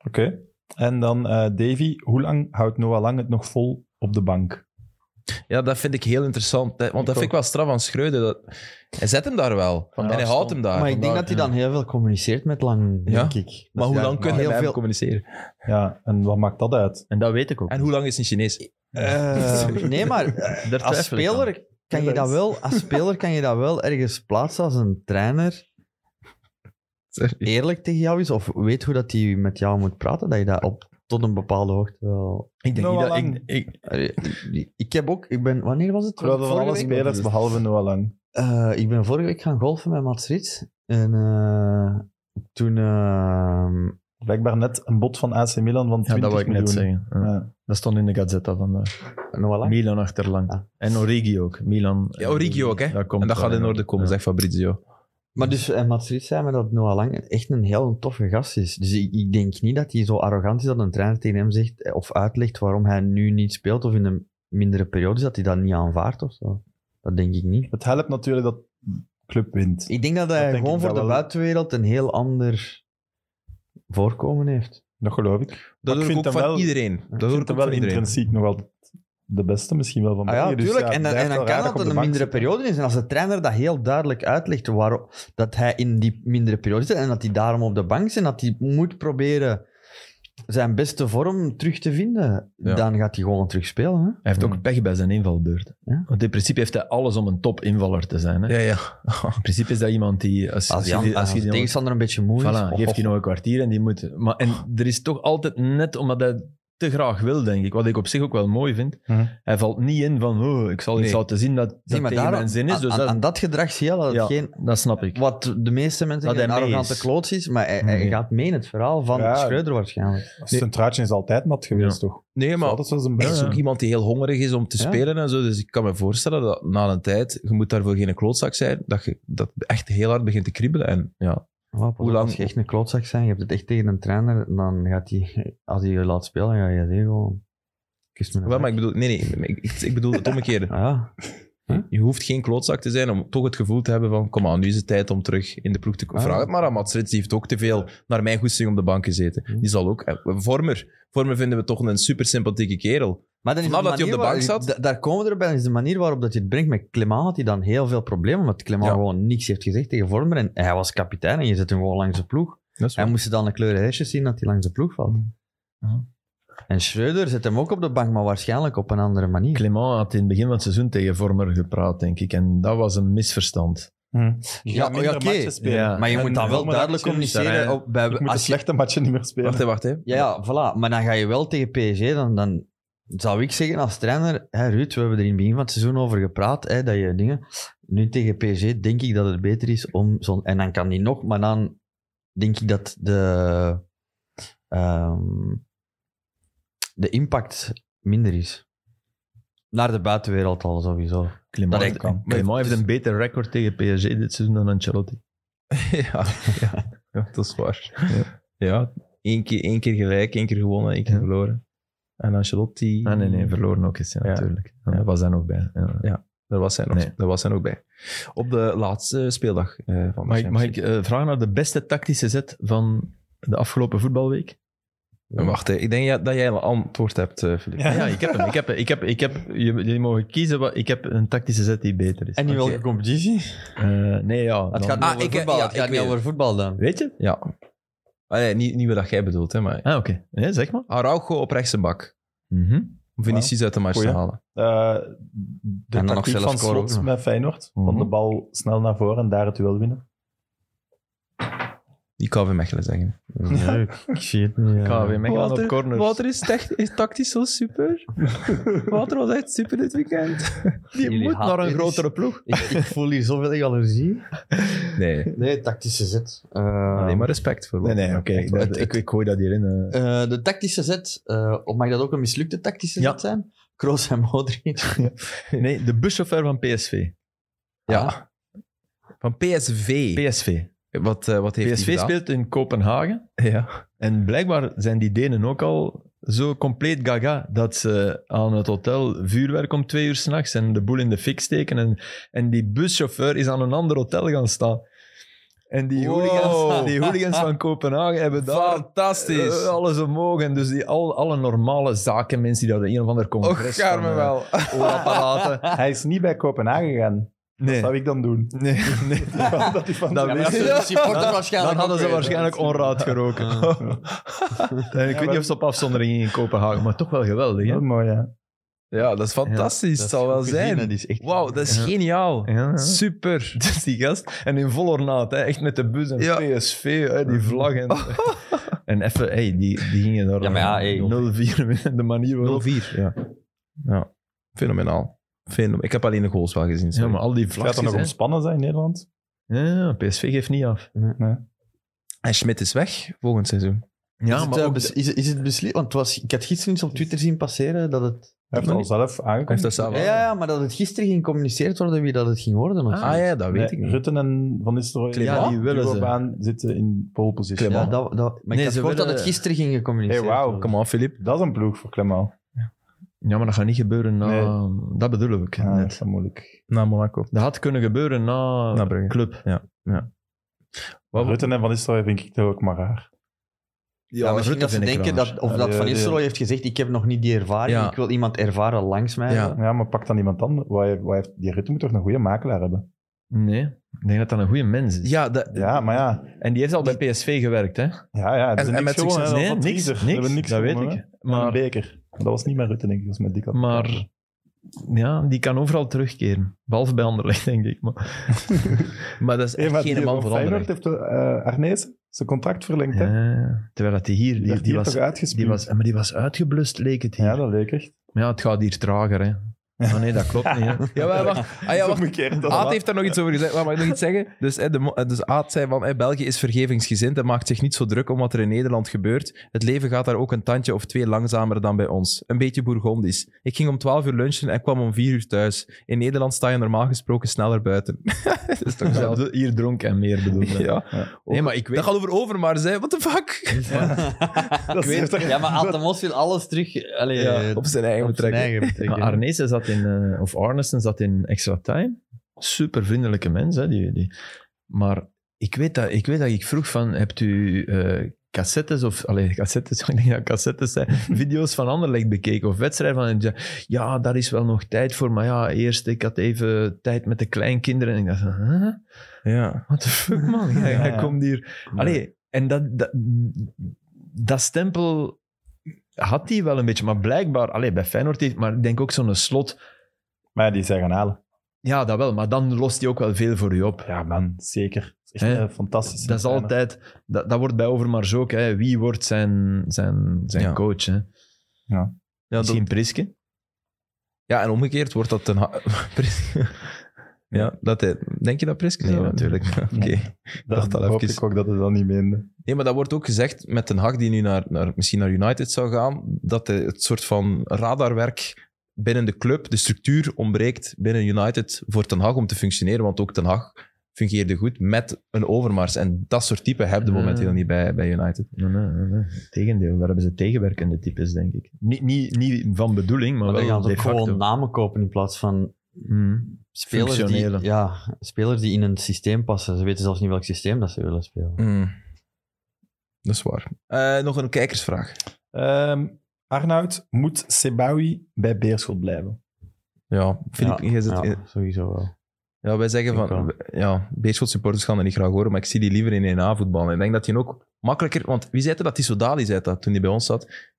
[SPEAKER 2] Oké. En dan eh, Davy, hoe lang houdt Noah Lang het nog vol op de bank?
[SPEAKER 1] Ja, dat vind ik heel interessant. hè, Want dat vind ik wel straf aan Schreuder. Dat... Hij zet hem daar wel. en hij houdt hem daar.
[SPEAKER 6] maar ik denk dat hij dan heel veel communiceert met Lang, denk ik.
[SPEAKER 1] maar hoe
[SPEAKER 2] ja,
[SPEAKER 1] lang
[SPEAKER 2] maar
[SPEAKER 1] kunnen
[SPEAKER 6] heel
[SPEAKER 1] wij veel...
[SPEAKER 6] veel-
[SPEAKER 1] communiceren?
[SPEAKER 2] Ja, en wat maakt dat uit?
[SPEAKER 3] En dat weet ik ook.
[SPEAKER 1] En hoe lang is het in Chinees?
[SPEAKER 6] Eh, nee, maar
[SPEAKER 3] Daar
[SPEAKER 6] als
[SPEAKER 3] twijfel ik aan.
[SPEAKER 6] speler, kan je dat wel, als speler kan je dat wel ergens plaatsen als een trainer
[SPEAKER 1] Sorry.
[SPEAKER 6] eerlijk tegen jou is, of weet hoe dat hij met jou moet praten, dat je dat op tot een bepaalde hoogte wel...
[SPEAKER 3] Ik denk
[SPEAKER 2] Noah
[SPEAKER 3] niet dat ik,
[SPEAKER 2] Lang.
[SPEAKER 3] ik,
[SPEAKER 6] Allee, Ik, ik heb ook, ik ben, wanneer was het?
[SPEAKER 2] Terwijl van
[SPEAKER 6] Vorige
[SPEAKER 2] alle
[SPEAKER 6] week?
[SPEAKER 2] spelers, behalve Noah Lang.
[SPEAKER 6] Eh, ik ben vorige week gaan golfen met Mats Rits. En eh, toen... eh,
[SPEAKER 2] Blijkbaar net een bod van AC Milan van 20
[SPEAKER 3] ja, dat wil ik net
[SPEAKER 2] miljoen.
[SPEAKER 3] zeggen. Ja.
[SPEAKER 2] Ja.
[SPEAKER 3] Dat stond in de Gazzetta vandaag.
[SPEAKER 6] nog wel
[SPEAKER 3] Milan achterlang.
[SPEAKER 6] Ah.
[SPEAKER 3] En Origi ook. Milan,
[SPEAKER 1] *laughs*
[SPEAKER 3] eh,
[SPEAKER 1] Ja, Origi ook, hè.
[SPEAKER 3] komt
[SPEAKER 1] en dat
[SPEAKER 3] wel
[SPEAKER 1] gaat in orde komen,
[SPEAKER 3] Ja.
[SPEAKER 1] zegt Fabrizio.
[SPEAKER 6] Maar dus, en Mats Rits zei me dat Noah Lang echt een heel toffe gast is. Dus ik, ik denk niet dat hij zo arrogant is dat een trainer tegen hem zegt eh, of uitlegt waarom hij nu niet speelt of in een mindere periode is, dat hij dat niet aanvaardt of zo. Dat denk ik niet.
[SPEAKER 2] Het helpt natuurlijk dat de club wint.
[SPEAKER 6] Ik denk dat
[SPEAKER 2] Dat
[SPEAKER 6] hij
[SPEAKER 2] denk
[SPEAKER 6] gewoon
[SPEAKER 2] ik
[SPEAKER 6] voor
[SPEAKER 2] wel
[SPEAKER 6] de
[SPEAKER 2] wel.
[SPEAKER 6] buitenwereld een heel ander voorkomen heeft.
[SPEAKER 2] Dat geloof ik.
[SPEAKER 1] Dat
[SPEAKER 2] ik
[SPEAKER 1] hoor ik
[SPEAKER 2] vind
[SPEAKER 1] ook
[SPEAKER 2] hem
[SPEAKER 1] van
[SPEAKER 2] wel-
[SPEAKER 1] iedereen. Dat
[SPEAKER 2] Ik
[SPEAKER 1] hoor ik
[SPEAKER 2] vind
[SPEAKER 1] ook
[SPEAKER 2] hem wel
[SPEAKER 1] van iedereen.
[SPEAKER 2] intrinsiek nog altijd de beste misschien wel van
[SPEAKER 6] Ah ja,
[SPEAKER 2] België. Dus
[SPEAKER 6] natuurlijk.
[SPEAKER 2] ja,
[SPEAKER 6] en dan,
[SPEAKER 2] blijft
[SPEAKER 6] en dan
[SPEAKER 2] wel
[SPEAKER 6] kan
[SPEAKER 2] raar
[SPEAKER 6] dat
[SPEAKER 2] op
[SPEAKER 6] dat
[SPEAKER 2] de
[SPEAKER 6] een
[SPEAKER 2] bank
[SPEAKER 6] mindere
[SPEAKER 2] zit.
[SPEAKER 6] periode is. En als de trainer dat heel duidelijk uitlegt waarom, dat hij in die mindere periode zit en dat hij daarom op de bank zit en dat hij moet proberen zijn beste vorm terug te vinden,
[SPEAKER 1] Ja.
[SPEAKER 6] dan gaat hij gewoon terug spelen. Hè?
[SPEAKER 3] Hij heeft
[SPEAKER 2] Ja.
[SPEAKER 3] ook pech bij zijn invalbeurt.
[SPEAKER 6] Mm. Ja.
[SPEAKER 3] Want in principe heeft hij alles om een top invaller te zijn. Hè?
[SPEAKER 1] Ja, ja.
[SPEAKER 3] In principe is dat iemand die... Als, als
[SPEAKER 6] Als,
[SPEAKER 3] je
[SPEAKER 6] die,
[SPEAKER 3] die- als
[SPEAKER 6] als
[SPEAKER 3] je
[SPEAKER 6] de
[SPEAKER 3] die-
[SPEAKER 6] tegenstander een beetje moe is.
[SPEAKER 3] Voilà,
[SPEAKER 6] of-
[SPEAKER 3] geeft
[SPEAKER 6] of-
[SPEAKER 3] hij nog een kwartier en die moet... Maar, en er is toch altijd net omdat hij te graag wil, denk ik. Wat ik op zich ook wel mooi vind.
[SPEAKER 2] Mhm.
[SPEAKER 3] Hij valt niet in van... Oh, ik zal iets
[SPEAKER 1] Nee.
[SPEAKER 3] laten zien dat, dat
[SPEAKER 6] Nee, maar
[SPEAKER 3] tegen
[SPEAKER 6] daarom-
[SPEAKER 3] mijn zin is.
[SPEAKER 6] aan,
[SPEAKER 3] Dus
[SPEAKER 6] aan-
[SPEAKER 3] dat,
[SPEAKER 6] aan dat gedrag zie je al dat het
[SPEAKER 3] Ja.
[SPEAKER 6] geen...
[SPEAKER 3] dat snap ik.
[SPEAKER 6] Wat de meeste mensen
[SPEAKER 3] Dat
[SPEAKER 6] zeggen, een
[SPEAKER 3] hij mee
[SPEAKER 6] arrogante
[SPEAKER 3] is.
[SPEAKER 6] kloots is, maar hij, hij
[SPEAKER 3] Nee.
[SPEAKER 6] gaat mee in het verhaal van
[SPEAKER 2] Ja.
[SPEAKER 6] Schreuder waarschijnlijk.
[SPEAKER 2] Zijn truitje is altijd nat geweest, toch?
[SPEAKER 1] Nee, maar
[SPEAKER 2] altijd zoals een
[SPEAKER 1] er
[SPEAKER 2] bruin.
[SPEAKER 1] is ook iemand die heel hongerig is om te
[SPEAKER 6] Ja.
[SPEAKER 1] spelen en zo. Dus ik kan me voorstellen dat na een tijd, je moet daarvoor geen klootzak zijn, dat je dat echt heel hard begint te kriebelen. En ja,
[SPEAKER 6] Wow,
[SPEAKER 1] Hoe lang-
[SPEAKER 6] Als je echt een klootzak zijn, je hebt het echt tegen een trainer, dan gaat hij, als hij je laat spelen, ga je zeggen gewoon, kus me een
[SPEAKER 1] wel, maar
[SPEAKER 6] bek.
[SPEAKER 1] ik bedoel, nee, nee, maar ik, ik- ik bedoel het omgekeerde.
[SPEAKER 6] Ah, ja.
[SPEAKER 1] Je hoeft geen klootzak te zijn om toch het gevoel te hebben van, kom aan, nu is het tijd om terug in de ploeg te komen.
[SPEAKER 6] Ah.
[SPEAKER 1] Vraag het maar aan Mats Rits, die heeft ook te veel naar mijn goesting op de bank gezeten. Die zal ook... eh, Vormer, Vormer vinden we toch een super sympathieke kerel.
[SPEAKER 6] Maar dan is
[SPEAKER 1] Vanaf
[SPEAKER 6] de
[SPEAKER 1] dat hij op de
[SPEAKER 6] manier
[SPEAKER 1] bank
[SPEAKER 6] waar-
[SPEAKER 1] zat?
[SPEAKER 6] da- daar komen we erbij, dan is de manier waarop dat je het brengt. Met Clement had hij dan heel veel problemen, omdat Clement
[SPEAKER 1] Ja.
[SPEAKER 6] gewoon niks heeft gezegd tegen Vormer. En hij was kapitein en je zet hem gewoon langs de ploeg.
[SPEAKER 1] Dat is
[SPEAKER 6] Hij moest dan de kleuren hesjes zien dat hij langs de ploeg valt.
[SPEAKER 1] Mm. Ja.
[SPEAKER 6] En Schreuder zet hem ook op de bank, maar waarschijnlijk op een andere manier.
[SPEAKER 3] Clement had in het begin van het seizoen tegen Vormer gepraat, denk ik. en dat was een misverstand.
[SPEAKER 6] Ja, ja, oké.
[SPEAKER 3] Ja.
[SPEAKER 6] Maar je
[SPEAKER 2] En
[SPEAKER 6] moet dan wel
[SPEAKER 2] Vormer
[SPEAKER 6] duidelijk
[SPEAKER 2] had gezien,
[SPEAKER 6] communiceren.
[SPEAKER 3] daar-
[SPEAKER 6] op- bij,
[SPEAKER 2] Ik moet de
[SPEAKER 6] als je-
[SPEAKER 2] slechte matchen niet meer spelen.
[SPEAKER 1] Wacht, hè, wacht. Hè.
[SPEAKER 6] Ja, ja, voilà. Maar dan ga je wel tegen PSG, dan, dan zou ik zeggen als trainer, hè, Ruud, we hebben er in het begin van het seizoen over gepraat, hè, dat je dingen... Nu tegen PSG denk ik dat het beter is om zo'n... En dan kan die nog, maar dan denk ik dat de... ehm, de impact minder is. Naar de buitenwereld al, sowieso.
[SPEAKER 3] Clement,
[SPEAKER 6] Dat ik-
[SPEAKER 3] Clement
[SPEAKER 1] maar het
[SPEAKER 3] heeft
[SPEAKER 1] is-
[SPEAKER 3] een beter record tegen PSG dit seizoen dan Ancelotti.
[SPEAKER 1] *laughs* Ja, ja, ja, dat is waar. Ja, één, keer, één keer gelijk, één keer gewonnen, één keer
[SPEAKER 3] Ja.
[SPEAKER 1] verloren. En Ancelotti...
[SPEAKER 3] Ah nee, nee, verloren ook eens, ja,
[SPEAKER 1] Ja.
[SPEAKER 3] natuurlijk. Ja,
[SPEAKER 1] Ja.
[SPEAKER 3] Dat was daar nog bij. Ja.
[SPEAKER 1] Daar was hij nog,
[SPEAKER 3] Nee.
[SPEAKER 1] daar was hij nog bij. Op de laatste speeldag eh, van de
[SPEAKER 3] Mag ik,
[SPEAKER 1] Champions
[SPEAKER 3] mag ik eh, vragen naar de beste tactische zet van de afgelopen voetbalweek?
[SPEAKER 1] League. Wacht, hè, ik denk ja- dat jij een antwoord hebt, eh Filip.
[SPEAKER 3] *laughs* Ja, ik heb hem. Ik heb, hem. ik heb, ik heb, jullie jullie mogen kiezen. Wat, ik heb een tactische zet die beter is.
[SPEAKER 6] En in welke competitie?
[SPEAKER 3] Eh, nee, ja.
[SPEAKER 6] Het
[SPEAKER 3] dan-
[SPEAKER 6] gaat niet
[SPEAKER 1] Ah,
[SPEAKER 6] over
[SPEAKER 1] ik-
[SPEAKER 6] voetbal.
[SPEAKER 1] ja,
[SPEAKER 6] het gaat
[SPEAKER 1] ik
[SPEAKER 6] niet
[SPEAKER 1] weet
[SPEAKER 6] over voetbal dan.
[SPEAKER 3] Weet je?
[SPEAKER 1] Ja. Ah, nee, niet, niet wat dat jij bedoelt, hè, maar...
[SPEAKER 3] Ah, oké. Nee, zeg maar.
[SPEAKER 1] Araujo op rechtse bak.
[SPEAKER 3] Mhm.
[SPEAKER 1] Om Vinicius uit de match
[SPEAKER 2] Goeie.
[SPEAKER 1] te halen.
[SPEAKER 2] Eh, de
[SPEAKER 6] En dan nog
[SPEAKER 2] tactiek
[SPEAKER 6] zelfs
[SPEAKER 2] van
[SPEAKER 6] scoren ook
[SPEAKER 2] Slot
[SPEAKER 6] nog.
[SPEAKER 2] met Feyenoord.
[SPEAKER 3] Mhm.
[SPEAKER 2] Van de bal snel naar voren en daar het duel winnen.
[SPEAKER 1] Die KV Mechelen zeggen.
[SPEAKER 6] Nee, ik zie het niet. ja.
[SPEAKER 3] KV Mechelen op corners.
[SPEAKER 1] is, tactisch zo *laughs* super. Wouter was echt super dit weekend.
[SPEAKER 3] Die
[SPEAKER 6] Jullie
[SPEAKER 3] moet naar
[SPEAKER 6] haten
[SPEAKER 3] een
[SPEAKER 6] is-
[SPEAKER 3] grotere ploeg.
[SPEAKER 6] Ik, ik voel hier zoveel allergie.
[SPEAKER 1] Nee,
[SPEAKER 6] Nee, tactische zet. Ehm,
[SPEAKER 1] alleen maar respect voor
[SPEAKER 3] Nee,
[SPEAKER 1] Wouter.
[SPEAKER 3] nee, oké.
[SPEAKER 1] Echt waar.
[SPEAKER 3] dat- Ik, ik gooi dat hierin. eh.
[SPEAKER 6] de tactische zet, eh, of mag dat ook een mislukte tactische
[SPEAKER 3] Ja.
[SPEAKER 6] zet zijn? Kroos en Modric.
[SPEAKER 3] Nee, de buschauffeur van PSV.
[SPEAKER 1] Ja. Van PSV.
[SPEAKER 3] PSV.
[SPEAKER 1] Wat, eh, wat heeft hij
[SPEAKER 3] PSV
[SPEAKER 1] gedaan?
[SPEAKER 3] speelt in Kopenhagen.
[SPEAKER 1] Ja.
[SPEAKER 3] En blijkbaar zijn die Denen ook al zo compleet gaga dat ze aan het hotel vuurwerk om twee uur s'nachts en de boel in de fik steken. En, en die buschauffeur is aan een ander hotel gaan staan. En die,
[SPEAKER 1] Wow.
[SPEAKER 3] hooligans, die hooligans
[SPEAKER 1] *laughs*
[SPEAKER 3] van Kopenhagen hebben daar
[SPEAKER 1] Fantastisch.
[SPEAKER 3] eh, alles omhoog. En dus die, al, alle normale zakenmensen die daar een of ander
[SPEAKER 1] Och,
[SPEAKER 3] congres
[SPEAKER 1] gaar me
[SPEAKER 3] van, *laughs*
[SPEAKER 1] wel.
[SPEAKER 3] eh,
[SPEAKER 1] *laughs*
[SPEAKER 3] hoorapparaten.
[SPEAKER 2] Hij is niet bij Kopenhagen gegaan. Dat
[SPEAKER 3] Nee,
[SPEAKER 2] zou ik dan doen.
[SPEAKER 3] nee, nee.
[SPEAKER 2] *laughs* dat is van
[SPEAKER 3] Dat
[SPEAKER 2] *laughs* Ja,
[SPEAKER 3] weet
[SPEAKER 2] maar
[SPEAKER 3] ik.
[SPEAKER 6] de supporters waarschijnlijk
[SPEAKER 3] Dan hadden
[SPEAKER 6] ook eh,
[SPEAKER 3] ze
[SPEAKER 6] weer.
[SPEAKER 3] waarschijnlijk onraad geroken. *laughs* En ik weet niet of ze op afzondering gingen in Kopenhagen, maar toch wel geweldig. Hè?
[SPEAKER 2] Heel mooi, ja.
[SPEAKER 1] Ja, dat is fantastisch.
[SPEAKER 6] Dat
[SPEAKER 1] het
[SPEAKER 6] is
[SPEAKER 1] zal wel
[SPEAKER 6] goed gezien,
[SPEAKER 1] zijn.
[SPEAKER 6] dat is echt-
[SPEAKER 1] Wauw, dat is
[SPEAKER 3] Ja.
[SPEAKER 1] geniaal.
[SPEAKER 3] Ja, ja.
[SPEAKER 1] Super.
[SPEAKER 3] *laughs* Dus die gast, en in vol ornaat, hè, echt met de bus en
[SPEAKER 1] Ja.
[SPEAKER 3] PSV, hè, die vlag. En, en even, hey, die, die gingen daar
[SPEAKER 6] Ja, maar ja, hey.
[SPEAKER 3] 0-4, *laughs* winnen, de manier waarop.
[SPEAKER 1] 04. Ja. ja. Fenomenaal. Fenomen. Ik heb alleen de goals wel gezien.
[SPEAKER 3] Ja,
[SPEAKER 1] sorry.
[SPEAKER 3] maar al die
[SPEAKER 2] Het gaat
[SPEAKER 3] vlagjes.
[SPEAKER 2] dan nog
[SPEAKER 3] hè.
[SPEAKER 2] ontspannen zijn in Nederland.
[SPEAKER 3] Ja, ja, PSV geeft niet af.
[SPEAKER 1] En Schmidt is weg volgend seizoen.
[SPEAKER 3] Ja,
[SPEAKER 6] is, het, eh, bes- is, het- is het beslist? Want het was, ik had gisteren iets op Twitter zien passeren dat het...
[SPEAKER 2] Hij heeft
[SPEAKER 1] nog
[SPEAKER 2] al
[SPEAKER 1] niet?
[SPEAKER 2] zelf aangekondigd.
[SPEAKER 1] Hij heeft dat zelf
[SPEAKER 6] Ja,
[SPEAKER 1] al-
[SPEAKER 6] ja, ja, maar dat het gisteren ging gecommuniceerd worden wie dat het ging worden. of zo.
[SPEAKER 1] Ah ja, dat weet
[SPEAKER 2] Nee,
[SPEAKER 1] ik niet.
[SPEAKER 2] Rutten en Van Nistelrooy
[SPEAKER 3] Clément? Ja, die willen ze.
[SPEAKER 2] duobaan zitten in pole position.
[SPEAKER 6] Ja, dat, dat,
[SPEAKER 3] Nee,
[SPEAKER 6] maar ik
[SPEAKER 3] ze
[SPEAKER 6] had gehoord dat
[SPEAKER 3] willen-
[SPEAKER 6] het gisteren ging gecommuniceerd
[SPEAKER 2] Hey, wauw,
[SPEAKER 6] worden.
[SPEAKER 1] Kom op, Filip.
[SPEAKER 2] Dat is een ploeg voor Clement.
[SPEAKER 3] Ja, maar dat gaat niet gebeuren na... Dat bedoel ik
[SPEAKER 2] Ah, Ja, dat
[SPEAKER 3] net.
[SPEAKER 2] is wel moeilijk.
[SPEAKER 1] Naar Monaco.
[SPEAKER 3] Dat had kunnen gebeuren na...
[SPEAKER 1] Naar Brugge.
[SPEAKER 3] Club.
[SPEAKER 1] Wat-
[SPEAKER 2] Rutten en Van Nistelrooy vind ik toch ook maar raar.
[SPEAKER 6] Ja,
[SPEAKER 3] Rutte
[SPEAKER 6] misschien dat ze
[SPEAKER 3] vind ik
[SPEAKER 6] denken
[SPEAKER 3] raar.
[SPEAKER 6] dat, of
[SPEAKER 2] Ja,
[SPEAKER 6] dat
[SPEAKER 2] ja,
[SPEAKER 6] Van
[SPEAKER 2] ja.
[SPEAKER 6] Nistelrooy heeft gezegd, ik heb nog niet die ervaring,
[SPEAKER 1] Ja.
[SPEAKER 6] ik wil iemand ervaren langs mij.
[SPEAKER 1] Ja.
[SPEAKER 2] Ja, maar pak dan iemand anders. Waar heeft- waar heeft- Die Rutten moet toch een goede makelaar hebben?
[SPEAKER 3] Nee, ik denk dat dat een goede mens is.
[SPEAKER 1] Ja, dat,
[SPEAKER 2] Ja, maar ja.
[SPEAKER 3] En die heeft al bij PSV gewerkt, hè?
[SPEAKER 2] ja, ja
[SPEAKER 1] En- en met succes.
[SPEAKER 2] hè. Dat was
[SPEAKER 3] Nee,
[SPEAKER 2] wat
[SPEAKER 3] niks.
[SPEAKER 2] triezer.
[SPEAKER 3] niks,
[SPEAKER 2] We hebben niks
[SPEAKER 3] dat weet
[SPEAKER 2] gewonnen,
[SPEAKER 3] ik.
[SPEAKER 2] hè. En
[SPEAKER 3] Maar,
[SPEAKER 2] een beker. Dat was niet met Rutten, denk ik. Dat was met Dikkat.
[SPEAKER 3] maar ja, die kan overal terugkeren. Behalve bij Anderlecht, *laughs* denk ik. Maar,
[SPEAKER 1] maar dat is
[SPEAKER 2] Hey,
[SPEAKER 1] echt
[SPEAKER 2] maar
[SPEAKER 1] geen
[SPEAKER 2] die
[SPEAKER 1] man
[SPEAKER 2] van
[SPEAKER 1] voor anderen.
[SPEAKER 2] Feyenoord heeft eh Arnezen zijn contract verlengd. hè?
[SPEAKER 3] Ja, terwijl dat die hier...
[SPEAKER 2] Die,
[SPEAKER 3] Die, die,
[SPEAKER 2] werd hier
[SPEAKER 3] was,
[SPEAKER 2] toch uitgespeeld?
[SPEAKER 3] die was, maar die was uitgeblust, leek het hier.
[SPEAKER 2] Ja, dat leek echt.
[SPEAKER 1] Ah,
[SPEAKER 3] Maar ja, het gaat hier trager, hè. Maar nee, dat klopt
[SPEAKER 2] *laughs*
[SPEAKER 3] niet, hè.
[SPEAKER 1] Ja, maar wacht. Ah, ja, wacht.
[SPEAKER 2] Omgekeerd, dat
[SPEAKER 1] Aad
[SPEAKER 2] was-
[SPEAKER 1] heeft daar nog iets over gezegd. Maar mag ik nog iets zeggen? *laughs* Dus, hè, de, mo- eh, dus Aad zei van, hè, België is vergevingsgezind en maakt zich niet zo druk om wat er in Nederland gebeurt. Het leven gaat daar ook een tandje of twee langzamer dan bij ons. Een beetje bourgondisch. Ik ging om 12 uur lunchen en kwam om 4 uur thuis. In Nederland sta je normaal gesproken sneller buiten. *laughs* dat is toch zelf.
[SPEAKER 3] Ja, hier dronk en meer bedoel ik.
[SPEAKER 1] Ja.
[SPEAKER 3] Nee, maar ik weet...
[SPEAKER 1] Dat gaat over Overmars, hè. What the fuck?
[SPEAKER 2] Dat is toch-
[SPEAKER 6] Ja, maar Atemos wil alles terug allee, eh,
[SPEAKER 1] op zijn eigen
[SPEAKER 6] op zijn
[SPEAKER 1] betrekking.
[SPEAKER 6] eigen betrekken.
[SPEAKER 3] Maar Arnese zat in, eh, of Arnesen zat in extra time. Super vriendelijke mens, hè, die, die. Maar ik weet, dat, ik weet dat ik vroeg van, hebt u eh, cassettes of, allee, *laughs* cassettes, ik denk dat cassettes
[SPEAKER 2] *laughs*
[SPEAKER 3] zijn, video's van Anderlecht bekeken of wedstrijden van, ja, ja, daar is wel nog tijd voor, maar ja, eerst, ik had even tijd met de kleinkinderen. En ik dacht, huh?
[SPEAKER 1] Ja.
[SPEAKER 3] what the fuck, *laughs* man? Jij,
[SPEAKER 2] Ja,
[SPEAKER 3] jij
[SPEAKER 2] ja.
[SPEAKER 3] komt hier... Allee, en dat, dat, dat stempel had hij wel een beetje, maar blijkbaar, allee, bij Feyenoord heeft, maar ik denk ook zo'n slot,
[SPEAKER 2] Maar ja, die zijn gaan halen.
[SPEAKER 3] ja, dat wel. Maar dan lost hij ook wel veel voor u op.
[SPEAKER 2] Ja, man, zeker. Dat is echt
[SPEAKER 3] Hè?
[SPEAKER 2] eh, fantastisch.
[SPEAKER 3] Dat is altijd... Dat, dat wordt bij Overmars ook, hè. Wie wordt zijn, zijn, zijn
[SPEAKER 1] Ja.
[SPEAKER 3] coach, hè?
[SPEAKER 1] Ja, dat-
[SPEAKER 3] Misschien Priske?
[SPEAKER 1] ja, en omgekeerd wordt dat ten... ha- *laughs* Pris- ja, dat hij- Denk je dat Priske
[SPEAKER 3] Nee,
[SPEAKER 1] zou-
[SPEAKER 3] natuurlijk.
[SPEAKER 1] *laughs* Oké.
[SPEAKER 2] Dat,
[SPEAKER 1] dacht al
[SPEAKER 2] dat hoop
[SPEAKER 1] even.
[SPEAKER 2] ik ook dat het dan niet meende.
[SPEAKER 1] Nee, maar dat wordt ook gezegd met Den Haag, die nu naar, naar, misschien naar United zou gaan, dat de- het soort van radarwerk binnen de club, de structuur ontbreekt binnen United voor Den Haag om te functioneren. Want ook Den Haag fungeerde goed met een overmars. En dat soort type heb je
[SPEAKER 3] Ja.
[SPEAKER 1] momenteel niet bij, bij United.
[SPEAKER 3] Nee, nee, nee, nee. Tegendeel, daar hebben ze tegenwerkende types, denk ik. Niet, niet, niet van bedoeling, maar,
[SPEAKER 6] Maar dan
[SPEAKER 3] wel
[SPEAKER 6] gaan ze
[SPEAKER 3] de
[SPEAKER 6] ook
[SPEAKER 3] facto.
[SPEAKER 6] gewoon namen kopen in plaats van
[SPEAKER 3] Hmm.
[SPEAKER 6] spelers die,
[SPEAKER 3] Functionele.
[SPEAKER 6] ja, spelers die in een systeem passen. Ze weten zelfs niet welk systeem dat ze willen spelen.
[SPEAKER 1] Dat is waar. Mm. Eh, nog een kijkersvraag.
[SPEAKER 2] Ehm, Arnoud, moet Sebawi bij Beerschot blijven?
[SPEAKER 1] Ja, Filip,
[SPEAKER 6] Ja,
[SPEAKER 1] jij zit
[SPEAKER 6] ja,
[SPEAKER 1] in-
[SPEAKER 6] sowieso wel.
[SPEAKER 1] Ja, wij zeggen
[SPEAKER 6] Ik
[SPEAKER 1] van,
[SPEAKER 6] wel.
[SPEAKER 1] ja, Beerschot supporters gaan dat niet graag horen, maar ik zie die liever in 1A voetballen. Ik denk dat hij ook makkelijker, want wie zei dat? dat? Tisodali zei dat toen hij bij ons zat.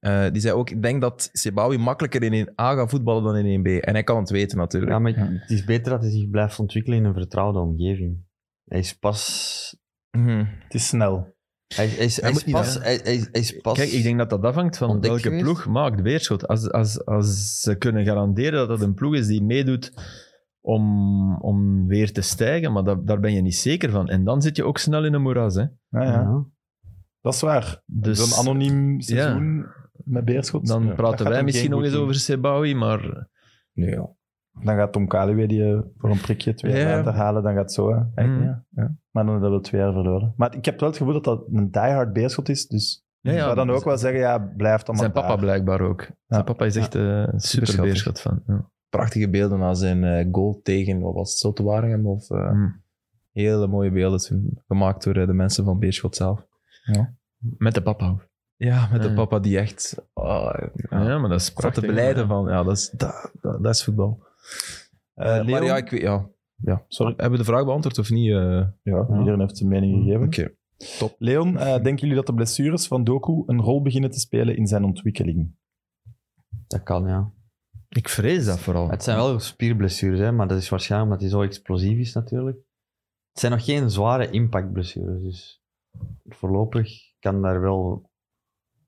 [SPEAKER 1] Eh, die zei ook, ik denk dat Sebawi makkelijker in 1A gaat voetballen dan in 1B. En hij kan het weten natuurlijk.
[SPEAKER 6] Ja, maar het is beter dat hij zich blijft ontwikkelen in een vertrouwde omgeving. Hij is pas...
[SPEAKER 1] Mhm.
[SPEAKER 2] Het is snel.
[SPEAKER 6] Hij, hij is, hij
[SPEAKER 1] moet
[SPEAKER 6] is
[SPEAKER 1] niet
[SPEAKER 6] pas, hij, hij- hij is pas...
[SPEAKER 3] Kijk, ik denk dat dat afhangt van
[SPEAKER 6] Ontdekt
[SPEAKER 3] welke
[SPEAKER 6] geweest?
[SPEAKER 3] ploeg maakt Beerschot. Als, als, als ze kunnen garanderen dat dat een ploeg is die meedoet om, om weer te stijgen, maar dat, daar ben je niet zeker van. En dan zit je ook snel in een moeras, hè.
[SPEAKER 2] Ja, ja.
[SPEAKER 6] Ja.
[SPEAKER 2] Dat is waar.
[SPEAKER 3] Dus-
[SPEAKER 2] Zo'n anoniem seizoen met Beerschot.
[SPEAKER 3] Dan
[SPEAKER 2] Ja. Dat
[SPEAKER 3] praten
[SPEAKER 2] gaat
[SPEAKER 3] wij
[SPEAKER 2] hem
[SPEAKER 3] misschien
[SPEAKER 2] geen
[SPEAKER 3] nog eens
[SPEAKER 2] goed
[SPEAKER 3] over Sebawi, maar
[SPEAKER 1] Nee, ja.
[SPEAKER 2] doen. Dan gaat Tom Kaluwe die eh, voor een prikje twee jaar
[SPEAKER 1] Ja.
[SPEAKER 2] later halen. Dan gaat het zo. hè. Echt,
[SPEAKER 3] Mhm.
[SPEAKER 2] ja. Ja. Maar dan hebben we twee jaar verloren. Maar ik heb wel het gevoel dat dat een diehard Beerschot is. Dus
[SPEAKER 3] Ja,
[SPEAKER 2] ik
[SPEAKER 3] ja,
[SPEAKER 2] zou dan
[SPEAKER 3] maar
[SPEAKER 2] ook wel zeggen, ja, blijf dan maar
[SPEAKER 3] zijn papa
[SPEAKER 2] daar.
[SPEAKER 3] blijkbaar ook. Zijn papa is echt eh, een super
[SPEAKER 1] Superschattig.
[SPEAKER 3] Beerschot van. Ja.
[SPEAKER 1] Prachtige beelden na zijn eh, goal tegen, wat was het, Zultuwaringen of... eh,
[SPEAKER 3] Mm.
[SPEAKER 1] Hele mooie beelden toen, gemaakt door eh, de mensen van Beerschot zelf. Eh.
[SPEAKER 3] Met de papa. ook.
[SPEAKER 1] Ja, met de
[SPEAKER 3] Ja.
[SPEAKER 1] papa die echt... ah, ja.
[SPEAKER 3] maar dat is
[SPEAKER 1] Zat te beleiden van, ja, dat is, dat, dat, dat is voetbal. Eh,
[SPEAKER 2] Eh,
[SPEAKER 1] maar
[SPEAKER 2] Leon?
[SPEAKER 1] ja, ik weet... Ja.
[SPEAKER 2] Sorry.
[SPEAKER 1] Hebben we de vraag beantwoord of niet? eh?
[SPEAKER 2] Ja, iedereen heeft zijn mening gegeven.
[SPEAKER 1] top.
[SPEAKER 2] Leon, eh, denken jullie dat de blessures van Doku een rol beginnen te spelen in zijn ontwikkeling?
[SPEAKER 6] Dat kan, ja.
[SPEAKER 3] Ik vrees dat vooral.
[SPEAKER 6] Het zijn wel spierblessures, hè, maar dat is waarschijnlijk omdat hij zo explosief is natuurlijk. Het zijn nog geen zware impactblessures, dus voorlopig kan daar wel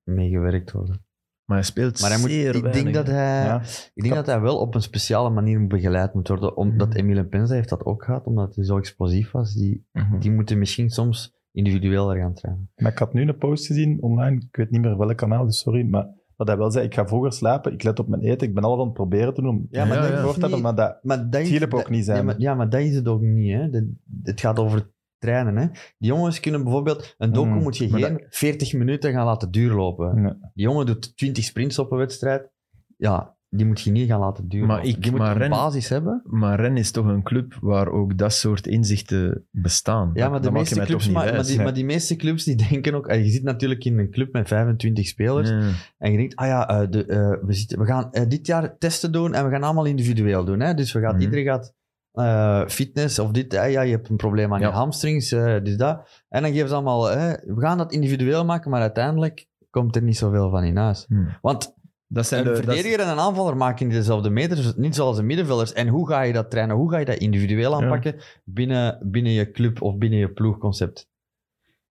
[SPEAKER 6] mee gewerkt worden.
[SPEAKER 3] Maar hij speelt
[SPEAKER 6] Maar hij moet,
[SPEAKER 3] zeer
[SPEAKER 6] ik denk,
[SPEAKER 3] weinig.
[SPEAKER 6] dat hij,
[SPEAKER 2] Ja.
[SPEAKER 6] ik denk dat hij wel op een speciale manier begeleid moet worden, omdat
[SPEAKER 3] Mhm.
[SPEAKER 6] Emile Penza heeft dat ook gehad, omdat hij zo explosief was. Die,
[SPEAKER 1] Mhm.
[SPEAKER 6] die moeten misschien soms individueel er gaan trainen.
[SPEAKER 2] Maar ik had nu een post gezien online, ik weet niet meer welk kanaal, dus sorry, maar dat hij wel zei, ik ga vroeger slapen, ik let op mijn eten, ik ben alles aan het proberen te doen. Ja, maar
[SPEAKER 3] Ja,
[SPEAKER 2] ja,
[SPEAKER 3] ja.
[SPEAKER 2] dat,
[SPEAKER 6] Nee.
[SPEAKER 2] maar dat...
[SPEAKER 6] Maar dat is-
[SPEAKER 2] Philip ook
[SPEAKER 6] dat-
[SPEAKER 2] niet zijn.
[SPEAKER 6] Ja maar, ja, maar dat is het ook niet. Hè. Dat- het gaat over trainen. Hè. Die jongens kunnen bijvoorbeeld... Een docu
[SPEAKER 2] Mm,
[SPEAKER 6] moet je
[SPEAKER 2] maar
[SPEAKER 6] geen 40 minuten gaan laten duurlopen.
[SPEAKER 2] Nee.
[SPEAKER 6] Die jongen doet 20 sprints op een wedstrijd. Ja, die moet je niet gaan laten duurlopen.
[SPEAKER 3] Maar ik-
[SPEAKER 6] die moet
[SPEAKER 3] maar
[SPEAKER 6] een
[SPEAKER 3] rennen-
[SPEAKER 6] basis hebben.
[SPEAKER 3] Maar Ren is toch een club waar ook dat soort inzichten bestaan.
[SPEAKER 6] Ja, maar
[SPEAKER 3] Dat maak
[SPEAKER 6] de
[SPEAKER 3] je
[SPEAKER 6] meeste
[SPEAKER 3] mij
[SPEAKER 6] clubs...
[SPEAKER 3] toch niet
[SPEAKER 6] Maar, maar,
[SPEAKER 3] wijs.
[SPEAKER 6] die, maar die meeste clubs die *laughs* denken ook... en Je zit natuurlijk in een club met 25 spelers.
[SPEAKER 3] Ja.
[SPEAKER 6] En je denkt, ah ja, eh, de, eh, we, zitten, we gaan eh, dit jaar testen doen en we gaan allemaal individueel doen. Hè? Dus we gaan,
[SPEAKER 3] Mhm.
[SPEAKER 6] iedereen gaat eh, fitness of dit. eh, ja, je hebt een probleem aan
[SPEAKER 3] Ja.
[SPEAKER 6] je hamstrings, eh dit, dat. En dan geven ze allemaal, eh, we gaan dat individueel maken, maar uiteindelijk komt er niet zoveel van in huis.
[SPEAKER 3] Hmm.
[SPEAKER 6] Want
[SPEAKER 3] Dat zijn
[SPEAKER 6] een
[SPEAKER 3] de, dat is-
[SPEAKER 6] verdediger en een aanvaller maken niet dezelfde meters, niet zoals de middenvelders. En hoe ga je dat trainen? Hoe ga je dat individueel aanpakken binnen, binnen je club of binnen je ploegconcept?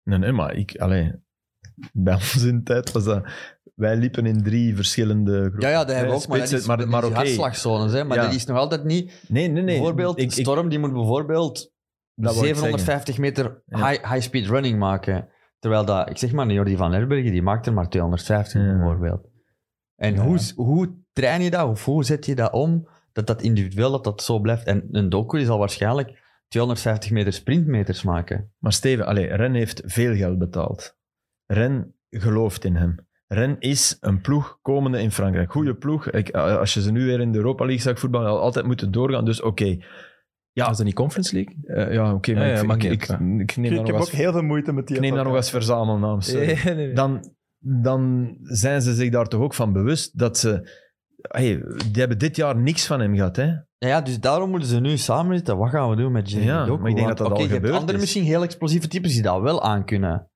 [SPEAKER 3] Nee, nee, maar ik, allee, bij ons in de tijd was dat. Wij liepen in drie verschillende groepen.
[SPEAKER 6] Ja, ja, dat hebben we
[SPEAKER 3] Nee,
[SPEAKER 6] ook, maar dat is,
[SPEAKER 3] Eh, spitsen,
[SPEAKER 6] maar,
[SPEAKER 3] maar- maar
[SPEAKER 6] dat is
[SPEAKER 3] oké.
[SPEAKER 6] hartslagzones. Hè? Maar
[SPEAKER 3] Ja.
[SPEAKER 6] dat is nog altijd niet...
[SPEAKER 3] Nee, nee, nee.
[SPEAKER 6] bijvoorbeeld,
[SPEAKER 3] Ik- ik-
[SPEAKER 6] Storm die moet bijvoorbeeld
[SPEAKER 3] Dat wou ik
[SPEAKER 6] 750 meter
[SPEAKER 3] Ja.
[SPEAKER 6] high, high speed running maken. Terwijl dat, ik zeg maar, Jordi van Lerbergen die maakt er maar 250
[SPEAKER 3] Ja.
[SPEAKER 6] bijvoorbeeld. En
[SPEAKER 2] Ja.
[SPEAKER 6] hoe, hoe train je dat, of hoe zet je dat om, dat dat individueel dat dat zo blijft? En een docu zal waarschijnlijk 250 meter sprintmeters maken.
[SPEAKER 3] maar Steven, allee, Ren heeft veel geld betaald. Ren gelooft in hem. Ren is een ploeg komende in Frankrijk. Goede ploeg. Ik, eh, als je ze nu weer in de Europa League zag voetballen, had altijd moeten doorgaan. Dus oké.
[SPEAKER 1] Ja. Was dat niet Conference League?
[SPEAKER 3] Eh, ja, oké. maar
[SPEAKER 1] Ja, ja,
[SPEAKER 3] ik,
[SPEAKER 1] maakt
[SPEAKER 3] ik,
[SPEAKER 1] niet
[SPEAKER 3] ik,
[SPEAKER 1] uit.
[SPEAKER 3] ik neem
[SPEAKER 2] Ik,
[SPEAKER 3] dat
[SPEAKER 2] heb
[SPEAKER 3] nog
[SPEAKER 2] ook
[SPEAKER 3] als,
[SPEAKER 2] heel veel Eh. moeite met die...
[SPEAKER 3] ik neem dat nog als verzamelnaam.
[SPEAKER 1] *laughs*
[SPEAKER 3] sorry.
[SPEAKER 1] Nee, nee, nee.
[SPEAKER 3] eh. dan, dan zijn ze zich daar toch ook van bewust dat ze. Hey, die hebben dit jaar niks van hem gehad. Hè?
[SPEAKER 6] Ja, ja, dus daarom moeten ze nu samen zitten. Wat gaan we doen met Jimmy
[SPEAKER 3] Ja,
[SPEAKER 6] Doku?
[SPEAKER 3] maar ik denk
[SPEAKER 6] Want,
[SPEAKER 3] dat dat
[SPEAKER 6] oké,
[SPEAKER 3] al
[SPEAKER 6] je hebt
[SPEAKER 3] gebeurd
[SPEAKER 6] andere
[SPEAKER 3] is.
[SPEAKER 6] misschien heel explosieve types die dat wel aankunnen.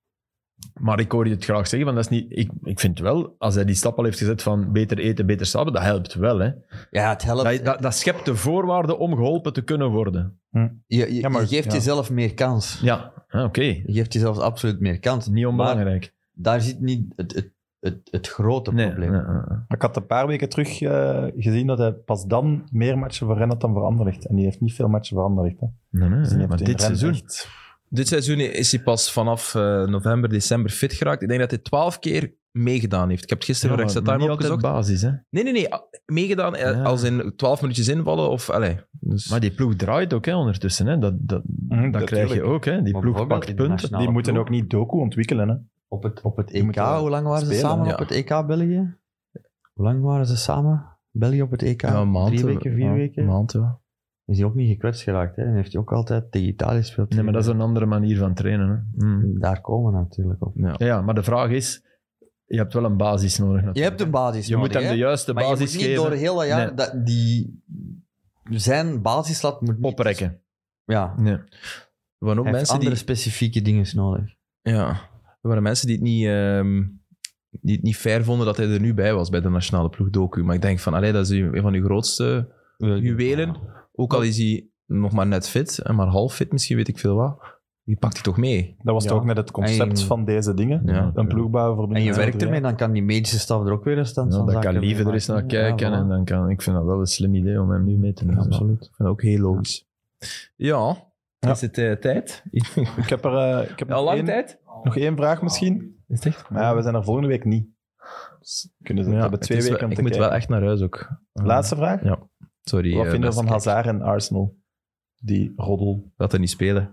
[SPEAKER 3] Maar ik hoor je het graag zeggen, want dat is niet, ik, ik vind wel, als hij die stap al heeft gezet van beter eten, beter slapen, dat helpt wel. Hè?
[SPEAKER 6] Ja, het helpt.
[SPEAKER 3] Dat, dat, dat schept de voorwaarden om geholpen te kunnen worden.
[SPEAKER 6] je, je-
[SPEAKER 2] Ja, maar-
[SPEAKER 6] je geeft
[SPEAKER 2] ja.
[SPEAKER 6] jezelf meer kans.
[SPEAKER 3] Ja, ah, oké.
[SPEAKER 6] Je geeft jezelf absoluut meer kans.
[SPEAKER 3] Niet onbelangrijk.
[SPEAKER 6] Daar zit niet het, het, het, het grote
[SPEAKER 3] nee,
[SPEAKER 6] probleem.
[SPEAKER 3] nee, nee, nee.
[SPEAKER 2] Ik had een paar weken terug eh, gezien dat hij pas dan meer matchen voor Rennes dan voor Anderlecht. En die heeft niet veel matchen voor Anderlecht. Hè.
[SPEAKER 3] Nee, nee,
[SPEAKER 2] Dus die
[SPEAKER 3] nee,
[SPEAKER 2] heeft
[SPEAKER 3] maar
[SPEAKER 2] in
[SPEAKER 3] dit
[SPEAKER 2] Rennes
[SPEAKER 3] seizoen.
[SPEAKER 2] echt-
[SPEAKER 1] Dit seizoen is hij pas vanaf eh, november, december fit geraakt. Ik denk dat hij twaalf keer meegedaan heeft. Ik heb het
[SPEAKER 3] Ja,
[SPEAKER 1] gisteren
[SPEAKER 3] maar-
[SPEAKER 1] voor Extra
[SPEAKER 3] maar niet
[SPEAKER 1] Time
[SPEAKER 3] altijd
[SPEAKER 1] opgezocht.
[SPEAKER 3] basis. Hè?
[SPEAKER 1] Nee, nee, nee. a- Meegedaan eh,
[SPEAKER 3] Ja.
[SPEAKER 1] als in twaalf minuutjes invallen of... Allee, dus,
[SPEAKER 3] Maar die ploeg draait ook hè, ondertussen. Hè? Dat, dat, dat,
[SPEAKER 2] dat
[SPEAKER 3] krijg je
[SPEAKER 2] tuurlijk.
[SPEAKER 3] ook. Hè? Die ploeg
[SPEAKER 6] Maar bijvoorbeeld
[SPEAKER 3] pakt
[SPEAKER 6] in de
[SPEAKER 3] punten.
[SPEAKER 6] nationale
[SPEAKER 2] Hm, Die moeten
[SPEAKER 6] ploeg.
[SPEAKER 2] ook niet Doku ontwikkelen. Hè.
[SPEAKER 6] Op het, op het
[SPEAKER 2] Die
[SPEAKER 6] EK,
[SPEAKER 2] moeten wel
[SPEAKER 6] hoe lang waren ze
[SPEAKER 2] spelen,
[SPEAKER 6] samen
[SPEAKER 1] ja.
[SPEAKER 6] op het EK België? Hoe lang waren ze samen? België op het EK?
[SPEAKER 1] Ja, een maand,
[SPEAKER 6] Drie
[SPEAKER 1] eh,
[SPEAKER 6] weken, vier
[SPEAKER 1] ja,
[SPEAKER 6] weken?
[SPEAKER 1] een maand, ja.
[SPEAKER 6] Is hij ook niet gekwetst geraakt. Hè? En heeft hij ook altijd tegen Italië gespeeld.
[SPEAKER 3] Nee, maar dat is een andere manier van trainen. Hè? Mm.
[SPEAKER 6] Daar komen we natuurlijk op.
[SPEAKER 1] Ja.
[SPEAKER 3] Ja, Ja, maar de vraag is, je hebt wel een basis nodig.
[SPEAKER 6] Je
[SPEAKER 3] natuurlijk.
[SPEAKER 6] hebt een basis
[SPEAKER 3] je
[SPEAKER 6] nodig,
[SPEAKER 3] moet hem
[SPEAKER 6] hè?
[SPEAKER 3] de juiste
[SPEAKER 6] maar
[SPEAKER 3] basis
[SPEAKER 6] je moet niet
[SPEAKER 3] geven.
[SPEAKER 6] door heel dat jaar...
[SPEAKER 3] Nee.
[SPEAKER 6] Dat die, zijn basis laat moet niet-
[SPEAKER 3] Oprekken.
[SPEAKER 6] Ja,
[SPEAKER 3] Nee.
[SPEAKER 1] Er waren ook
[SPEAKER 6] hij heeft
[SPEAKER 1] mensen
[SPEAKER 6] andere
[SPEAKER 1] die...
[SPEAKER 6] specifieke dingen nodig.
[SPEAKER 1] Ja. Er waren mensen die het niet... ehm, die het niet fair vonden dat hij er nu bij was bij de nationale ploeg Doku. Maar ik denk van, allee, dat is een van uw grootste juwelen. Ook al is hij nog maar net fit, en maar half fit misschien, weet ik veel wat. Die pakt hij toch mee.
[SPEAKER 2] Dat was
[SPEAKER 6] Ja.
[SPEAKER 2] toch ook net het concept
[SPEAKER 6] En-
[SPEAKER 2] van deze dingen.
[SPEAKER 1] Ja.
[SPEAKER 2] Een ploeg bouwen voor
[SPEAKER 6] En je
[SPEAKER 2] binnen-
[SPEAKER 6] werkt ermee, dan kan die medische staf er ook weer een stand
[SPEAKER 3] Ja,
[SPEAKER 6] van
[SPEAKER 3] dan
[SPEAKER 6] zaken
[SPEAKER 3] kan
[SPEAKER 6] mee
[SPEAKER 3] Lieve er eens
[SPEAKER 6] maken.
[SPEAKER 3] naar kijken.
[SPEAKER 6] Ja, voilà.
[SPEAKER 3] en dan kan, ik vind dat wel een slim idee om hem nu mee te nemen.
[SPEAKER 1] Ik vind dat ook heel logisch. Ja,
[SPEAKER 2] Ja.
[SPEAKER 1] is het eh, tijd?
[SPEAKER 2] Ik heb er eh,
[SPEAKER 1] *laughs*
[SPEAKER 2] ik heb
[SPEAKER 1] Al
[SPEAKER 2] nog,
[SPEAKER 1] lang
[SPEAKER 2] één,
[SPEAKER 1] tijd? Oh.
[SPEAKER 2] nog één vraag misschien.
[SPEAKER 1] Is het echt?
[SPEAKER 2] Maar ja, we zijn er volgende week niet. Dus kunnen ze, we hebben twee
[SPEAKER 1] het is
[SPEAKER 2] weken
[SPEAKER 1] wel-
[SPEAKER 2] om
[SPEAKER 1] Ik
[SPEAKER 2] te
[SPEAKER 1] moet
[SPEAKER 2] kijken.
[SPEAKER 1] wel echt naar huis ook.
[SPEAKER 2] Laatste vraag.
[SPEAKER 1] Ja, Sorry.
[SPEAKER 2] Wat
[SPEAKER 1] eh,
[SPEAKER 2] vinden
[SPEAKER 1] beste
[SPEAKER 2] we van
[SPEAKER 1] kijkers.
[SPEAKER 2] Hazard en Arsenal? Die roddel.
[SPEAKER 1] Dat er niet spelen.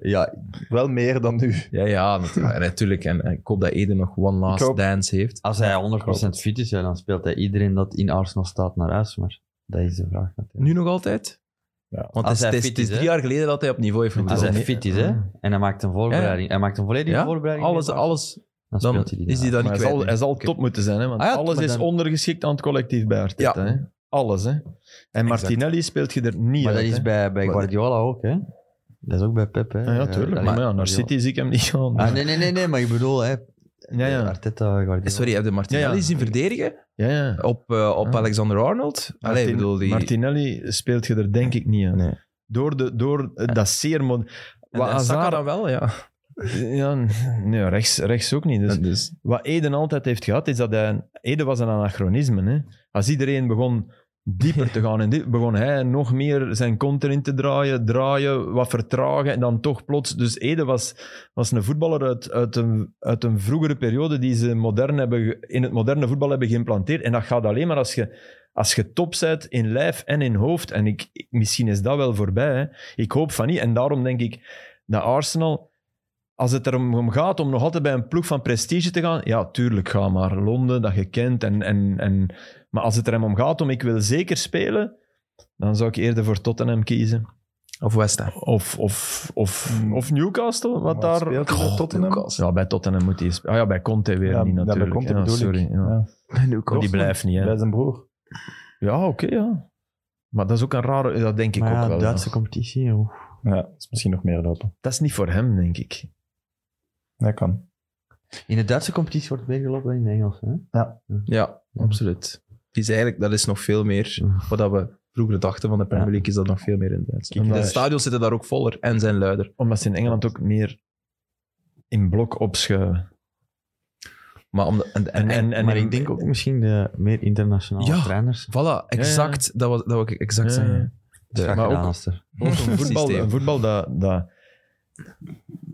[SPEAKER 6] Ja,
[SPEAKER 2] Wel meer dan nu.
[SPEAKER 1] Ja, ja, natuurlijk. En, natuurlijk. en, en ik hoop dat Eden nog one last
[SPEAKER 2] Ik hoop-
[SPEAKER 1] dance heeft.
[SPEAKER 6] als hij 100% fit is, ja, dan speelt hij iedereen dat in Arsenal staat naar huis. Maar dat is de vraag natuurlijk.
[SPEAKER 1] Nu nog altijd? Want
[SPEAKER 6] Als
[SPEAKER 1] het is,
[SPEAKER 6] hij
[SPEAKER 1] het is-
[SPEAKER 6] fit
[SPEAKER 1] het is
[SPEAKER 6] is,
[SPEAKER 1] drie
[SPEAKER 6] hè?
[SPEAKER 1] jaar geleden dat hij opnieuw heeft
[SPEAKER 6] Als
[SPEAKER 1] gevoetbald.
[SPEAKER 6] hij fit is, hè? En hij maakt een voorbereiding. Hij maakt een volledige
[SPEAKER 1] Ja?
[SPEAKER 6] voorbereiding.
[SPEAKER 1] Alles, alles,
[SPEAKER 6] Dan,
[SPEAKER 1] dan
[SPEAKER 6] speelt hij die
[SPEAKER 1] is hij
[SPEAKER 6] na.
[SPEAKER 1] dan
[SPEAKER 3] Maar
[SPEAKER 1] niet
[SPEAKER 3] hij
[SPEAKER 1] kwijt.
[SPEAKER 3] zal,
[SPEAKER 1] denk
[SPEAKER 3] hij
[SPEAKER 1] ik.
[SPEAKER 3] zal top moeten zijn, hè, want
[SPEAKER 6] Ah ja,
[SPEAKER 3] alles
[SPEAKER 6] maar
[SPEAKER 3] is
[SPEAKER 6] dan-
[SPEAKER 3] ondergeschikt aan het collectief bij Arteta.
[SPEAKER 1] Ja.
[SPEAKER 3] Hè? Alles, hè. En Martinelli speelt je er niet
[SPEAKER 6] Maar
[SPEAKER 3] uit.
[SPEAKER 6] dat is
[SPEAKER 3] hè.
[SPEAKER 6] bij, bij
[SPEAKER 1] Maar-
[SPEAKER 6] Guardiola ook, hè? Dat is ook bij Pep, hè?
[SPEAKER 3] Ja, ja, tuurlijk. maar
[SPEAKER 6] Allee,
[SPEAKER 3] ja, naar
[SPEAKER 6] Guardiola.
[SPEAKER 3] City zie ik hem niet gaan.
[SPEAKER 6] Ah, nee, nee, nee, nee, maar ik bedoel, hè?
[SPEAKER 3] ja, ja.
[SPEAKER 6] Arteta, Guardiola.
[SPEAKER 1] Eh, Sorry, heb je Martinelli
[SPEAKER 3] Ja, ja.
[SPEAKER 1] zien verdedigen
[SPEAKER 3] ja, ja.
[SPEAKER 1] op, eh, op
[SPEAKER 3] Ja.
[SPEAKER 1] Alexander-Arnold? Allee, ik
[SPEAKER 3] Martin-
[SPEAKER 1] bedoel, die...
[SPEAKER 3] Martinelli speelt je er denk ik niet aan.
[SPEAKER 1] Nee.
[SPEAKER 3] Door, de, door eh, dat zeer... mod-
[SPEAKER 1] en,
[SPEAKER 3] Wat
[SPEAKER 1] en Saka
[SPEAKER 3] Hazard-
[SPEAKER 1] dan wel, ja.
[SPEAKER 3] Ja, nee, rechts, rechts ook niet. Dus
[SPEAKER 1] En dus-
[SPEAKER 3] wat Eden altijd heeft gehad, is dat hij... Eden was een anachronisme. Hè? Als iedereen begon dieper te gaan en dit, begon hij nog meer zijn kont erin te draaien, draaien, wat vertragen en dan toch plots... Dus Eden was, was een voetballer uit, uit, een, uit een vroegere periode die ze modern hebben, ge- in het moderne voetbal hebben geïmplanteerd. En dat gaat alleen maar als je, als je top bent in lijf en in hoofd. En ik, ik- misschien is dat wel voorbij. Hè? Ik hoop van niet. En daarom denk ik dat Arsenal... Als het er om om gaat om nog altijd bij een ploeg van prestige te gaan, ja, tuurlijk, ga maar. Londen, dat je kent. En, en, en... Maar als het er hem om gaat om ik wil zeker spelen, dan zou ik eerder voor Tottenham kiezen.
[SPEAKER 1] Of West Ham.
[SPEAKER 3] Of, of, of, of Newcastle, wat
[SPEAKER 2] Wat
[SPEAKER 3] daar...
[SPEAKER 2] speelt hij bij
[SPEAKER 3] Goh,
[SPEAKER 2] Tottenham?
[SPEAKER 3] Newcastle. Ja, bij Tottenham moet hij... spe- Ah ja, bij Conte weer niet
[SPEAKER 2] dat
[SPEAKER 3] natuurlijk.
[SPEAKER 2] komt,
[SPEAKER 3] ja,
[SPEAKER 2] bedoel
[SPEAKER 3] sorry.
[SPEAKER 2] ik.
[SPEAKER 3] Ja.
[SPEAKER 2] Ja. *laughs*
[SPEAKER 3] Die blijft niet, hè.
[SPEAKER 2] Bij zijn broer.
[SPEAKER 3] Ja, oké, ja. Maar dat is ook een rare... Dat denk ik
[SPEAKER 6] Maar ja,
[SPEAKER 3] ook wel.
[SPEAKER 6] Duitse competitie, joh.
[SPEAKER 2] Ja, dat is misschien nog meer lopen.
[SPEAKER 3] Dat is niet voor hem, denk ik.
[SPEAKER 2] Dat kan.
[SPEAKER 6] In de Duitse competitie wordt meer gelopen dan in de Engelse, hè?
[SPEAKER 1] Ja, absoluut. Die is eigenlijk, dat is nog veel meer
[SPEAKER 6] Mm.
[SPEAKER 1] wat dat we vroeger dachten van de Premier League, is dat nog veel meer in Duitsland.
[SPEAKER 3] Kijk,
[SPEAKER 1] de
[SPEAKER 3] daar-
[SPEAKER 1] stadions zitten daar ook voller en zijn luider.
[SPEAKER 3] Omdat ze in Engeland ook meer in blok opschuiven.
[SPEAKER 1] Maar om de- en, en,
[SPEAKER 3] En, en, en
[SPEAKER 6] maar
[SPEAKER 3] in-
[SPEAKER 6] ik denk ook misschien de meer internationale
[SPEAKER 1] Ja.
[SPEAKER 6] trainers.
[SPEAKER 1] voilà, exact, Dat, was, dat wil ik exact
[SPEAKER 3] Ja, ja.
[SPEAKER 1] zeggen.
[SPEAKER 6] De,
[SPEAKER 3] maar ook-
[SPEAKER 6] Aanster.
[SPEAKER 1] *laughs*
[SPEAKER 3] Ook een voetbal,
[SPEAKER 1] Systeem.
[SPEAKER 3] een voetbal dat, dat...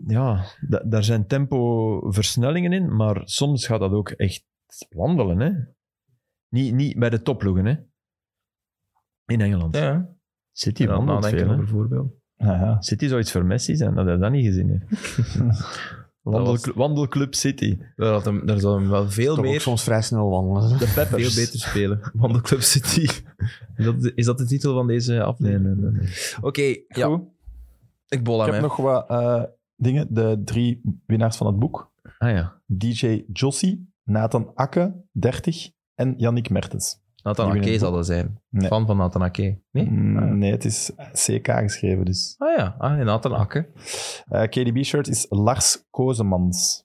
[SPEAKER 3] Ja, da- daar zijn tempo-versnellingen in, maar soms gaat dat ook echt wandelen. Hè? Niet, niet bij de topploegen, hè? In Engeland.
[SPEAKER 1] Ja, ja.
[SPEAKER 3] City
[SPEAKER 1] Die
[SPEAKER 3] wandelt
[SPEAKER 1] nadenken
[SPEAKER 3] veel, hè.
[SPEAKER 1] over voorbeeld.
[SPEAKER 2] Ja, ja.
[SPEAKER 3] City zou iets voor Messi zijn, dat hij dat niet gezien heeft.
[SPEAKER 2] *laughs*
[SPEAKER 3] Wandelcl- Wandelclub City.
[SPEAKER 1] Daar, had hem, daar zou hem wel veel
[SPEAKER 6] Toch ook
[SPEAKER 1] meer,
[SPEAKER 6] soms vrij snel wandelen. *laughs*
[SPEAKER 1] de peppers. veel beter spelen. Wandelclub City. Is dat, de- is dat de titel van deze
[SPEAKER 3] Nee,
[SPEAKER 1] aflevering?
[SPEAKER 3] nee, nee. nee.
[SPEAKER 1] Oké, ja.
[SPEAKER 2] Goed.
[SPEAKER 1] Ik bol
[SPEAKER 2] Ik
[SPEAKER 1] aan
[SPEAKER 2] heb nog wat eh, dingen. De drie winnaars van het boek.
[SPEAKER 3] Ah ja.
[SPEAKER 2] DJ Jossie, Nathan Akke, 30 en Yannick Mertens.
[SPEAKER 1] Nathan
[SPEAKER 2] die
[SPEAKER 1] Ake
[SPEAKER 2] winnen
[SPEAKER 1] zal dat zijn.
[SPEAKER 2] Nee.
[SPEAKER 1] Fan van Nathan Ake.
[SPEAKER 3] Hm?
[SPEAKER 1] Nee?
[SPEAKER 2] Mm,
[SPEAKER 3] Ah.
[SPEAKER 2] nee, het is CK geschreven dus.
[SPEAKER 1] Ah ja, ah, Nathan Ake.
[SPEAKER 2] Eh, KDB-shirt is Lars Kozemans.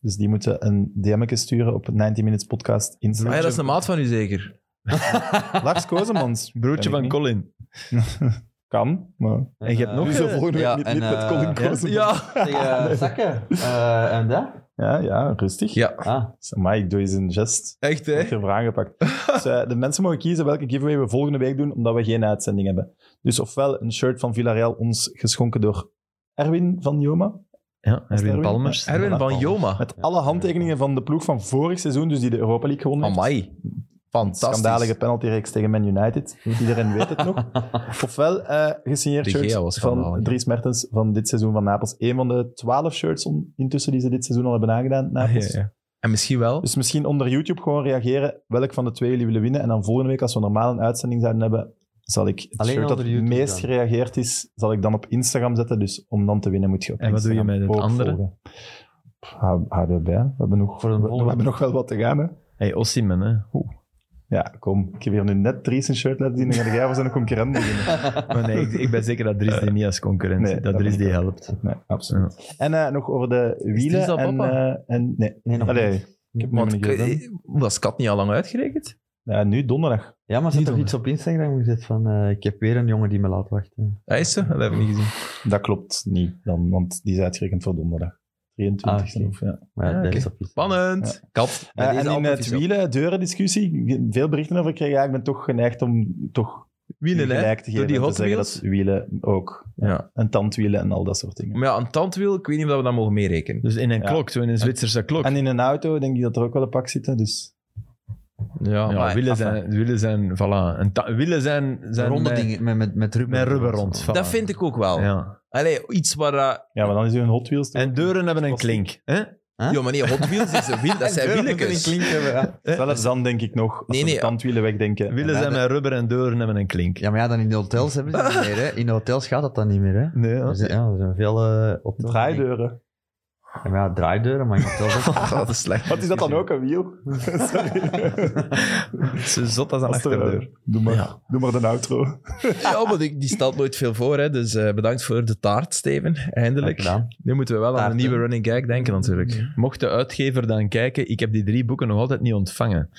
[SPEAKER 2] Dus die moeten een DM'tje sturen op 90 Minutes Podcast Instagram.
[SPEAKER 1] Ah ja, dat is een maat van u zeker.
[SPEAKER 2] Lars Kozemans.
[SPEAKER 3] *laughs* Broertje
[SPEAKER 2] Ben
[SPEAKER 3] van
[SPEAKER 2] ik
[SPEAKER 3] Colin.
[SPEAKER 2] niet. Kan, maar...
[SPEAKER 3] En je hebt nog
[SPEAKER 2] Dus de
[SPEAKER 3] eh,
[SPEAKER 2] volgende
[SPEAKER 6] ja,
[SPEAKER 2] week
[SPEAKER 6] en,
[SPEAKER 2] niet, niet met
[SPEAKER 6] eh,
[SPEAKER 2] Colin
[SPEAKER 6] ja.
[SPEAKER 2] Kozemans.
[SPEAKER 6] *laughs* zakken. Eh, en dat?
[SPEAKER 2] Ja, ja, rustig.
[SPEAKER 1] Ja.
[SPEAKER 6] Ah,
[SPEAKER 2] Maar ik doe eens een gest.
[SPEAKER 1] Echt,
[SPEAKER 2] Ik heb er voor aangepakt. Dus, eh, de mensen mogen kiezen welke giveaway we volgende week doen, omdat we geen uitzending hebben. Dus ofwel een shirt van Villarreal, ons geschonken door Erwin van Joma.
[SPEAKER 3] Ja,
[SPEAKER 2] Is het
[SPEAKER 3] Erwin
[SPEAKER 2] Erwin?
[SPEAKER 3] Palmers.
[SPEAKER 1] Erwin van
[SPEAKER 6] Palmers.
[SPEAKER 1] Joma.
[SPEAKER 2] Met alle handtekeningen van de ploeg van vorig seizoen, dus die de Europa League gewonnen heeft. Dus
[SPEAKER 1] Amai. Fantastisch.
[SPEAKER 2] Schandalige penaltyreeks tegen Man United. Iedereen weet
[SPEAKER 1] *laughs*
[SPEAKER 2] het nog. Ofwel eh gesigneerd
[SPEAKER 1] De Gea
[SPEAKER 2] shirt
[SPEAKER 1] was
[SPEAKER 2] van
[SPEAKER 1] schandalig.
[SPEAKER 2] Dries Mertens van dit seizoen van Napels. Een van de twaalf shirts on- intussen die ze dit seizoen al hebben aangedaan.
[SPEAKER 1] Ah,
[SPEAKER 2] Napels.
[SPEAKER 1] ja, ja. En misschien wel.
[SPEAKER 2] Dus misschien onder YouTube gewoon reageren welk van de twee jullie willen winnen. En dan volgende week, als we normaal een uitzending zouden hebben, zal ik het
[SPEAKER 6] Alleen
[SPEAKER 2] shirt dat
[SPEAKER 6] onder
[SPEAKER 2] het
[SPEAKER 6] YouTube
[SPEAKER 2] meest
[SPEAKER 6] dan.
[SPEAKER 2] gereageerd is, zal ik dan op Instagram zetten. Dus om dan te winnen moet je op
[SPEAKER 3] En wat doe je
[SPEAKER 2] Instagram
[SPEAKER 3] met het
[SPEAKER 2] ook
[SPEAKER 3] andere?
[SPEAKER 2] volgen. Pff, hou- Houden we bij. We hebben nog,
[SPEAKER 6] Voor een
[SPEAKER 2] we, we
[SPEAKER 6] volgende.
[SPEAKER 2] hebben nog wel wat te gaan. Hè?
[SPEAKER 3] Hey, Ossiman, hè.
[SPEAKER 2] Ja, kom. Ik heb hier nu net Dries een shirt laten zien. Dan ga jij voor zijn concurrent beginnen.
[SPEAKER 3] Maar nee, ik, ik ben zeker dat
[SPEAKER 2] *laughs*
[SPEAKER 3] Dries die niet als concurrent
[SPEAKER 2] Eh, Nee,
[SPEAKER 3] ziet,
[SPEAKER 2] dat
[SPEAKER 3] dat Dries
[SPEAKER 2] ben ik
[SPEAKER 3] die
[SPEAKER 2] ook.
[SPEAKER 3] helpt.
[SPEAKER 2] Nee, absoluut. En eh, nog over de
[SPEAKER 1] Dries
[SPEAKER 2] wielen.
[SPEAKER 1] al
[SPEAKER 2] en,
[SPEAKER 1] papa?
[SPEAKER 2] eh, en, nee,
[SPEAKER 6] nee, nog
[SPEAKER 2] Allee,
[SPEAKER 6] niet.
[SPEAKER 2] ik heb
[SPEAKER 1] Want
[SPEAKER 2] nog niet gezien.
[SPEAKER 1] ik- was Kat niet al lang uitgerekend?
[SPEAKER 2] Ja, nu donderdag.
[SPEAKER 6] Ja, maar ze
[SPEAKER 3] Niet
[SPEAKER 6] had
[SPEAKER 3] doen.
[SPEAKER 6] toch iets op Instagram gezet van eh, ik heb weer een jongen die me laat wachten.
[SPEAKER 1] Hij is ze? Dat heb ik niet gezien.
[SPEAKER 2] Dat klopt niet, dan, want die is uitgerekend voor donderdag. 23
[SPEAKER 6] Ah, oké.
[SPEAKER 2] of ja.
[SPEAKER 6] Maar ja,
[SPEAKER 1] Ah,
[SPEAKER 6] dat
[SPEAKER 1] oké.
[SPEAKER 6] is op Instagram.
[SPEAKER 1] Spannend. Kat.
[SPEAKER 2] Eh, en in het wielen deuren discussie, veel berichten over gekregen. Ja, ik ben toch geneigd om toch
[SPEAKER 1] Wielen, hè?
[SPEAKER 2] gelijk te
[SPEAKER 1] Door
[SPEAKER 2] geven
[SPEAKER 1] die
[SPEAKER 2] en te
[SPEAKER 1] Hot
[SPEAKER 2] zeggen
[SPEAKER 1] Wheels.
[SPEAKER 2] dat wielen ook.
[SPEAKER 1] Ja.
[SPEAKER 2] En tandwielen en al dat soort dingen.
[SPEAKER 1] Maar ja, een tandwiel, ik weet niet of we dat mogen meerekenen.
[SPEAKER 3] Dus in een
[SPEAKER 2] Ja.
[SPEAKER 3] klok, zo in een Zwitserse klok.
[SPEAKER 2] En in een auto denk ik dat er ook wel een pak zitten, dus...
[SPEAKER 1] Ja,
[SPEAKER 3] ja,
[SPEAKER 1] maar...
[SPEAKER 3] willen
[SPEAKER 1] enfin,
[SPEAKER 3] zijn, willen zijn, voilà. Een ta- willen zijn, zijn eh,
[SPEAKER 6] ronde
[SPEAKER 3] mijn-
[SPEAKER 6] dingen met, met, met rubber.
[SPEAKER 3] mijn rubber rond. voilà.
[SPEAKER 1] Dat vind ik ook wel.
[SPEAKER 3] Ja.
[SPEAKER 1] Allee, iets waar... eh,
[SPEAKER 2] Ja, maar dan is u een Hot Wheels.
[SPEAKER 3] En deuren hebben een
[SPEAKER 2] Plastic.
[SPEAKER 3] klink. Hè?
[SPEAKER 6] Huh?
[SPEAKER 1] Ja, maar nee, Hot Wheels is een
[SPEAKER 2] *laughs*
[SPEAKER 1] wiel. Dat zijn wieltjes.
[SPEAKER 2] Zelfs dan denk ik nog, als
[SPEAKER 1] Nee,
[SPEAKER 2] ze
[SPEAKER 1] nee.
[SPEAKER 2] de tandwielen wegdenken.
[SPEAKER 3] Willen zijn met rubber en deuren hebben een klink.
[SPEAKER 6] Ja, maar ja, dan in de hotels hebben ze het niet meer. Hè. In de hotels gaat dat dan niet meer. Hè.
[SPEAKER 3] Nee,
[SPEAKER 6] Er
[SPEAKER 3] ja.
[SPEAKER 6] zijn, ja, er zijn veel eh hotels.
[SPEAKER 2] Draaideuren.
[SPEAKER 6] Ja, maar ja, draaideuren, maar in hotels
[SPEAKER 1] *laughs*
[SPEAKER 6] ook.
[SPEAKER 1] Ah, Dat is slecht.
[SPEAKER 2] *laughs* Wat is dat dan ook, een wiel?
[SPEAKER 3] Zo zot als een
[SPEAKER 2] Als er,
[SPEAKER 3] achterdeur.
[SPEAKER 2] eh, Doe maar,
[SPEAKER 1] Ja.
[SPEAKER 2] doe maar de outro.
[SPEAKER 1] Ja, maar die, die stelt nooit veel voor. Hè. Dus eh, bedankt voor de taart, Steven. Eindelijk.
[SPEAKER 6] gedaan.
[SPEAKER 1] Nu moeten we wel aan
[SPEAKER 6] Taarten.
[SPEAKER 1] een nieuwe running gag denken, natuurlijk.
[SPEAKER 3] Mocht de uitgever dan kijken, ik heb die drie boeken nog altijd niet ontvangen.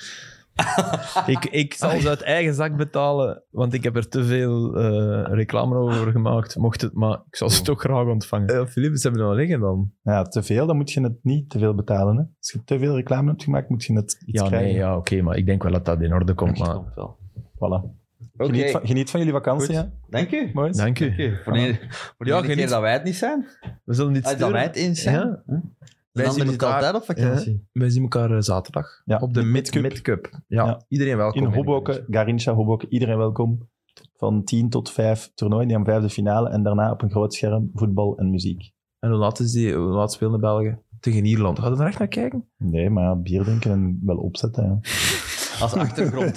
[SPEAKER 3] ik, ik zal ze uit eigen zak betalen, want ik heb er te veel eh, reclame over gemaakt. Mocht het, maar ik zal ze toch graag ontvangen.
[SPEAKER 1] Ja, Eh, Philippe, ze hebben we nog liggen dan.
[SPEAKER 2] Ja, te veel, dan moet je het niet te veel betalen. Hè. Als je te veel reclame hebt gemaakt, moet je het iets
[SPEAKER 3] Ja,
[SPEAKER 2] krijgen.
[SPEAKER 3] nee, ja, oké, maar ik denk wel dat dat in orde komt. Maar...
[SPEAKER 6] Komt wel.
[SPEAKER 2] Voilà.
[SPEAKER 6] Oké.
[SPEAKER 2] Geniet, van, geniet van jullie vakantie,
[SPEAKER 1] Goed.
[SPEAKER 2] hè,
[SPEAKER 6] Dank u.
[SPEAKER 2] boys.
[SPEAKER 3] Dank u.
[SPEAKER 6] Voor de, ene- voor de
[SPEAKER 1] Ja,
[SPEAKER 6] ene keer
[SPEAKER 1] geniet.
[SPEAKER 6] dat wij het niet zijn.
[SPEAKER 3] We zullen dit
[SPEAKER 6] Ah, dat wij
[SPEAKER 3] sturen.
[SPEAKER 6] het eens zijn.
[SPEAKER 3] Ja.
[SPEAKER 6] Huh? De
[SPEAKER 1] Wij
[SPEAKER 6] ander
[SPEAKER 1] zien
[SPEAKER 6] zit
[SPEAKER 1] elkaar-
[SPEAKER 6] altijd op vakantie.
[SPEAKER 1] Wij zien elkaar eh, zaterdag
[SPEAKER 2] Ja,
[SPEAKER 1] op de
[SPEAKER 2] de
[SPEAKER 1] Mid-
[SPEAKER 2] Midcup.
[SPEAKER 3] *laughs*
[SPEAKER 1] Midcup. Ja,
[SPEAKER 2] Ja.
[SPEAKER 1] iedereen welkom.
[SPEAKER 2] In Hoboken, Garincha, Hoboken, iedereen welkom. Van 10 tot 5 toernooien, die aan vijfde finale. En daarna op een groot scherm voetbal en muziek.
[SPEAKER 1] En hoe laat, is die, hoe laat spelen de Belgen? Tegen Ierland. Gaan we er echt naar kijken?
[SPEAKER 2] Nee, maar ja, bier drinken en wel opzetten. Ja.
[SPEAKER 6] Als achtergrond.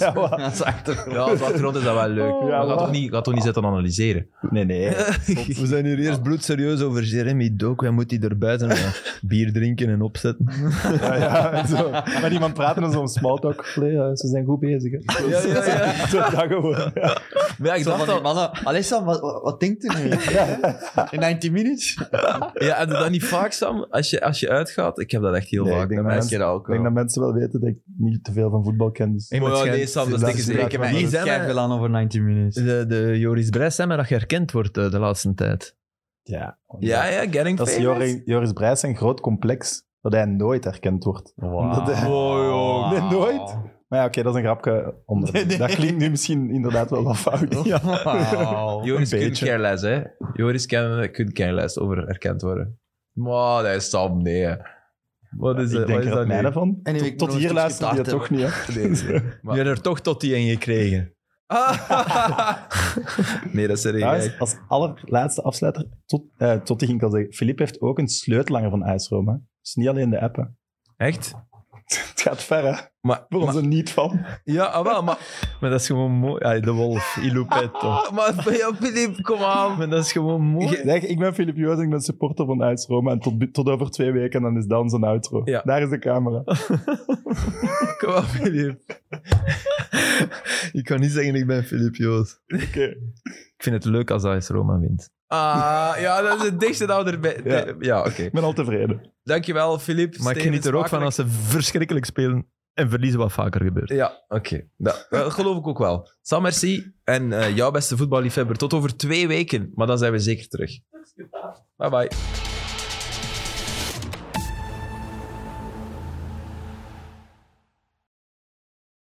[SPEAKER 2] *laughs* Ja,
[SPEAKER 6] *laughs*
[SPEAKER 2] wat?
[SPEAKER 6] Als achtergrond.
[SPEAKER 1] Ja, als achtergrond is dat wel leuk.
[SPEAKER 2] Oh,
[SPEAKER 1] Maar
[SPEAKER 2] ja,
[SPEAKER 1] ga
[SPEAKER 2] wat?
[SPEAKER 1] toch niet, ga toch niet zitten analyseren?
[SPEAKER 2] Nee, nee.
[SPEAKER 3] We zijn hier eerst bloedserieus over Jeremy Doak. Wij moeten die er buiten gaan. *laughs* bier drinken en opzetten.
[SPEAKER 2] ja, *laughs* ja, en zo. Met iemand praten en zo'n smalltalk. Nee, ja, ze zijn goed bezig. Hè.
[SPEAKER 1] Ja, ja, ja.
[SPEAKER 2] *laughs* Zo, dat gewoon. Ja.
[SPEAKER 1] *laughs* Maar ja, ik
[SPEAKER 6] Zo
[SPEAKER 1] dacht
[SPEAKER 6] van die
[SPEAKER 1] al,
[SPEAKER 6] mannen. Allee Sam, wat, wat, wat denkt u nu? In 90 minutes?
[SPEAKER 1] ja, en doe dat niet vaak, Sam. Als je, als je uitgaat, ik heb dat echt heel
[SPEAKER 2] Nee,
[SPEAKER 1] vaak.
[SPEAKER 2] ik denk
[SPEAKER 1] Dat
[SPEAKER 2] dat
[SPEAKER 1] mensen-
[SPEAKER 2] mensen-
[SPEAKER 6] dat ook
[SPEAKER 2] Ik denk dat mensen wel weten dat ik niet te veel van voetbal ken. Dus.
[SPEAKER 3] Ik
[SPEAKER 6] Oh,
[SPEAKER 1] Maar ja,
[SPEAKER 3] Waarschijnlijk-
[SPEAKER 1] nee, Sam, dat is
[SPEAKER 2] dat
[SPEAKER 1] dikke
[SPEAKER 2] is
[SPEAKER 1] zeker.
[SPEAKER 2] inderdaad
[SPEAKER 1] Ik heb
[SPEAKER 2] waar.
[SPEAKER 1] echt-
[SPEAKER 3] Die
[SPEAKER 6] Ik
[SPEAKER 3] zijn
[SPEAKER 6] kijk
[SPEAKER 3] wij-
[SPEAKER 6] veel aan over 90 minutes.
[SPEAKER 3] De, de Joris Brijs zijn maar dat herkend wordt eh, de laatste tijd.
[SPEAKER 2] Ja,
[SPEAKER 1] Ja, ja, getting
[SPEAKER 2] Dat is
[SPEAKER 1] famous.
[SPEAKER 2] Joris, Joris Brijs een groot complex dat hij nooit herkend wordt.
[SPEAKER 6] Wow.
[SPEAKER 2] *laughs* Dat-
[SPEAKER 1] joh.
[SPEAKER 2] Nee, nooit. Maar ja, oké, dat is een grapje. Onder.
[SPEAKER 6] Nee, nee.
[SPEAKER 2] Dat klinkt nu misschien inderdaad wel wat
[SPEAKER 6] *laughs* Oh.
[SPEAKER 3] *laughs*
[SPEAKER 2] fout. Ja.
[SPEAKER 6] Wauw.
[SPEAKER 1] Joris
[SPEAKER 2] Een
[SPEAKER 1] kunt
[SPEAKER 2] beetje.
[SPEAKER 1] care less, hè. Joris kan- kunt care less over erkend worden. Maar dat is Sam, nee. hè. Wat is,
[SPEAKER 2] ik
[SPEAKER 1] eh, wat
[SPEAKER 2] denk
[SPEAKER 1] is
[SPEAKER 2] er
[SPEAKER 1] dat
[SPEAKER 2] het mijne
[SPEAKER 1] nu?
[SPEAKER 2] van.
[SPEAKER 6] Anyway,
[SPEAKER 2] Tot,
[SPEAKER 6] ik moet
[SPEAKER 2] tot
[SPEAKER 6] nog
[SPEAKER 2] hier
[SPEAKER 6] een
[SPEAKER 2] luisteren je
[SPEAKER 6] stukje
[SPEAKER 2] toch niet, hè?
[SPEAKER 1] Maar-
[SPEAKER 2] *laughs*
[SPEAKER 3] Je hebt er toch tot die in gekregen.
[SPEAKER 1] *laughs* nee, dat is er
[SPEAKER 2] Trouwens,
[SPEAKER 1] eigenlijk.
[SPEAKER 2] als allerlaatste afsluiter, tot, eh, tot die ging ik al zeggen, Philippe heeft ook een sleutelanger van IJs Rome. Het is Dus niet alleen de appen. *laughs*
[SPEAKER 1] Echt?
[SPEAKER 2] Het gaat ver, hè?
[SPEAKER 1] Maar,
[SPEAKER 2] Voor
[SPEAKER 1] maar-
[SPEAKER 2] onze niet-fan.
[SPEAKER 1] ja, ah, wel, maar, ah,
[SPEAKER 3] Maar dat is gewoon mooi. Ja, de *laughs* wolf, Ilupetto.
[SPEAKER 1] maar ja, Filip, kom aan.
[SPEAKER 3] Maar dat is gewoon mooi.
[SPEAKER 2] Zeg, ik ben Filip Joos, ik ben supporter van IJs Rome. En tot, tot over twee weken, dan is dat onze outro.
[SPEAKER 1] Ja.
[SPEAKER 2] Daar is de camera.
[SPEAKER 1] Kom aan, Filip.
[SPEAKER 3] *laughs* Ik kan niet zeggen ik ben Filip *laughs* Joos.
[SPEAKER 2] Oké.
[SPEAKER 3] Ik vind het leuk als AS Roma wint.
[SPEAKER 1] Ah, ja, dat is het dichtste dat we erbij... Ja,
[SPEAKER 2] Ja.
[SPEAKER 1] oké.
[SPEAKER 2] Ik ben al tevreden.
[SPEAKER 1] Dankjewel, Filip.
[SPEAKER 3] Maar ik geniet er ook van als ze verschrikkelijk spelen en verliezen wat vaker gebeurt.
[SPEAKER 1] Ja, oké. Dat, dat geloof ik ook wel. Sam, merci. En eh, jouw beste voetballiefhebber, tot over twee weken. Maar dan zijn we zeker terug. Bye-bye.